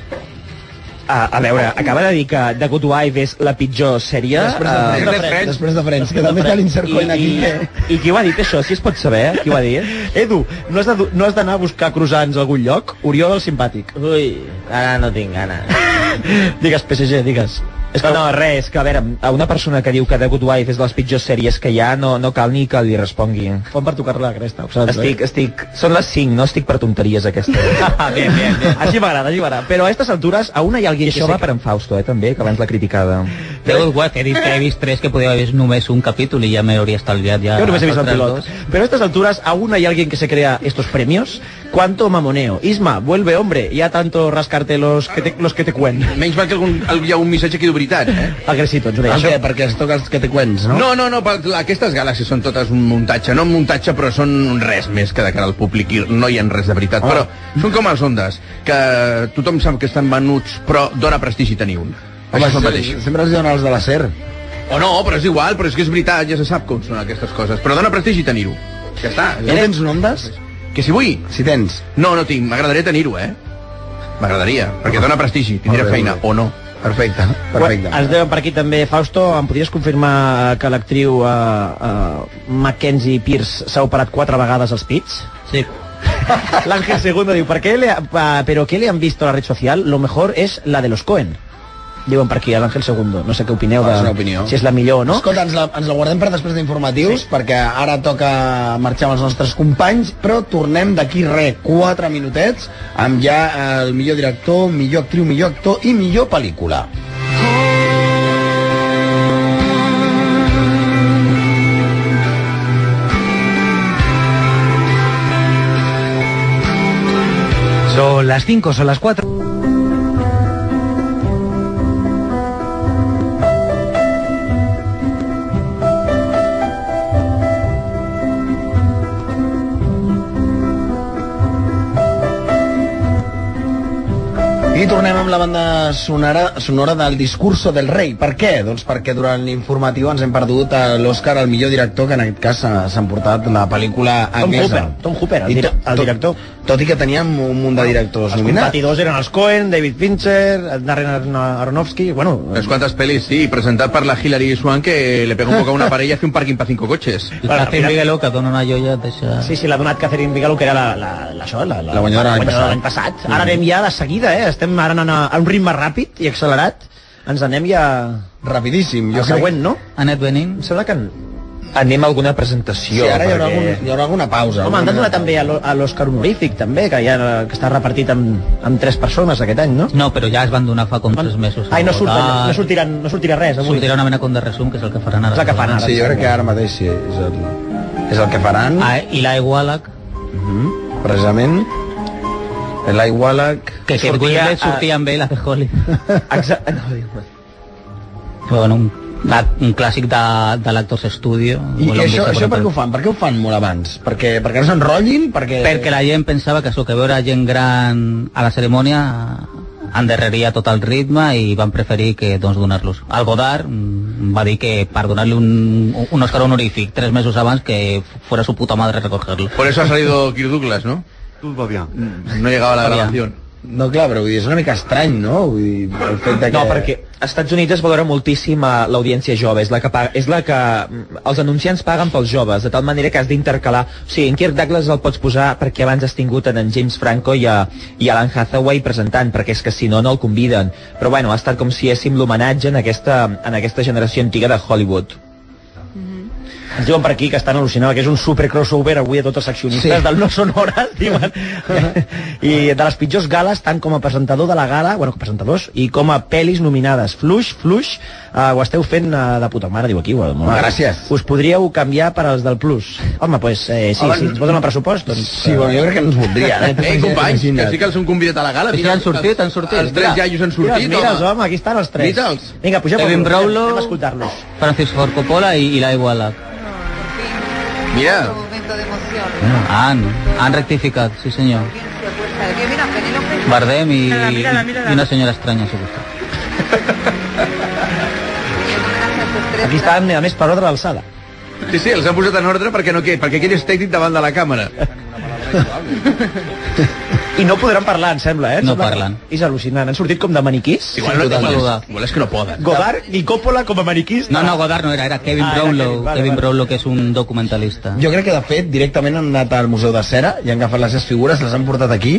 a, a veure, acaba de dir que The Good Wife és la pitjor sèrie.
Després de
eh,
Friends, després de Friends, que
Després
també
de
està
Friends.
l'insert coin
I-
aquí,
i-
eh?
I qui ho ha dit això? Si es pot saber, eh? qui ho ha dit? Edu, no has de du- no has d'anar a buscar croissants a algun lloc? Oriol el simpàtic. Ui, ara no tinc gana. digues, PSG, digues. És que no, res, que a veure, a una persona que diu que The Good Wife és de les pitjors sèries que hi ha, no, no cal ni que li respongui. Fon per tocar-la la cresta, ho saps, Estic, estic... Són les 5, no estic per tonteries aquesta.
bien, bien, bien.
Així m'agrada, així m'agrada. Però a aquestes altures, a una hi ha algú
I
que
això
sé
va
que- per en Fausto, eh, també, que abans l'ha criticada.
Déu del guat, he dit que he vist tres que podia haver vist només un capítol i ja m'hauria estalviat ja...
Yo no me he visto el
altres
piloto.
dos.
Pero a estas alturas aún hay alguien que se crea estos premios. ¿Cuánto mamoneo? Isma, vuelve hombre, ya tanto rascarte los que te, los que te cuen.
Menys mal que algun, hi ha un missatge aquí de veritat, eh?
Agressito, ens ho deia.
Ah,
Això.
què? Perquè es toca els que te cuents, no?
No, no, no, per- aquestes galàxies són totes un muntatge, no un muntatge, però són un res més que de cara al públic i no hi ha res de veritat.
Ah.
Però són com els ondes, que tothom sap que estan venuts, però dóna prestigi tenir un.
Home,
Això és el
se-
mateix.
sempre els donen els de la SER.
O no, però és igual, però és que és veritat, ja se sap com són aquestes coses. Però dóna prestigi tenir-ho. Ja està.
No tens un ondes?
Que si vull?
Si tens.
No, no tinc. M'agradaria tenir-ho, eh? M'agradaria, perquè dóna prestigi. Tindré
Ah. Molt bé,
feina, o no.
Perfecte,
Perfecte. Ens deuen per aquí també, Fausto, em podries confirmar que l'actriu eh, eh, Mackenzie Pierce s'ha operat quatre vegades els pits?
Sí.
L'Àngel Segundo diu, per què le, ha- pa- però què le han visto a la red social? Lo mejor es la de los Cohen. Diuen per aquí, a l'Àngel Segundo. No sé què opineu de...
És una opinió.
Si és la millor, no?
Escolta, ens la, ens la guardem per després d'informatius, sí. perquè ara toca marxar amb els nostres companys, però tornem d'aquí re, 4 minutets, amb ja el millor director, millor actriu, millor actor i millor pel·lícula.
Son las 5, son las 4.
I tornem amb la banda sonora, sonora del Discurso del Rei. Per què? Doncs perquè durant l'informatiu ens hem perdut a l'Òscar, el millor director, que en aquest cas s'ha- s'ha emportat la pel·lícula
Tom
Agnesa.
Hooper, Tom Hooper, el,
I
dir
to-
el
to-
director. Ah,
Tot i que teníem un munt de directors
Els
nominats.
competidors eren els Cohen, David Fincher, Darren Arno- Aronofsky... Bueno,
Unas cuantas pelis, sí, presentar para la Hillary Swan que le pegó un poco a una pared y hace un parking para cinco coches.
Bueno,
Catherine Bigelow, que dona una joia, deixa...
Sí, sí, l'ha donat Catherine Bigelow, que era la, la, la, això, la,
La guanyadora l'any
de l'any passat. Ara anem ja de seguida, eh? Estem ara anant a, a un ritme ràpid i accelerat. Ens anem ja...
Rapidíssim.
Jo següent, no?
Anet Benin.
Sembla que anem a alguna presentació.
Sí, ara hi haurà algun-
hi haurà alguna pausa.
Home, han de donar també a l'O- a l'Òscar honorífic, també, que, ja, que està repartit amb, amb tres persones aquest any, no?
No, però ja es van donar fa com tres mesos.
Ai, no, surt,
Ah,
no, sortiran, no sortirà res avui.
Sortirà una mena com de resum, que és el que faran ara.
És el que fan ara.
Sí, jo crec que ara mateix sí, és el, és el que faran.
eh,
Mhm,
Ah, I la Igualac.
Precisament, la Igualac...
Que aquest Gilbert sortia amb ell a The Holly.
Exacte. No,
bueno, un, la, un clàssic de, de l'Actors Studio.
I, i això, això per què ho fan? Per què ho fan molt abans? Perquè, perquè no s'enrotllin? Perquè...
Perquè la gent pensava que això, que veure gent gran a la cerimònia endarreria tot el ritme i van preferir que doncs, donar-los. El Godard mm, va dir que per donar-li un, un Oscar honorífic tres mesos abans que fuera su puta madre a recogerlo.
Por eso ha salido Kirk Douglas, ¿no?
Mm.
No llegaba a la grabación.
No, clar, però vull dir, és una mica estrany, no? Vull dir, el fet de que...
No, perquè als Estats Units es valora moltíssim eh, l'audiència jove, és la que, paga, és la que mm, els anunciants paguen pels joves, de tal manera que has d'intercalar, o sigui, en Kirk Douglas el pots posar perquè abans has tingut en, en James Franco i, a, i Alan Hathaway presentant, perquè és que si no, no el conviden. Però bueno, ha estat com si éssim l'homenatge en, aquesta, en aquesta generació antiga de Hollywood.
Mhm.
Ens diuen per aquí que estan al·lucinant, que és un super crossover avui a tots els accionistes
Sí.
sí. del No Sonores, diuen. I de les pitjors gales, tant com a presentador de la gala, bueno, com a presentadors, i com a pel·lis nominades. Fluix, fluix, uh, ho esteu fent uh, de puta mare, diu aquí. Well,
Gràcies.
Us podríeu canviar per als del Plus. Home, pues, eh, sí,
Home,
si ens posen el pressupost, doncs...
Sí, bueno, jo crec que no ens voldria.
Eh, companys, que sí que els han convidat a la gala.
Sí,
mira,
han sortit, han sortit,
Els tres
mira.
iaios han sortit,
Mira'ls, mira'ls, home, aquí estan els tres.
Mira'ls.
Vinga, pugem
Kevin
pel grup, anem-
Brownlow.
anem a escoltar-los.
Francis Ford Coppola i, i la Igualac.
Mira.
Ah, han, han rectificat, sí senyor. Bardem i,
Mírala, mírala, mírala.
i una senyora estranya, si vostè.
Aquí estan, a més, per ordre d'alçada.
Sí, sí, els han posat en ordre perquè no què? Perquè aquell és tècnic davant de la càmera.
I no podran parlar, em sembla, eh? Em
No
sembla que
parlen.
És al·lucinant. Han sortit com de maniquís.
Igual, no, igual, és, igual és que no poden.
Godard i Coppola com a maniquís.
No, no, Godard no era, era Kevin
Ah, era
Brownlow,
Kevin, vale,
Kevin
vale.
Brownlow, que és un documentalista.
Jo crec que, de fet, directament han anat al Museu de Cera i han agafat les seves figures, les han portat aquí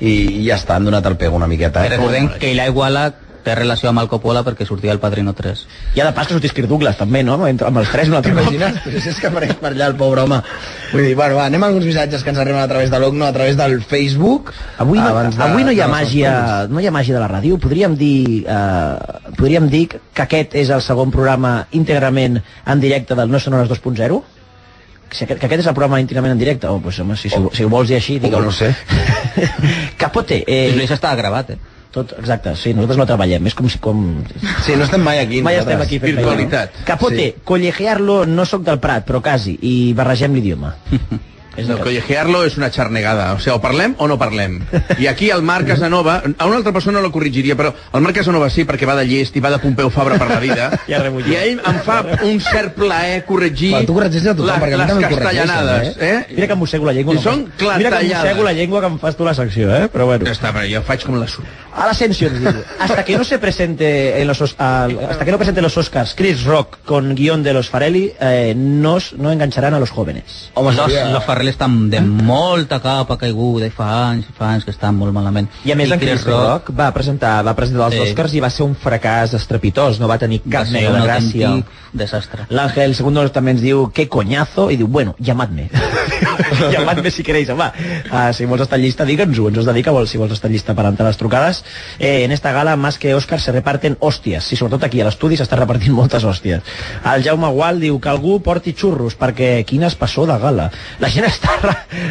i, i ja està, han donat el pego una miqueta. Eh?
Recordem que la Igualac té relació amb el Coppola perquè sortia el Padrino 3.
I ha de pas que sortís Kirk Douglas, també, no? Entre- Amb els tres, un altre cop.
T'imagines? Però si és que apareix per allà el pobre home. Vull dir, bueno, va, anem a alguns missatges que ens arriben a través de l'Ogno, E, a través del Facebook.
Avui no,
abans de-
avui no hi ha
de les
màgia, no hi ha màgia de la ràdio. Podríem dir, eh, podríem dir que aquest és el segon programa íntegrament en directe del No Sonores 2.0? Si aquest, que aquest és el programa íntegrament en directe? Oh, pues, home, si, si, ho- si ho vols dir així, digue-ho.
Oh, no sé.
Capote. Eh,
Luis està gravat, eh?
Tot, exacte, sí, nosaltres no treballem, és com si... Com...
Sí, no estem mai aquí.
Mai
nosaltres.
estem aquí fent feina, no? Capote, sí. collejearlo, no sóc del Prat, però quasi, i barregem l'idioma.
No, collejearlo és una xarnegada. O sigui, o parlem o no parlem. I aquí el Marc Casanova, a una altra persona la corrigiria, però el Marc Casanova sí, perquè va de llest i va de Pompeu Fabra per la vida.
Ja rebutja.
I a ell em fa un cert plaer corregir
Quan tu corregeixes a tothom,
la-
perquè a mi
les
també em corregeixen,
castellanades. Eh?
Mira que em mossego la llengua.
I
no
són
em fas- Mira que em mossego la llengua que em fas tu la secció, eh? Però bueno.
Ja està, però jo faig com la surt.
A l'Ascension digo, hasta que no se presente en los Os- al- hasta que no presente los Oscars Chris Rock con guión de los Farelli, eh, nos, no engancharán a los jóvenes.
Home, los, los Ferrell estan de molta capa caiguda i fa anys, fa anys que estan molt malament.
I a més, en
Chris
Chris Rock va presentar, va presentar els
Sí.
sí. Oscars i va ser un fracàs estrepitós, no va tenir
va
cap
ser
mena
un
de gràcia.
autèntic desastre.
L'Àngel segundo también ens diu, qué coñazo, y diu, bueno, llamadme. llamadme si queréis, home. Ah, si vols estar en llista, digue'ns-ho, ens has de dir que vols, si vols estar en llista per entrar a les trucades. Eh, en esta gala, más que Oscar, se reparten hòsties, i sobretot aquí a l'estudi s'està repartint moltes hòsties. El Jaume Gual diu que algú porti xurros, perquè quines passó de gala. La gent està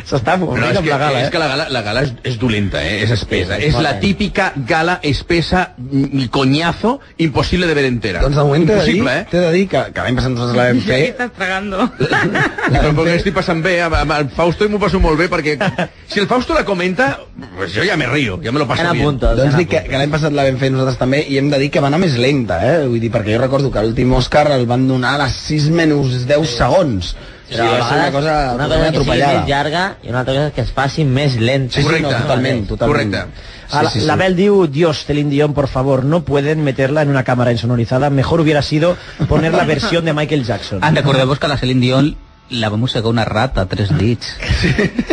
s'està
No,
morint
és,
amb
que,
la gala,
és
eh?
que la gala, la gala és, és dolenta, eh? és espesa. És la típica gala espesa, mm, coñazo, impossible de ver entera.
Doncs de moment t'he de dir,
Impossible, eh?
t'he de dir que, que l'any passat nosaltres la vam fer
Estás tragando.
Però perquè estic passant bé amb, amb, al Fausto i m'ho passo molt bé perquè si el Fausto la comenta, pues jo ja me río, ja me lo paso bien.
Doncs dic que, que l'any passat la vam fer nosaltres també i hem de dir que va anar més lenta, eh? Vull dir, perquè jo recordo que l'últim Òscar el van donar a les 6 menys 10 segons. O sigui,
Però a
va ser una
vegades,
cosa,
una cosa que sigui
atropellada.
més llarga i una altra cosa que es faci més lent.
Sí, sí, Correcte. no, totalment, totalment.
A la, la Bel diu, Dios, Celine Dion, por favor, no pueden meterla en una cámara insonorizada. Mejor hubiera sido poner la versión de Michael Jackson.
Ah, recordeu-vos que la Celine Dion la va mossegar una rata a tres dits.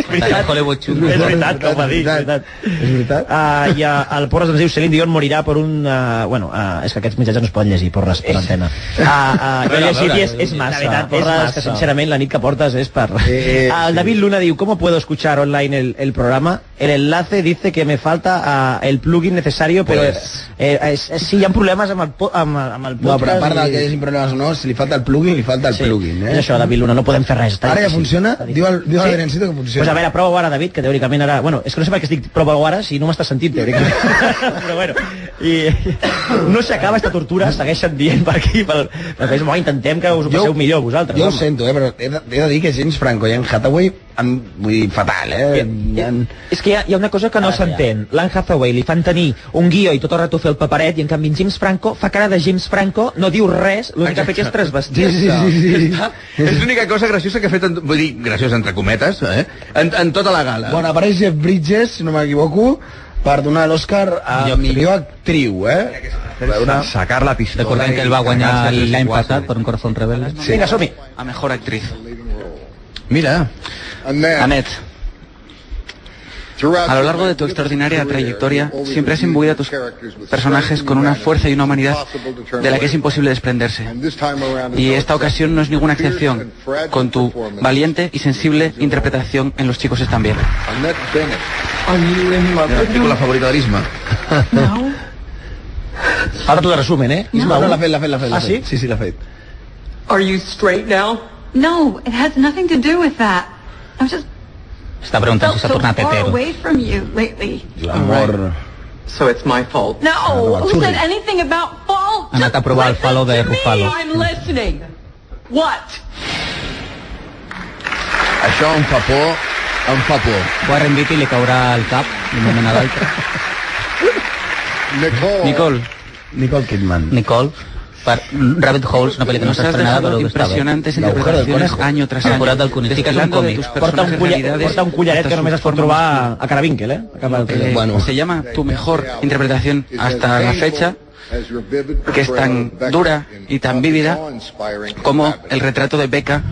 veritat.
Hollywood xungo.
És veritat, com ha dit, és veritat. És veritat. Uh, I a, al Porres ens diu Celine Dion morirà per un... Uh, bueno, uh, és que aquests mitjans no es poden llegir, Porres, per antena. Uh, uh, jo he llegit i és, és
La
massa.
veritat,
és
Porres,
massa. que sincerament la nit que portes és per... Eh, el David Luna diu, ¿cómo puedo escuchar online el, el programa? El enlace dice que me falta uh, el plugin necesario, pero...
Pues-
Eh, és, és, sí, hi ha problemes amb el, po- amb, el- amb el
No,
podcast.
però a part del
i-
que hi hagi problemes o no, si li falta el plugin, li falta el plugin, eh?
És això, David Luna, no podem fer res. està
Ara ja
difícil.
funciona? Diu el, diu
Sí.
el Adriancito que funciona.
Pues a veure, prova-ho ara, David, que teòricament ara... Bueno, és que no sé per què estic prova-ho ara si no m'estàs sentint, teòricament. Però bueno, i no s'acaba aquesta tortura, segueixen dient per aquí, pel, pel Facebook. Home, intentem que us ho passeu millor vosaltres.
Jo ho
home.
sento, eh, però he de, he de dir que James Franco i en Hathaway han, vull dir, fatal, eh? Han...
És que hi ha, hi ha una cosa que no s'entén. L'Anne Hathaway li fan tenir un guió i tot el rato fer el paperet i en canvi en James Franco fa cara de James Franco, no diu res, l'únic que ha fet és trasvestir-se.
És l'única cosa graciosa que ha fet, en, vull dir, graciosa entre cometes, eh? En, en tota la gala.
Bueno, apareix Jeff Bridges, si no m'equivoco, per donar l'Oscar a millor actriu, eh? Una...
Sacar la pistola.
Recordem que el va guanyar l'any passat per un corazón rebelde.
Sí. Vinga, som-hi.
A mejor actriz.
Mira.
Annette. A lo largo de tu extraordinaria trayectoria, siempre has imbuido a tus personajes con una fuerza y una humanidad de la que es imposible desprenderse. Y esta ocasión no es ninguna excepción, con tu valiente y sensible interpretación en Los chicos están bien.
Annette Bennett.
La película favorita de l'Isma.
Ara t'ho de resumen, eh?
Isma, no, l'ha fet, l'ha fet, l'ha fet.
Ah,
l'ha fet.
sí?
Sí, sí, l'ha fet.
Are you straight now?
No, it has nothing to do with that. I've just
Està preguntant
felt
si s'ha
so
tornat
far
hetero.
away from you lately.
L'amor...
So it's my fault.
No, who
Churri.
said anything about fault?
Ha anat a provar el falo de Rufalo.
I'm listening. What?
Això em fa por, em fa por.
Warren Beatty li caurà al cap d'un moment a l'altre.
Nicole.
Nicole.
Nicole Kidman.
Nicole. Per Rabbit Holes, una pel·li que no
Nos
està
has
estrenada,
dejado
però que està bé.
impresionantes interpretaciones año tras año.
L'agujero del conejo. Sí que és un
desvelando de
còmic.
tus
Porta un
personajes
collet, porta un
realidades
collet que només es pot
hasta sus
trobar
formas.
A Caravinkel, eh? Acaba el
Eh, Se llama tu mejor interpretación hasta la fecha, que es tan dura y tan vívida como el retrato de Becca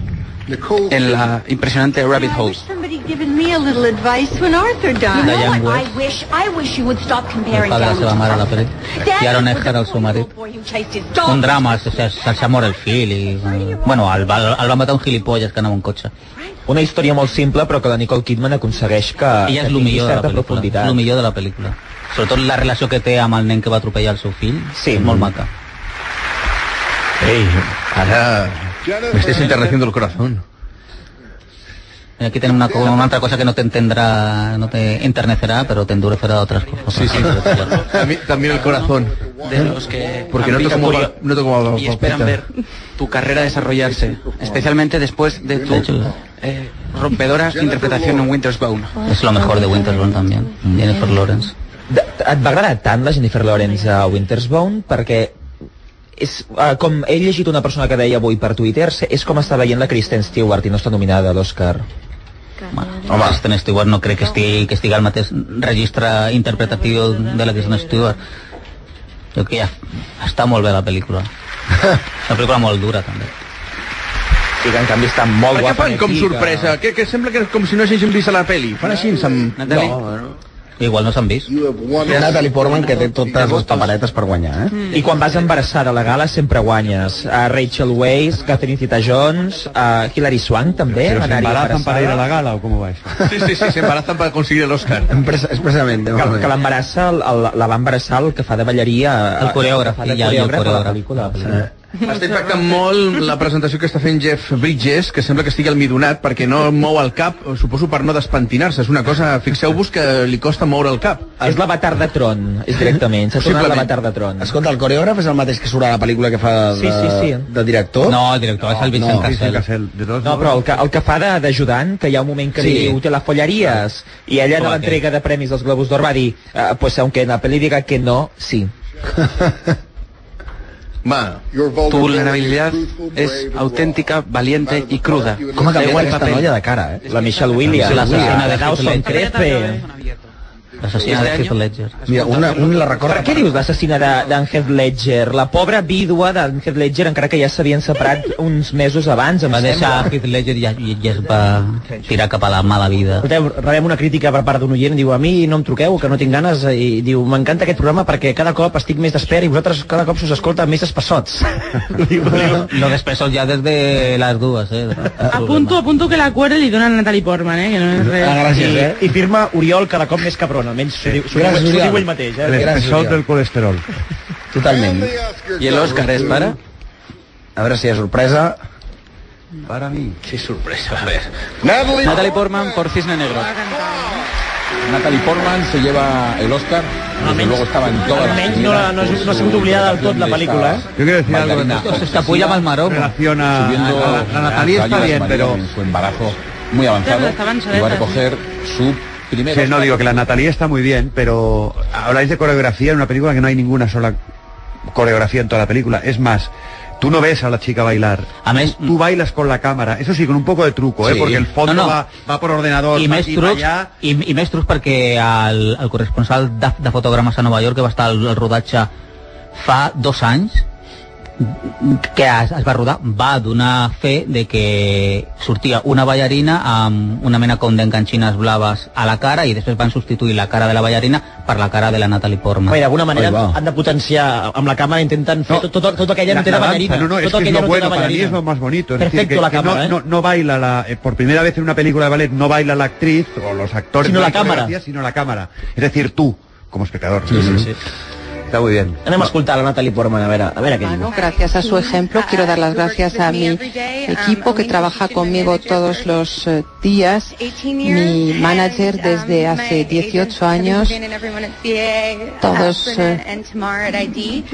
en la impresionante Rabbit Hole.
Somebody given me a little advice when Arthur died.
Diane
You know what?
West.
I wish, I wish you would stop
El
comparing
fa de la
Downey
seva
to
mare a la pel·li. I Aaron Eckhart, el seu marit.
before you chased his dog.
Un drama, se, se, se, se mor el fill i... Bueno, el, va- el va matar un gilipolles que anava en cotxe.
Una història molt simple, però que la Nicole Kidman aconsegueix que,
I és
que
el
tingui
millor de la
certa
pel·lícula.
profunditat.
És el millor de la pel·lícula. Sobretot la relació que té amb el nen que va atropellar el seu fill. Sí. És molt maca.
Ei, ara... Me estés enterreciendo el corazón.
Mira, Aquí tenim una, co- una altra cosa que no t'entendrà, no te enternecerá, però t'endurecerá otras cosas. Sí, sí.
También, también el corazón.
De los que
Porque
han
no
visto
toco
tu-
mal- no
y esperan ver tu carrera desarrollarse, especialmente después de tu eh, rompedora interpretación en Winter's Bone.
Es lo mejor de Winterbourne también. Jennifer Lawrence.
De- Et va agradar tant la Jennifer Lawrence a Wintersbone perquè és, eh, com he llegit una persona que deia avui per Twitter, se- és com està veient la Kristen Stewart i no està nominada a l'Oscar.
Home. Kristen Stewart no crec que estigui, que este estigui al mateix registre interpretatiu de la Kristen Stewart. Jo crec que ja està molt bé la pel·lícula. Una pel·lícula molt dura, també.
I que en canvi està molt
Per què fan com sorpresa? Que, que sembla que com si no hagin vist la peli. Fan així amb...
Natalie? Igual no s'han vist.
Hi ha Natalie Portman que té totes les paperetes per guanyar, eh?
Mm. I quan vas embarassada a la gala sempre guanyes. A Rachel Weisz, Catherine Zeta-Jones, a Hilary Swank també.
Però
van anar-hi
s'embarazan per ir a la gala o com ho va això?
Sí, sí, sí, s'embarazan per aconseguir l'Oscar.
Expressament.
Que, que l'embarassa, el- el- la va embarassar el que fa de balleria...
El coreògraf,
fa de
i ja, i el
coreògraf a la
coreògraf.
pel·lícula.
Està impactant molt la presentació que està fent Jeff Bridges, que sembla que estigui almidonat perquè no mou el cap, suposo per no despentinar-se. És una cosa, fixeu-vos que li costa moure el cap.
És l'avatar de Tron, és directament. S'ha tornat l'avatar de Tron.
Escolta, el coreògraf és el mateix que surt a la pel·lícula que fa de,
Sí, sí, sí.
de director?
No, el director és el Vincent
no.
Cassel.
No, però el que, el que fa de- d'ajudant, que hi ha un moment que
Sí.
sí. diu telefolleries, i ella en
Com
l'entrega de premis dels Globus d'Or va dir, eh, pues aunque en la peli diga que no, sí.
Va,
tu vulnerabilidad es auténtica, valiente y cruda.
Com ha
Da
canviat
igual
aquesta
papel.
noia de cara, eh?
La Michelle Williams,
La asesina de
Dawson
Heath Ledger.
Crepe.
L'assassina
Este
de Heath Ledger.
Mira, una, una la recorda...
Per què dius l'assassina de- d'en Heath Ledger? La pobra vídua d'en Heath Ledger, encara que ja s'havien separat uns mesos abans, em
Va deixar Heath Ledger i, i, i es va tirar cap a la mala vida.
Escolteu, rebem una crítica per part d'un oient, diu, a mi no em truqueu, que no tinc ganes, i diu, m'encanta aquest programa perquè cada cop estic més despert i vosaltres cada cop se us escolta més espessots.
Lo despesos ya desde las dues, eh?
Apunto, apunto que la cuerda li dona a Natalie Portman, eh? Que no
Ah,
és res.
Ah,
I, I firma Oriol cada cop més cabrona, almenys s'ho diu, s'ho diu,
eh. Gràcies,
s'ho diu
Oriol.
ell mateix. Eh?
Gràcies,
L'espessol
Oriol.
del colesterol.
Totalment.
I l'Òscar és pare?
A veure si hi ha sorpresa.
Para mí. Qué sorpresa, a ver.
Natalie,
Natalie Portman por Cisne Negro.
Natalie Portman se lleva el Oscar. Desde luego estaba en todas las
Almenys no, la- no, no ha sigut oblidada del tot la pel·lícula, eh?
Yo quiero decir algo
Bailarina
de Natalie.
obsesiva
Escapulla mal maromo.
Relaciona-
subiendo
la- la- la Natalie está
caídas
bien,
marinas
pero-
en su embarazo muy
Claro,
avanzado
estaban
y va a
soletas,
recoger su primer
Sí, no, digo que la Natalie está muy bien, pero habláis de coreografía en una película que no hay ninguna sola coreografía en toda la película. Es más, tú no ves a la chica bailar.
A més,
tú bailas con la cámara. Eso sí, con un poco de truco, ¿eh?
Sí.
Porque el fondo
No, no.
Va, va por ordenador,
I
va
més
aquí, va
trucs,
allá.
i, i més trucs perquè el, el corresponsal de, de fotogrames a Nova York que va estar al, al rodatge fa dos anys que es, es va rodar va donar fe de que sortia una ballarina amb una mena com d'enganxines blaves a la cara i després van substituir la cara de la ballarina per la cara de la Natalie Portman.
Bé, d'alguna manera han de potenciar amb la càmera, intenten fer no, tot, tot, tot aquella no té de
danza,
ballarina.
No, no, es
tot
que es
aquella
lo
no té de
bueno, para mí
ballarina.
es lo más bonito. Es
Perfecto
decir, que,
la
que
cámara, ¿eh?
no, no, no baila, la, eh, por primera vez en una película de ballet, no baila la actriz o los actores.
Sino
no
la
hay
cámara.
coreografía, Sino la cámara. Es decir, tú, como espectador. Está muy bien.
Anem a escoltar la Natalie Portman, a veure, a veure què diu.
Gracias a su ejemplo, quiero dar las gracias a mi equipo que trabaja conmigo todos los eh, días, mi manager desde hace 18 años,
uh,
todos, eh,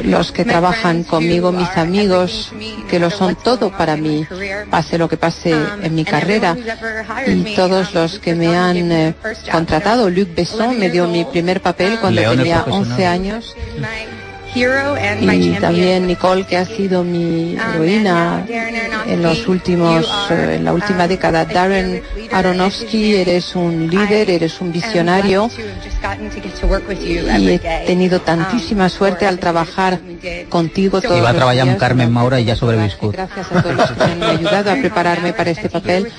los que trabajan conmigo, mis amigos, que lo son todo para mí, pase lo que pase en mi carrera, y todos los que me han eh, contratado. Luc Besson me dio mi primer
Um,
papel cuando
León el
tenía
profesional.
11 años. Y también Nicole, que ha sido mi heroína en los últimos, eh, en la última década. Darren Aronofsky, eres un líder, eres un visionario y he tenido
Um,
tantísima suerte al trabajar contigo todos
I va
los
treballar amb
días.
Carmen Maura i ja ha sobreviscut.
Gracias a todos los que me han ayudado a prepararme para este papel.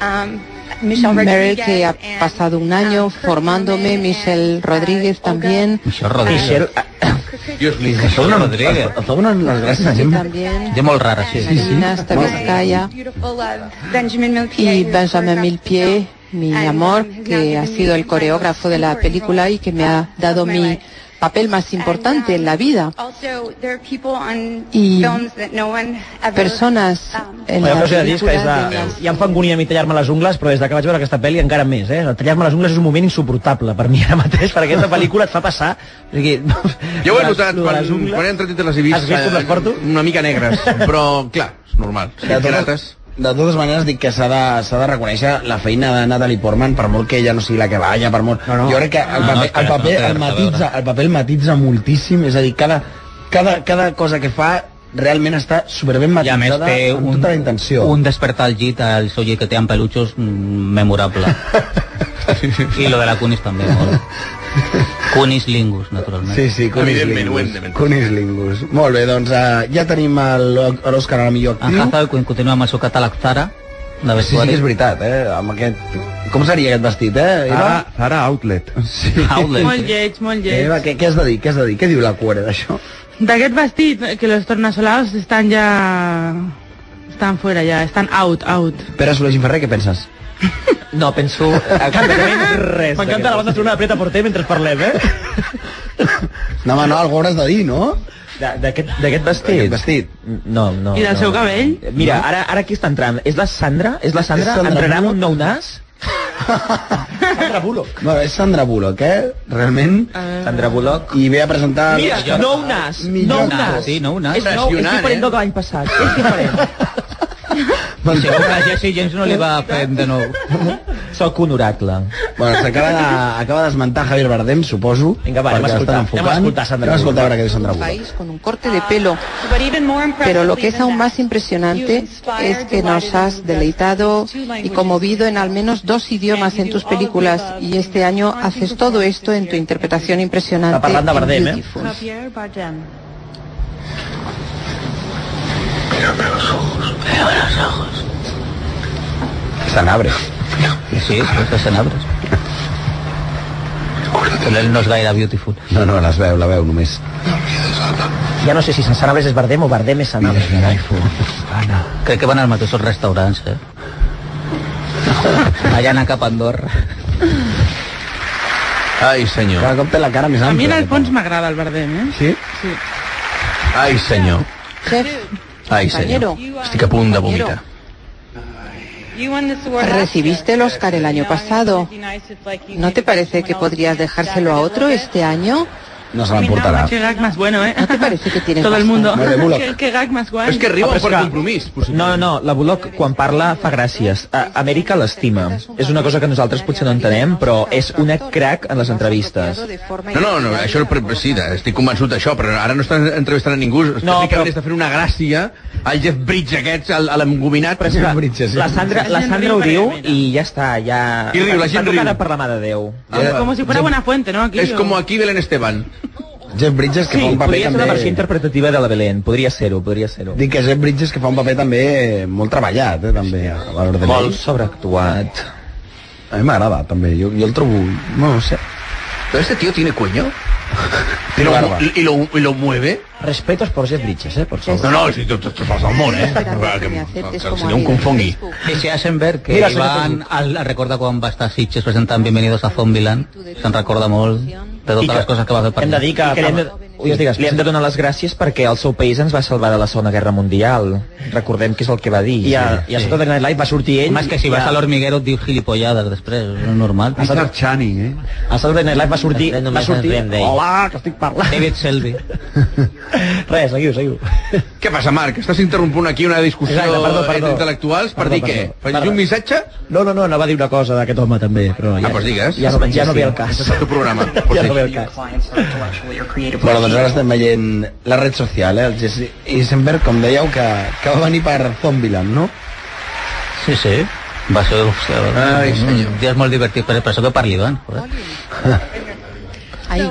um,
Meryl, que ha pasado un año formándome, Michelle Rodríguez también.
Michelle Rodríguez.
Michelle-
ah,
Dios mío,
Es que són Rodríguez.
Es donen les gràcies a gent.
También
Gent molt rara, sí.
Marina Stavelskaya y Benjamin Milpied, mi amor, que ha sido el coreógrafo de la película y que me ha dado mi papel más importante en la vida. Y personas en
Bueno,
la
pues però us he de dir que
película
és de...
de las-
Ja em fa angúnia a mi tallar-me les ungles, però des de que vaig veure aquesta pel·li encara més, eh? Tallar-me les ungles és un moment insuportable per mi ara mateix, perquè aquesta pel·lícula et fa passar... O sigui,
Jo ho he
les-
notat,
lo de les
quan,
ungles-
quan he entrat entre les he
Has
vist,
vist com les porto?
una mica negres, però clar, és normal.
De totes, de totes maneres dic que s'ha de, s'ha de reconèixer la feina de Natalie Portman per molt que ella no sigui la que balla, per molt... No, no. Jo crec que el
Ah,
No, no,
paper, no,
espera,
el,
no
paper,
té
el,
res a
matitza, el paper el matitza moltíssim, és a dir, cada, cada, cada cosa que fa realment està superben
I a més
matitzada
té
amb
un-
tota la intenció.
Un despertar al llit, el seu llit que té amb peluixos, mm, memorable. I lo de la Cunis també, molt. Cunis lingus, naturalment.
Sí, sí, Cunis Lingus. Cunis Lingus. Molt bé, doncs uh, ja tenim el- l'Òscar a la millor
En
actriu.
Hazard, quan continua amb el seu catàleg Zara, de
Sí, sí
vestuari.
que és veritat, eh? Amb aquest... Com seria aquest vestit, eh?
Zara, Zara Outlet.
Sí.
Molt lleig, molt lleig.
Eva, què, què has de dir? Què has de dir? Què diu la cuore d'això?
D'aquest vestit, que los tornasolados estan ja... Estan fora ja, estan out, out.
Pere Soler Gimferrer, què penses?
No, penso... Exactament res.
M'encanta la banda sonora de Preta Porter mentre parlem, eh?
No, home, no, algú hauràs de dir, no?
D'aquest d'aquest vestit?
Aquest vestit.
No, no.
I del
no.
seu cabell?
Mira, ara, ara aquí està entrant. És la Sandra? És la Sandra?
És Sandra
Entrarà amb
Bullock?
un nou nas?
Sandra Bullock. Bueno, és Sandra Bullock, eh? Realment.
Sandra Bullock.
I ve a presentar...
Mira, nou nas.
Millor
Nou
nas.
nas.
Sí, nou nas.
És, nou, és
Impressionant,
diferent
eh?
del que l'any passat. És diferent.
Segur que a Jesse James no li va fent de nou.
Soc un oracle.
Bueno, s'acaba de, acaba d'esmentar Javier Bardem, suposo.
Vinga, va,
perquè
anem a escoltar.
l'estan enfocant.
Anem a escoltar Sandra
Anem a escoltar a
Bullock.
veure què diu Sandra Bullock.
país con un corte de pelo. Pero lo que es aún más impresionante es que nos has deleitado y conmovido en al menos dos idiomas en tus películas y este año haces todo esto en tu interpretación
Està
impresionante.
parlant de
en
Bardem, eh?
Beautiful.
Javier Bardem.
Sanabres. Sí, és de Sanabres. Però ell no és gaire beautiful.
No, no, les veu, la veu només.
Ja no sé si Sanabres és Bardem o Bardem és Sanabres.
Crec que van als mateixos restaurants, eh? Allà anar cap a Andorra.
Ai, senyor.
Cada cop té la cara més
A mi
àmplia.
l'Alfons m'agrada el Bardem, eh?
Sí?
Sí.
Ai, senyor.
Chef,
Ai, senyor. Estic a punt de vomitar.
recibiste el Oscar el año pasado. ¿No te parece que podrías dejárselo a otro este año?
No se l'emportarà.
Qué gag más bueno, eh?
¿No te parece que tienes
Todo el mundo.
No, de Bullock.
Qué- Qué gag más guay.
És que arriba
Ah, però
per
és que-
compromís.
No, no, no, la Bullock quan parla fa gràcies. A Amèrica l'estima. És una cosa que nosaltres potser no entenem, però és una crack en les entrevistes.
No, no, no, això pre- sí, de- estic convençut d'això, però ara no estàs entrevistant a ningú, no,
però-
però... està fent una gràcia al Jeff Bridge aquest, al- a l'engominat.
Però és que la Sandra, la Sandra ho diu i ja està, ja...
I riu, la gent
Està tocada
riu.
per la mà de Déu.
Ah,
Como si fuera buena fuente, ¿no? Aquí,
És
o-
com aquí Belén Esteban.
Jeff Bridges, que
Sí,
fa un paper
podria ser una versió
també...
interpretativa de la Belén, podria ser-ho, podria ser-ho.
Dic que Jeff Bridges que fa un paper també molt treballat, eh, també, a valor de
Molt sobreactuat.
A mi m'agrada, també. Jo, jo el trobo... No, no sé.
Però este tío tiene cuello.
Té
Lo-
barba.
y, lo, y lo mueve.
Respetos por Jeff Bridges, eh? Por favor.
No, no, si tu, tu, tu fas el món, eh? Que, que, que el senyor em confongui.
Jesse Eisenberg, que
Mira,
Mira,
senyor
van, el, el recorda quan va estar a Sitges presentant Bienvenidos a Zombieland, se'n recorda molt de
I
totes
que
les coses que va fer per
Hem de
allà.
dir que...
I que li hem de,
Digues, digues.
li hem de donar les gràcies perquè el seu país ens va salvar de la Segona Guerra Mundial. Recordem que és el que va dir.
I a, i a Saturday Night Live va sortir ell...
Home, és que si
i
vas
a-
a l'Hormiguero et dius gilipollades després, és normal.
Richard Channing, eh?
A Saturday Night Live va sortir...
Després
Va
només
sortir...
ens riem d'ell.
Hola, que estic parlant.
David Selby.
Res, seguiu, seguiu.
Què passa, Marc? Estàs interrompent aquí una discussió
Exacte, perdó, perdó.
entre intel·lectuals per
Perdó,
dir què?
perdó.
Per
Perdó.
llegir un missatge?
No, no, no, no va dir una cosa d'aquest home també, però ja,
Ah, doncs digues.
ja, no, ja no ve el cas.
Aquest és el teu programa.
Ja
Pots
no
dir.
ve el cas.
Bueno, doncs ara estem veient la red social, eh? El Jesse Eisenberg, com dèieu, que, que va venir per Zombieland, no? Eh,
Sí, sí. Va ser
Ai, senyor.
un dia molt divertit, però per això que parli, van.
Ahí.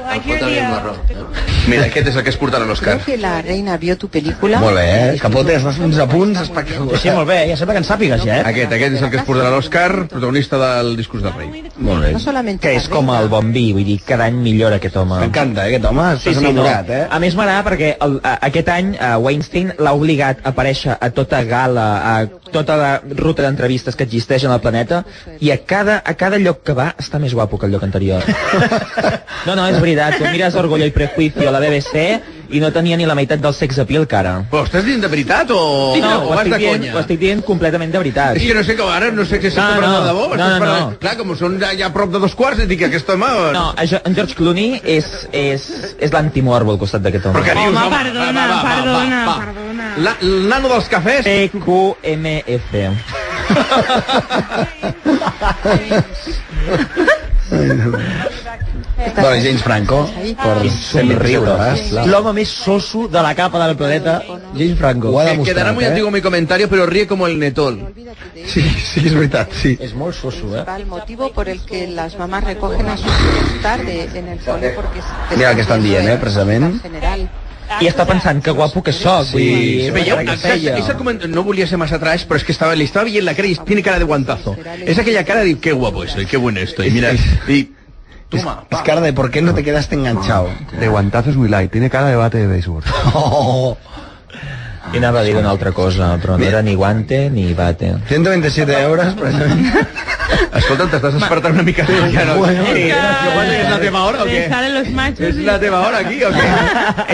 Mira, aquest és el que es portarà a l'Òscar.
Creo que la reina vio tu película.
Molt bé, eh? Capote, estàs fins a punts espectaculars.
Sí, molt bé, ja sembla que en sàpigues, ja, eh?
Aquest, aquest és el que es portarà a l'Òscar, protagonista del discurs del rei.
Molt bé.
No solamente
Que
la
és com
reina.
el bon vi, vull dir, cada any millora aquest home.
M'encanta, eh, aquest home. Estàs enamorat, eh?
A més m'agrada perquè el, a, aquest any a Weinstein l'ha obligat a aparèixer a tota gala, a tota la ruta d'entrevistes que existeix en el planeta i a cada, a cada lloc que va està més guapo que el lloc anterior. No, no, és veritat, tu mires Orgullo i Prejuicio a la BBC i no tenia ni la meitat del sex appeal que ara.
Però estàs dient de veritat o,
no,
o
ho,
vas
estic
de
dient, ho
conya?
estic dient completament de veritat.
És que no sé com ara, no sé si estàs
No,
parlant
no.
de debò.
No,
estàs
no,
parlant-
no.
Clar, com són ja, ja a prop de dos quarts, et dic que aquest home...
No, a Jo- en George Clooney és, és, és l'antimorbo al costat d'aquest home.
Però què dius,
Home,
home?
perdona,
Va, va, va,
perdona,
va, va.
perdona.
La, el nano dels cafès...
PQMF.
Estás
Bueno, James Franco, per somriure, eh?
L'home més soso de la capa del planeta, James Franco.
Ho ha
Que quedará muy
demostrat, eh?
antiguo mi comentario, pero ríe como el netol.
Sí, sí, és veritat, sí.
És molt soso, eh?
principal motivo por el que las mamás recogen a sus hijos tarde en el cole porque se-
Mira el que estan dient, eh, precisament.
general.
I està pensant que guapo que
Oh,
sóc.
Sí,
vull dir,
se
Veía
una
una
cara que feia.
esa coment- no volía ser más atrás, pero es que estaba, le estaba bien la cara y tiene cara de guantazo. Es aquella cara de qué guapo soy, qué bueno estoy. Mira, y toma,
Es
pa.
cara de por qué no te
Oh,
quedaste enganchado.
De guantazo es muy light, tiene cara de bate de béisbol.
Oh,
I anava a dir una altra cosa, però no era ni guante ni bate.
127 euros, precisament.
Escolta, t'estàs despertant una mica. Ja no.
Bueno,
Sí,
és
que guante, és la teva hora o què?
salen los machos
És la teva hora aquí o què?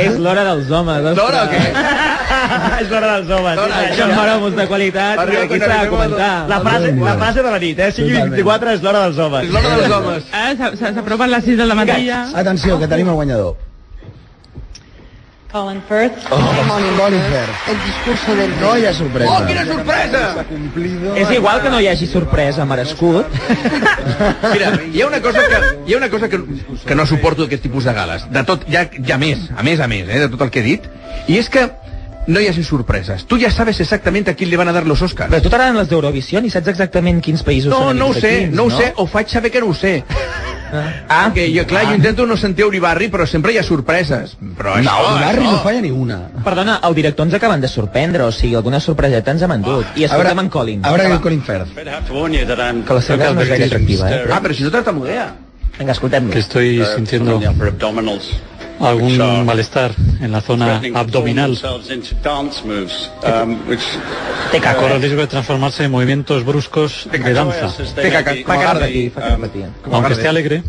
És l'hora dels homes.
L'hora o què?
És l'hora dels homes.
L'hora,
Això
això.
és hora molt de
Ah,
qualitat i
Arriba
aquí
quan
s'ha de
arribem a
comentar.
la frase- la frase
de la nit, eh?
Sigui 24
és l'hora dels homes.
És l'hora dels homes.
Ah,
Ara s'ha- s'ha- s'apropen les 6 de la matí ja.
Atenció, que tenim el guanyador.
Colin Firth.
Colin Firth.
El discurso del
No hi ha sorpresa.
Oh, quina sorpresa!
És igual que no hi hagi sorpresa a Merescut.
Mira, hi ha una cosa que, hi ha una cosa que, que no suporto d'aquest tipus de gales. De tot, ja, ja més, a més a més, eh, de tot el que he dit. I és que no hi hagi sorpreses. Tu ja sabes exactament a qui li van a dar los Oscars.
Però a tu t'agraden les d'Eurovisió i saps exactament quins països
No,
són
no ho
aquests
sé,
equips,
no ho sé, o faig saber que no ho sé.
Ah,
que jo, clar, jo intento no sentir Uribarri, però sempre hi ha sorpreses. Però això,
No, Uribarri
això...
no
falla ni una.
Perdona, el director ens acaben de sorprendre, o sigui, alguna sorpreseta
Ah.
ens hem endut. I escoltem en Colin.
A veure, Colin Firth.
Que la seva no és gaire atractiva, eh?
Ah, però si no tartamudea.
Vinga, escoltem-lo.
que estoy sintiendo algún malestar en la zona abdominal. um, Corre el
eh.
riesgo de transformarse en movimientos bruscos de danza.
eh. um,
um, Aunque esté alegre,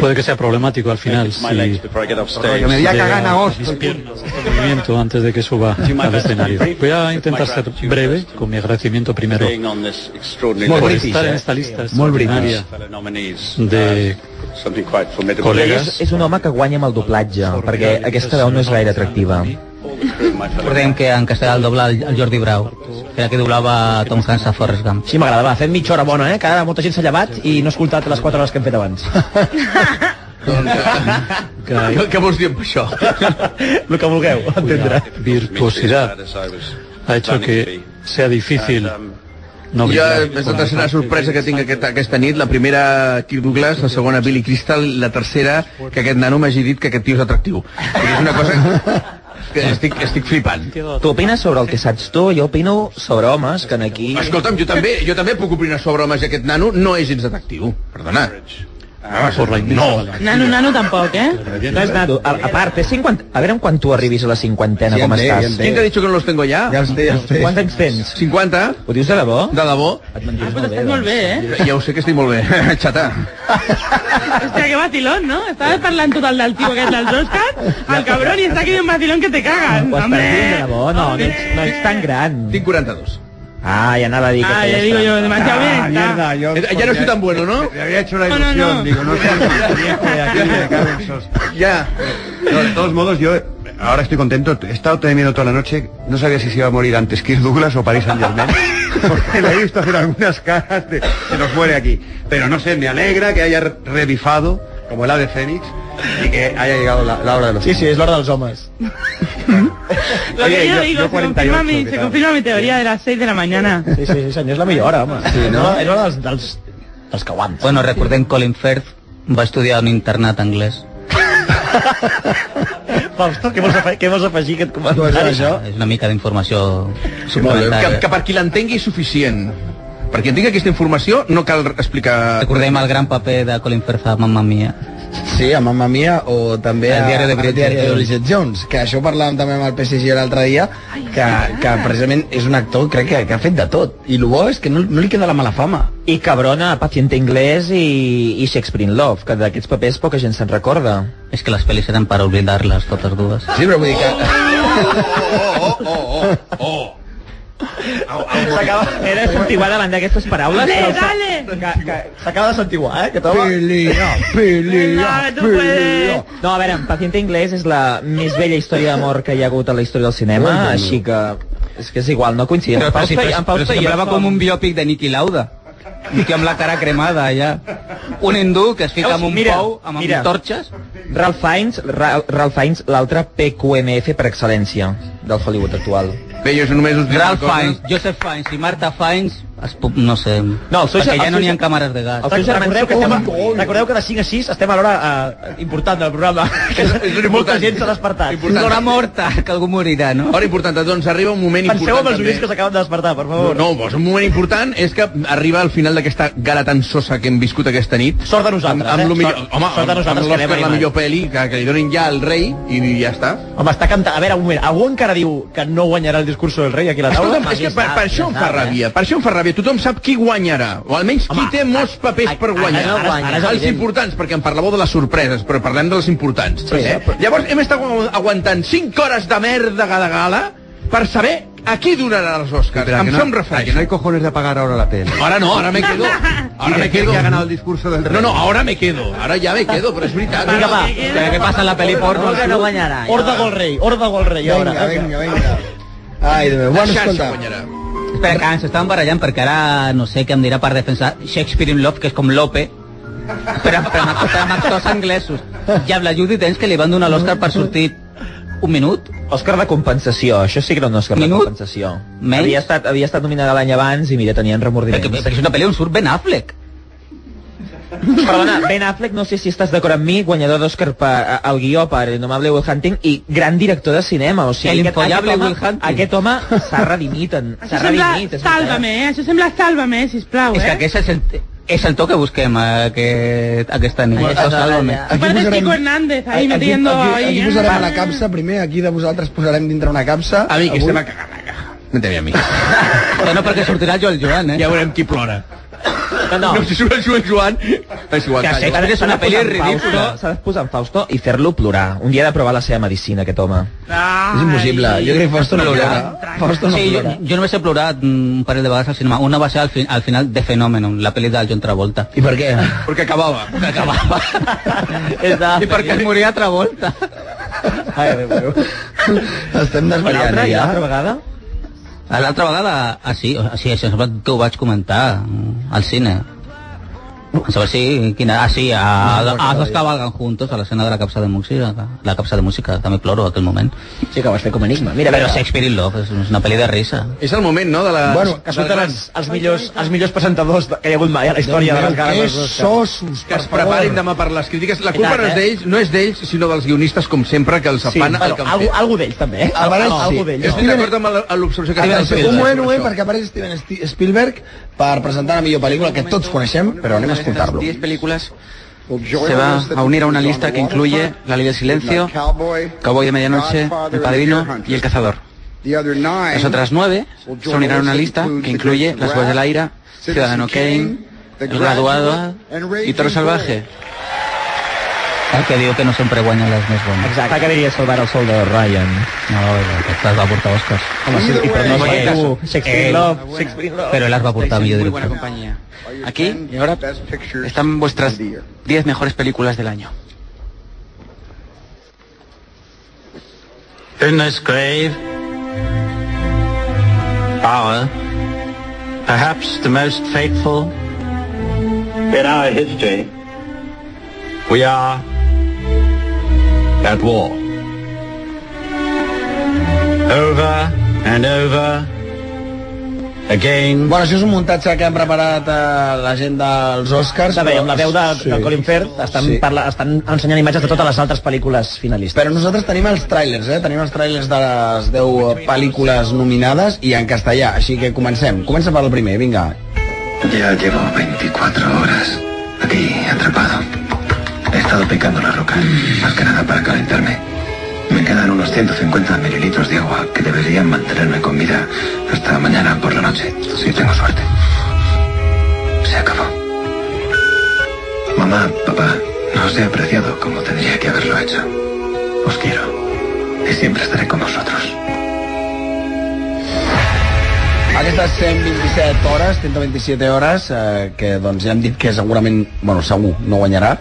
puede que sea problemático al final si
Porque me voy a cagar en agosto.
mis piernas hacen movimiento antes de que suba al escenario. Voy a intentar ser breve con mi agradecimiento primero por estar
eh.
en esta lista extraordinaria de
És,
colegas
és un home que guanya amb el doblatge, perquè aquesta veu no és gaire atractiva.
Recordem que en castellà el dobla el el Jordi Brau, que era qui doblava Tom Hanks a Forrest Gump.
Sí, m'agradava. Fem mitja hora bona, eh? Que ara molta gent s'ha llevat i no ha escoltat les 4 hores que hem fet abans.
Què, què vols dir amb això?
lo que vulgueu, virtuosidad ha hecho que sea difícil no
Ah, jo
brillar
he estat una sorpresa que tinc aquesta, aquesta nit, la primera Kirk Douglas, la segona Billy Crystal, la tercera, que aquest nano m'hagi dit que aquest tio és atractiu. Vull dir, És una cosa que estic, estic flipant.
Tu opines sobre el que saps tu, jo opino sobre homes, que en aquí...
Escolta'm, jo també, jo també puc opinar sobre homes i aquest nano no és gens atractiu, perdona. Ah, no.
Nano, nano tampoc, eh?
No és nano. A, a part, té 50... A veure quan tu arribis a la cinquantena,
Ja
com
en té, ja
estàs.
en té. Quin t'ha dit que no los tengo ja? Ja els té, ja els té.
Quants anys tens?
50.
Ho dius de debò?
De debò.
Et mantens
Pues
doncs.
estàs molt bé, eh?
Ja ho sé que estic molt bé, xata.
Hòstia, que vacilón, no? Estaves parlant tot el del tio aquest dels Oscars, el cabron, i està aquí un vacilón que te cagas.
Ho estàs dient
Hombre.
de debò? No, no ets, no ets tan gran.
Tinc 42.
Ah, ja anava a dir que
Ah,
feies
ja digo
trampa.
yo, demasiado
Ah,
bien
Ah,
está.
Eh,
Ya no soy tan bueno, ¿no?
Me había hecho la
No, no,
ilusión,
no.
digo, no soy tan viejo de aquí, me cago en sos.
Ya.
No, de todos modos, yo eh, ahora estoy contento. He estado temiendo toda la noche. No sabía si se iba a morir antes Kirk Douglas o Paris Saint Germain. Porque le he visto hacer algunas caras de que nos muere aquí. Pero no sé, me alegra que haya re- revifado como el ave Fénix y que haya llegado la, la hora de los
Sí, sí, és l'hora dels homes.
Lo
Oye,
que yo
yo-
digo,
yo
se, confirma
48,
mi,
¿qué
se
tal?
confirma mi teoría de las 6 de la mañana.
Sí, sí, sí, senyor, és la millor hora, home. Sí, no? És l'hora dels, dels, dels que aguanta.
Bueno, recordem Colin Firth va estudiar en un internat anglès.
Fausto, què vols, afegir, què vols afegir a aquest comentari?
És una mica d'informació
Que,
suplementària.
que per qui l'entengui és suficient. Per qui entengui aquesta informació no cal explicar...
Recordem el gran paper de Colin Firth a Mamma Mia.
Sí, a Mamma Mia o també
El
a-
diari de
al
Bridget
diari de
Jones.
Bridget Jones, que això ho parlàvem també amb el PSG l'altre dia, que, que precisament és un actor, crec que, que ha fet de tot. I el bo és que no, no li queda la mala fama.
I cabrona, Paciente Inglés i, i Shakespeare in Love, que d'aquests papers poca gent se'n recorda.
És que les pel·lis eren per oblidar-les totes dues.
Sí, però vull dir que...
Oh.
Oh,
S'acaba... Era santiguar davant d'aquestes paraules.
¡Dale,
però s'ha-
dale!
Que, que s'acaba de santiguar, eh? Que
Pelea, pelea,
Venga, tú puedes.
No, a veure, Paciente Inglés és la més vella història d'amor que hi ha hagut a la història del cinema, així que... És que és igual, no coincidim.
Però, però, si, però, però, però,
Feia
semblava com un biòpic de Niki Lauda. Un tio amb la cara cremada, allà. Un hindú que es fica
Veus?
amb un
Mira,
pou, amb,
mira.
amb torxes.
Ralph Fiennes, Ra Ralph Fiennes, l'altre PQMF per excel·lència del Hollywood actual.
Bé, jo només us diré una
Ralph
cosa.
Fiennes, Joseph Fiennes i Marta Fiennes Es, pu- no sé.
No, els seus-
perquè ja
els
no n'hi ha
seus-
càmeres de gas.
Els seus germans, recordeu, que estem, a, recordeu que de 5 a 6 estem a l'hora eh, important del programa, que és, molta gent s'ha despertat.
L'hora morta, que algú morirà, no?
Hora important, doncs arriba un moment
Penseu
important
en els oients
també.
que s'acaben de despertar, per favor.
No, doncs un moment important és que arriba al final d'aquesta gala tan sosa que hem viscut aquesta nit.
Sort de nosaltres,
amb, amb lo
eh?
millor,
Sort-
home,
sort de nosaltres
amb
que anem
l'Òscar, la
animats.
millor pel·li, que, que li donin ja al rei i, ja està.
Home, està cantant. A veure, un moment, algú encara diu que no guanyarà el discurso del rei aquí a la taula?
Escolta'm, és que per, per això em fa ràbia, per això em fa ràbia. Tothom sap qui guanyarà, o almenys qui té molts papers per
ara-
guanyar.
ara no guanya.
Els importants, perquè en parlàveu de les sorpreses, però parlem de les importants.
Sí,
eh? Llavors hem estat agu- aguantant 5 hores de merda cada gala per saber a qui donaran els Oscars.
Espera,
Em
que no-
som
a que no hay cojones de apagar ahora la tele.
Ahora no, ahora me quedo. Ahora
Y
me
decir
quedo.
que ha ganado el discurso del rey.
No, no, ahora me quedo. Ahora ya me quedo, pero es verdad.
Vinga, va.
¿Qué, pasa en la peli porno?
Que no guanyarà. Orda gol rei, orda gol rei,
Vinga,
ara.
vinga,
vinga.
Ah.
Ai, Déu meu. Bueno,
Xarxa
escolta.
Espera, que ens estàvem barallant perquè ara no sé què em dirà per defensar Shakespeare in Love, que és com Lope, però, però amb, actors, amb actors anglesos. Ja amb la Judi Dench que li van donar l'Oscar per sortir un minut.
Òscar de compensació, això sí que era un Òscar de compensació.
Menys?
Havia estat, havia estat nominada l'any abans i mira, tenien remordiments. Perquè,
perquè és una pel·li on surt Ben Affleck.
Perdona, Ben Affleck, no sé si estàs d'acord amb mi, guanyador d'Òscar per- a- al guió per Innomable Will Hunting i gran director de cinema, o
El
sigui, aquest,
impollable
aquest,
Will
home, aquest home s'ha redimit, en- s'ha
Això sembla
redimit. és veritat.
Sálvame, eh? Això sembla Sálvame, sisplau,
És que
eh?
aquest és el, és el to que busquem eh, aquest, aquesta nit.
Aquesta
Això és
tarda,
Sálvame.
ja. Aquí Parece posarem- Kiko Hernández, ahí metiendo
aquí,
ahí,
aquí
eh?
posarem a la capsa primer, aquí de vosaltres posarem dintre una capsa.
A mi, que
Avui-
estem a cagar la caja. No t'havia a mi.
no, perquè sortirà Joel Joan, eh?
Ja veurem qui plora.
No, no.
no si surt el Joel Joan... És igual,
Que sé,
calla.
que és una pel·li ridícula. S'ha de posar en Fausto i fer-lo plorar. Un dia ha de provar la seva medicina, aquest home.
Ah,
És impossible. Jo crec que Fausto no plora. Fausto no
sí, jo,
plora.
jo només he plorat un parell de vegades al cinema. Una va ser al, fi, al final de Phenomenon, la pel·li del John Travolta.
I per què?
Perquè acabava.
Perquè acabava. és de... I perquè moria Travolta.
Ai, Déu meu.
Estem desvariant,
L'altra, i
ja.
l'altra
vegada?
A L'altra vegada, ah sí, ah, sí, això em sembla que ho vaig comentar mm, al cine. A saber si, quina, ah sí, a, a, a dos cabalgan juntos a l'escena de la capsa de música, la capsa de música, també ploro en aquell moment.
Sí que vas fer com enigma, mira,
Però
mira.
Shakespeare in Love és una pel·li de risa.
És el moment, no, de la...
Bueno, que surten els, els, millors, els millors presentadors de- que hi ha hagut mai a la història de les ganes.
Que Doncs Que es preparin demà per les crítiques. La culpa
Exacte.
eh?
no és d'ells, no és d'ells, sinó dels guionistes, com sempre, que els
Sí,
afan el
bueno,
que han
algú,
fet.
algú d'ells també, eh? Algú d'ells.
Estic d'acord amb la- amb l'observació que
Steven
has fet.
Spielberg. Un moment, un moment, perquè apareix Steven Sti- Spielberg per presentar la millor pel·lícula que tots coneixem, però anem a escoltar-lo.
10 películas se va
este
a unir a una lista que incluye La Ley del Silencio, Cowboy de Medianoche, El Padrino y El Cazador. Las otras
Eh,
nueve se unirán a una lista que incluye Las Voces del Aire, Ciudadano Kane, El Graduado y Toro Salvaje.
El que diu que no sempre guanyen les més bones.
Exacte. Que diria salvar el sol de Ryan.
No, aquesta es va portar Oscars.
Home, sí, i però
Either
no sé
way,
uh,
tu,
eh,
Shakespeare in Love, Shakespeare in Love.
Però les va portar millor
Muy buena
director.
compañía. Aquí y ahora están vuestras 10 mejores películas del año.
Goodness grave. Power. Perhaps the most fateful. In our history, we are at war. Over and over. Again.
Bueno, això és un muntatge que han preparat eh, la gent dels Oscars.
Està bé,
però-
amb la veu de, de Colin Firth estan,
Sí.
parla, estan ensenyant imatges de totes les altres pel·lícules finalistes.
Però nosaltres tenim els trailers, eh? Tenim els trailers de les 10 pel·lícules nominades i en castellà, així que comencem. Comença per el primer, vinga.
Ya llevo 24 horas aquí, atrapado. He estado picando la roca, más que nada para calentarme. Me quedan unos 150 mililitros de agua que deberían mantenerme con vida hasta mañana por la noche, si tengo suerte. Se acabó. Mamá, papá, no os he apreciado como tendría que haberlo hecho. Os quiero y siempre estaré con vosotros.
Aquestes 127 hores, 127 hores, eh, que doncs ja hem dit que segurament, bueno, segur, no guanyarà,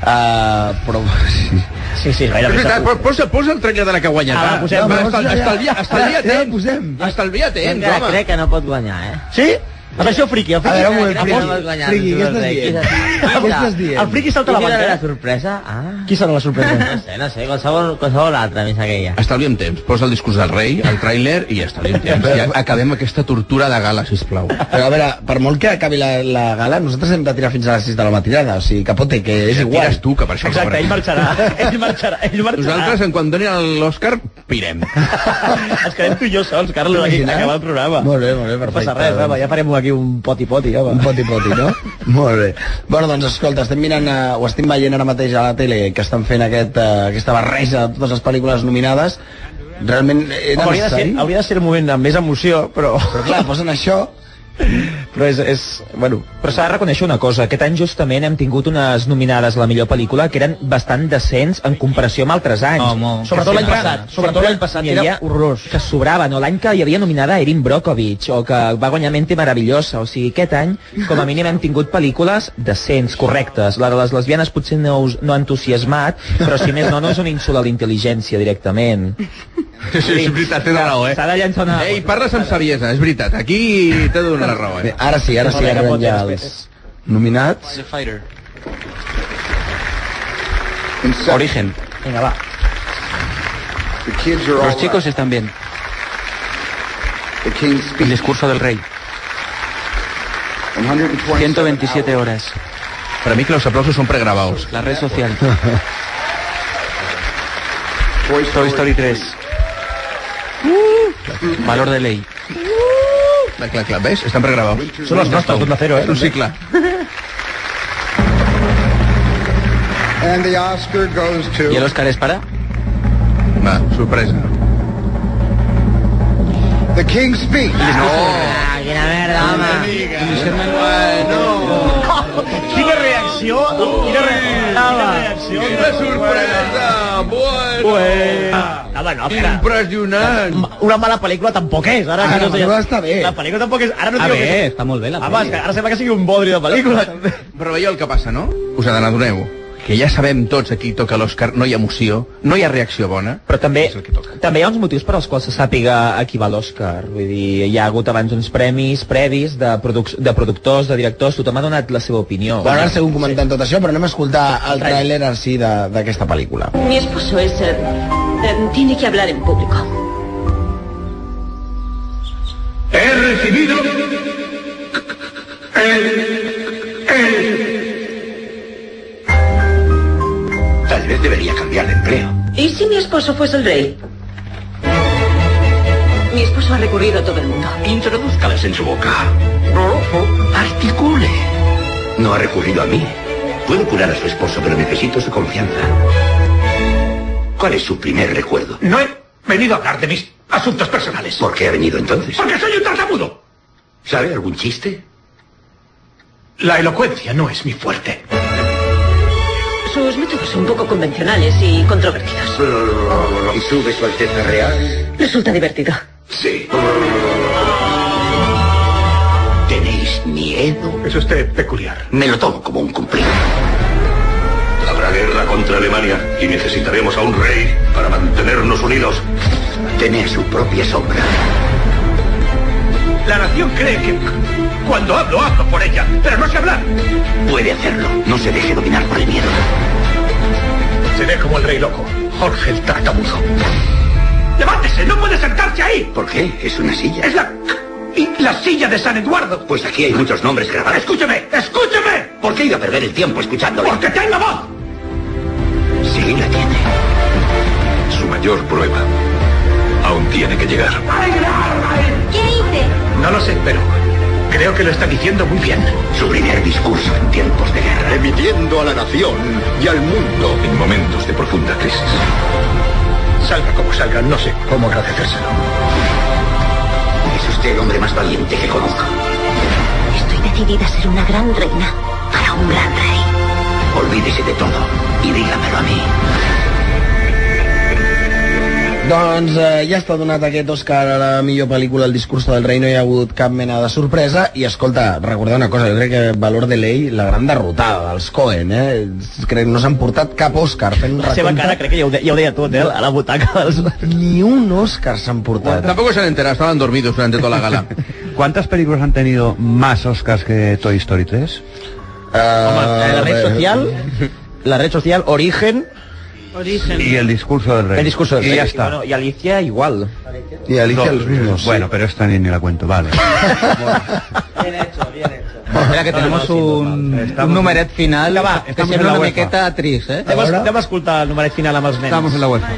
eh, però...
Sí, sí,
És veritat, però posa, posa el trailer de la que guanyarà.
Ah, va, posem.
Va,
Va,
estal-
ja, ja.
Estalvia, estalvia
Ja, ja,
temps. Estalvia temps,
Encara
home.
crec que no pot guanyar, eh?
Sí? Atenció, friki, el friki.
A veure, un moment, friki. Friki, què estàs dient? Què estàs dient?
El friki salta a la
Qui
banca.
donarà la
eh?
sorpresa? Ah.
Qui serà la sorpresa?
No sé, no sé, qualsevol, qualsevol altra més aquella.
Estalviem temps, posa el discurs del rei, el tràiler i ja estalviem temps. Ja acabem aquesta tortura de gala, sisplau.
Però a veure, per molt que acabi la, la gala, nosaltres hem de tirar fins a les 6 de la matinada, o sigui, capote, que és igual.
Tires tu, que per això no
Exacte,
farem.
ell marxarà. Ell marxarà, ell marxarà.
Nosaltres, en quan doni l'Òscar, pirem.
Ens quedem tu i jo sols, Carlos, aquí,
Imagina't.
acabar el programa.
Molt bé, molt bé,
No
perfecte.
passa res, home, ja farem aquí un poti-poti, home.
Un poti-poti, no? Molt bé. Bueno, doncs escolta, estem mirant, eh, o estem veient ara mateix a la tele que estan fent aquest, eh, aquesta barreja de totes les pel·lícules nominades. Realment eh,
Home,
era
hauria, de ser,
necessari?
hauria de ser un moment amb més emoció, però...
Però clar, posen això...
Però és, és, bueno,
Però s'ha de reconèixer una cosa, aquest any justament hem tingut unes nominades a la millor pel·lícula que eren bastant decents en comparació amb altres anys.
Oh, molt.
Sobretot l'any
Sempre-
passat.
sobretot l'any passat,
Hi havia
era horrorós.
Que sobrava, no? L'any que hi havia nominada Erin Brockovich o que va guanyar Mente Maravillosa. O sigui, aquest any, com a mínim, hem tingut pel·lícules decents, correctes. La de les lesbianes potser no, us, no ha entusiasmat, però si més no, no és un insult a la intel·ligència directament.
Sí, és veritat, té raó, eh?
S'ha de llançar una...
Ei, parles amb saviesa, és veritat. Aquí t'he donat la raó, eh?
Bé, ara sí, ara sí, ara veiem ja els nominats.
Origen.
Vinga, va.
Los chicos están bien. El discurso del rey. 127 horas.
Per a mi que els aplausos són pregravados.
La red social. Toy Story 3. Valor de ley.
Clar, clar, clar, ves? Estan pregravados.
Són els nostres, tot d'acero, eh?
És un cicle.
And the Oscar goes to...
¿Y el Oscar es para?
Va, sorpresa.
The King's Speech.
Ah, quina merda, home.
Quina reacció, quina reacció.
Quina sorpresa! Bueno!
Ah,
Home, Ah, no, espera.
Eh, Impressionant!
Una mala pel·lícula tampoc és, ara.
Ah,
que
la
no sé-
pel·lícula està bé.
La pel·lícula tampoc és... Ara no
Ah,
diu
bé,
que...
està molt bé la
Home, és que ara sembla que sigui un bodri de pel·lícula.
Però veieu el que passa, no? Us n'adoneu que ja sabem tots a qui toca l'Òscar, no hi ha emoció, no hi ha reacció bona.
Però també,
És el que toca.
també hi ha uns motius per als quals se sàpiga a qui va l'Oscar. Vull dir, hi ha hagut abans uns premis previs de, produc de productors, de directors, tothom ha donat la seva opinió.
Bueno, ara segur comentant tot això, però anem a escoltar el tràiler en si de- d'aquesta pel·lícula.
Mi esposo es... eh, eh, tiene que hablar en público.
He recibido el, el
Tal vez debería cambiar de empleo.
¿Y si mi esposo fuese el rey? Mi esposo ha recurrido a todo el mundo.
Introduzcalas en su boca. Articule. No ha recurrido a mí. Puedo curar a su esposo, pero necesito su confianza. ¿Cuál es su primer recuerdo?
No he venido a hablar de mis asuntos personales.
¿Por qué ha venido entonces?
Porque soy un tartamudo.
¿Sabe algún chiste?
La elocuencia no es mi fuerte.
Sus métodos son poco convencionales y controvertidos.
¿Y sube su alteza real?
Resulta divertido.
Sí. ¿Tenéis miedo?
Es usted peculiar.
Me lo tomo como un cumplido. Habrá guerra contra Alemania y necesitaremos a un rey para mantenernos unidos. Tener su propia sombra.
La nación cree que cuando hablo, hablo por ella, pero no sé hablar.
Puede hacerlo. No se deje dominar por el miedo.
Seré como el rey loco, Jorge el tartamudo. ¡Levántese! ¡No puede sentarse ahí!
¿Por qué? Es una silla.
¡Es la... y- la silla de San Eduardo!
Pues aquí hay muchos nombres grabados.
¡Escúcheme! ¡Escúcheme!
¿Por qué iba a perder el tiempo escuchándole?
¡Porque tengo voz!
Sí, la tiene. Su mayor prueba aún tiene que llegar.
¿Qué dice? No lo sé, pero creo que lo está diciendo muy bien.
Su primer discurso en tiempos de guerra.
Emitiendo a la nación y al mundo en momentos de profunda crisis.
Salga como salga, no sé cómo agradecérselo.
Es usted el hombre más valiente que conozco.
Estoy decidida a ser una gran reina para un gran rey.
Olvídese de todo y dígamelo a mí.
Doncs eh, ja està donat aquest Òscar a la millor pel·lícula El discurs del rei, no hi ha hagut cap mena de sorpresa i escolta, recordeu una cosa, jo crec que Valor de Ley, la gran derrotada dels Coen, eh? Crec que no s'han portat cap Òscar fent un
La seva
recompte,
cara crec que ja ho, de, ja ho deia tot, eh? A la butaca dels...
ni un Òscar s'han portat.
Tampoco se han enterado, estaban dormidos durante toda la gala.
¿Cuántas películas han tenido más Oscars que Toy Story 3?
Uh, Home, la red social, la red social, origen,
Origen.
Y el discurso del rey.
El discurso del
y
rey.
ya está.
Y, bueno, y Alicia igual.
Y Alicia los mismos.
sí.
Bueno, pero esta ni, ni la cuento, vale.
Bien hecho, bien hecho.
Mira, que tenemos un,
eh,
un numeret final
Vinga, va,
que
estamos
sembla
en la
una
UEFA.
miqueta trist, eh?
Anem, a, anem a escoltar el numeret final amb els nens.
Estamos en la
UEFA.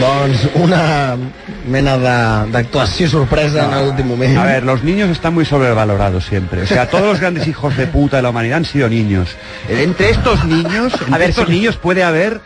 Doncs una mena de- d'actuació sorpresa en l'últim moment.
A ver, los niños están muy sobrevalorados siempre. O sea, todos los grandes hijos de puta de la humanidad han sido niños. Eh, Entre estos niños, entre estos niños puede haber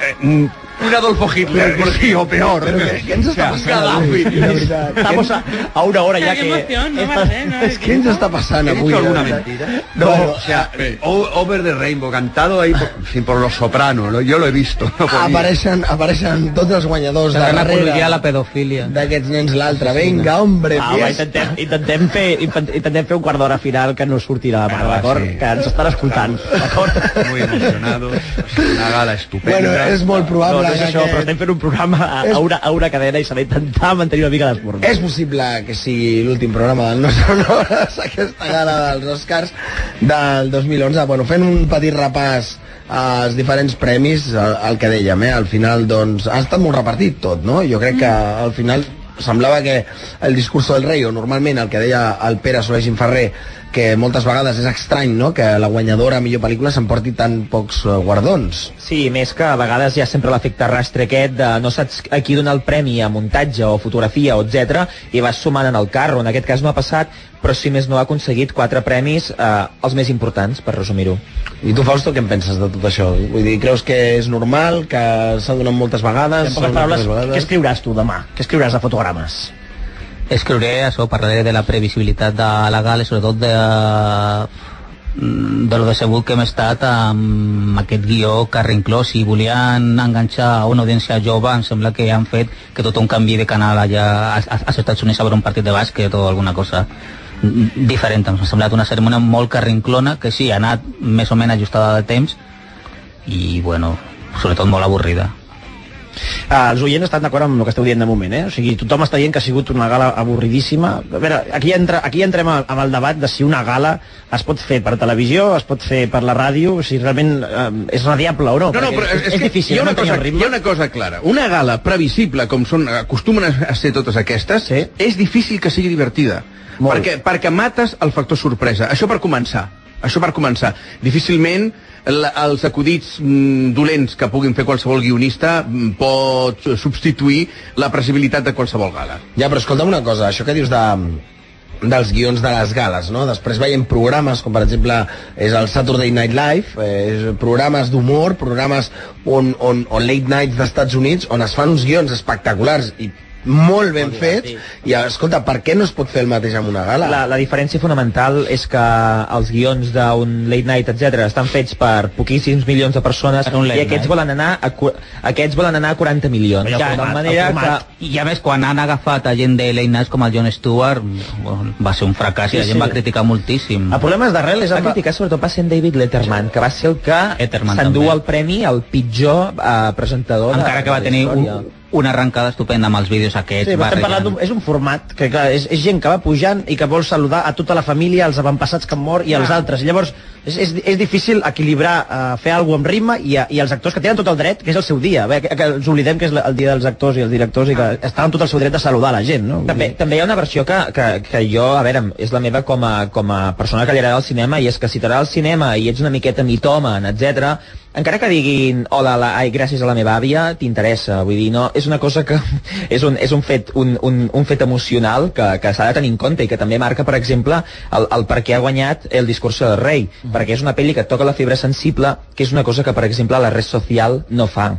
eh, un Adolfo Hitler, sí, o peor.
Pero què- què ens està
O
passant
sea,
avui?
Gaddafi.
La veritat.
Estamos a, a una hora ya que... estas-
És que ens està passant
¿He
avui? eh?
dicho
la
alguna
veritat?
mentira?
No,
Bueno, o sea, o- Over the Rainbow, cantado ahí por, sí, por los sopranos, lo- yo lo he visto.
Ah,
no podía.
Apareixen, apareixen tots els guanyadors de
S'ha d'anar a
darrere
col·loquiar la pedofília.
d'aquests nens l'altre. Vinga, hombre,
Ah, va,
fiesta.
intentem, intentem, fer, intent- intentem fer un quart d'hora final que no sortirà mal, d'acord? Que ens estan escoltant, d'acord?
Ah, Muy emocionados, una gala estupenda.
Bueno, és molt
No, no
probable
és
que
això,
aquest...
però estem fent un programa a, a, una, a una cadena i s'ha d'intentar mantenir una mica les formes.
És possible que sigui l'últim programa del Nos Sonores, aquesta gala dels Oscars del 2011. Bueno, fent un petit repàs als diferents premis, el, el que dèiem, eh? al final doncs, ha estat molt repartit tot, no? Jo crec que
Mm.
al final semblava que el discurso del rei, o normalment el que deia el Pere Soler Gimferrer, que moltes vegades és estrany no? que la guanyadora a millor pel·lícula s'emporti tan pocs eh, guardons.
Sí, més que a vegades hi ha sempre l'efecte rastre aquest de no saps a qui donar el premi a muntatge o fotografia o etc i vas sumant en el carro, en aquest cas no ha passat però si més no ha aconseguit quatre premis eh, els més importants, per resumir-ho
I tu, Fausto, què en penses de tot això? Vull dir, creus que és normal, que s'ha donat moltes vegades?
En poques
s'ha donat
paraules,
moltes
què escriuràs tu demà? Què escriuràs de fotogrames?
Escriuré això, parlaré de la previsibilitat de la gala i sobretot de, mm, de lo decebut que hem estat amb aquest guió que ha reinclòs. Si volien enganxar a una audiència jove, em sembla que han fet que tot un canvi de canal allà als, als Estats Units a veure un partit de bàsquet o alguna cosa mm, diferent. Em ha semblat una cerimònia molt carrinclona, que sí, ha anat més o menys ajustada de temps i, bueno, sobretot molt avorrida.
Ah, els oients estan d'acord amb el que esteu dient de moment, eh? O sigui, tothom està dient que ha sigut una gala avorridíssima. A veure, aquí, entra, aquí entrem a- amb el debat de si una gala es pot fer per televisió, es pot fer per la ràdio, si realment eh, és radiable o no.
No, no,
perquè
però eh, és,
és, és
que
difícil
hi ha, una
mantenir
cosa,
el
hi ha una cosa clara. Una gala previsible, com són, acostumen a a ser totes aquestes, sí. és difícil que sigui divertida.
Molt.
Perquè, perquè mates el factor sorpresa. Això per començar. Això per començar. Difícilment la, els acudits mm, dolents que puguin fer qualsevol guionista mm, pot substituir la previsibilitat de qualsevol gala.
Ja, però escolta'm una cosa, això que dius de dels guions de les gales, no? Després veiem programes com, per exemple, és el Saturday Night Live, eh, és programes d'humor, programes on, on, on late nights d'Estats Units, on es fan uns guions espectaculars i molt ben fets, i escolta, per què no es pot fer el mateix amb una gala?
La, la diferència fonamental és que els guions d'un late night, etc estan fets per poquíssims milions de persones
Per un
i
late
aquests
night.
volen anar a, cu- aquests volen anar a 40 milions.
Ja,
de manera que
que... I a més, quan han agafat a gent de Late Nights com el John Stewart, bueno, va ser un fracàs
Sí,
i la gent
sí.
va criticar moltíssim.
El problema és d'arrel, és el criticar sobretot Mm. va ser en David Letterman, que va ser el que
Letterman
s'endú
també.
el premi al pitjor eh, presentador
Encara
de,
que va
de la
tenir un,
història.
una arrencada estupenda amb els vídeos aquests.
Sí, però estem parlant d'un, és un format que clar, és, és gent que va pujant i que vol saludar a tota la família, els avantpassats que han mort i els
Ah.
altres. Llavors, és, és, és difícil equilibrar, uh, fer alguna amb ritme i, a- i els actors que tenen tot el dret, que és el seu dia. Bé, que, que ens oblidem que és la- el dia dels actors i els directors i que estan tot el seu dret de saludar la gent, no?
També, també hi ha una versió que, que, que jo, a veure, és la meva com a, com a persona que li agrada el cinema i és que si t'agrada el cinema i ets una miqueta mitòman, etc. encara que diguin hola, la, ai, gràcies a la meva àvia, t'interessa. Vull dir, no, és una cosa que és un, és un, fet, un, un, un fet emocional que, que s'ha de tenir en compte i que també marca, per exemple, el, el per què ha guanyat el discurs del rei, perquè és una pel·li que toca la fibra sensible, que és una cosa que, per exemple, la red social no fa.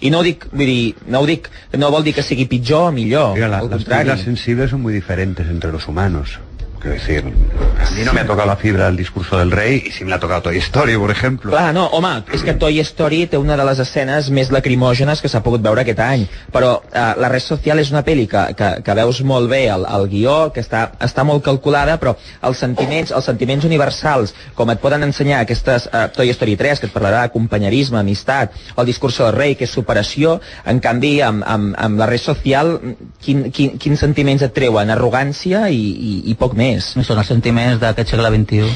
I no ho dic, vull dir, no ho dic, no vol dir que sigui pitjor o millor, Mira, la, al
Las
contrari.
fibras sensibles son muy diferentes entre los humanos. Quiero decir, a mí no me ha tocado la fibra del discurso del rey y sí me la ha tocado Toy Story, por ejemplo.
Clar, no, home, és que Toy Story té una de les escenes més lacrimògenes que s'ha pogut veure aquest any, però eh, La red social és una pel·li que, que, que veus molt bé el, el guió, que està, està molt calculada, però els sentiments, els sentiments universals, com et poden ensenyar aquestes eh, Toy Story 3, que et parlarà d'acompanyerisme, amistat, el discurs del rei, que és superació, en canvi, amb, amb, amb La red social, quin, quin, quins sentiments et treuen? Arrogància i, i, i poc més.
Són els sentiments d'aquest segle XXI,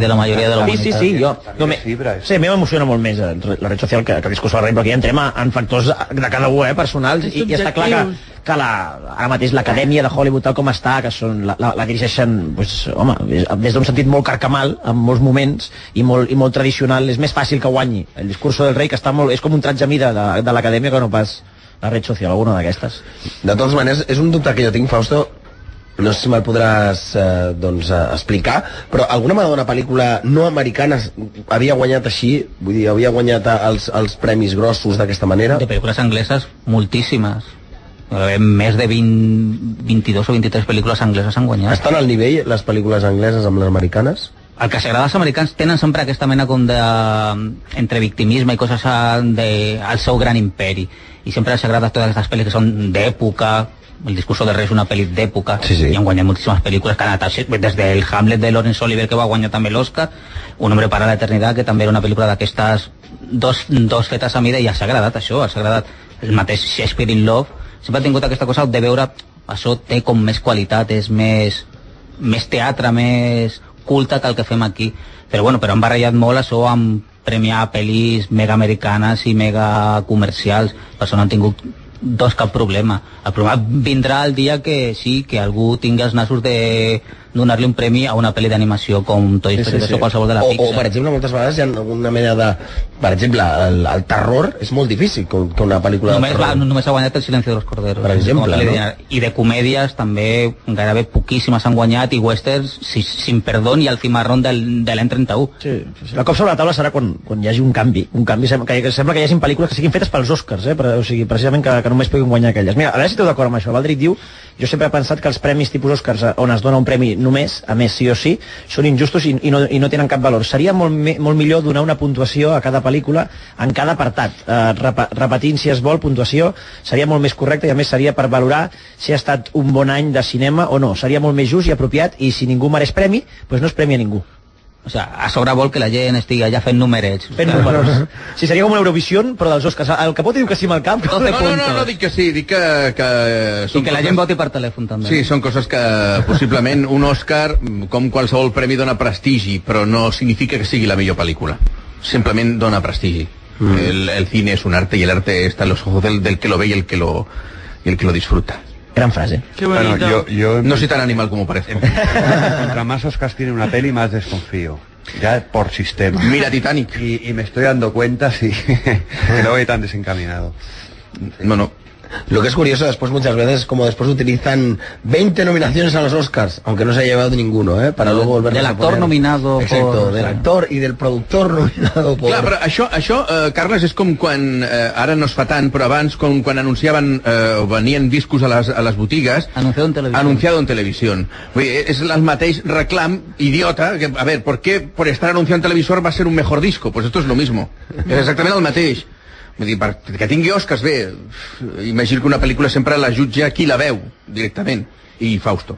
de la majoria de la
Sí, sí,
humanitat.
sí, jo...
no me...
eh?
Sí, a mi m'emociona molt més eh, la red social que, que el discurs de la rei, però aquí entrem a- en factors de cada un, eh, personals, i, i està clar que, que la, ara mateix l'acadèmia de Hollywood tal com està, que són, la, la, la dirigeixen pues, home, des des d'un sentit molt carcamal en molts moments i molt, i molt tradicional, és més fàcil que guanyi el discurs del rei, que està molt, és com un tratge a mida de, de l'acadèmia que no pas la red social, alguna d'aquestes.
De totes maneres, és un dubte que jo tinc, Fausto, no sé si me'l podràs eh, doncs, eh, explicar, però alguna vegada una pel·lícula no americana s- havia guanyat així, vull dir, havia guanyat eh, els, els premis grossos d'aquesta manera?
De pel·lícules angleses, moltíssimes. Eh, Més de 20, 22 o 23 pel·lícules angleses han guanyat.
Estan al nivell les pel·lícules angleses amb les americanes?
El que s'agrada als americans tenen sempre aquesta mena com de... mm, entre victimisme i coses a- de, al seu gran imperi. I sempre els agrada totes aquestes pel·lis que són d'època, el discurso de rei és una pel·li d'època sí, sí. i han guanyat moltíssimes pel·lícules que han anat així, des del Hamlet de Laurence Oliver que va guanyar també l'Oscar Un hombre para la eternitat que també era una pel·lícula d'aquestes dos, dos fetes a mida i els ha agradat això, els ha agradat el mateix Shakespeare in Love sempre ha tingut aquesta cosa de veure això té com més qualitat, és més més teatre, més culte que el que fem aquí. Però, bueno, però han barrejat molt això amb premiar pel·lis mega americanes i mega comercials. Per això no han tingut dos cap problema. El problema vindrà el dia que sí, que algú tingui els nassos de donar-li un premi a una pel·li d'animació com Toy Story sí, sí, sí. o qualsevol de la
o, o,
Pixar.
per exemple, moltes vegades hi ha alguna mena de... Per exemple, el, el terror és molt difícil que, que una pel·lícula de
Només, va,
terror...
només ha guanyat el silenci dels corderos.
Per exemple,
Com a pel·li
no?
de- I de comèdies també gairebé poquíssimes han guanyat i westerns si, sin perdón i el cimarrón del, de l'any 31.
Sí, La cop sobre la taula serà quan, quan hi hagi un canvi. Un canvi sembla que, que sembla que hi hagin pel·lícules que siguin fetes pels Oscars, eh? Però, o sigui, precisament que, que només puguin guanyar aquelles. Mira, a veure si esteu d'acord amb això. Valdric diu, jo sempre he pensat que els premis tipus Oscars, eh, on es dona un premi només, a més sí o sí, són injustos i, i, no, i no tenen cap valor. Seria molt, me, molt millor donar una puntuació a cada pel·lícula en cada apartat. Eh, rep, repetint, si es vol, puntuació seria molt més correcte i a més seria per valorar si ha estat un bon any de cinema o no. Seria molt més just i apropiat i si ningú mereix premi, doncs no es premi a ningú.
O sea, a sobre vol que la gent estigui allà fent números.
Fent números. Sí, seria com una Eurovisió, però dels Oscars. El Capote diu que sí amb el cap.
No,
de
no,
punta.
no,
no,
no,
dic
que sí, dic que... que I que la gent voti per telèfon també.
Sí, són coses que possiblement un Oscar, com qualsevol premi, dona prestigi, però no significa que sigui la millor pel·lícula. Simplement dona prestigi. El, el cine es un arte y el arte está en los ojos del, del que lo ve y el que lo, y el que lo disfruta.
Gran frase.
Qué bonito.
Bueno, yo, yo-
No soy tan animal como parece.
Contra más Oscars tiene una peli, más desconfío. Ya por sistema.
Mira Titanic.
Y, y me estoy dando cuenta, sí, que no voy tan desencaminado.
No, no.
Lo que es curioso después muchas veces es como después utilizan 20 nominaciones a los Oscars, aunque no se ha llevado ninguno, ¿eh? Para luego volver
Del
a
actor
poner.
nominado
Exacto,
por-
del actor y del productor nominado por...
Clar, però això, això eh, Carles, és com quan, eh, ara no es fa tant, però abans, com quan anunciaven, eh, o venien discos a les, a les botigues...
Anunciado en televisió.
Anunciado en televisió. Vull dir, és el mateix reclam idiota, que, a ver, ¿por qué por estar anunciado en televisor va a ser un mejor disco? Pues esto es lo mismo. És exactament el mateix. Vull dir, per, que tingui Oscars, bé, imagino que una pel·lícula sempre la jutja qui la veu, directament. i Fausto.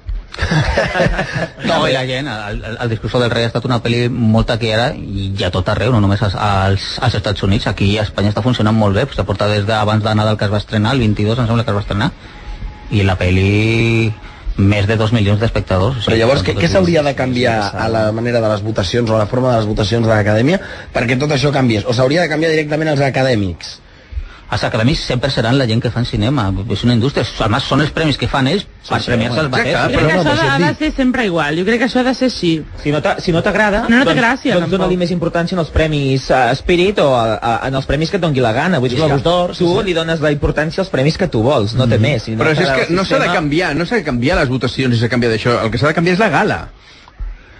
No, i la gent, el, el, el discurso del rei ha estat una pel·li molt taquillera i ja tot arreu, no només als, als, als Estats Units, aquí a Espanya està funcionant molt bé, s'ha portat des d'abans de Nadal que es va estrenar, el 22 em sembla que es va estrenar, i la pel·li més de 2 milions d'espectadors. O
sigui, Però llavors, què, què s'hauria de canviar a la manera de les votacions o a la forma de les votacions de l'acadèmia perquè tot això canvies? O s'hauria de canviar directament als acadèmics?
els acadèmics sempre seran la gent que fan cinema, és una indústria, a més són els premis que fan ells per sí, premiar-se els
baters. Jo crec que això ha de ser sempre igual, jo crec que això ha de ser així.
Si no t'agrada,
no, no té gràcia,
doncs, doncs dona-li més importància en els premis uh, Spirit o a, a, en els premis que et doni la gana. Vull dir, Globus d'Or, tu li dones la importància als premis que tu vols, no té més. Mm-hmm. Si
no Però és que no s'ha de canviar, no s'ha de canviar les votacions si s'ha canviat d'això, el que s'ha de canviar és la gala.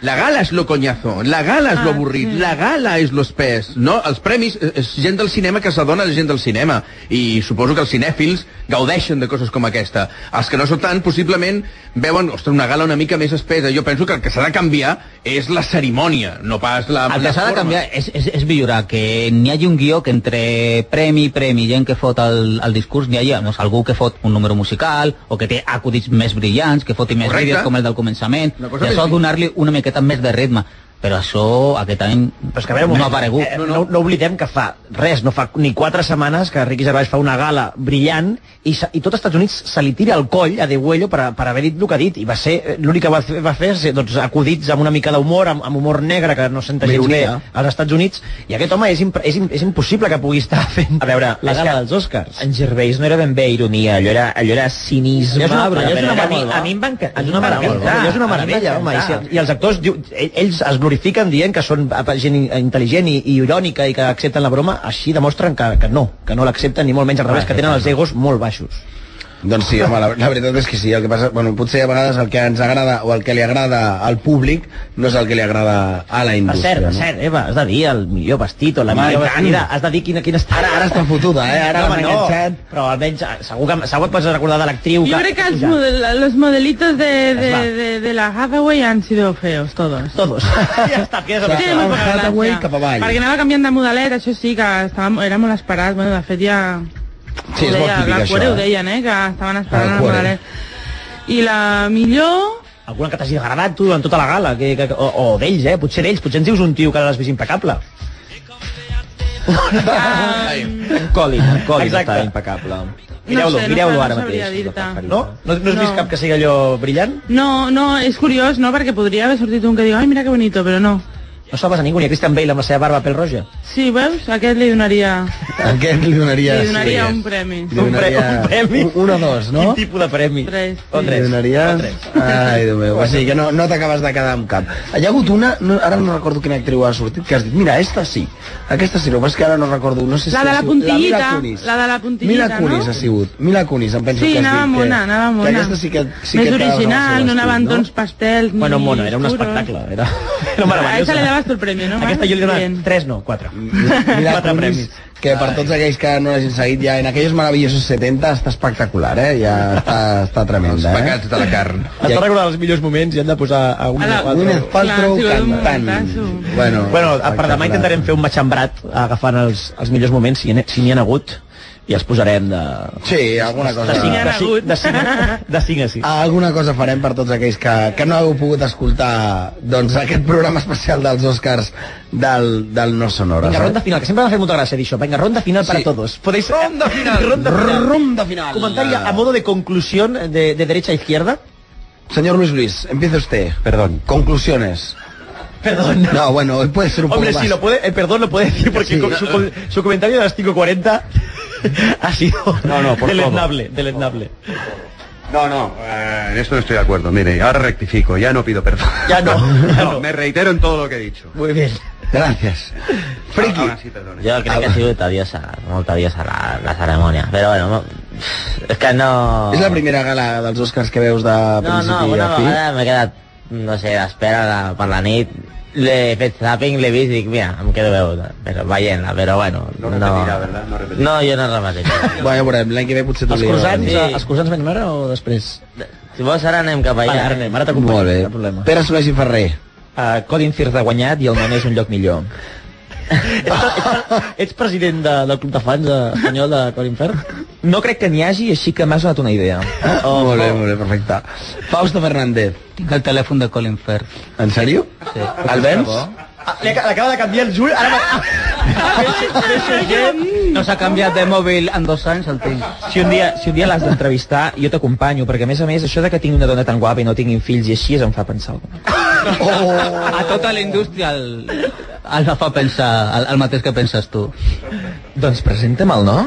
La gala és lo conyazo, la gala és ah, lo avorrit, sí. la gala és lo espès, no? Els premis eh, és gent del cinema que s'adona de gent del cinema i suposo que els cinèfils gaudeixen de coses com aquesta. Els que no són tant, possiblement, veuen, ostres, una gala una mica més espesa. Jo penso que el que s'ha de canviar és la cerimònia, no pas la
El
que
s'ha de canviar és, és, és millorar, que n'hi hagi un guió que entre premi, premi, gent que fot el, el discurs, n'hi hagi no, algú que fot un número musical o que té acudits més brillants, que foti més Correcte. vídeos com el del començament, i això donar-li una miqueta miqueta més de ritme però això Oh, aquest any
però és que, a veure, no ha aparegut. Eh, no, no. no, oblidem que fa res, no fa ni quatre setmanes que Ricky Gervais fa una gala brillant i, se, i tot els Estats Units se li tira el coll a Degüello per, per haver dit el que ha dit i va ser, eh, l'únic que va fer, va fer ser doncs, acudits amb una mica d'humor, amb, amb humor negre que no senta gens bé als Estats Units i aquest home és, impre, és, és impossible que pugui estar fent
a veure,
la gala dels Oscars
en Gervais no era ben bé ironia allò era, allò era cinisme
allò és una, allò és una
meravella, a mi, a mi em va encantar
és una meravella, eh?
eh?
és una meravella home, i, si, i els actors diu, eh, ells es glorifiquen dient que són gent intel·ligent i, i irònica i que accepten la broma, així demostren que, que no, que no l'accepten ni molt menys al revés, que tenen els egos molt baixos.
Doncs sí, home, la, la veritat és que sí, el que passa, bueno, potser a vegades el que ens agrada o el que li agrada al públic no és el que li agrada a la indústria.
Per cert, per cert, Eva, has de dir el millor vestit o la home, millor vestida, has de dir quina, quina està...
Ara, ara està fotuda, eh? Ara
no, no, xat... però almenys segur que, segur que pots recordar de l'actriu
que... Jo crec que els, model, los modelitos de, de, de, de, la Hathaway han sido feos, todos.
Todos. ja està, queda
sí, sí, molt Hathaway cap avall. Perquè anava canviant de modelet, això sí, que estava, era molt esperat, bueno, de fet ja...
Sí, és molt
deia,
típic,
la
això.
Cuore ho deien, eh, que estaven esperant el Moralet. I la millor...
Alguna que t'hagi agradat tu en tota la gala, que, que, o, o d'ells, eh? Potser d'ells, potser ens dius un tio que l'has vist impecable.
Um...
Colin, Colin Exacte. està impecable. Mireu-lo,
no sé,
mireu-lo
no
ara
no
mateix.
sabria dir-te.
No? No, no has vist
No.
cap que sigui allò brillant?
No, no, és curiós, no? Perquè podria haver sortit un que diu, ai, mira que bonito, però no.
No sobes a ningú, ni a Christian Bale amb la seva barba pel roja.
Sí, veus? Aquest li donaria...
Aquest li donaria...
Li donaria un premi.
Li donaria...
Un pre- un premi?
Un, un o dos, no?
Quin tipus de premi?
Tres.
O
sí.
Li
tres.
donaries... Ai, Déu meu. O sigui que no, no t'acabes de quedar amb cap. Hi ha hagut una, no, ara no recordo quina actriu ha sortit, que has dit, mira, esta sí. Aquesta sí, no, però és que ara no recordo. No sé
La
si
de
ha
la
sigut-
puntillita,
Mila Kunis.
la de la puntillita,
Mila Kunis
no?
ha sigut. Mila Kunis, em penso
Sí,
que has dit.
anava
que-
mona, anava mona.
Que aquesta sí que... Sí
Més
que t'agrada
original,
el seu
no anaven
estil,
tons pastels ni...
Bueno, mono, era un
oscuros.
espectacle. Era, era
A esa
meravellosa.
le dabas tu el premio, ¿no?
Aquesta jo li donava
Bien.
tres, no, quatre.
Mila
quatre
Kunis,
premis.
que per tots aquells que no l'hagin seguit ja en aquells meravellosos 70 està espectacular, eh? Ja està, està
Els
tremenda, eh?
pecats de la carn.
Has de recordar els millors moments i hem de posar a un
A la-
quatre.
Gwyneth
Clar,
Paltrow
ha sigut un
cantant.
momentazo.
Bueno,
Bueno, per demà
espectacular.
intentarem fer un matxembrat agafant els, els millors moments, si n'hi si n'hi ha hagut, i els posarem de...
Sí, alguna cosa...
De 5
n'hi ha
a 6.
hagut.
De 5 a, de 5 a 6.
Alguna cosa farem per tots aquells que, que no heu pogut escoltar doncs, aquest programa especial dels Oscars del, del No eh? Sonora.
Vinga, ronda final, que sempre m'ha fet molta gràcia dir això. Vinga, ronda final para
Sí.
Doncs
todos. Podéis...
Ronda final.
Ronda final.
Ronda final.
Comentario a modo de conclusión de, de derecha a izquierda.
Señor Luis Luis, empieza usted.
Perdón.
Conclusiones.
Perdón.
No, bueno, puede ser un poco
Hombre,
más.
sí, lo puede, eh, perdón, lo puede decir porque con su, con- su comentario de las 5.40 ha sido
No, no, por
deleznable, deleznable.
No, no, eh, en esto no estoy de acuerdo. Mire, ahora rectifico, ya no pido perdón.
Ya no, ya no.
Me reitero en todo lo que he dicho.
Muy bien.
Gracias. Friki.
Ahora sí, perdone.
Jo crec que ha sigut odiosa, molt odiosa la, la cerimònia, però bueno, mo- és que no...
És la primera gala dels Oscars que veus de
No,
principi
no,
a
una
fi?
vegada m'he quedat, no sé, d'espera de- per la nit, l'he fet zapping, l'he vist i dic, mira, em quedo veure, però veient-la, però bueno,
No
no...
repetirà, ¿verdad? No repetirà.
No, jo no repetiré.
Bueno, ja veurem, l'any que ve potser
Els
t'oblidaré.
croissants,
Sí.
eh, els croissants venim ara o després?
si vols ara anem cap allà.
Vale, ara anem, ara t'acompanyo,
Molt
no hi ha
bé.
problema.
Pere Solés i Ferrer.
Eh,
Uh, Colin Firth ha guanyat i el nom és un lloc millor.
ets, ets, ets president de, del club de fans eh, espanyol de Colin Firth?
No crec que n'hi hagi, així que m'has donat una idea.
Oh, molt bé, molt bé, perfecte. Fausto Fernández.
Tinc el telèfon de Colin Firth.
En sèrio?
Sí.
El vens?
Ah, li ac- L'acaba de canviar el Juli, ara...
No s'ha canviat de mòbil en dos anys, el tinc.
Si un dia, si un dia l'has d'entrevistar, jo t'acompanyo, perquè a més a més, això de que tingui una dona tan guapa i no tinguin fills i així, és em fa pensar alguna cosa.
Oh. A tota la indústria el, el fa pensar el, el mateix que penses tu.
Doncs presenta'm el no.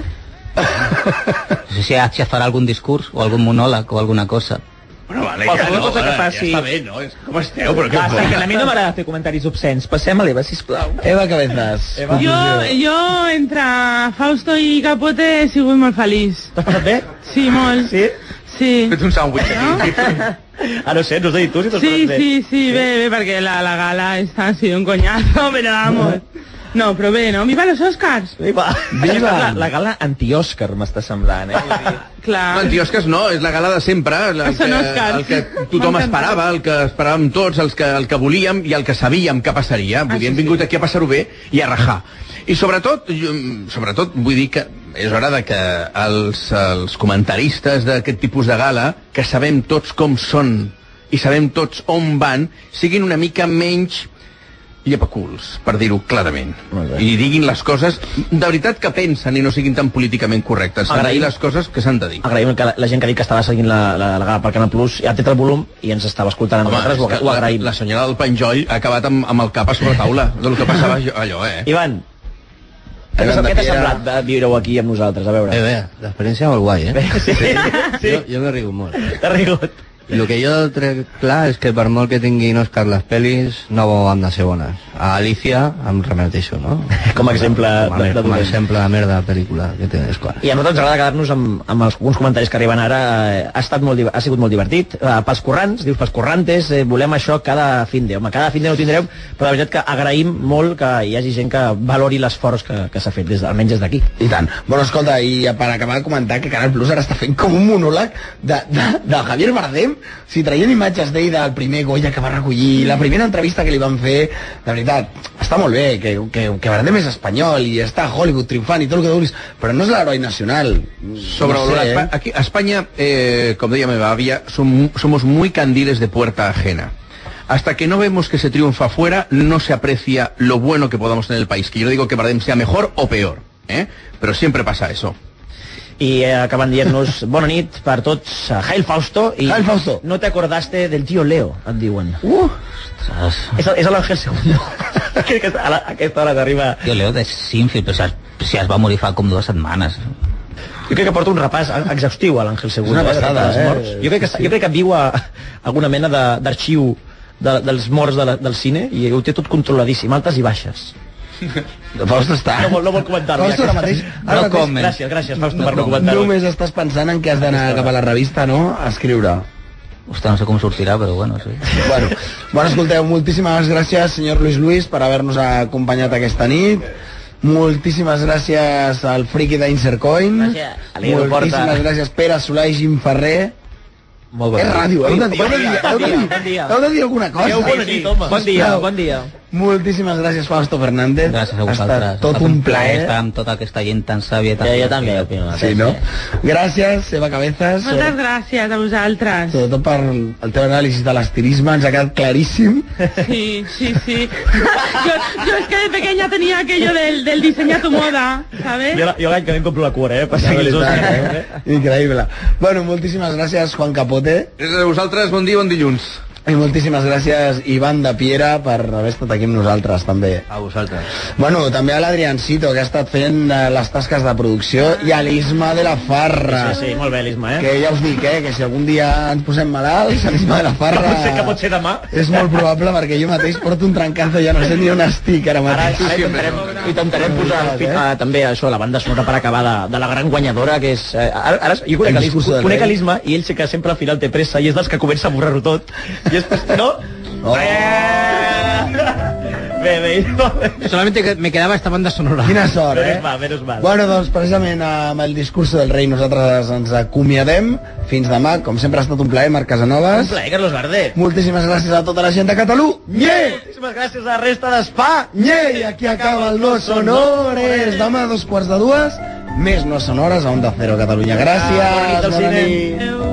No sé si, ha- si es farà algun discurs o algun monòleg o alguna cosa.
Bueno, vale,
Qualsevol
ja, no,
cosa que
ara,
faci-
ja està bé, no? És- Com esteu? Però què
Va,
em
sí, que a mi no m'agrada fer comentaris obscens. Passem a l'Eva, sisplau.
Eva Cabezas.
Eva.
Jo, jo entre Fausto i Capote he sigut molt feliç.
T'has passat bé?
Sí, molt.
Sí?
Sí.
Ets un sàndwich aquí.
Ah, no sé, no has de dir tu si t'has
Sí,
passat bé.
sí, sí, bé, bé, perquè la, la gala esta ha sido un coñazo, pero vamos. No, però bé, no? Viva los Oscars!
Viva!
Viva! La, la gala anti-Òscar m'està semblant, eh?
Clar.
No, Tiosques no, és la gala de sempre, la, el,
Són
que,
Oscars.
el que tothom
M'encanta.
esperava, el que esperàvem tots, els que, el que volíem i el que sabíem que
Ah,
passaria. Vull dir, hem vingut aquí a passar-ho bé i a rajar. I sobretot, jo, mm, sobretot vull dir que és hora de que els, els comentaristes d'aquest tipus de gala, que sabem tots com són i sabem tots on van, siguin una mica menys llepaculs, per dir-ho clarament. I diguin les coses de veritat que pensen i no siguin tan políticament correctes. S'han de dir
Agraïm.
les coses que s'han de dir.
Agraïm que la, la gent que ha dit que estava seguint la, la, la gala per Canal Plus ja té el volum i ens estava escoltant a
Home,
nosaltres,
és
ho,
que
ho agraïm.
La, la senyora del Penjoll ha acabat amb, amb el cap a sobre taula del que passava allò, allò eh?
Ivan, què
Ivan
t'ha
de
què t'ha
Piera.
semblat de viure-ho aquí amb nosaltres? A veure.
Eh, bé, l'experiència molt guai, eh?
Sí, sí.
Jo, jo m'he rigut molt.
T'ha rigut.
I el que jo trec clar és que per molt que tinguin Òscar les pel·lis, no han de ser bones. A Alicia em remeteixo, no?
Com a exemple
Com a,
de- de
com a
dolent.
exemple de merda de pel·lícula que té Òscar.
I a nosaltres ens agrada quedar-nos amb, amb alguns comentaris que arriben ara. Eh, Ha, estat molt, div- ha sigut molt divertit. Eh, pels corrents, dius pels corrantes, eh, volem això cada fin de... Home, cada fin de no ho tindreu, però la veritat que agraïm molt que hi hagi gent que valori l'esforç que, que s'ha fet, des, de- almenys des d'aquí.
I tant. Bueno, escolta, i per acabar de comentar que Canal Plus ara està fent com un monòleg de, de, de Javier Bardem, si traient imatges d'ell del primer Goya que va recollir, la primera entrevista que li van fer, de veritat, està molt bé, que, que, que Bardem és espanyol i està a Hollywood triomfant i tot el que vulguis, però no és l'heroi nacional.
Sobre
no sé, eh?
Aquí, a España, eh, como decía mi babia, som- somos muy candiles de puerta ajena. Hasta que no vemos que se triunfa afuera, no se aprecia lo bueno que podamos tener en el país. Que yo no digo que Bardem sea mejor o peor, ¿eh? pero siempre pasa eso.
y eh, acaban dient-nos bona nit per tots, eh, Hail Fausto i
Hail Fausto.
no te acordaste del tío Leo, et diuen
Uh,
és, el- és l'Àngel Segundo Crec que a, la, a aquesta hora t'arriba
Jo leo de Sinfield, però si es, si es va morir fa com dues setmanes.
jo crec que porta un repàs exhaustiu a l'Àngel Segundo
És una passada,
dels
eh?
morts. jo, crec que, jo crec que viu a alguna mena de- d'arxiu de, dels morts de la, del cine i ho té tot controladíssim, altes i baixes
Fausto està...
no vol, no vol comentar-ho
Fausto,
ja,
ara
que-
mateix...
No
Ara mateix-
comen. gràcies, gràcies Fausto per no comentar-ho
Només estàs pensant en que has d'anar cap a la revista, no? A escriure.
Ostres, no sé com sortirà, però bueno, sí.
Bueno, bueno, escolteu, moltíssimes gràcies, senyor Luis Luis, per haver-nos acompanyat aquesta nit. Moltíssimes gràcies al friki d'Insercoin.
Gràcies.
Moltíssimes
Porta.
gràcies, Pere Solà i Gim Ferrer.
molt
És ràdio, eh? heu de dir,
Bon
heu de dir,
dia,
heu de dir,
bon dia.
heu de dir alguna cosa.
Adéu, bona nit, home. Bon dia,
Sisplau.
bon dia.
Moltíssimes gràcies, Fausto Fernández.
Gràcies a
Ha
vosaltres.
estat tot un plaer.
Estar amb tota aquesta gent tan sàvia. i Tan
Jo, jo també opino.
Sí, no? Gràcies, Eva Cabezas.
Moltes gràcies a vosaltres.
Sobretot per el teu anàlisi de l'estilisme, ens ha quedat claríssim.
Sí, sí, sí. Yo, yo es que de pequeña tenía aquello del, del diseña tu moda, ¿sabes?
jo, jo l'any que ve em compro la cura, eh? Per seguir els
veritat,
Oscars.
eh? Increïble. Bueno, moltíssimes gràcies, Juan Capote,
Gràcies a vosaltres, bon dia, bon dilluns.
i moltíssimes gràcies, Ivan de Piera, per haver estat aquí amb nosaltres, també.
A vosaltres.
Bueno, també a l'Adriancito, que ha estat fent eh, les tasques de producció, i a l'Isma de la Farra.
Sí, sí, molt bé, l'Isma, eh?
Que ja us dic, eh, que si algun dia ens posem malalts, a l'Isma de la Farra...
Pot ser que pot ser demà.
És molt probable, perquè jo mateix porto un trencazo, ja no sé ni on estic ara
Ara,
mateix.
ara intentarem, intentarem posar el fi, eh? també això, la banda sonora per acabar de, de la gran guanyadora, que és... Eh, ara, ara, jo
El
conec, l'Is-
discurso del
conec
rei.
l'Isma i ell sé que sempre al final té pressa i és dels que comença a borrar-ho tot. I després, no?
Oh.
Bé, bé, no, bé.
Solamente que me quedaba esta banda sonora.
Quina sort, eh?
Menos mal, menos mal.
Bueno, doncs precisament amb el discurs del rei nosaltres ens acomiadem. Fins demà, com sempre ha estat un plaer, Marc
Un
Casanovas.
plaer, Carlos Bardet.
Moltíssimes gràcies a tota la gent de Catalunya.
Moltíssimes gràcies a la resta d'Espa.
Nye! I aquí acaba el Los Honores. Demà a dos quarts de dues,
Més no sonores a Onda Cero Catalunya. Gràcies.
Ah, bona nit al cine. Adéu.